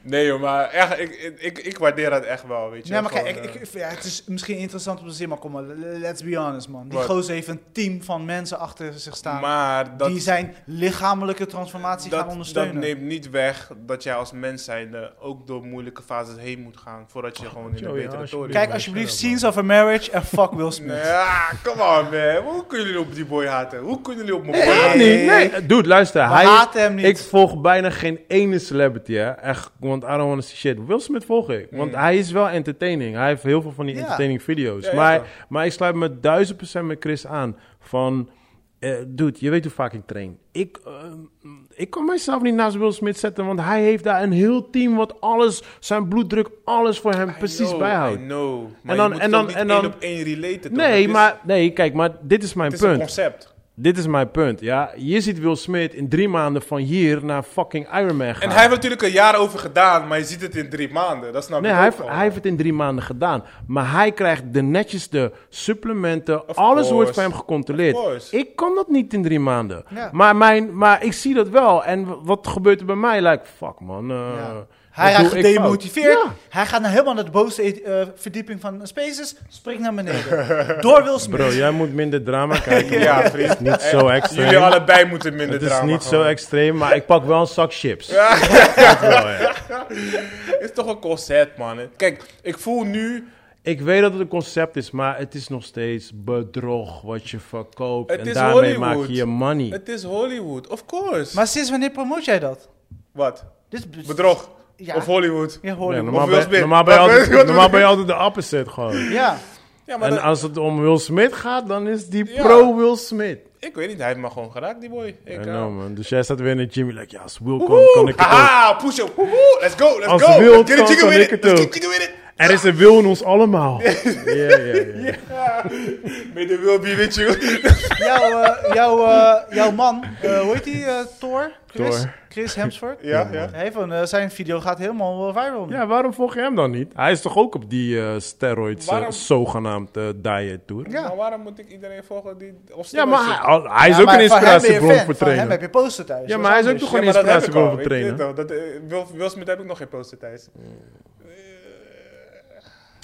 [SPEAKER 2] Nee joh, maar echt, ik, ik, ik, ik waardeer dat echt wel, weet je.
[SPEAKER 3] Nee, maar kijk,
[SPEAKER 2] Gewoon,
[SPEAKER 3] ik,
[SPEAKER 2] eh,
[SPEAKER 3] ik- ja, het is misschien interessant om te zien, maar kom maar, let's be honest, man. Die
[SPEAKER 2] Wat?
[SPEAKER 3] gozer heeft een team van mensen achter zich staan.
[SPEAKER 2] eh, maar dat,
[SPEAKER 3] die zijn lichamelijke transformatie gaan
[SPEAKER 2] dat, dat
[SPEAKER 3] ondersteunen.
[SPEAKER 2] neemt niet weg dat jij als mens zijnde ook door moeilijke fases heen moet gaan. Voordat
[SPEAKER 3] Oh,
[SPEAKER 2] je gewoon in een
[SPEAKER 1] Joey,
[SPEAKER 2] betere
[SPEAKER 1] alsjeblieft.
[SPEAKER 2] toren
[SPEAKER 3] Kijk
[SPEAKER 1] Ja,
[SPEAKER 3] alsjeblieft
[SPEAKER 1] shut up, man.
[SPEAKER 3] Scenes of a Marriage en fuck Will Smith.
[SPEAKER 2] Ja, come on man. Hoe kunnen jullie op die boy haten? Hoe kunnen jullie op mijn boy haten?
[SPEAKER 1] Nee, nee. Eh, Dude, luister.
[SPEAKER 3] We
[SPEAKER 1] Hij,
[SPEAKER 3] haten hem niet.
[SPEAKER 1] ik volg bijna geen ene celebrity, hè. Echt, want I don't want to see shit. Will Smith volg ik. Want hij is wel entertaining. Hij heeft heel veel van die
[SPEAKER 3] Ja.
[SPEAKER 1] entertaining video's.
[SPEAKER 2] Mm. Ja, ja,
[SPEAKER 1] maar,
[SPEAKER 2] ja.
[SPEAKER 1] maar ik sluit me duizend procent met Chris aan. Van, eh, dude, je weet hoe vaak ik train. Ik, eh, ik kan mijzelf niet naast Will Smith zetten, want hij heeft daar een heel team wat alles, zijn bloeddruk, alles voor hem precies
[SPEAKER 2] I know,
[SPEAKER 1] bijhoudt.
[SPEAKER 2] I know. Maar
[SPEAKER 1] dan-
[SPEAKER 2] je moet
[SPEAKER 1] en
[SPEAKER 2] en
[SPEAKER 1] dan-
[SPEAKER 2] dan, niet
[SPEAKER 1] en dan-
[SPEAKER 2] één op één relaten. toch? Het
[SPEAKER 1] Nee,
[SPEAKER 2] is-
[SPEAKER 1] maar, nee, kijk, maar dit is mijn
[SPEAKER 2] Het is een
[SPEAKER 1] punt.
[SPEAKER 2] concept.
[SPEAKER 1] Dit is mijn punt, ja. Je ziet Will Smith in drie maanden van hier naar fucking Iron Man gaan.
[SPEAKER 2] En hij heeft natuurlijk een jaar over gedaan, maar je ziet het in drie maanden. Dat snap
[SPEAKER 1] Nee,
[SPEAKER 2] ik
[SPEAKER 1] hij
[SPEAKER 2] ook
[SPEAKER 1] heeft,
[SPEAKER 2] gewoon.
[SPEAKER 1] hij heeft het in drie maanden gedaan. Maar hij krijgt de netjeste supplementen.
[SPEAKER 2] Of
[SPEAKER 1] alles
[SPEAKER 2] course.
[SPEAKER 1] wordt van hem gecontroleerd.
[SPEAKER 2] Of course.
[SPEAKER 1] Ik kan dat niet in drie maanden.
[SPEAKER 3] Ja.
[SPEAKER 1] Maar, mijn, maar ik zie dat wel. En w- wat gebeurt er bij mij? Like, fuck man. eh,
[SPEAKER 3] Ja. Hij
[SPEAKER 1] Dat
[SPEAKER 3] raakt
[SPEAKER 1] doe ik fout.
[SPEAKER 3] gedemotiveerd.
[SPEAKER 1] Ja.
[SPEAKER 3] Hij gaat naar helemaal naar de bovenste eh, verdieping van Spaces. Springt naar
[SPEAKER 1] (laughs)
[SPEAKER 3] beneden. Door Will Smith.
[SPEAKER 1] Bro, jij moet minder drama kijken.
[SPEAKER 2] Ja,
[SPEAKER 1] man.
[SPEAKER 2] vriend. Eh,
[SPEAKER 1] Het is niet zo extreem.
[SPEAKER 2] Jullie allebei moeten minder
[SPEAKER 1] het is
[SPEAKER 2] drama
[SPEAKER 1] niet zo
[SPEAKER 2] gewoon.
[SPEAKER 1] extreem, maar ik pak wel een zak chips. Dat wel, ja.
[SPEAKER 2] Het is toch een concert, man. Kijk, ik voel nu...
[SPEAKER 1] Ik weet dat het een concept is, maar het is nog steeds bedrog wat je verkoopt.
[SPEAKER 2] Het
[SPEAKER 1] en
[SPEAKER 2] is
[SPEAKER 1] daarmee
[SPEAKER 2] Hollywood.
[SPEAKER 1] maak je je money.
[SPEAKER 2] Het is Hollywood, of course.
[SPEAKER 3] Maar sinds wanneer promoot jij dat?
[SPEAKER 2] Wat?
[SPEAKER 3] Dit is-
[SPEAKER 2] Bedrog?
[SPEAKER 3] Ja.
[SPEAKER 2] Of Hollywood?
[SPEAKER 3] Ja,
[SPEAKER 1] Ja,
[SPEAKER 3] hoor ik.
[SPEAKER 1] normaal,
[SPEAKER 2] Of Will
[SPEAKER 1] ben,
[SPEAKER 2] Smith.
[SPEAKER 1] normaal,
[SPEAKER 2] (laughs)
[SPEAKER 1] ben je
[SPEAKER 2] Wat
[SPEAKER 1] altijd,
[SPEAKER 2] ben je- wat
[SPEAKER 1] normaal ben je
[SPEAKER 2] ben
[SPEAKER 1] altijd de opposite gewoon.
[SPEAKER 3] Ja.
[SPEAKER 2] Ja, maar
[SPEAKER 1] En
[SPEAKER 2] dat-
[SPEAKER 1] als het om Will Smith gaat, dan is die
[SPEAKER 2] Ja.
[SPEAKER 1] pro Will Smith.
[SPEAKER 2] ik weet niet, hij heeft me gewoon geraakt, die boy. Ik,
[SPEAKER 1] I
[SPEAKER 2] eh,
[SPEAKER 1] know, man. Dus jij staat weer in de gym. Like, ja, als Will
[SPEAKER 2] woehoe!
[SPEAKER 1] komt, kan ik het
[SPEAKER 2] (laughs)
[SPEAKER 1] ook.
[SPEAKER 2] Haha, push up. Woehoe, Let's go, let's
[SPEAKER 1] Als
[SPEAKER 2] go.
[SPEAKER 1] Will
[SPEAKER 2] Let's
[SPEAKER 1] kan,
[SPEAKER 2] get it chicken
[SPEAKER 1] kan
[SPEAKER 2] with
[SPEAKER 1] ik
[SPEAKER 2] it.
[SPEAKER 1] het
[SPEAKER 2] Let's
[SPEAKER 1] ook.
[SPEAKER 2] get chicken with it.
[SPEAKER 1] Er is een wil in ons
[SPEAKER 2] (laughs)
[SPEAKER 1] allemaal. Ja, ja, ja.
[SPEAKER 2] May the will be with you. (laughs)
[SPEAKER 3] Jouw, eh, jouw, eh, jouw man, eh, hoe heet die? eh Thor? Chris?
[SPEAKER 1] Thor.
[SPEAKER 3] Chris Hemsworth?
[SPEAKER 2] ja, ja.
[SPEAKER 3] Hij heeft een, eh, zijn video gaat helemaal eh, viral. nu.
[SPEAKER 1] Ja, waarom volg je hem dan niet? Hij is toch ook op die eh, steroids, eh,
[SPEAKER 2] Waarom-
[SPEAKER 1] zogenaamd eh, diet tour?
[SPEAKER 3] Ja.
[SPEAKER 2] Maar waarom moet ik iedereen volgen die... Of
[SPEAKER 1] Ja,
[SPEAKER 2] steroids
[SPEAKER 1] maar hij,
[SPEAKER 2] zit?
[SPEAKER 1] al- hij is
[SPEAKER 3] Ja,
[SPEAKER 1] ook
[SPEAKER 3] maar
[SPEAKER 1] een
[SPEAKER 3] van hem ben je
[SPEAKER 1] inspiratiebron
[SPEAKER 3] fan.
[SPEAKER 1] voor
[SPEAKER 3] Van hem
[SPEAKER 1] trainen.
[SPEAKER 3] heb je poster thuis.
[SPEAKER 1] Ja,
[SPEAKER 3] Dat
[SPEAKER 1] maar hij is ook
[SPEAKER 3] anders.
[SPEAKER 1] toch
[SPEAKER 2] Ja,
[SPEAKER 1] gewoon
[SPEAKER 2] maar dat heb ik
[SPEAKER 1] inspiratiebron
[SPEAKER 2] al.
[SPEAKER 1] voor
[SPEAKER 2] Ik weet
[SPEAKER 1] trainen.
[SPEAKER 2] wel, dat, eh, Will, Will Smith heb ik nog geen poster thuis.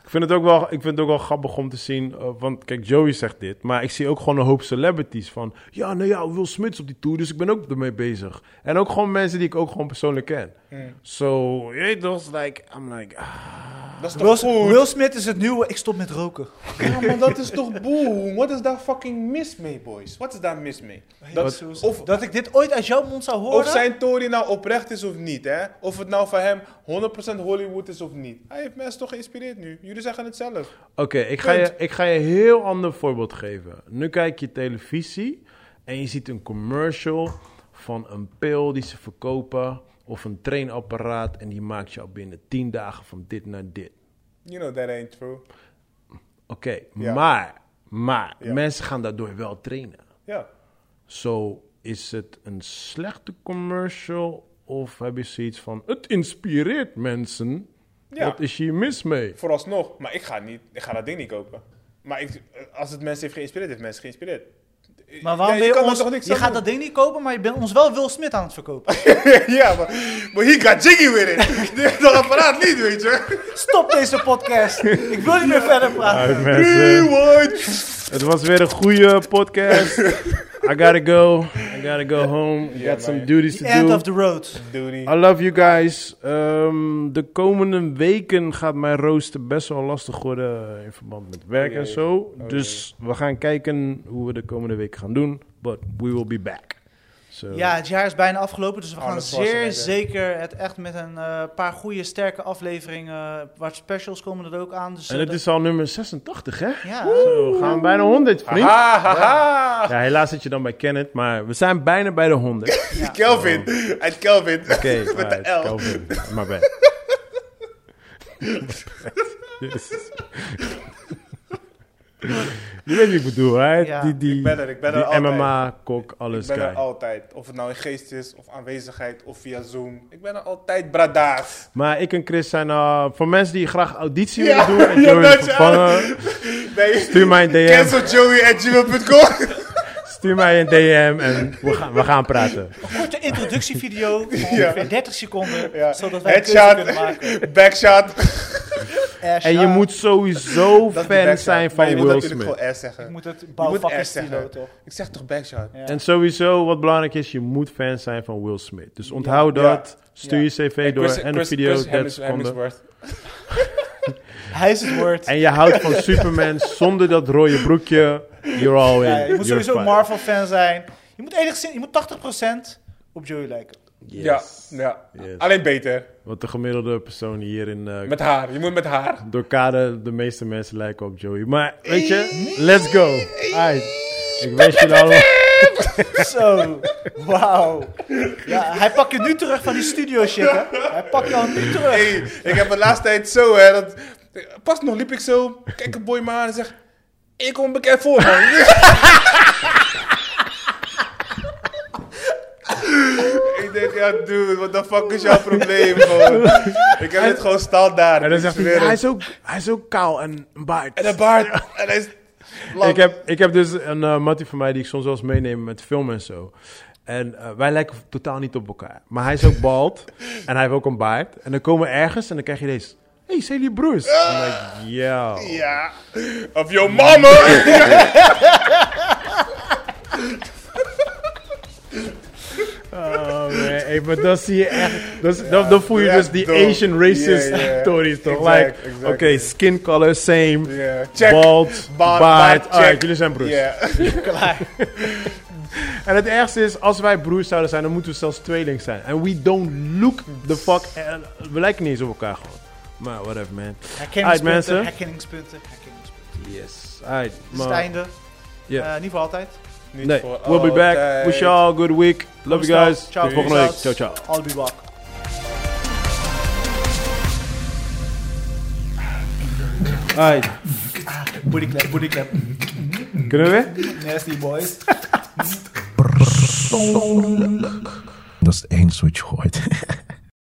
[SPEAKER 1] Ik vind, het ook wel, ik vind het ook wel grappig om te zien, eh, want kijk, Joey zegt dit, maar ik zie ook gewoon een hoop celebrities van, ja, nou ja, Will Smith is op die tour, dus ik ben ook ermee bezig. En ook gewoon mensen die ik ook gewoon persoonlijk ken. So, je weet toch, like, I'm like, ah,
[SPEAKER 2] Dat is toch
[SPEAKER 3] Will,
[SPEAKER 2] goed?
[SPEAKER 3] Will Smith is het nieuwe, ik stop met roken.
[SPEAKER 2] Ja, (laughs) maar dat is toch boem? Wat is daar fucking mis mee, boys? Wat is daar mis mee? Dat,
[SPEAKER 3] Jezus.
[SPEAKER 2] of,
[SPEAKER 3] Dat ik dit ooit uit jouw mond zou horen?
[SPEAKER 2] of zijn Tory nou oprecht is of niet, hè? Of het nou voor hem 100% Hollywood is of niet. Hij heeft mensen toch geïnspireerd nu? Jullie zeggen het zelf.
[SPEAKER 1] Oké, ik, ga je-
[SPEAKER 2] Punt.
[SPEAKER 1] ik ga je een heel ander voorbeeld geven. Nu kijk je televisie en je ziet een commercial van een pil die ze verkopen of een trainapparaat en die maakt je al binnen 10 dagen van dit naar dit.
[SPEAKER 2] You know that ain't true.
[SPEAKER 1] Oké,
[SPEAKER 2] Ja.
[SPEAKER 1] maar, maar
[SPEAKER 2] Ja.
[SPEAKER 1] mensen gaan daardoor wel trainen.
[SPEAKER 2] Ja.
[SPEAKER 1] Zo is het een slechte commercial of heb je zoiets van het inspireert mensen?
[SPEAKER 2] Ja.
[SPEAKER 1] Wat is hier mis mee?
[SPEAKER 2] Vooralsnog. Maar ik ga, niet, ik ga dat ding niet kopen. Maar ik, als het mensen heeft geïnspireerd, heeft mensen geïnspireerd.
[SPEAKER 3] Maar waarom
[SPEAKER 2] Ja,
[SPEAKER 3] ben je
[SPEAKER 2] kan daar
[SPEAKER 3] ons...
[SPEAKER 2] toch niks
[SPEAKER 3] je
[SPEAKER 2] aan
[SPEAKER 3] gaat
[SPEAKER 2] doen?
[SPEAKER 3] dat ding niet kopen, maar je bent ons wel Will Smith aan het verkopen. (laughs)
[SPEAKER 2] (laughs) ja, maar, maar he got jiggy with
[SPEAKER 1] (laughs)
[SPEAKER 2] it. Dit is dat apparaat niet, weet je.
[SPEAKER 3] Stop deze
[SPEAKER 2] (laughs)
[SPEAKER 3] podcast. Ik wil niet meer verder praten.
[SPEAKER 1] Uit mensen.
[SPEAKER 2] Rewind.
[SPEAKER 1] Het was weer een goede
[SPEAKER 2] (laughs)
[SPEAKER 1] podcast. I gotta go. I gotta go home. I
[SPEAKER 2] Ja,
[SPEAKER 1] got some
[SPEAKER 2] man.
[SPEAKER 1] duties
[SPEAKER 3] The
[SPEAKER 1] to
[SPEAKER 3] end
[SPEAKER 1] do.
[SPEAKER 3] of the road.
[SPEAKER 2] Doody.
[SPEAKER 1] I love you guys. Ehm, de komende weken gaat mijn rooster best wel lastig worden eh, in verband met werk
[SPEAKER 2] Oh,
[SPEAKER 1] en
[SPEAKER 2] jee.
[SPEAKER 1] zo. dus we gaan kijken hoe we de komende weken gaan doen. But we will be back. So,
[SPEAKER 3] Ja, het jaar is bijna afgelopen, dus we gaan
[SPEAKER 2] Arnold
[SPEAKER 3] zeer
[SPEAKER 2] Schwarzenegger.
[SPEAKER 3] zeker het echt met een eh, paar goede, sterke afleveringen. eh, Wat specials komen er ook aan. Dus, eh,
[SPEAKER 1] En het
[SPEAKER 3] dat-
[SPEAKER 1] is al nummer 86, hè?
[SPEAKER 3] Ja.
[SPEAKER 1] Zo, we gaan bijna 100, vriend.
[SPEAKER 2] Ha, ha, ha.
[SPEAKER 1] Ja, helaas zit je dan bij Kenneth, maar we zijn bijna bij de 100.
[SPEAKER 2] Kelvin. Uit Kelvin.
[SPEAKER 1] Oké,
[SPEAKER 2] (laughs) Met de L.
[SPEAKER 1] Kelvin. My
[SPEAKER 2] (laughs)
[SPEAKER 1] bad. Jezus. Je weet wie ik bedoel, hè?
[SPEAKER 3] Ja.
[SPEAKER 1] Die, die,
[SPEAKER 2] Ik ben er, ik ben er
[SPEAKER 1] die
[SPEAKER 2] altijd.
[SPEAKER 1] MMA-kok,
[SPEAKER 2] Ik
[SPEAKER 1] alles
[SPEAKER 2] ben er
[SPEAKER 1] kijk.
[SPEAKER 2] altijd. Of het nou in geest is, of aanwezigheid, of via Zoom. Ik ben er altijd, brada's.
[SPEAKER 1] Maar ik en Chris zijn eh, voor mensen die graag auditie
[SPEAKER 2] Ja,
[SPEAKER 1] willen doen en
[SPEAKER 2] (laughs) ja,
[SPEAKER 1] Joey
[SPEAKER 2] dat
[SPEAKER 1] willen
[SPEAKER 2] is-
[SPEAKER 1] vervangen,
[SPEAKER 2] Nee,
[SPEAKER 1] stuur mij een DM,
[SPEAKER 2] canceljoey at gmail.com.
[SPEAKER 1] stuur mij een DM en we gaan, we gaan praten.
[SPEAKER 3] Een korte introductievideo
[SPEAKER 1] (laughs)
[SPEAKER 3] van ongeveer 30 seconden,
[SPEAKER 2] (laughs) Ja.
[SPEAKER 3] zodat wij een keuze kunnen
[SPEAKER 2] Headshot,
[SPEAKER 3] maken.
[SPEAKER 2] (laughs)
[SPEAKER 1] (laughs)
[SPEAKER 2] backshot.
[SPEAKER 3] Ash,
[SPEAKER 1] En je
[SPEAKER 3] ja.
[SPEAKER 1] moet sowieso
[SPEAKER 2] Dat is die
[SPEAKER 1] fan
[SPEAKER 2] backshot.
[SPEAKER 1] zijn
[SPEAKER 2] Maar
[SPEAKER 1] van
[SPEAKER 2] je moet
[SPEAKER 1] Will
[SPEAKER 2] natuurlijk
[SPEAKER 1] Smith.
[SPEAKER 2] gewoon R
[SPEAKER 3] Ik
[SPEAKER 2] zeggen.
[SPEAKER 3] moet het
[SPEAKER 2] Je moet
[SPEAKER 3] bouwvakken
[SPEAKER 2] R
[SPEAKER 3] stilo,
[SPEAKER 2] zeggen.
[SPEAKER 3] toch?
[SPEAKER 2] Ik zeg toch backshot?
[SPEAKER 3] Ja.
[SPEAKER 1] En sowieso, wat belangrijk is, je moet fan zijn van Will Smith. Dus onthoud
[SPEAKER 2] Ja.
[SPEAKER 1] dat, stuur je cv door
[SPEAKER 2] Chris-
[SPEAKER 1] en
[SPEAKER 2] Chris-
[SPEAKER 1] een video,
[SPEAKER 2] Chris
[SPEAKER 1] 30 seconden.
[SPEAKER 2] Hemsworth.
[SPEAKER 3] Hij is het woord.
[SPEAKER 1] En je houdt
[SPEAKER 2] (laughs)
[SPEAKER 1] van Superman zonder dat rode broekje. You're all in.
[SPEAKER 3] Ja, je
[SPEAKER 1] You're
[SPEAKER 3] moet sowieso
[SPEAKER 1] fine.
[SPEAKER 3] Marvel-fan zijn. Je moet, enigszins, je moet 80% op Joey lijken.
[SPEAKER 2] Ja,
[SPEAKER 1] Yes.
[SPEAKER 2] ja.
[SPEAKER 1] Yes.
[SPEAKER 2] Alleen beter.
[SPEAKER 1] Want de gemiddelde persoon hier in... eh,
[SPEAKER 2] Met haar. Je moet met haar.
[SPEAKER 1] Door kade, de meeste mensen lijken op Joey. Maar weet je, let's go. Aight. Ik wens
[SPEAKER 2] (laughs)
[SPEAKER 1] jullie allemaal...
[SPEAKER 3] Zo, wauw. Ja, hij pakt je nu terug van die studio shit, hè? Hij pakt je al nu terug.
[SPEAKER 2] Hey, ik heb de laatste tijd zo, hè. Dat, pas nog liep ik zo, kijk een boy me aan en zeg... Ik kom bekend voor, man. (laughs) ik denk, ja, dude, what the fuck is jouw probleem, gewoon? Ik heb dit gewoon standaard.
[SPEAKER 1] En dan
[SPEAKER 2] ik
[SPEAKER 1] zegt hij,
[SPEAKER 2] zweer
[SPEAKER 1] ja, hij,
[SPEAKER 2] het.
[SPEAKER 1] is ook, hij is ook kaal en een baard.
[SPEAKER 2] En een baard. En hij is... lang.
[SPEAKER 1] Ik heb, ik heb dus een eh mattie van mij die ik soms wel eens meeneem met film en zo. En eh, wij lijken totaal niet op elkaar. Maar hij is ook
[SPEAKER 2] (laughs)
[SPEAKER 1] bald. en hij heeft ook een baard. En dan komen we ergens en dan krijg je deze. hey, zijn jullie broers? I'm like, yo.
[SPEAKER 2] Ja. Of yo mama!
[SPEAKER 1] Oh, man. Hey, maar dan zie je echt... dat is- dan, dan voel je
[SPEAKER 2] ja,
[SPEAKER 1] dus die
[SPEAKER 2] dope.
[SPEAKER 1] Asian racist
[SPEAKER 2] Ja, ja.
[SPEAKER 1] stories toch?
[SPEAKER 2] Exact,
[SPEAKER 1] like,
[SPEAKER 2] exact.
[SPEAKER 1] oké, skin color, same.
[SPEAKER 2] Ja. Check.
[SPEAKER 1] Bald, baard.
[SPEAKER 2] Ba- baard,
[SPEAKER 1] Alright,
[SPEAKER 2] check.
[SPEAKER 1] jullie zijn broers.
[SPEAKER 2] Ja. (laughs)
[SPEAKER 1] En het ergste is, als wij broers zouden zijn, dan moeten we zelfs tweeling zijn. En we don't look the fuck... eh, We lijken niet eens op elkaar gewoon. Maar whatever, man.
[SPEAKER 3] Herkenningspunten,
[SPEAKER 1] mensen.
[SPEAKER 3] herkenningspunten, herkenningspunten.
[SPEAKER 1] Yes. Alright,
[SPEAKER 3] Het is het einde.
[SPEAKER 1] Ja.
[SPEAKER 3] Eh, niet voor altijd.
[SPEAKER 2] Niet
[SPEAKER 1] Nee,
[SPEAKER 2] voor
[SPEAKER 1] we'll be back.
[SPEAKER 2] altijd.
[SPEAKER 1] Wish y'all a good week. Love you
[SPEAKER 3] snel.
[SPEAKER 1] guys.
[SPEAKER 3] Ciao.
[SPEAKER 1] Tot volgende week.
[SPEAKER 3] Peace
[SPEAKER 1] Ciao,
[SPEAKER 3] out.
[SPEAKER 1] ciao.
[SPEAKER 3] I'll be back.
[SPEAKER 1] Alright.
[SPEAKER 3] Booty clap, booty clap.
[SPEAKER 1] Kunnen we weer?
[SPEAKER 3] Nasty boys.
[SPEAKER 4] Dat is één switch gooit.